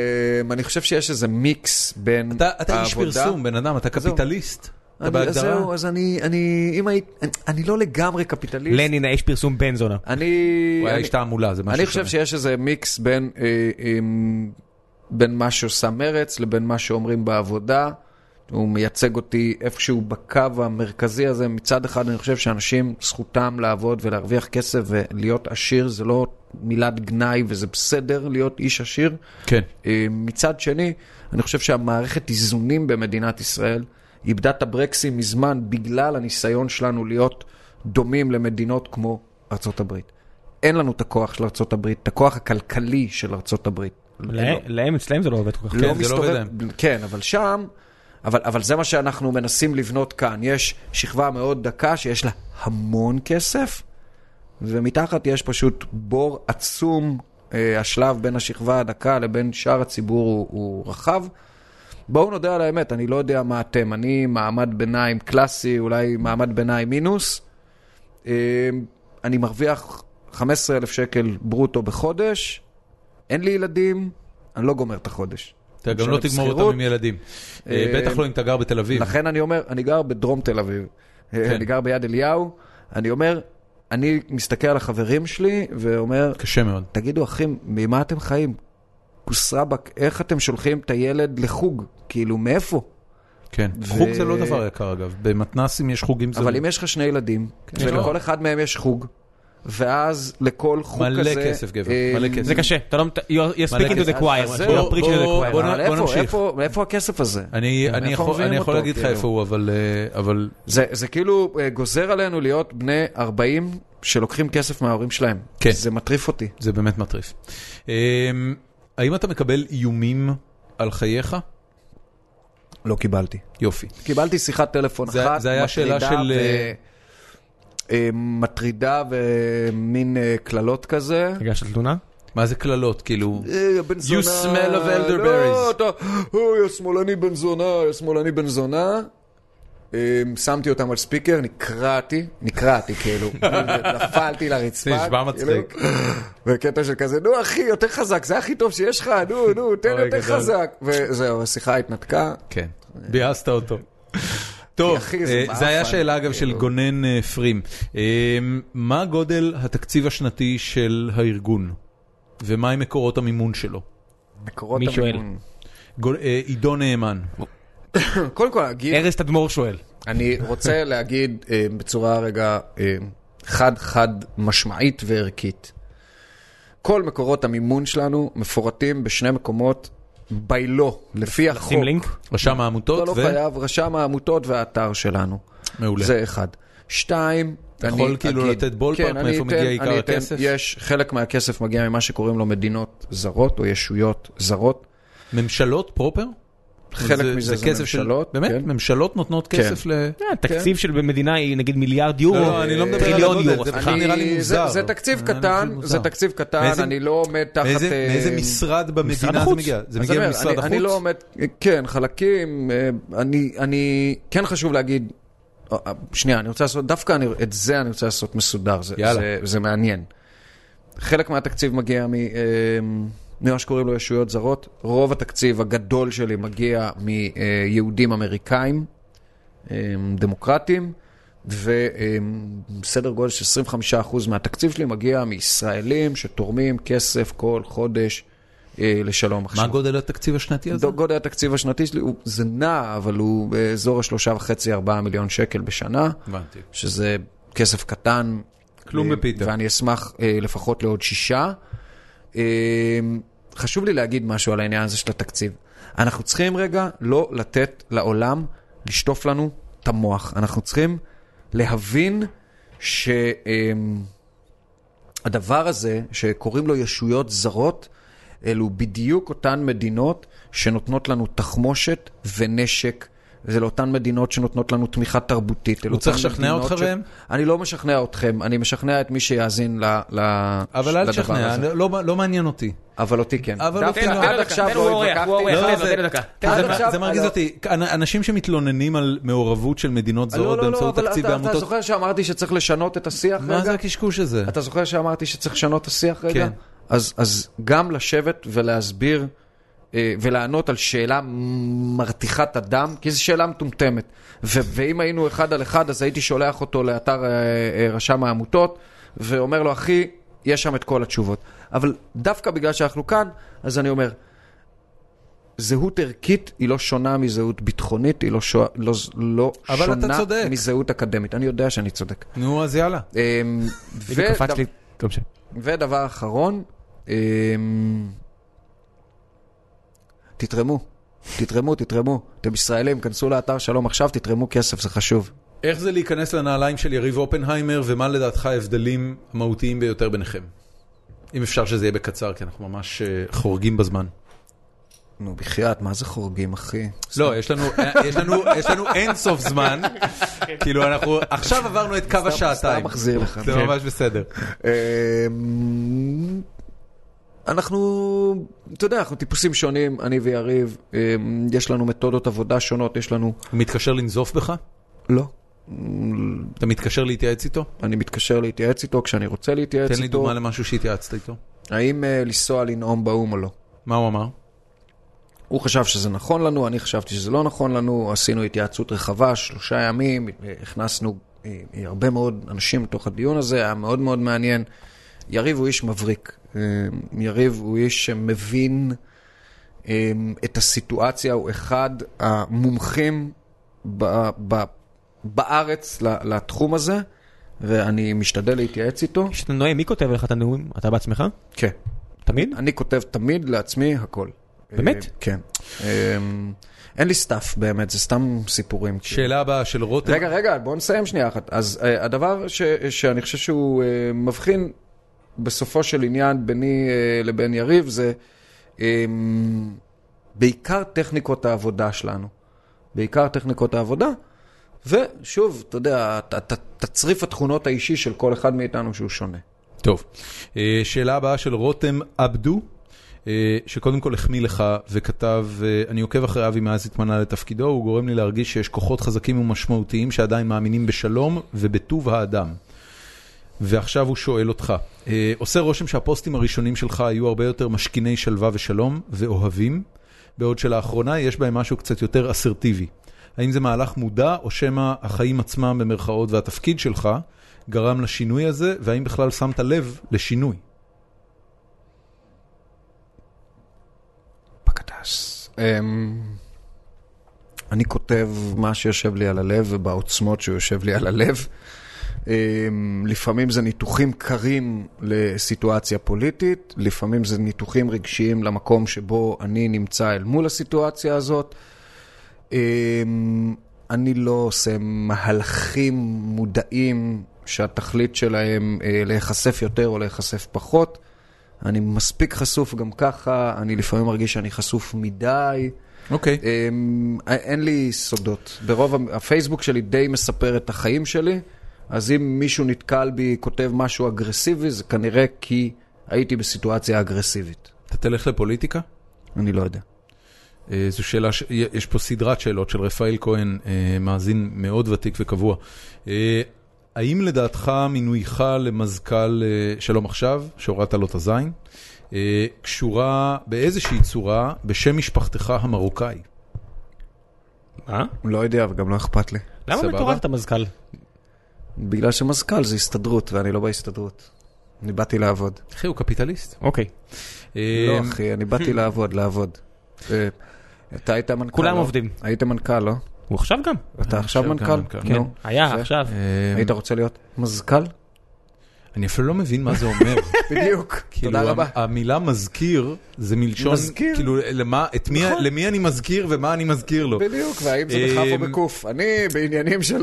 Speaker 3: אמ, אני חושב שיש איזה מיקס בין
Speaker 1: אתה אתה איש
Speaker 3: העבודה-
Speaker 1: פרסום, בן אדם, אתה קפיטליסט. אתה
Speaker 3: אני- אז
Speaker 1: בהגדרה.
Speaker 3: זהו, אז אני, אני, אם היית, אני- אני לא לגמרי קפיטליסט.
Speaker 2: לנין האיש פרסום בן זונה.
Speaker 3: אני...
Speaker 1: הוא היה
Speaker 3: אני-
Speaker 1: איש תעמולה, זה משהו
Speaker 3: אני חושב שיש איזה מיקס בין, אה, אמ, בין מה שעושה מרץ לבין מה שאומרים בעבודה. הוא מייצג אותי איפשהו בקו המרכזי הזה. מצד אחד, אני חושב שאנשים, זכותם לעבוד ולהרוויח כסף ולהיות עשיר, זה לא מילת גנאי וזה בסדר להיות איש עשיר.
Speaker 1: כן.
Speaker 3: אה, מצד שני, אני חושב שהמערכת איזונים במדינת ישראל איבדה את הברקסים מזמן בגלל הניסיון שלנו להיות דומים למדינות כמו ארצות הברית. אין לנו את הכוח של ארצות הברית, את הכוח הכלכלי של ארצות הברית.
Speaker 2: לה- להם, אצלהם זה לא עובד כל כך.
Speaker 1: כן, זה לא עובד
Speaker 3: כן, אבל שם, אבל, אבל זה מה שאנחנו מנסים לבנות כאן. יש שכבה מאוד דקה שיש לה המון כסף, ומתחת יש פשוט בור עצום. אה, השלב בין השכבה הדקה לבין שאר הציבור הוא, הוא רחב. בואו נודה על האמת, אני לא יודע מה אתם. אני מעמד ביניים קלאסי, אולי מעמד ביניים מינוס. אה, אני מרוויח 15,000 שקל ברוטו בחודש, אין לי ילדים, אני לא גומר את החודש.
Speaker 1: אתה גם
Speaker 3: משלם
Speaker 1: לא תגמור
Speaker 3: שכירות.
Speaker 1: אותם עם ילדים. אה,
Speaker 3: אה,
Speaker 1: בטח לא אם אתה גר בתל אביב.
Speaker 3: לכן אני אומר, אני גר בדרום תל אביב,
Speaker 1: כן.
Speaker 3: כן. אני גר ביד אליהו, אני אומר, אני מסתכל על החברים שלי ואומר,
Speaker 1: קשה מאוד.
Speaker 3: תגידו אחים, ממה אתם חיים? כוסרבק, איך אתם שולחים את הילד לחוג? כאילו, מאיפה?
Speaker 1: כן. חוג זה לא דבר יקר אגב. במתנסים יש חוגים
Speaker 3: אבל
Speaker 1: זולים.
Speaker 3: אם יש לך שני ילדים,
Speaker 1: לא. כן.
Speaker 3: ולכל אחד מהם יש חוג, ואז לכל חוג
Speaker 1: מלא
Speaker 3: כזה...
Speaker 1: כסף, גבר,
Speaker 3: אה,
Speaker 1: מלא כסף.
Speaker 2: זה קשה, אתה לא... מת- you- You
Speaker 1: מלא
Speaker 2: speak into
Speaker 1: כסף.
Speaker 2: the
Speaker 3: אז
Speaker 2: choir,
Speaker 3: זהו,
Speaker 2: you preach to the
Speaker 1: בוא-
Speaker 2: choir.
Speaker 1: בוא
Speaker 3: אבל איפה,
Speaker 1: נמשיך.
Speaker 3: איפה, איפה הכסף הזה?
Speaker 1: אני,
Speaker 3: מאיפה
Speaker 1: אני, יכול,
Speaker 3: מביאים
Speaker 1: אני יכול
Speaker 3: אותו,
Speaker 1: להגיד לך
Speaker 3: כאילו?
Speaker 1: איפה הוא, אבל, אה, אבל
Speaker 3: זה, זה כאילו אה, גוזר עלינו להיות בני 40 שלוקחים כסף מההורים שלהם.
Speaker 1: כן.
Speaker 3: זה מטריף אותי.
Speaker 1: זה באמת מטריף. אמ, האם אתה מקבל איומים על חייך?
Speaker 3: לא קיבלתי.
Speaker 1: יופי.
Speaker 3: קיבלתי שיחת טלפון
Speaker 1: זה-
Speaker 3: אחת,
Speaker 1: זה היה שאלה
Speaker 3: מטרידה
Speaker 1: של,
Speaker 3: ו...
Speaker 1: אה,
Speaker 3: אה, מטרידה ומין אה, קללות כזה.
Speaker 2: הגשת תלונה?
Speaker 1: מה זה קללות? כאילו,
Speaker 3: אה, בן זונה...
Speaker 1: You smell of elderberries.
Speaker 3: לא, אתה... אוי, יא שמאלני בן זונה, יא שמאלני בן זונה. אה, שמתי אותם על ספיקר, נקרעתי, נקרעתי כאילו, נפלתי לרצפה.
Speaker 1: זה נשמע מצחיק.
Speaker 3: כאילו, וקטע של כזה, נו אחי, יותר חזק, זה הכי טוב שיש לך, נו, נו, תן
Speaker 1: אוי,
Speaker 3: יותר
Speaker 1: גדול.
Speaker 3: חזק. וזהו, השיחה התנתקה.
Speaker 1: כן, ביאסת אותו. טוב,
Speaker 3: אחי, זה
Speaker 1: אה,
Speaker 3: מאפן,
Speaker 1: זה היה שאלה אגב של
Speaker 3: כאילו.
Speaker 1: גונן אה, פרים. אמ, מה גודל התקציב השנתי של הארגון? ומהם מקורות המימון שלו?
Speaker 3: מקורות
Speaker 2: מי שואל?
Speaker 3: המימון.
Speaker 1: גול- אה, עידו נאמן.
Speaker 3: קודם כל, הגיל
Speaker 2: ארז תדמור שואל.
Speaker 3: אני רוצה להגיד אה, בצורה רגע אה, חד-חד משמעית וערכית. כל מקורות המימון שלנו מפורטים בשני מקומות ביילו, לפי החוק.
Speaker 2: שים לינק.
Speaker 1: רשם
Speaker 3: אתה
Speaker 1: העמותות
Speaker 3: לא
Speaker 1: ו...
Speaker 3: חייב, רשם העמותות והאתר שלנו.
Speaker 1: מעולה.
Speaker 3: זה אחד. שתיים,
Speaker 1: אתה יכול
Speaker 3: אני
Speaker 1: כאילו
Speaker 3: אגיד-
Speaker 1: לתת ballpark
Speaker 3: כן, אני
Speaker 1: מאיפה מגיע
Speaker 3: אתן-
Speaker 1: עיקר
Speaker 3: אני אתן-
Speaker 1: הכסף?
Speaker 3: יש, חלק מהכסף מגיע ממה שקוראים לו מדינות זרות או ישויות זרות.
Speaker 1: ממשלות פרופר?
Speaker 3: חלק מזה זה
Speaker 1: כסף של-
Speaker 3: ממשלות,
Speaker 1: באמת?
Speaker 3: כן.
Speaker 1: ממשלות נותנות כסף ל...
Speaker 2: אה, תקציב של במדינה היא נגיד מיליארד יורו,
Speaker 1: כן. לא, אני לא מדבר על
Speaker 2: טריליון
Speaker 1: הגודל,
Speaker 2: יורו,
Speaker 1: זה
Speaker 2: סליחה.
Speaker 1: בכלל נראה לי
Speaker 3: אני-
Speaker 1: מוזר.
Speaker 3: זה, זה תקציב
Speaker 1: נראה לי
Speaker 3: קטן,
Speaker 1: מוזר.
Speaker 3: זה תקציב קטן,
Speaker 1: מאיזה-
Speaker 3: אני לא עומד תחת...
Speaker 1: מאיזה
Speaker 3: אה,
Speaker 1: מאיזה משרד
Speaker 2: משרד
Speaker 1: במדינה זה
Speaker 2: החוץ.
Speaker 1: מגיע? זה
Speaker 3: אז
Speaker 1: מגיע
Speaker 3: אני אומר,
Speaker 1: ממשרד
Speaker 3: אני- אני לא
Speaker 1: החוץ?
Speaker 3: עומד, כן, חלקים, אה, אני, אני, כן חשוב להגיד, אה, אה, שנייה, אני רוצה לעשות, דווקא אני, את זה אני רוצה לעשות מסודר, זה,
Speaker 1: יאללה.
Speaker 3: זה, זה מעניין. חלק מהתקציב מגיע מ... אה, ממה שקוראים לו ישויות זרות, רוב התקציב הגדול שלי מגיע מיהודים אמריקאים, אה, דמוקרטים, וסדר גודל של 25% מהתקציב שלי מגיע מישראלים שתורמים כסף כל חודש אה, לשלום עכשיו.
Speaker 1: מה גודל התקציב השנתי הזה?
Speaker 3: דו- גודל התקציב השנתי שלי, הוא, זה נע, אבל הוא באזור השלושה וחצי, ארבעה מיליון שקל בשנה,
Speaker 1: הבנתי.
Speaker 3: שזה כסף קטן.
Speaker 1: כלום
Speaker 3: אה,
Speaker 1: בפיתה.
Speaker 3: ואני אשמח אה, לפחות לעוד שישה. אה, חשוב לי להגיד משהו על העניין הזה של התקציב. אנחנו צריכים רגע לא לתת לעולם לשטוף לנו את המוח. אנחנו צריכים להבין ש... אה, הדבר הזה, שקוראים לו ישויות זרות, אלו בדיוק אותן מדינות שנותנות לנו תחמושת ונשק. זה לאותן מדינות שנותנות לנו תמיכה תרבותית. אלו
Speaker 1: הוא צריך
Speaker 3: אותן
Speaker 1: לשכנע
Speaker 3: מדינות
Speaker 1: אותך בהם?
Speaker 3: אני לא משכנע אתכם, אני משכנע את מי שיאזין ל... ל...
Speaker 1: אבל אל
Speaker 3: לדבר
Speaker 1: תשכנע,
Speaker 3: הזה.
Speaker 1: לא לא מעניין אותי.
Speaker 2: אה,
Speaker 3: אבל אותי כן.
Speaker 1: אבל
Speaker 3: דווקא
Speaker 1: לא- תן לו
Speaker 3: עד
Speaker 1: דקה,
Speaker 3: עכשיו
Speaker 2: תן לו, הוא
Speaker 3: לא
Speaker 2: אורח, הוא
Speaker 3: התווכחתי.
Speaker 1: לא,
Speaker 2: אורח. תן לו, תן לו דקה.
Speaker 1: זה-
Speaker 3: עד
Speaker 1: זה-
Speaker 3: עכשיו-
Speaker 1: זה מרגיז
Speaker 3: לא.
Speaker 1: אותי, אנ- אנשים שמתלוננים על מעורבות של מדינות
Speaker 3: לא,
Speaker 1: זרות
Speaker 3: לא, לא,
Speaker 1: באמצעות
Speaker 3: אבל
Speaker 1: תקציב
Speaker 3: אתה אתה
Speaker 1: בעמותות,
Speaker 3: זוכר שאמרתי שצריך לשנות את השיח
Speaker 1: מה זה
Speaker 3: רגע?
Speaker 1: הקשקוש הזה?
Speaker 3: אתה זוכר שאמרתי שצריך לשנות את השיח רגע?
Speaker 1: כן.
Speaker 3: אז, אז גם לשבת ולהסביר אה, ולענות על שאלה מרתיחת הדם, כי זו שאלה מטומטמת. ו- ואם היינו אחד על אחד, אז הייתי שולח אותו לאתר אה, אה, רשם העמותות, ואומר לו, אחי, יש שם את כל התשובות. אבל דווקא בגלל שאנחנו כאן, אז אני אומר, זהות ערכית היא לא שונה מזהות ביטחונית, היא לא, שו... לא, לא
Speaker 1: אבל אתה
Speaker 3: שונה
Speaker 1: צודק.
Speaker 3: מזהות אקדמית. אני יודע שאני צודק.
Speaker 1: נו, אז יאללה.
Speaker 3: אמ,
Speaker 2: בדיוק
Speaker 3: ודבר-
Speaker 2: קפץ לי, לא משנה.
Speaker 3: ודבר אחרון, אמ, תתרמו, תתרמו, תתרמו. אתם ישראלים, כנסו לאתר שלום עכשיו, תתרמו כסף, זה חשוב.
Speaker 1: איך זה להיכנס לנעליים של יריב אופנהיימר, ומה לדעתך ההבדלים המהותיים ביותר ביניכם? אם אפשר שזה יהיה בקצר, כי אנחנו ממש אה, חורגים בזמן.
Speaker 3: נו, בחייאת, מה זה חורגים, אחי?
Speaker 1: לא, יש לנו, יש לנו, יש לנו אין סוף זמן. כאילו, אנחנו עכשיו עברנו את קו השעתיים.
Speaker 3: סתם מחזיר לך.
Speaker 1: זה
Speaker 3: כן.
Speaker 1: ממש בסדר.
Speaker 3: אמ, אנחנו, אתה יודע, אנחנו טיפוסים שונים, אני ויריב, אמ, יש לנו מתודות עבודה שונות, יש לנו...
Speaker 1: הוא מתקשר לנזוף בך?
Speaker 3: לא.
Speaker 1: אתה מתקשר להתייעץ איתו?
Speaker 3: אני מתקשר להתייעץ איתו כשאני רוצה להתייעץ איתו.
Speaker 1: תן לי דוגמה למשהו שהתייעצת איתו.
Speaker 3: האם אה, לנסוע לנאום באו"ם או לא?
Speaker 1: מה הוא אמר?
Speaker 3: הוא חשב שזה נכון לנו, אני חשבתי שזה לא נכון לנו, עשינו התייעצות רחבה, שלושה ימים, אה, הכנסנו אה, אה, הרבה מאוד אנשים לתוך הדיון הזה, היה מאוד מאוד מעניין. יריב הוא איש מבריק, אה, יריב הוא איש שמבין אה, את הסיטואציה, הוא אחד המומחים ב- ב- בארץ ל- לתחום הזה, ואני משתדל להתייעץ איתו.
Speaker 2: כשאתה נואם, מי כותב לך את הנאומים? אתה בעצמך?
Speaker 3: כן.
Speaker 2: תמיד?
Speaker 3: אני כותב תמיד לעצמי הכל.
Speaker 2: באמת?
Speaker 3: אה, כן. אה, אין לי סטאפ באמת, זה סתם סיפורים. כאילו.
Speaker 1: שאלה הבאה של רותם.
Speaker 3: רגע, רגע, בואו נסיים שנייה אחת. אז אה, הדבר ש- שאני חושב שהוא אה, מבחין בסופו של עניין ביני אה, לבין יריב זה אה, בעיקר טכניקות העבודה שלנו. בעיקר טכניקות העבודה. ושוב, אתה יודע, ת- ת- תצריף התכונות האישי של כל אחד מאיתנו שהוא שונה.
Speaker 1: טוב. אה, שאלה הבאה של רותם עבדו, אה, שקודם כל החמיא לך וכתב, אה, אני עוקב אחרי אבי מאז התמנה לתפקידו, הוא גורם לי להרגיש שיש כוחות חזקים ומשמעותיים שעדיין מאמינים בשלום ובטוב האדם. ועכשיו הוא שואל אותך, אה, עושה רושם שהפוסטים הראשונים שלך היו הרבה יותר משכיני שלווה ושלום ואוהבים, בעוד שלאחרונה יש בהם משהו קצת יותר אסרטיבי. האם זה מהלך מודע, או שמא החיים עצמם במרכאות והתפקיד שלך גרם לשינוי הזה, והאם בכלל שמת לב לשינוי?
Speaker 3: פקדס. אמ, אני כותב מה שיושב לי על הלב ובעוצמות שיושב לי על הלב. אמ, לפעמים זה ניתוחים קרים לסיטואציה פוליטית, לפעמים זה ניתוחים רגשיים למקום שבו אני נמצא אל מול הסיטואציה הזאת. אמ, אני לא עושה מהלכים מודעים שהתכלית שלהם אה, להיחשף יותר או להיחשף פחות. אני מספיק חשוף גם ככה, אני לפעמים מרגיש שאני חשוף מדי.
Speaker 1: אוקיי.
Speaker 3: אמ, אין לי סודות. ברוב המ- הפייסבוק שלי די מספר את החיים שלי, אז אם מישהו נתקל בי, כותב משהו אגרסיבי, זה כנראה כי הייתי בסיטואציה אגרסיבית.
Speaker 1: אתה תלך לפוליטיקה?
Speaker 3: אני לא יודע.
Speaker 1: אה, זו שאלה, ש... יש פה סדרת שאלות של רפאל כהן, אה, מאזין מאוד ותיק וקבוע. אה, האם לדעתך מינויך למזכ"ל אה, שלום עכשיו, שהורדת לו את הזין, אה, קשורה באיזושהי צורה בשם משפחתך המרוקאי?
Speaker 2: מה?
Speaker 3: לא יודע, וגם לא אכפת לי.
Speaker 2: אה? למה
Speaker 1: אה? סבבה.
Speaker 2: מטורף אתה מזכ"ל?
Speaker 3: בגלל שמזכ"ל זה הסתדרות, ואני לא בהסתדרות. אני באתי לעבוד.
Speaker 1: אחי, הוא קפיטליסט.
Speaker 2: אוקיי.
Speaker 1: אה,
Speaker 3: לא, אחי, אני באתי לעבוד, לעבוד. אה, אתה היית מנכ"ל,
Speaker 2: כולם
Speaker 3: לא?
Speaker 2: עובדים.
Speaker 3: היית מנכ"ל, לא?
Speaker 2: הוא עכשיו גם.
Speaker 3: אתה עכשיו
Speaker 1: אה, עכשיו גם
Speaker 3: מנכ"ל?
Speaker 1: מנכ"ל.
Speaker 2: כן.
Speaker 3: נו.
Speaker 2: היה
Speaker 3: זה-
Speaker 2: עכשיו.
Speaker 1: אה,
Speaker 3: היית רוצה להיות מזכ"ל?
Speaker 1: אני אפילו לא מבין מה זה אומר.
Speaker 3: בדיוק.
Speaker 1: כאילו,
Speaker 3: תודה רבה.
Speaker 1: המ- המילה מזכיר זה מלשון,
Speaker 3: מזכיר.
Speaker 1: כאילו, למה, את מי,
Speaker 2: נכון.
Speaker 1: למי אני מזכיר ומה אני מזכיר לו.
Speaker 3: בדיוק, והאם זה בכף
Speaker 1: אמ,
Speaker 3: או בקוף? אני בעניינים של...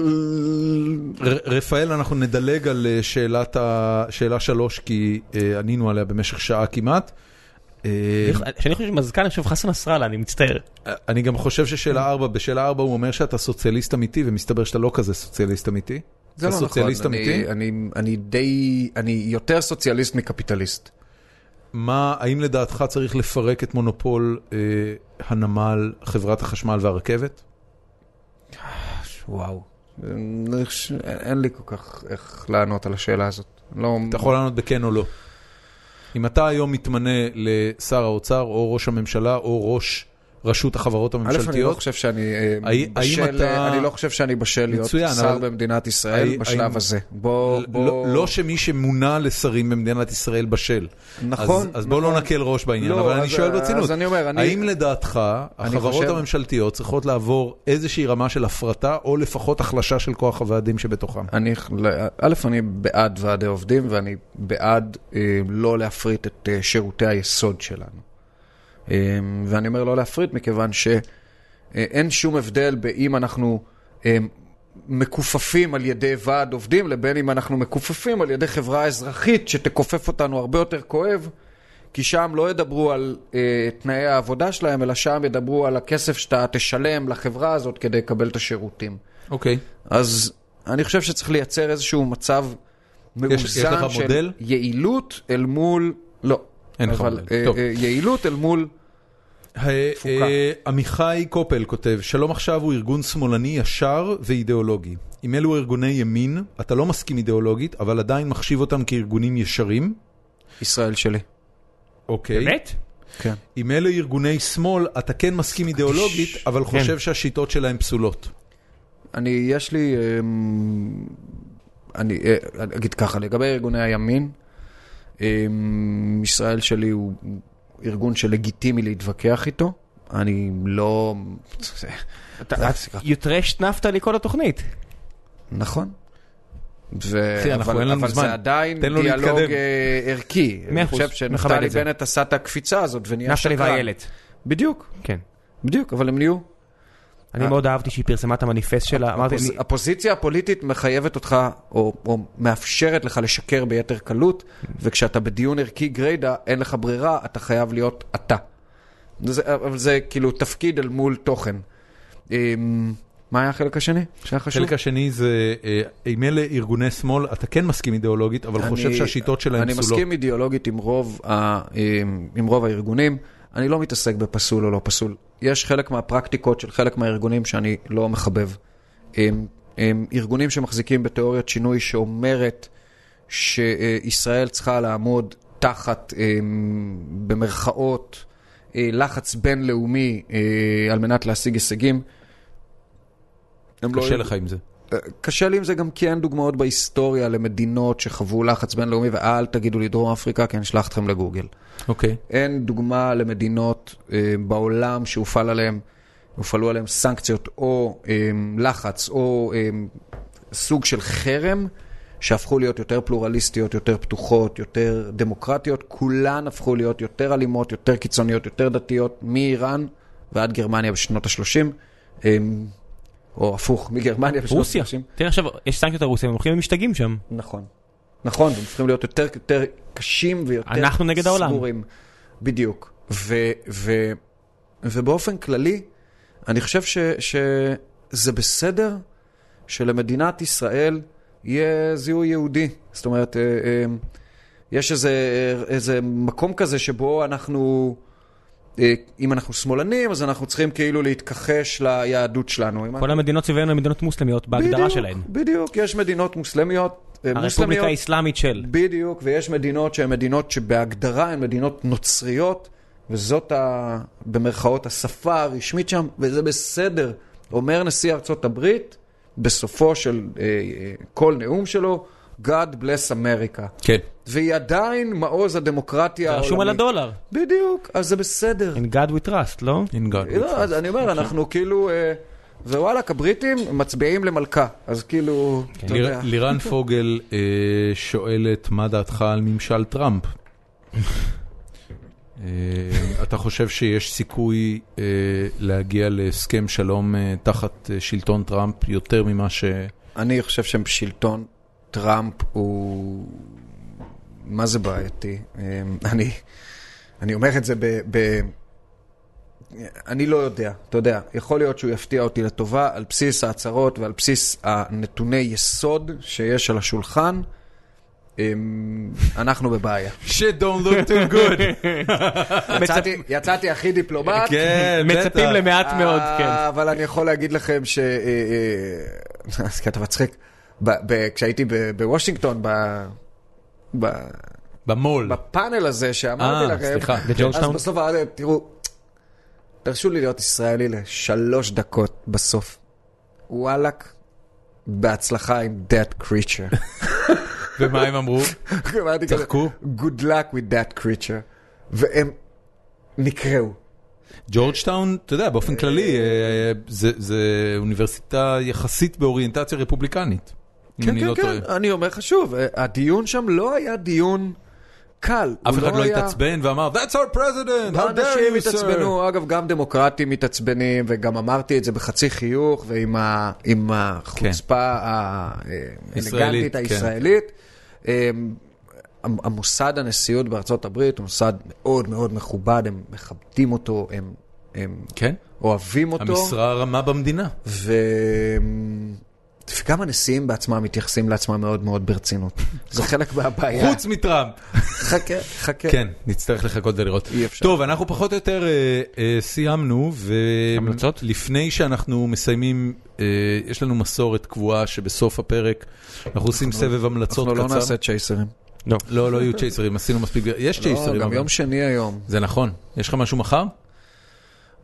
Speaker 1: ר- רפאל, אנחנו נדלג על אה, שאלת ה... שאלה שלוש, כי אה, ענינו עליה במשך שעה כמעט. אה,
Speaker 2: כשאני חושב שמזכ"ל, אני חושב חסן נסראללה, אני מצטער.
Speaker 1: אני גם חושב ששאלה ארבע, בשאלה ארבע הוא אומר שאתה סוציאליסט אמיתי, ומסתבר שאתה לא כזה סוציאליסט אמיתי.
Speaker 3: זה
Speaker 1: אתה
Speaker 3: לא
Speaker 1: סוציאליסט
Speaker 3: נכון,
Speaker 1: אמיתי?
Speaker 3: אני- אני- אני די... אני יותר סוציאליסט מקפיטליסט.
Speaker 1: מה, האם לדעתך צריך לפרק את מונופול אה, הנמל, חברת החשמל והרכבת?
Speaker 3: וואו. אה, אני חושב- אין אין לי כל כך איך לענות על השאלה הזאת. לא...
Speaker 1: אתה יכול לענות בכן או לא. אם אתה היום מתמנה לשר האוצר, או ראש הממשלה, או ראש רשות החברות
Speaker 3: א', אני לא
Speaker 1: הממשלתיות,
Speaker 3: חושב שאני אה,
Speaker 1: האי- האם
Speaker 3: בשל,
Speaker 1: אתה-
Speaker 3: אני לא חושב שאני בשל להיות
Speaker 1: מצוין,
Speaker 3: שר
Speaker 1: אבל-
Speaker 3: במדינת
Speaker 1: האי-
Speaker 3: ישראל בשלב
Speaker 1: האם-
Speaker 3: הזה. בוא,
Speaker 1: לא,
Speaker 3: בוא...
Speaker 1: לא שמי שמונה לשרים במדינת ישראל בשל.
Speaker 3: נכון,
Speaker 1: אז, אז בואו
Speaker 3: נכון.
Speaker 1: לא נקל ראש בעניין,
Speaker 3: לא,
Speaker 1: אבל אני
Speaker 3: אז-
Speaker 1: שואל ברצינות.
Speaker 3: אז אני אומר, אני-
Speaker 1: האם לדעתך החברות
Speaker 3: חושב-
Speaker 1: הממשלתיות צריכות לעבור איזושהי רמה של הפרטה, או לפחות החלשה של כוח הוועדים שבתוכם?
Speaker 3: אני, א', אני בעד ועדי עובדים, ואני בעד אה, לא להפריט את אה, שירותי היסוד שלנו. אה, ואני אומר לא להפריט מכיוון שאין שום הבדל באם אנחנו אה, מכופפים על ידי ועד עובדים, לבין אם אנחנו מכופפים על ידי חברה אזרחית שתכופף אותנו הרבה יותר כואב. כי שם לא ידברו על אה, תנאי העבודה שלהם, אלא שם ידברו על הכסף שאתה תשלם לחברה הזאת כדי לקבל את השירותים.
Speaker 1: אוקיי.
Speaker 3: אז אני חושב שצריך לייצר איזשהו מצב מאוזן
Speaker 1: יש לך
Speaker 3: של
Speaker 1: מודל?
Speaker 3: יעילות אל מול... לא.
Speaker 1: אין לך
Speaker 3: אבל,
Speaker 1: מודל.
Speaker 3: אה,
Speaker 1: טוב.
Speaker 3: אה, יעילות אל מול...
Speaker 1: אה,
Speaker 3: תפוקה.
Speaker 1: אה, עמיחי קופל כותב, שלום עכשיו הוא ארגון שמאלני ישר ואידיאולוגי. אם אלו ארגוני ימין, אתה לא מסכים אידיאולוגית, אבל עדיין מחשיב אותם כארגונים ישרים.
Speaker 3: ישראל שלי.
Speaker 1: אוקיי.
Speaker 2: באמת?
Speaker 3: כן.
Speaker 1: אם אלה ארגוני שמאל, אתה כן מסכים אידיאולוגית, אבל
Speaker 3: כן.
Speaker 1: חושב שהשיטות שלהם פסולות.
Speaker 3: אני, יש לי... אה, אני אה, אני אגיד ככה, לגבי ארגוני הימין, אה, ישראל שלי הוא ארגון שלגיטימי להתווכח איתו. אני לא...
Speaker 1: אה.
Speaker 2: יוטרשט נפתלי כל התוכנית.
Speaker 3: נכון. ו...
Speaker 1: אחי, אנחנו,
Speaker 3: אבל,
Speaker 1: אין לנו
Speaker 3: אבל
Speaker 1: זמן.
Speaker 3: זה עדיין
Speaker 1: תן לו
Speaker 3: דיאלוג
Speaker 1: להתקדם.
Speaker 3: אה, ערכי.
Speaker 2: מאה
Speaker 3: אני
Speaker 2: אחוז,
Speaker 3: חושב
Speaker 2: מכבד
Speaker 3: שנפתלי
Speaker 2: את זה.
Speaker 3: בנט עשה את הקפיצה הזאת ונהיה
Speaker 2: נפתלי
Speaker 3: שקרן.
Speaker 2: ואיילת.
Speaker 3: בדיוק,
Speaker 2: כן.
Speaker 3: בדיוק, אבל הם נהיו.
Speaker 2: אני
Speaker 3: אה.
Speaker 2: מאוד אהבתי שהיא פרסמה את המניפסט
Speaker 1: אה,
Speaker 2: שלה, אמרתי,
Speaker 3: הפוז...
Speaker 2: אני-
Speaker 3: הפוזיציה הפוליטית מחייבת אותך, או, או מאפשרת לך לשקר ביתר קלות, וכשאתה בדיון ערכי גריידה, אין לך ברירה, אתה חייב להיות אתה. זה, אבל זה כאילו תפקיד אל מול תוכן. אמ, מה היה החלק השני? שהיה חשוב?
Speaker 1: החלק השני זה, אה, אם אלה ארגוני שמאל, אתה כן מסכים אידיאולוגית, אבל חושב שהשיטות שלהם
Speaker 3: אני
Speaker 1: פסולות.
Speaker 3: אני מסכים אידיאולוגית עם רוב, ה, עם, עם רוב הארגונים. אני לא מתעסק בפסול או לא פסול. יש חלק מהפרקטיקות של חלק מהארגונים שאני לא מחבב. הם, הם ארגונים שמחזיקים בתיאוריית שינוי שאומרת שישראל צריכה לעמוד תחת, הם, במרכאות, אה, לחץ בינלאומי אה, על מנת להשיג הישגים. הם לא-
Speaker 1: קשה לך עם זה.
Speaker 3: קשה לי עם זה גם כי אין דוגמאות בהיסטוריה למדינות שחוו לחץ בינלאומי, ואל תגידו לי דרום אפריקה, כי אני אשלח אתכם לגוגל.
Speaker 1: אוקיי.
Speaker 3: אין דוגמה למדינות אה, בעולם שהופעל עליהן, הופעלו עליהן סנקציות או אה, לחץ או אה, סוג של חרם, שהפכו להיות יותר פלורליסטיות, יותר פתוחות, יותר דמוקרטיות. כולן הפכו להיות יותר אלימות, יותר קיצוניות, יותר דתיות, מאיראן ועד גרמניה בשנות ה-30. אה, או הפוך, מגרמניה
Speaker 1: אה,
Speaker 3: בשנות
Speaker 2: רוסיה,
Speaker 3: ה-30.
Speaker 2: תראה עכשיו, יש סנקציות על רוסיה, הם הולכים ומשתגעים שם.
Speaker 3: נכון. נכון, הם צריכים להיות יותר, יותר קשים ויותר
Speaker 2: אנחנו נגד העולם.
Speaker 3: סגורים. בדיוק. ו, ו, ובאופן כללי, אני חושב ש, שזה בסדר שלמדינת ישראל יהיה זיהוי יהודי. זאת אומרת, אה, אה, יש איזה, אה, איזה מקום כזה שבו אנחנו... אה, אם אנחנו שמאלנים, אז אנחנו צריכים כאילו להתכחש ליהדות שלנו. אם
Speaker 2: כל
Speaker 1: אה.
Speaker 3: אנחנו-
Speaker 2: המדינות סביבנו הן מדינות מוסלמיות בהגדרה
Speaker 3: בדיוק,
Speaker 2: שלהן.
Speaker 3: בדיוק, יש מדינות מוסלמיות. אה,
Speaker 2: הרפובליקה
Speaker 3: מוסלמיות,
Speaker 2: האסלאמית של.
Speaker 3: בדיוק, ויש מדינות שהן מדינות שבהגדרה הן מדינות נוצריות, וזאת ה... במרכאות השפה הרשמית שם, וזה בסדר. אומר נשיא ארצות הברית, בסופו של אה, אה, כל נאום שלו, God bless America.
Speaker 1: כן.
Speaker 3: והיא עדיין מעוז הדמוקרטיה העולמית.
Speaker 2: רשום על הדולר.
Speaker 3: בדיוק, אז זה בסדר.
Speaker 2: In God we trust, לא?
Speaker 1: In God.
Speaker 3: לא, אז אני
Speaker 2: אוקיי.
Speaker 3: אומר, אנחנו כאילו... אה, ווואלכ, הבריטים מצביעים למלכה, אז כאילו,
Speaker 2: כן.
Speaker 3: אתה
Speaker 1: ליר-
Speaker 3: יודע.
Speaker 1: לירן פוגל אה, שואלת, מה דעתך על ממשל טראמפ? אה, אתה חושב שיש סיכוי אה, להגיע להסכם שלום אה, תחת אה, שלטון טראמפ יותר ממה ש...
Speaker 3: אני חושב ששלטון טראמפ הוא... מה זה בעייתי? אמ, אני, אני אומר את זה ב, ב... אני לא יודע, אתה יודע. יכול להיות שהוא יפתיע אותי לטובה על בסיס ההצהרות ועל בסיס הנתוני יסוד שיש על השולחן. אמ, אנחנו בבעיה.
Speaker 1: shit don't look too good.
Speaker 3: יצאתי, יצאתי הכי דיפלומט.
Speaker 1: כן,
Speaker 2: מצפים למעט מאוד,
Speaker 3: אה,
Speaker 2: כן.
Speaker 3: אבל אני יכול להגיד לכם ש... אה, אה, אז כי אתה מצחיק. ב- ב- כשהייתי ב- בוושינגטון, ב- ב-
Speaker 1: במו"ל.
Speaker 3: בפאנל הזה שאמרתי
Speaker 1: אה,
Speaker 3: לכם,
Speaker 1: סליחה,
Speaker 3: אז
Speaker 2: בג'ורג'טאון?
Speaker 3: בסוף אמרתי, תראו, תרשו לי להיות ישראלי לשלוש דקות בסוף. וואלאק, בהצלחה עם that creature.
Speaker 1: ומה הם אמרו?
Speaker 3: אמרתי כזה,
Speaker 1: צחקו?
Speaker 3: good luck with that creature. והם נקראו.
Speaker 1: ג'ורג'טאון, אתה יודע, באופן כללי, אה, זה- זה אוניברסיטה יחסית באוריינטציה רפובליקנית. אם
Speaker 3: כן,
Speaker 1: אני
Speaker 3: כן,
Speaker 1: לא
Speaker 3: כן,
Speaker 1: טועה.
Speaker 3: אני אומר לך שוב, אה, הדיון שם לא היה דיון קל. הוא
Speaker 1: אף אחד לא
Speaker 3: היה- לא,
Speaker 1: התעצבן ואמר, That's our president, how
Speaker 3: אנשים
Speaker 1: dare you, sir.
Speaker 3: התעצבנו, אגב, גם דמוקרטים מתעצבנים, וגם אמרתי את זה בחצי חיוך, ועם ה- עם החוצפה
Speaker 1: כן. ישראלית,
Speaker 3: האלגנטית
Speaker 1: כן.
Speaker 3: הישראלית. אה, המ- המוסד הנשיאות בארצות הברית הוא מוסד מאוד מאוד מכובד, הם מכבדים אותו, הם- הם
Speaker 1: כן,
Speaker 3: אוהבים אותו.
Speaker 1: המשרה הרמה במדינה.
Speaker 3: ו... וגם הנשיאים בעצמם מתייחסים לעצמם מאוד מאוד ברצינות. זה חלק מהבעיה.
Speaker 1: חוץ מטראמפ.
Speaker 3: חכה, חכה.
Speaker 1: כן, נצטרך לחכות ולראות.
Speaker 3: אי אפשר.
Speaker 1: טוב, אנחנו פחות או יותר אה, אה, סיימנו,
Speaker 2: המלצות?
Speaker 1: ולפני שאנחנו מסיימים, אה, יש לנו מסורת קבועה שבסוף הפרק אנחנו עושים סבב המלצות
Speaker 3: אנחנו לא
Speaker 1: קצר.
Speaker 3: נעשה צ'ייסרים.
Speaker 2: לא.
Speaker 1: לא, לא יהיו צ'ייסרים, עשינו מספיק, יש צ'ייסרים.
Speaker 3: לא, גם
Speaker 1: אבל.
Speaker 3: יום שני היום.
Speaker 1: זה נכון. יש לך משהו מחר?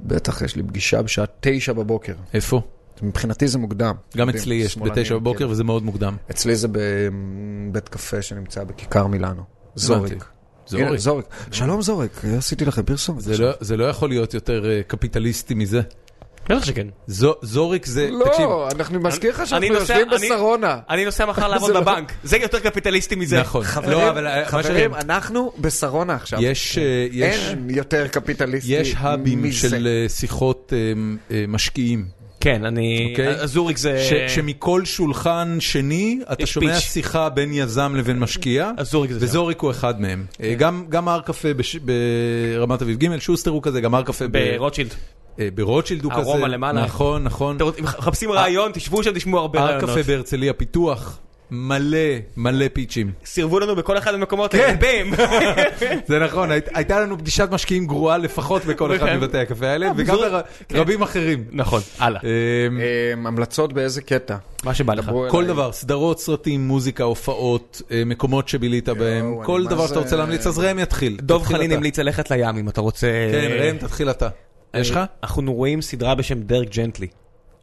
Speaker 3: בטח יש לי פגישה בשעה תשע בבוקר.
Speaker 1: איפה?
Speaker 3: מבחינתי זה מוקדם.
Speaker 1: גם
Speaker 3: יודעים,
Speaker 1: אצלי יש,
Speaker 3: שמאלנים,
Speaker 1: בתשע בבוקר, וזה מאוד מוקדם.
Speaker 3: כן. אצלי זה בבית קפה שנמצא בכיכר מילאנו. זוריק. הנה,
Speaker 1: זורי.
Speaker 3: זוריק. שלום זוריק, עשיתי לכם פרסום.
Speaker 1: זה לא- זה לא יכול להיות יותר אה, קפיטליסטי מזה.
Speaker 2: בטח שכן.
Speaker 1: זו- זוריק זה, תקשיב,
Speaker 3: לא, אנחנו מזכיר לך
Speaker 2: אני
Speaker 3: שאנחנו
Speaker 2: נוסע-
Speaker 3: יושבים
Speaker 2: אני-
Speaker 3: בשרונה.
Speaker 2: אני נוסע מחר לעבוד
Speaker 3: לא-
Speaker 2: בבנק, זה יותר קפיטליסטי מזה.
Speaker 1: נכון. לא, אבל
Speaker 3: חברים,
Speaker 1: מה
Speaker 3: חברים,
Speaker 1: שאני-
Speaker 3: אנחנו בשרונה עכשיו.
Speaker 1: יש, אה, יש,
Speaker 3: אין יותר קפיטליסטי
Speaker 1: יש האבים
Speaker 3: מזה.
Speaker 1: של אה, שיחות אה, אה, משקיעים,
Speaker 2: כן, אני...
Speaker 1: אוקיי.
Speaker 2: אז זוריק זה...
Speaker 1: ש- שמכל שולחן שני אתה
Speaker 2: יש
Speaker 1: שומע
Speaker 2: פיץ'.
Speaker 1: שיחה בין יזם לבין משקיע,
Speaker 2: אז זוריק זה כן. שם.
Speaker 1: וזוריק הוא אחד מהם. אה, גם- גם הר קפה בש- ברמת אביב ג', שוסטר הוא כזה, גם הר קפה ב-
Speaker 2: ברוטשילד.
Speaker 1: אה, ברוטשילד הוא כזה.
Speaker 2: ארומה למעלה.
Speaker 1: נכון, נכון.
Speaker 2: אתם רוצים- מחפשים רעיון, תשבו שם, תשמעו הרבה
Speaker 1: הר
Speaker 2: רעיונות.
Speaker 1: אה, קפה בהרצליה פיתוח, מלא מלא פיצ'ים.
Speaker 2: סירבו לנו בכל אחד מהמקומות
Speaker 1: כן.
Speaker 2: האלה, ביים.
Speaker 1: זה נכון, היית- הייתה לנו פגישת משקיעים גרועה לפחות בכל אחד
Speaker 2: וכן. אה,
Speaker 1: מבתי הקפה האלה, וגם
Speaker 2: זוריק,
Speaker 1: בר- רבים אחרים.
Speaker 2: נכון, הלאה,
Speaker 1: אמ,
Speaker 2: אה,
Speaker 3: אמ, המלצות באיזה קטע?
Speaker 2: מה שבא לך.
Speaker 3: דברו
Speaker 1: כל
Speaker 3: אליי.
Speaker 1: דבר, סדרות, סרטים, מוזיקה, הופעות, אה, מקומות שבילית בהם,
Speaker 3: אני
Speaker 1: כל
Speaker 3: מה
Speaker 1: דבר
Speaker 3: זה-
Speaker 1: שאתה רוצה להמליץ, אז ראם יתחיל.
Speaker 2: דב
Speaker 1: תתחיל
Speaker 2: חנין
Speaker 1: אתה.
Speaker 2: המליץ ללכת לים אם אתה רוצה... אה,
Speaker 1: כן, ראם, תתחיל אתה. יש לך?
Speaker 2: אנחנו רואים סדרה בשם דרק ג'נטלי.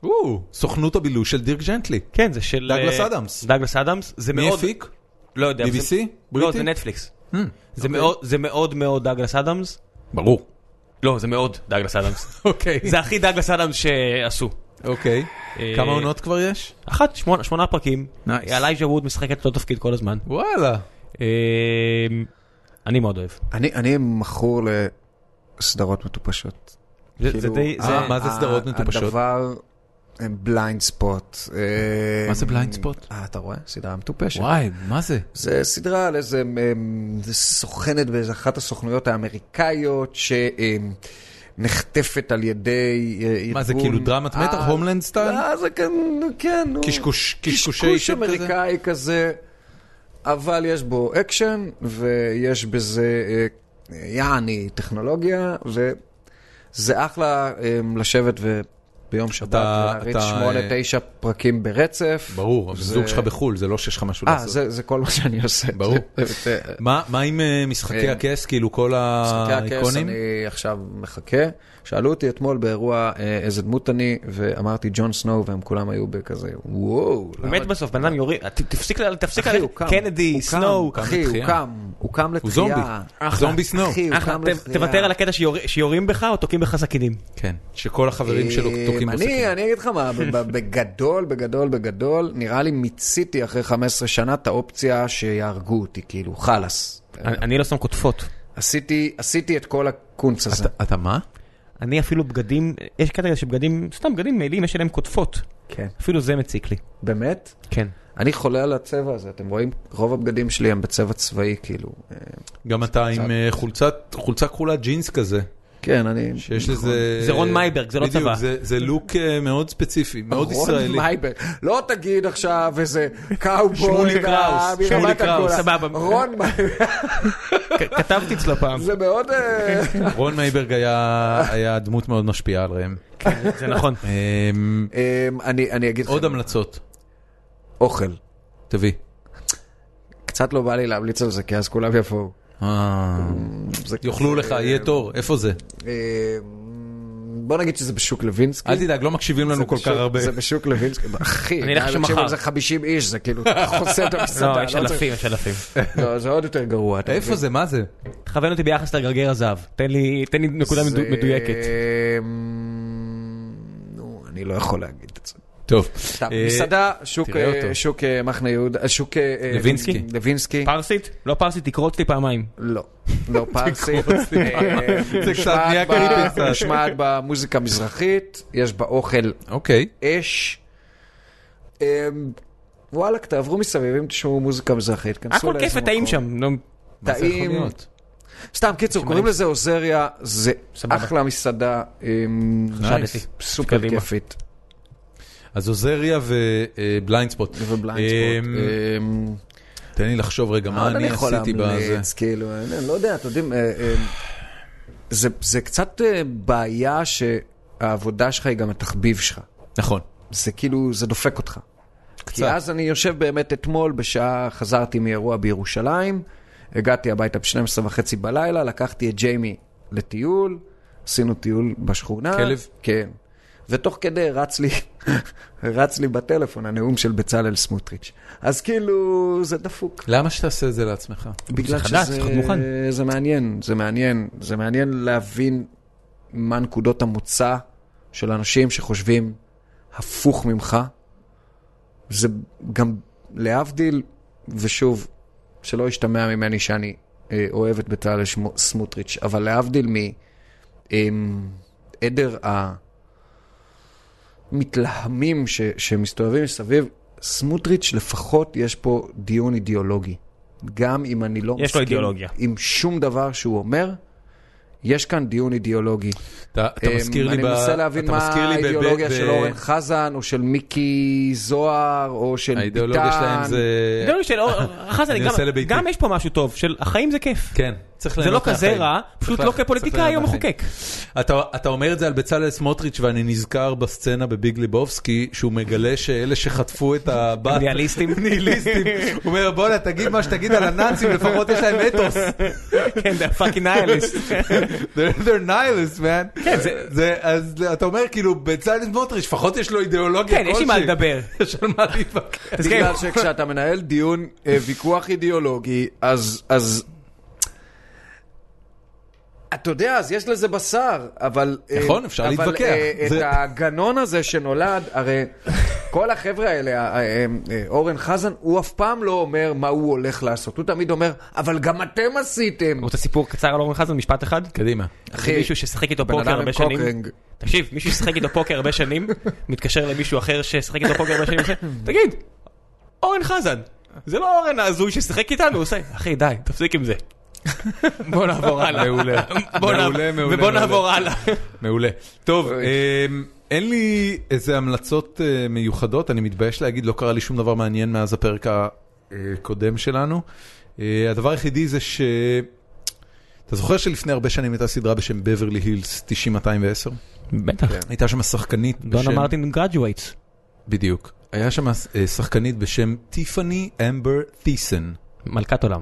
Speaker 1: או, סוכנות הבילוש של דירק ג'נטלי.
Speaker 2: כן, זה של...
Speaker 1: דאגלס
Speaker 2: אה,
Speaker 1: אדמס.
Speaker 2: דאגלס אדמס. זה
Speaker 1: מי
Speaker 2: מאוד-
Speaker 1: הפיק?
Speaker 2: לא יודע. אבל זה-
Speaker 1: BBC?
Speaker 2: לא,
Speaker 1: בריטי?
Speaker 2: זה נטפליקס.
Speaker 1: Hmm,
Speaker 2: זה מאוד- זה מאוד מאוד דאגלס אדמס.
Speaker 1: ברור.
Speaker 2: לא, זה מאוד דאגלס אדמס.
Speaker 1: אוקיי.
Speaker 2: זה הכי דאגלס אדמס שעשו.
Speaker 1: אוקיי.
Speaker 2: אה,
Speaker 1: כמה עונות כבר יש?
Speaker 2: אחת, שמונה- שמונה פרקים.
Speaker 1: Nice.
Speaker 2: אלייג'ה ווד משחק את אותו תפקיד כל הזמן.
Speaker 1: וואלה.
Speaker 2: אה, אני מאוד אוהב.
Speaker 3: אני אני מכור לסדרות מטופשות.
Speaker 2: זה- זה
Speaker 3: כאילו,
Speaker 2: די... זה-
Speaker 1: אה, מה זה
Speaker 3: ה-
Speaker 1: סדרות מטופשות?
Speaker 3: הדבר הם בליינד ספוט.
Speaker 1: מה זה blind spot?
Speaker 3: אה, אתה רואה? סדרה מטופשת.
Speaker 1: וואי, מה זה?
Speaker 3: זה סדרה על איזה אמ, זה סוכנת באיזה אחת הסוכנויות האמריקאיות שנחטפת על ידי אה, ארגון...
Speaker 1: מה, זה כאילו דרמת מתח?
Speaker 3: אה,
Speaker 1: הומלנד סטייל?
Speaker 3: אה, זה כן, כן. נו.
Speaker 1: קשקוש- קשקושי
Speaker 3: קשקוש
Speaker 1: שם כזה?
Speaker 3: אמריקאי כזה, אבל יש בו אקשן ויש בזה אה, יעני טכנולוגיה, וזה אחלה אה, לשבת ו... ביום שבת,
Speaker 1: אתה-
Speaker 3: להריץ
Speaker 1: אתה,
Speaker 3: שמונה,
Speaker 1: אה,
Speaker 3: תשע פרקים ברצף.
Speaker 1: ברור, אבל
Speaker 3: זה-
Speaker 1: זוג שלך בחו"ל, זה לא שיש לך משהו
Speaker 3: אה,
Speaker 1: לעשות.
Speaker 3: זה, זה כל מה שאני עושה.
Speaker 1: ברור.
Speaker 3: זה- זה-
Speaker 1: מה מה עם אה, משחקי
Speaker 3: אה,
Speaker 1: הכס, כאילו כל
Speaker 3: משחקי הכס,
Speaker 1: האיקונים?
Speaker 3: אני עכשיו מחכה. שאלו אותי אתמול באירוע אה, איזה דמות אני, ואמרתי ג'ון סנואו, והם כולם היו בכזה, וואו. למה-
Speaker 2: באמת בסוף, בן אדם יוריד, ת- תפסיק, ל- תפסיק,
Speaker 3: אחי,
Speaker 2: ל-
Speaker 3: הוא קם. הוא
Speaker 2: קנדי,
Speaker 3: קם,
Speaker 2: סנואו,
Speaker 3: אחי, הוא
Speaker 1: לתחייה.
Speaker 3: קם, הוא קם לתחייה.
Speaker 1: הוא זומבי,
Speaker 3: אחלה.
Speaker 1: זומבי סנואו.
Speaker 3: אחי, הוא
Speaker 2: אחלה,
Speaker 3: קם
Speaker 2: ת-
Speaker 3: לתחייה.
Speaker 2: תוותר על הקטע שיור- שיורים בך או תוקעים בך סכינים.
Speaker 1: כן, שכל החברים שלו
Speaker 3: אה,
Speaker 1: תוקעים
Speaker 3: אני-
Speaker 1: בסכין.
Speaker 3: אני אגיד לך מה, ב- ב- בגדול, בגדול, בגדול, נראה לי מיציתי אחרי 15 שנה את האופציה שיהרגו אותי, כאילו, חלאס.
Speaker 2: אני אני לא שם קוטפות.
Speaker 3: עשיתי, עשיתי את כל הקונץ הזה.
Speaker 1: אתה- אתה מה?
Speaker 2: אני אפילו בגדים, יש קטע כזה שבגדים, סתם בגדים מעילים, יש עליהם קוטפות.
Speaker 3: כן.
Speaker 2: אפילו זה מציק לי.
Speaker 3: באמת?
Speaker 2: כן.
Speaker 3: אני חולה על הצבע הזה, אתם רואים? רוב הבגדים שלי הם בצבע צבאי, כאילו. אה,
Speaker 1: גם אתה עם אה, חולצת- חולצה כחולה ג'ינס כזה,
Speaker 3: כן, אני...
Speaker 1: שיש לזה...
Speaker 2: זה רון מייברג, זה לא
Speaker 1: בדיוק,
Speaker 2: צבא.
Speaker 1: זה- זה לוק אה, מאוד ספציפי, מאוד
Speaker 3: רון
Speaker 1: ישראלי.
Speaker 3: מייברג. לא תגיד עכשיו איזה קאובוי.
Speaker 1: שמולי
Speaker 3: וה-
Speaker 1: קראוס,
Speaker 3: מלחמת
Speaker 2: שמולי קראוס,
Speaker 3: הגולה.
Speaker 2: סבבה.
Speaker 3: רון מייברג,
Speaker 2: כ- כתבתי אצלו פעם.
Speaker 3: זה מאוד... אה,
Speaker 1: רון מייברג היה היה דמות מאוד משפיעה על ראם.
Speaker 2: כן, זה נכון.
Speaker 1: אמ,
Speaker 3: אמ, אני אני אגיד
Speaker 1: עוד
Speaker 3: לכם,
Speaker 1: המלצות,
Speaker 3: אוכל.
Speaker 1: תביא.
Speaker 3: קצת לא בא לי להמליץ על זה, כי אז כולם יבואו.
Speaker 1: אה,
Speaker 3: זה
Speaker 1: יאכלו
Speaker 3: כזה,
Speaker 1: לך, יהיה תור, איפה זה?
Speaker 3: אמ, בוא נגיד שזה בשוק לוינסקי.
Speaker 1: אל תדאג, לא מקשיבים
Speaker 3: אה, זה
Speaker 1: לנו כל
Speaker 3: בשוק-
Speaker 1: כך הרבה.
Speaker 3: זה בשוק לוינסקי, אחי,
Speaker 2: אני אלך
Speaker 3: די,
Speaker 2: שם
Speaker 3: תקשיבו,
Speaker 2: מחר.
Speaker 3: זה 50 איש, זה כאילו, אתה חוסם את המסעדה.
Speaker 2: לא, יש
Speaker 3: לא צריך-
Speaker 2: אלפים, יש אלפים.
Speaker 3: לא, זה עוד יותר גרוע. אתה
Speaker 1: איפה
Speaker 3: מבין?
Speaker 1: זה, מה זה?
Speaker 2: תכוון אותי ביחס לגרגר הזהב. תן לי תן לי נקודה מדו-
Speaker 3: זה-
Speaker 2: מדויקת.
Speaker 3: אמ, נו, אני לא יכול להגיד את זה.
Speaker 1: טוב.
Speaker 3: סתם,
Speaker 1: אה,
Speaker 3: מסעדה, שוק,
Speaker 1: תראה
Speaker 3: אה,
Speaker 1: אותו.
Speaker 3: שוק אה, מחנה יהודה, אה, שוק... אה, אה,
Speaker 1: לוינסקי.
Speaker 3: לוינסקי.
Speaker 2: פרסית? לא פרסית, תקרוץ לי פעמיים.
Speaker 3: לא, לא פרסי.
Speaker 1: תקרוץ לי
Speaker 3: אה,
Speaker 1: פעמיים. זה קצת
Speaker 3: מושמעת
Speaker 1: נהיה
Speaker 3: ב-
Speaker 1: קריפי קצת.
Speaker 3: מושמעת במוזיקה מזרחית, יש בה אוכל
Speaker 1: אוקיי.
Speaker 3: אש. אמ, וואלכ, תעברו מסביב, אם תשמעו מוזיקה מזרחית, כנסו
Speaker 2: הכל כיף
Speaker 3: לאיזה
Speaker 2: וטעים
Speaker 3: מקום.
Speaker 2: שם. נו,
Speaker 1: מה זה יכול
Speaker 3: טעים.
Speaker 1: להיות?
Speaker 3: סתם, קיצור, קוראים לזה עוזריה, זה
Speaker 2: סבבה.
Speaker 3: אחלה מסעדה, אמ,
Speaker 2: חשבתי.
Speaker 3: סופר
Speaker 2: קדימה.
Speaker 3: כיפית.
Speaker 1: אז עוזריה ובליינד אה, ספוט. אה,
Speaker 3: ובליינד ספוט. אמ,
Speaker 1: תן לי לחשוב רגע, מה
Speaker 3: עוד
Speaker 1: אני
Speaker 3: יכול
Speaker 1: עשיתי בזה?
Speaker 3: להמליץ, כאילו, אני לא יודע, אתם יודעים, אה, אה, זה- זה קצת אה, בעיה שהעבודה שלך היא גם התחביב שלך.
Speaker 1: נכון.
Speaker 3: זה כאילו, זה דופק אותך. כי
Speaker 1: קצת.
Speaker 3: אז אני יושב באמת אתמול, בשעה חזרתי מאירוע בירושלים, הגעתי הביתה ב-12 וחצי בלילה, לקחתי את ג'יימי לטיול, עשינו טיול בשכונה.
Speaker 1: כלב?
Speaker 3: כן. ותוך כדי רץ לי, רץ לי בטלפון הנאום של בצלאל סמוטריץ'. אז כאילו, זה דפוק.
Speaker 1: למה שתעשה את זה לעצמך?
Speaker 3: בגלל
Speaker 2: זה חדש,
Speaker 3: שזה
Speaker 2: צריך להיות מוכן.
Speaker 3: זה מעניין, זה מעניין, זה מעניין להבין מה נקודות המוצא של אנשים שחושבים הפוך ממך. זה גם להבדיל, ושוב, שלא ישתמע ממני שאני אה, אוהב את בצלאל שמו- סמוטריץ', אבל להבדיל מעדר המתלהמים ש, שמסתובבים מסביב, סמוטריץ' לפחות יש פה דיון אידיאולוגי. גם אם אני לא
Speaker 2: יש לו אידיאולוגיה.
Speaker 3: עם שום דבר שהוא אומר, יש כאן דיון אידיאולוגי.
Speaker 1: אתה אתה
Speaker 3: אמ,
Speaker 1: מזכיר לי...
Speaker 3: אני
Speaker 1: ב-
Speaker 3: מנסה להבין
Speaker 1: אתה
Speaker 3: מה
Speaker 1: מזכיר לי ב- ב-
Speaker 3: האידיאולוגיה
Speaker 1: ב-
Speaker 3: של אורן חזן, או של מיקי זוהר, או של ביטן.
Speaker 1: האידיאולוגיה שלהם זה...
Speaker 2: גדול של לא אור, חזן,
Speaker 1: אני
Speaker 2: גם-
Speaker 1: עושה לביתי.
Speaker 2: גם יש פה משהו טוב, של החיים זה כיף.
Speaker 1: כן, צריך
Speaker 2: זה לא
Speaker 1: ליהנות
Speaker 2: כזה
Speaker 1: מהחיים.
Speaker 2: רע,
Speaker 1: צריך
Speaker 2: פשוט
Speaker 1: לה-
Speaker 2: לא
Speaker 1: צריך
Speaker 2: כפוליטיקאי או
Speaker 1: ליהנות מהחיים.
Speaker 2: מחוקק.
Speaker 1: אתה, אתה אומר את זה על בצלאל סמוטריץ' ואני נזכר בסצנה בביג ליבובסקי שהוא מגלה שאלה שחטפו את הבת,
Speaker 2: ניהליסטים.
Speaker 1: ניהיליסטים, הוא אומר בואנה תגיד מה שתגיד על הנאצים לפחות יש להם אתוס.
Speaker 2: כן, זה פאקינג ניהליסט.
Speaker 1: They're, they're nihilist man.
Speaker 2: כן, זה-
Speaker 1: זה, אז אתה אומר כאילו בצלאל סמוטריץ' לפחות יש לו אידיאולוגיה
Speaker 2: כן, יש לי מה
Speaker 1: כלשהי.
Speaker 2: לדבר.
Speaker 1: יש על מה להתווכח.
Speaker 2: תזכיר,
Speaker 3: בגלל שכשאתה מנהל דיון, אה, ויכוח אידיאולוגי, אז... אז... אתה יודע, אז יש לזה בשר, אבל... אה,
Speaker 1: נכון, אפשר להתווכח.
Speaker 3: אבל אה, את
Speaker 1: זה-
Speaker 3: הגנון הזה שנולד, הרי כל החבר'ה האלה, ה- ה- הם, אה, אורן חזן, הוא אף פעם לא אומר מה הוא הולך לעשות. הוא תמיד אומר, אבל גם אתם עשיתם.
Speaker 2: רוצה סיפור קצר על אורן חזן, משפט אחד?
Speaker 1: קדימה.
Speaker 2: אחי, מישהו ששיחק איתו
Speaker 3: בן
Speaker 2: פוקר
Speaker 3: אדם
Speaker 2: הרבה
Speaker 3: עם
Speaker 2: שנים,
Speaker 3: קוקרינג.
Speaker 2: תקשיב, מישהו ששיחק איתו פוקר הרבה שנים, מתקשר למישהו אחר ששיחק איתו פוקר הרבה שנים, עושה, תגיד, אורן חזן, זה לא אורן ההזוי ששיחק איתנו, הוא עושה, אחי די, תפסיק עם זה. בוא נעבור הלאה.
Speaker 1: מעולה.
Speaker 2: בוא נעב-
Speaker 1: מעולה, מעולה,
Speaker 2: ובוא
Speaker 1: מעולה.
Speaker 2: נעבור הלאה.
Speaker 1: מעולה. טוב,
Speaker 3: אוי.
Speaker 1: אמ, אין לי איזה המלצות אה, מיוחדות, אני מתבייש להגיד, לא קרה לי שום דבר מעניין מאז הפרק הקודם שלנו. אה, הדבר היחידי זה ש... אתה זוכר שלפני הרבה שנים הייתה סדרה בשם בברלי הילס 9210?
Speaker 2: בטח,
Speaker 1: הייתה שם שחקנית
Speaker 2: לא
Speaker 1: בשם...
Speaker 2: מרטין גראג'ווייטס.
Speaker 1: בדיוק. היה שם אה, שחקנית בשם טיפני אמבר תיסן.
Speaker 2: מלכת עולם.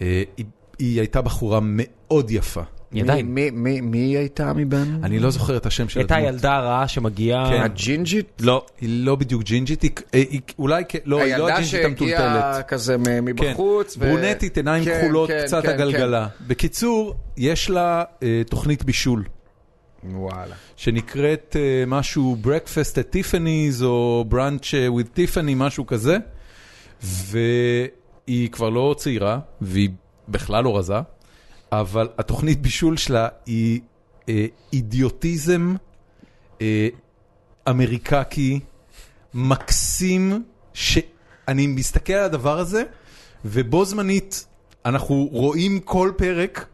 Speaker 1: אה, היא- היא הייתה בחורה מאוד יפה.
Speaker 2: היא
Speaker 3: מי-
Speaker 2: עדיין.
Speaker 3: מי- מי- מי היא הייתה מבין?
Speaker 1: אני לא זוכר את השם של
Speaker 2: הייתה
Speaker 1: הדמות.
Speaker 2: ילדה רעה שמגיעה...
Speaker 1: כן.
Speaker 3: הג'ינג'ית?
Speaker 2: לא.
Speaker 1: היא לא בדיוק ג'ינג'ית, היא, אה, היא אולי, כ- לא, היא לא
Speaker 3: הילדה
Speaker 1: הג'ינג'ית
Speaker 3: שהגיעה
Speaker 1: המטולטלת.
Speaker 3: כזה מ-
Speaker 1: כן,
Speaker 3: מבחוץ. ו-
Speaker 1: ברונטית, עיניים
Speaker 3: כן,
Speaker 1: כחולות,
Speaker 3: כן,
Speaker 1: קצת
Speaker 3: כן,
Speaker 1: הגלגלה. בקיצור, יש לה אה, תוכנית בישול,
Speaker 3: כן. וואלה.
Speaker 1: אמ, שנקראת אה, משהו Breakfast at Tiffany's או Brunch with Tiffany, משהו כזה, והיא כבר לא צעירה, והיא בכלל לא רזה, אבל התוכנית בישול שלה היא אה, אידיוטיזם אה, אמריקקי מקסים, שאני מסתכל על הדבר הזה, ובו זמנית אנחנו רואים כל פרק,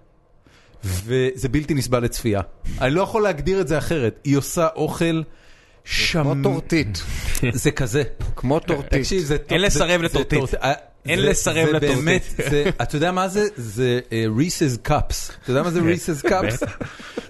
Speaker 1: וזה בלתי נסבל לצפייה. אני לא יכול להגדיר את זה אחרת, היא עושה אוכל
Speaker 3: כמו
Speaker 1: שם...
Speaker 3: טורטית.
Speaker 1: זה כזה.
Speaker 3: כמו טורטית.
Speaker 1: אה, תקשיב, זה...
Speaker 2: אין
Speaker 1: זה- זה
Speaker 2: לסרב לטורטית.
Speaker 1: טורט- אה,
Speaker 2: אין
Speaker 1: זה-
Speaker 2: לסרב
Speaker 1: זה
Speaker 2: לטורטית.
Speaker 1: באמת, זה- אתה יודע מה זה? זה ריסס קאפס. אתה יודע מה
Speaker 2: כן,
Speaker 1: זה ריסס קאפס?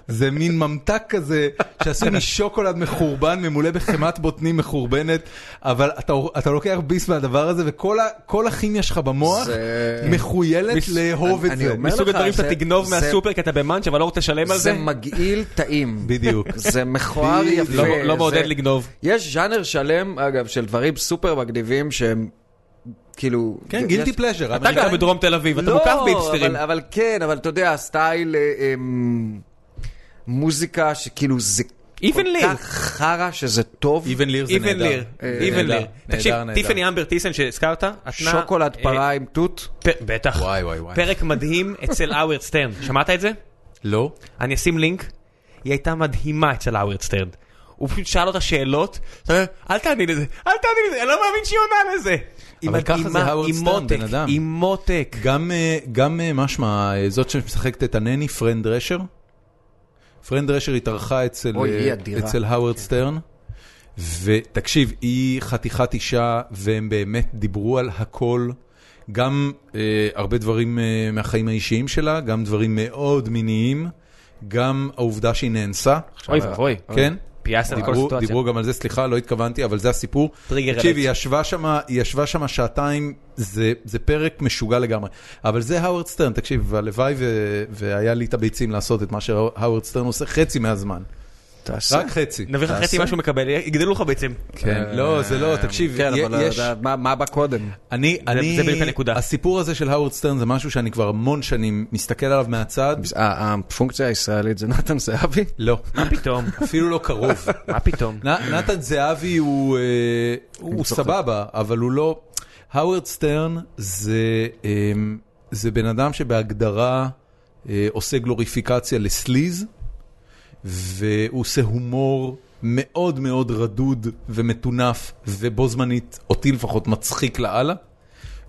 Speaker 1: זה מין ממתק כזה
Speaker 2: כן.
Speaker 1: שעשוי משוקולד מחורבן ממולא בחמת בוטנים מחורבנת, אבל אתה- אתה לוקח ביס מהדבר הזה וכל ה- כל הכימיה שלך במוח
Speaker 3: זה-
Speaker 1: מחויילת
Speaker 2: מס-
Speaker 1: לאהוב את
Speaker 3: אני
Speaker 1: זה.
Speaker 3: אומר-
Speaker 2: מסוג
Speaker 3: לך,
Speaker 2: הדברים שאתה
Speaker 3: זה-
Speaker 2: תגנוב
Speaker 3: זה-
Speaker 2: מהסופר כי אתה במאנץ' אבל לא רוצה לשלם על
Speaker 3: זה
Speaker 2: זה.
Speaker 3: מגעיל טעים.
Speaker 1: בדיוק.
Speaker 3: זה מכוער יפה.
Speaker 2: לא- לא
Speaker 3: זה-
Speaker 2: מעודד לגנוב.
Speaker 3: יש ז'אנר שלם, אגב, של דברים סופר מגניבים שהם כאילו...
Speaker 1: כן,
Speaker 3: יש-
Speaker 1: גילטי פלז'ר.
Speaker 2: אתה גר בדרום תל אביב, אתה
Speaker 3: לא,
Speaker 2: מוקף באיפסטרים.
Speaker 3: אבל- אבל כן, אבל אתה יודע, הסטייל אה, אה, מ- מוזיקה שכאילו זה
Speaker 2: Even
Speaker 3: כל
Speaker 2: Lear.
Speaker 3: כך חרא שזה טוב.
Speaker 1: איבן ליר זה נהדר.
Speaker 2: איבן ליר,
Speaker 1: אה,
Speaker 2: איבן
Speaker 1: נהדר,
Speaker 2: ליר.
Speaker 1: נהדר,
Speaker 2: תקשיב,
Speaker 1: נהדר.
Speaker 2: טיפני אמבר טיסן שהזכרת, נתנה...
Speaker 3: שוקולד
Speaker 2: אה,
Speaker 3: פרה עם תות.
Speaker 2: פ- בטח.
Speaker 1: וואי, וואי, וואי.
Speaker 2: פרק מדהים אצל האוורד סטרן. שמעת את זה?
Speaker 1: לא?
Speaker 2: אני אשים לינק. היא הייתה מדהימה אצל האוורד סטרן. הוא פשוט שאל אותה שאלות, אתה אומר, אל תעני לזה, אל תעני לזה, אני לא מאמין שהיא עונה לזה. היא
Speaker 1: אבל ככה זה
Speaker 2: מדהימה,
Speaker 1: האוורד
Speaker 2: היא
Speaker 1: סטרן,
Speaker 2: מותק,
Speaker 1: בן אדם.
Speaker 2: היא מותק.
Speaker 1: גם, אה, גם אה, משמע, אה, זאת שמשחקת את הנני, פרן דרשר. פרן דרשר התארחה אצל,
Speaker 3: אוי, היא
Speaker 1: אה,
Speaker 3: אדירה. כן.
Speaker 1: אצל האוורד סטרן. ותקשיב, היא חתיכת אישה, והם באמת דיברו על הכל. גם אה, הרבה דברים אה, מהחיים האישיים שלה, גם דברים מאוד מיניים, גם העובדה שהיא נאנסה.
Speaker 2: אוי ואבוי. אוקיי.
Speaker 1: כן?
Speaker 2: פיאסת על כל
Speaker 1: דיברו,
Speaker 2: סיטואציה.
Speaker 1: דיברו גם על זה, סליחה, לא התכוונתי, אבל זה הסיפור.
Speaker 2: טריגר
Speaker 1: תקשיב,
Speaker 2: אלרט.
Speaker 1: היא ישבה שמה- היא ישבה שם שעתיים, זה, זה פרק משוגע לגמרי. אבל זה האוורד סטרן, תקשיב, הלוואי ו, והיה לי את הביצים לעשות את מה שהאוורד סטרן עושה חצי מהזמן.
Speaker 3: תעשה.
Speaker 1: רק חצי.
Speaker 2: נביא לך
Speaker 1: תעשה.
Speaker 2: חצי אה, מה שהוא מקבל, יגדלו לך ביצים.
Speaker 1: כן, לא, זה לא, תקשיב,
Speaker 3: כן,
Speaker 1: יה-
Speaker 3: אבל
Speaker 1: יש...
Speaker 3: אתה יודע, מה- מה בא קודם?
Speaker 1: אני,
Speaker 2: זה-
Speaker 1: אני,
Speaker 2: זה בדיוק הנקודה.
Speaker 1: הסיפור הזה של האוורד סטרן זה משהו שאני כבר המון שנים מסתכל עליו מהצד.
Speaker 3: ה- הפונקציה הישראלית זה נתן זהבי?
Speaker 1: לא,
Speaker 2: מה פתאום?
Speaker 1: אפילו לא קרוב.
Speaker 2: מה פתאום?
Speaker 1: נ- נתן זהבי הוא, אה, הוא סבבה, אבל הוא לא... האוורד סטרן זה, אה, זה בן אדם שבהגדרה אה, עושה גלוריפיקציה לסליז, והוא עושה הומור מאוד מאוד רדוד ומטונף, ובו זמנית, אותי לפחות, מצחיק לאללה.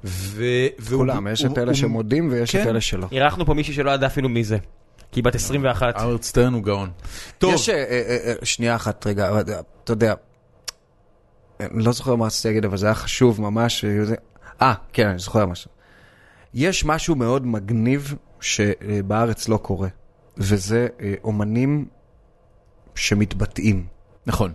Speaker 1: ו... והוא-
Speaker 3: כולם, יש את
Speaker 1: הוא-
Speaker 3: אלה
Speaker 1: הוא-
Speaker 3: שמודים ויש את
Speaker 1: כן.
Speaker 3: אלה שלא.
Speaker 2: אירחנו פה מישהי שלא ידע אפילו מי זה. כי היא בת 21.
Speaker 1: האוורד סטרן הוא גאון. טוב,
Speaker 3: יש, אה, אה, אה, שנייה אחת, רגע, אבל, אה, אתה יודע, אני לא זוכר מה רציתי להגיד, אבל זה היה חשוב ממש. אה, זה- אה, כן, אני זוכר משהו. יש משהו מאוד מגניב שבארץ לא קורה, וזה אה, אומנים שמתבטאים.
Speaker 1: נכון,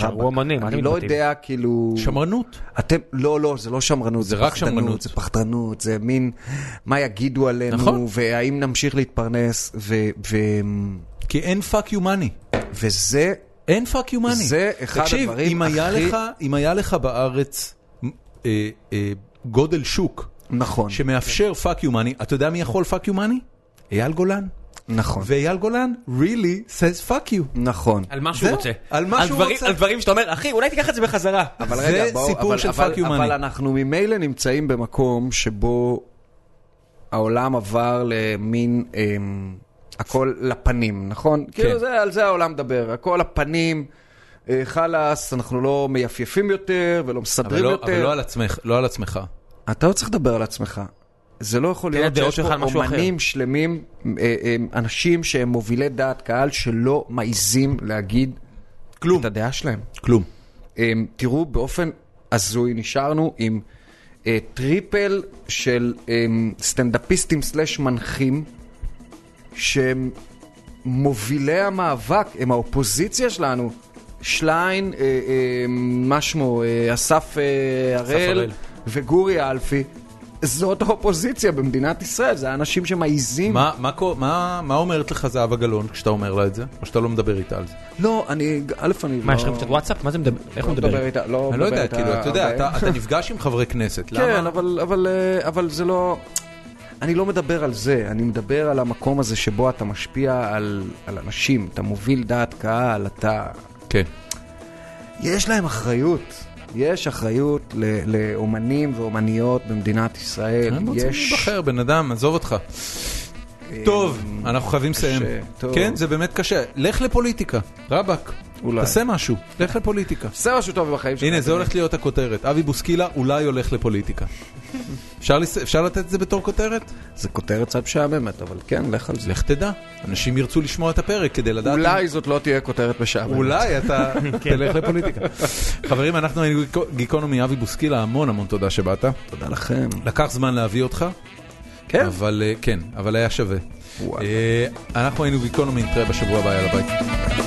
Speaker 3: ורבאק,
Speaker 2: אומנים, מה
Speaker 3: אני
Speaker 2: אתם
Speaker 3: לא
Speaker 2: מתבטאים?
Speaker 3: יודע, כאילו...
Speaker 1: שמרנות.
Speaker 3: אתם, לא, לא, זה לא שמרנות, זה,
Speaker 1: רק
Speaker 3: פחדנות,
Speaker 1: שמרנות.
Speaker 3: זה פחדנות, זה מין מה יגידו עלינו,
Speaker 1: נכון.
Speaker 3: והאם נמשיך להתפרנס, ו, ו,
Speaker 1: כי אין פאק יו מאני.
Speaker 3: וזה
Speaker 1: אין פאק יומני.
Speaker 3: זה אחד
Speaker 1: תקשיב, אם
Speaker 3: הדברים
Speaker 1: היה
Speaker 3: הכי-
Speaker 1: לך, אם היה לך בארץ אה, אה, גודל שוק
Speaker 3: נכון.
Speaker 1: שמאפשר פאק יומני, אתה יודע מי יכול פאק יומני? אייל גולן.
Speaker 3: נכון.
Speaker 1: ואייל גולן really says fuck you.
Speaker 3: נכון.
Speaker 2: על מה שהוא
Speaker 1: זהו,
Speaker 2: רוצה.
Speaker 1: על מה שהוא
Speaker 2: דברים-
Speaker 1: רוצה.
Speaker 2: על דברים שאתה אומר, אחי, אולי תיקח את זה בחזרה.
Speaker 3: אבל
Speaker 1: זה
Speaker 3: רגע, בואו,
Speaker 1: סיפור
Speaker 3: אבל,
Speaker 1: של
Speaker 3: אבל,
Speaker 1: fuck you money.
Speaker 3: אבל אנחנו ממילא נמצאים במקום שבו העולם עבר למין אמ, הכל לפנים, נכון? כן. כאילו זה, על זה העולם מדבר, הכל לפנים, אה, חלאס, אנחנו לא מייפייפים יותר ולא
Speaker 1: אבל
Speaker 3: מסדרים
Speaker 1: לא-
Speaker 3: יותר.
Speaker 1: אבל לא על עצמך, לא על עצמך.
Speaker 3: אתה לא צריך לדבר על עצמך. זה לא יכול
Speaker 2: תן
Speaker 3: להיות
Speaker 2: הדעות
Speaker 3: שיש
Speaker 2: שלך
Speaker 3: פה
Speaker 2: על משהו
Speaker 3: אומנים שלמים, אה, אה, אנשים שהם מובילי דעת קהל שלא מעיזים להגיד
Speaker 1: כלום.
Speaker 3: את הדעה שלהם.
Speaker 1: כלום.
Speaker 3: אמ, תראו, באופן הזוי נשארנו עם אה, טריפל של אמ, סטנדאפיסטים סלאש מנחים, שהם מובילי המאבק, הם האופוזיציה שלנו. שליין, אה, אה, מה שמו, אה, אסף אה, הראל
Speaker 1: הראל.
Speaker 3: וגורי אלפי. זאת האופוזיציה במדינת ישראל, זה האנשים שמעיזים.
Speaker 1: מה- מה קו- מה מה אומרת לך זהבה גלאון כשאתה אומר לה את זה? או שאתה לא מדבר איתה על זה?
Speaker 3: לא, אני, א', אני לא...
Speaker 2: מה, יש לכם קצת וואטסאפ? מה זה מדבר? איך
Speaker 3: לא
Speaker 2: הוא מדבר?
Speaker 3: מדבר איתה? לא
Speaker 1: אני לא
Speaker 3: מדבר
Speaker 1: יודע,
Speaker 3: איתה
Speaker 1: כאילו, אתה יודע,
Speaker 3: הרבה.
Speaker 1: אתה- אתה נפגש עם חברי כנסת,
Speaker 3: כן,
Speaker 1: למה?
Speaker 3: אבל, אבל, אה, אבל זה לא... אני לא מדבר על זה, אני מדבר על המקום הזה שבו אתה משפיע על, על אנשים, אתה מוביל דעת קהל, אתה...
Speaker 1: כן.
Speaker 3: יש להם אחריות. יש אחריות ל- לאומנים ואומניות במדינת ישראל.
Speaker 1: הם רוצים
Speaker 3: יש... אה,
Speaker 1: להיבחר, בן אדם, עזוב אותך. טוב, אנחנו חייבים לסיים.
Speaker 3: טוב.
Speaker 1: כן, זה באמת קשה. לך לפוליטיקה, רבאק.
Speaker 3: אולי.
Speaker 1: תעשה משהו, לך לפוליטיקה.
Speaker 3: עושה משהו טוב בחיים שלך.
Speaker 1: הנה, זה
Speaker 3: אדוני.
Speaker 1: הולכת להיות הכותרת. אבי בוסקילה אולי הולך לפוליטיקה. אפשר לס- אפשר לתת את זה בתור כותרת?
Speaker 3: זה כותרת קצת משעממת, אבל כן, לך על זה.
Speaker 1: לך תדע. אנשים ירצו לשמוע את הפרק כדי לדעת... אם-
Speaker 3: אולי כן. זאת לא תהיה כותרת משעממת.
Speaker 1: אולי אתה תלך לפוליטיקה. חברים, אנחנו היינו גיקו- גיקונומי אבי בוסקילה, המון המון תודה שבאת.
Speaker 3: תודה לכם.
Speaker 1: לקח זמן להביא אותך,
Speaker 3: כן.
Speaker 1: אבל אה, כן, אבל היה שווה.
Speaker 3: וואלה.
Speaker 1: אה, אנחנו היינו גיקונומי, נתראה בשבוע הבא, יאללה ביי.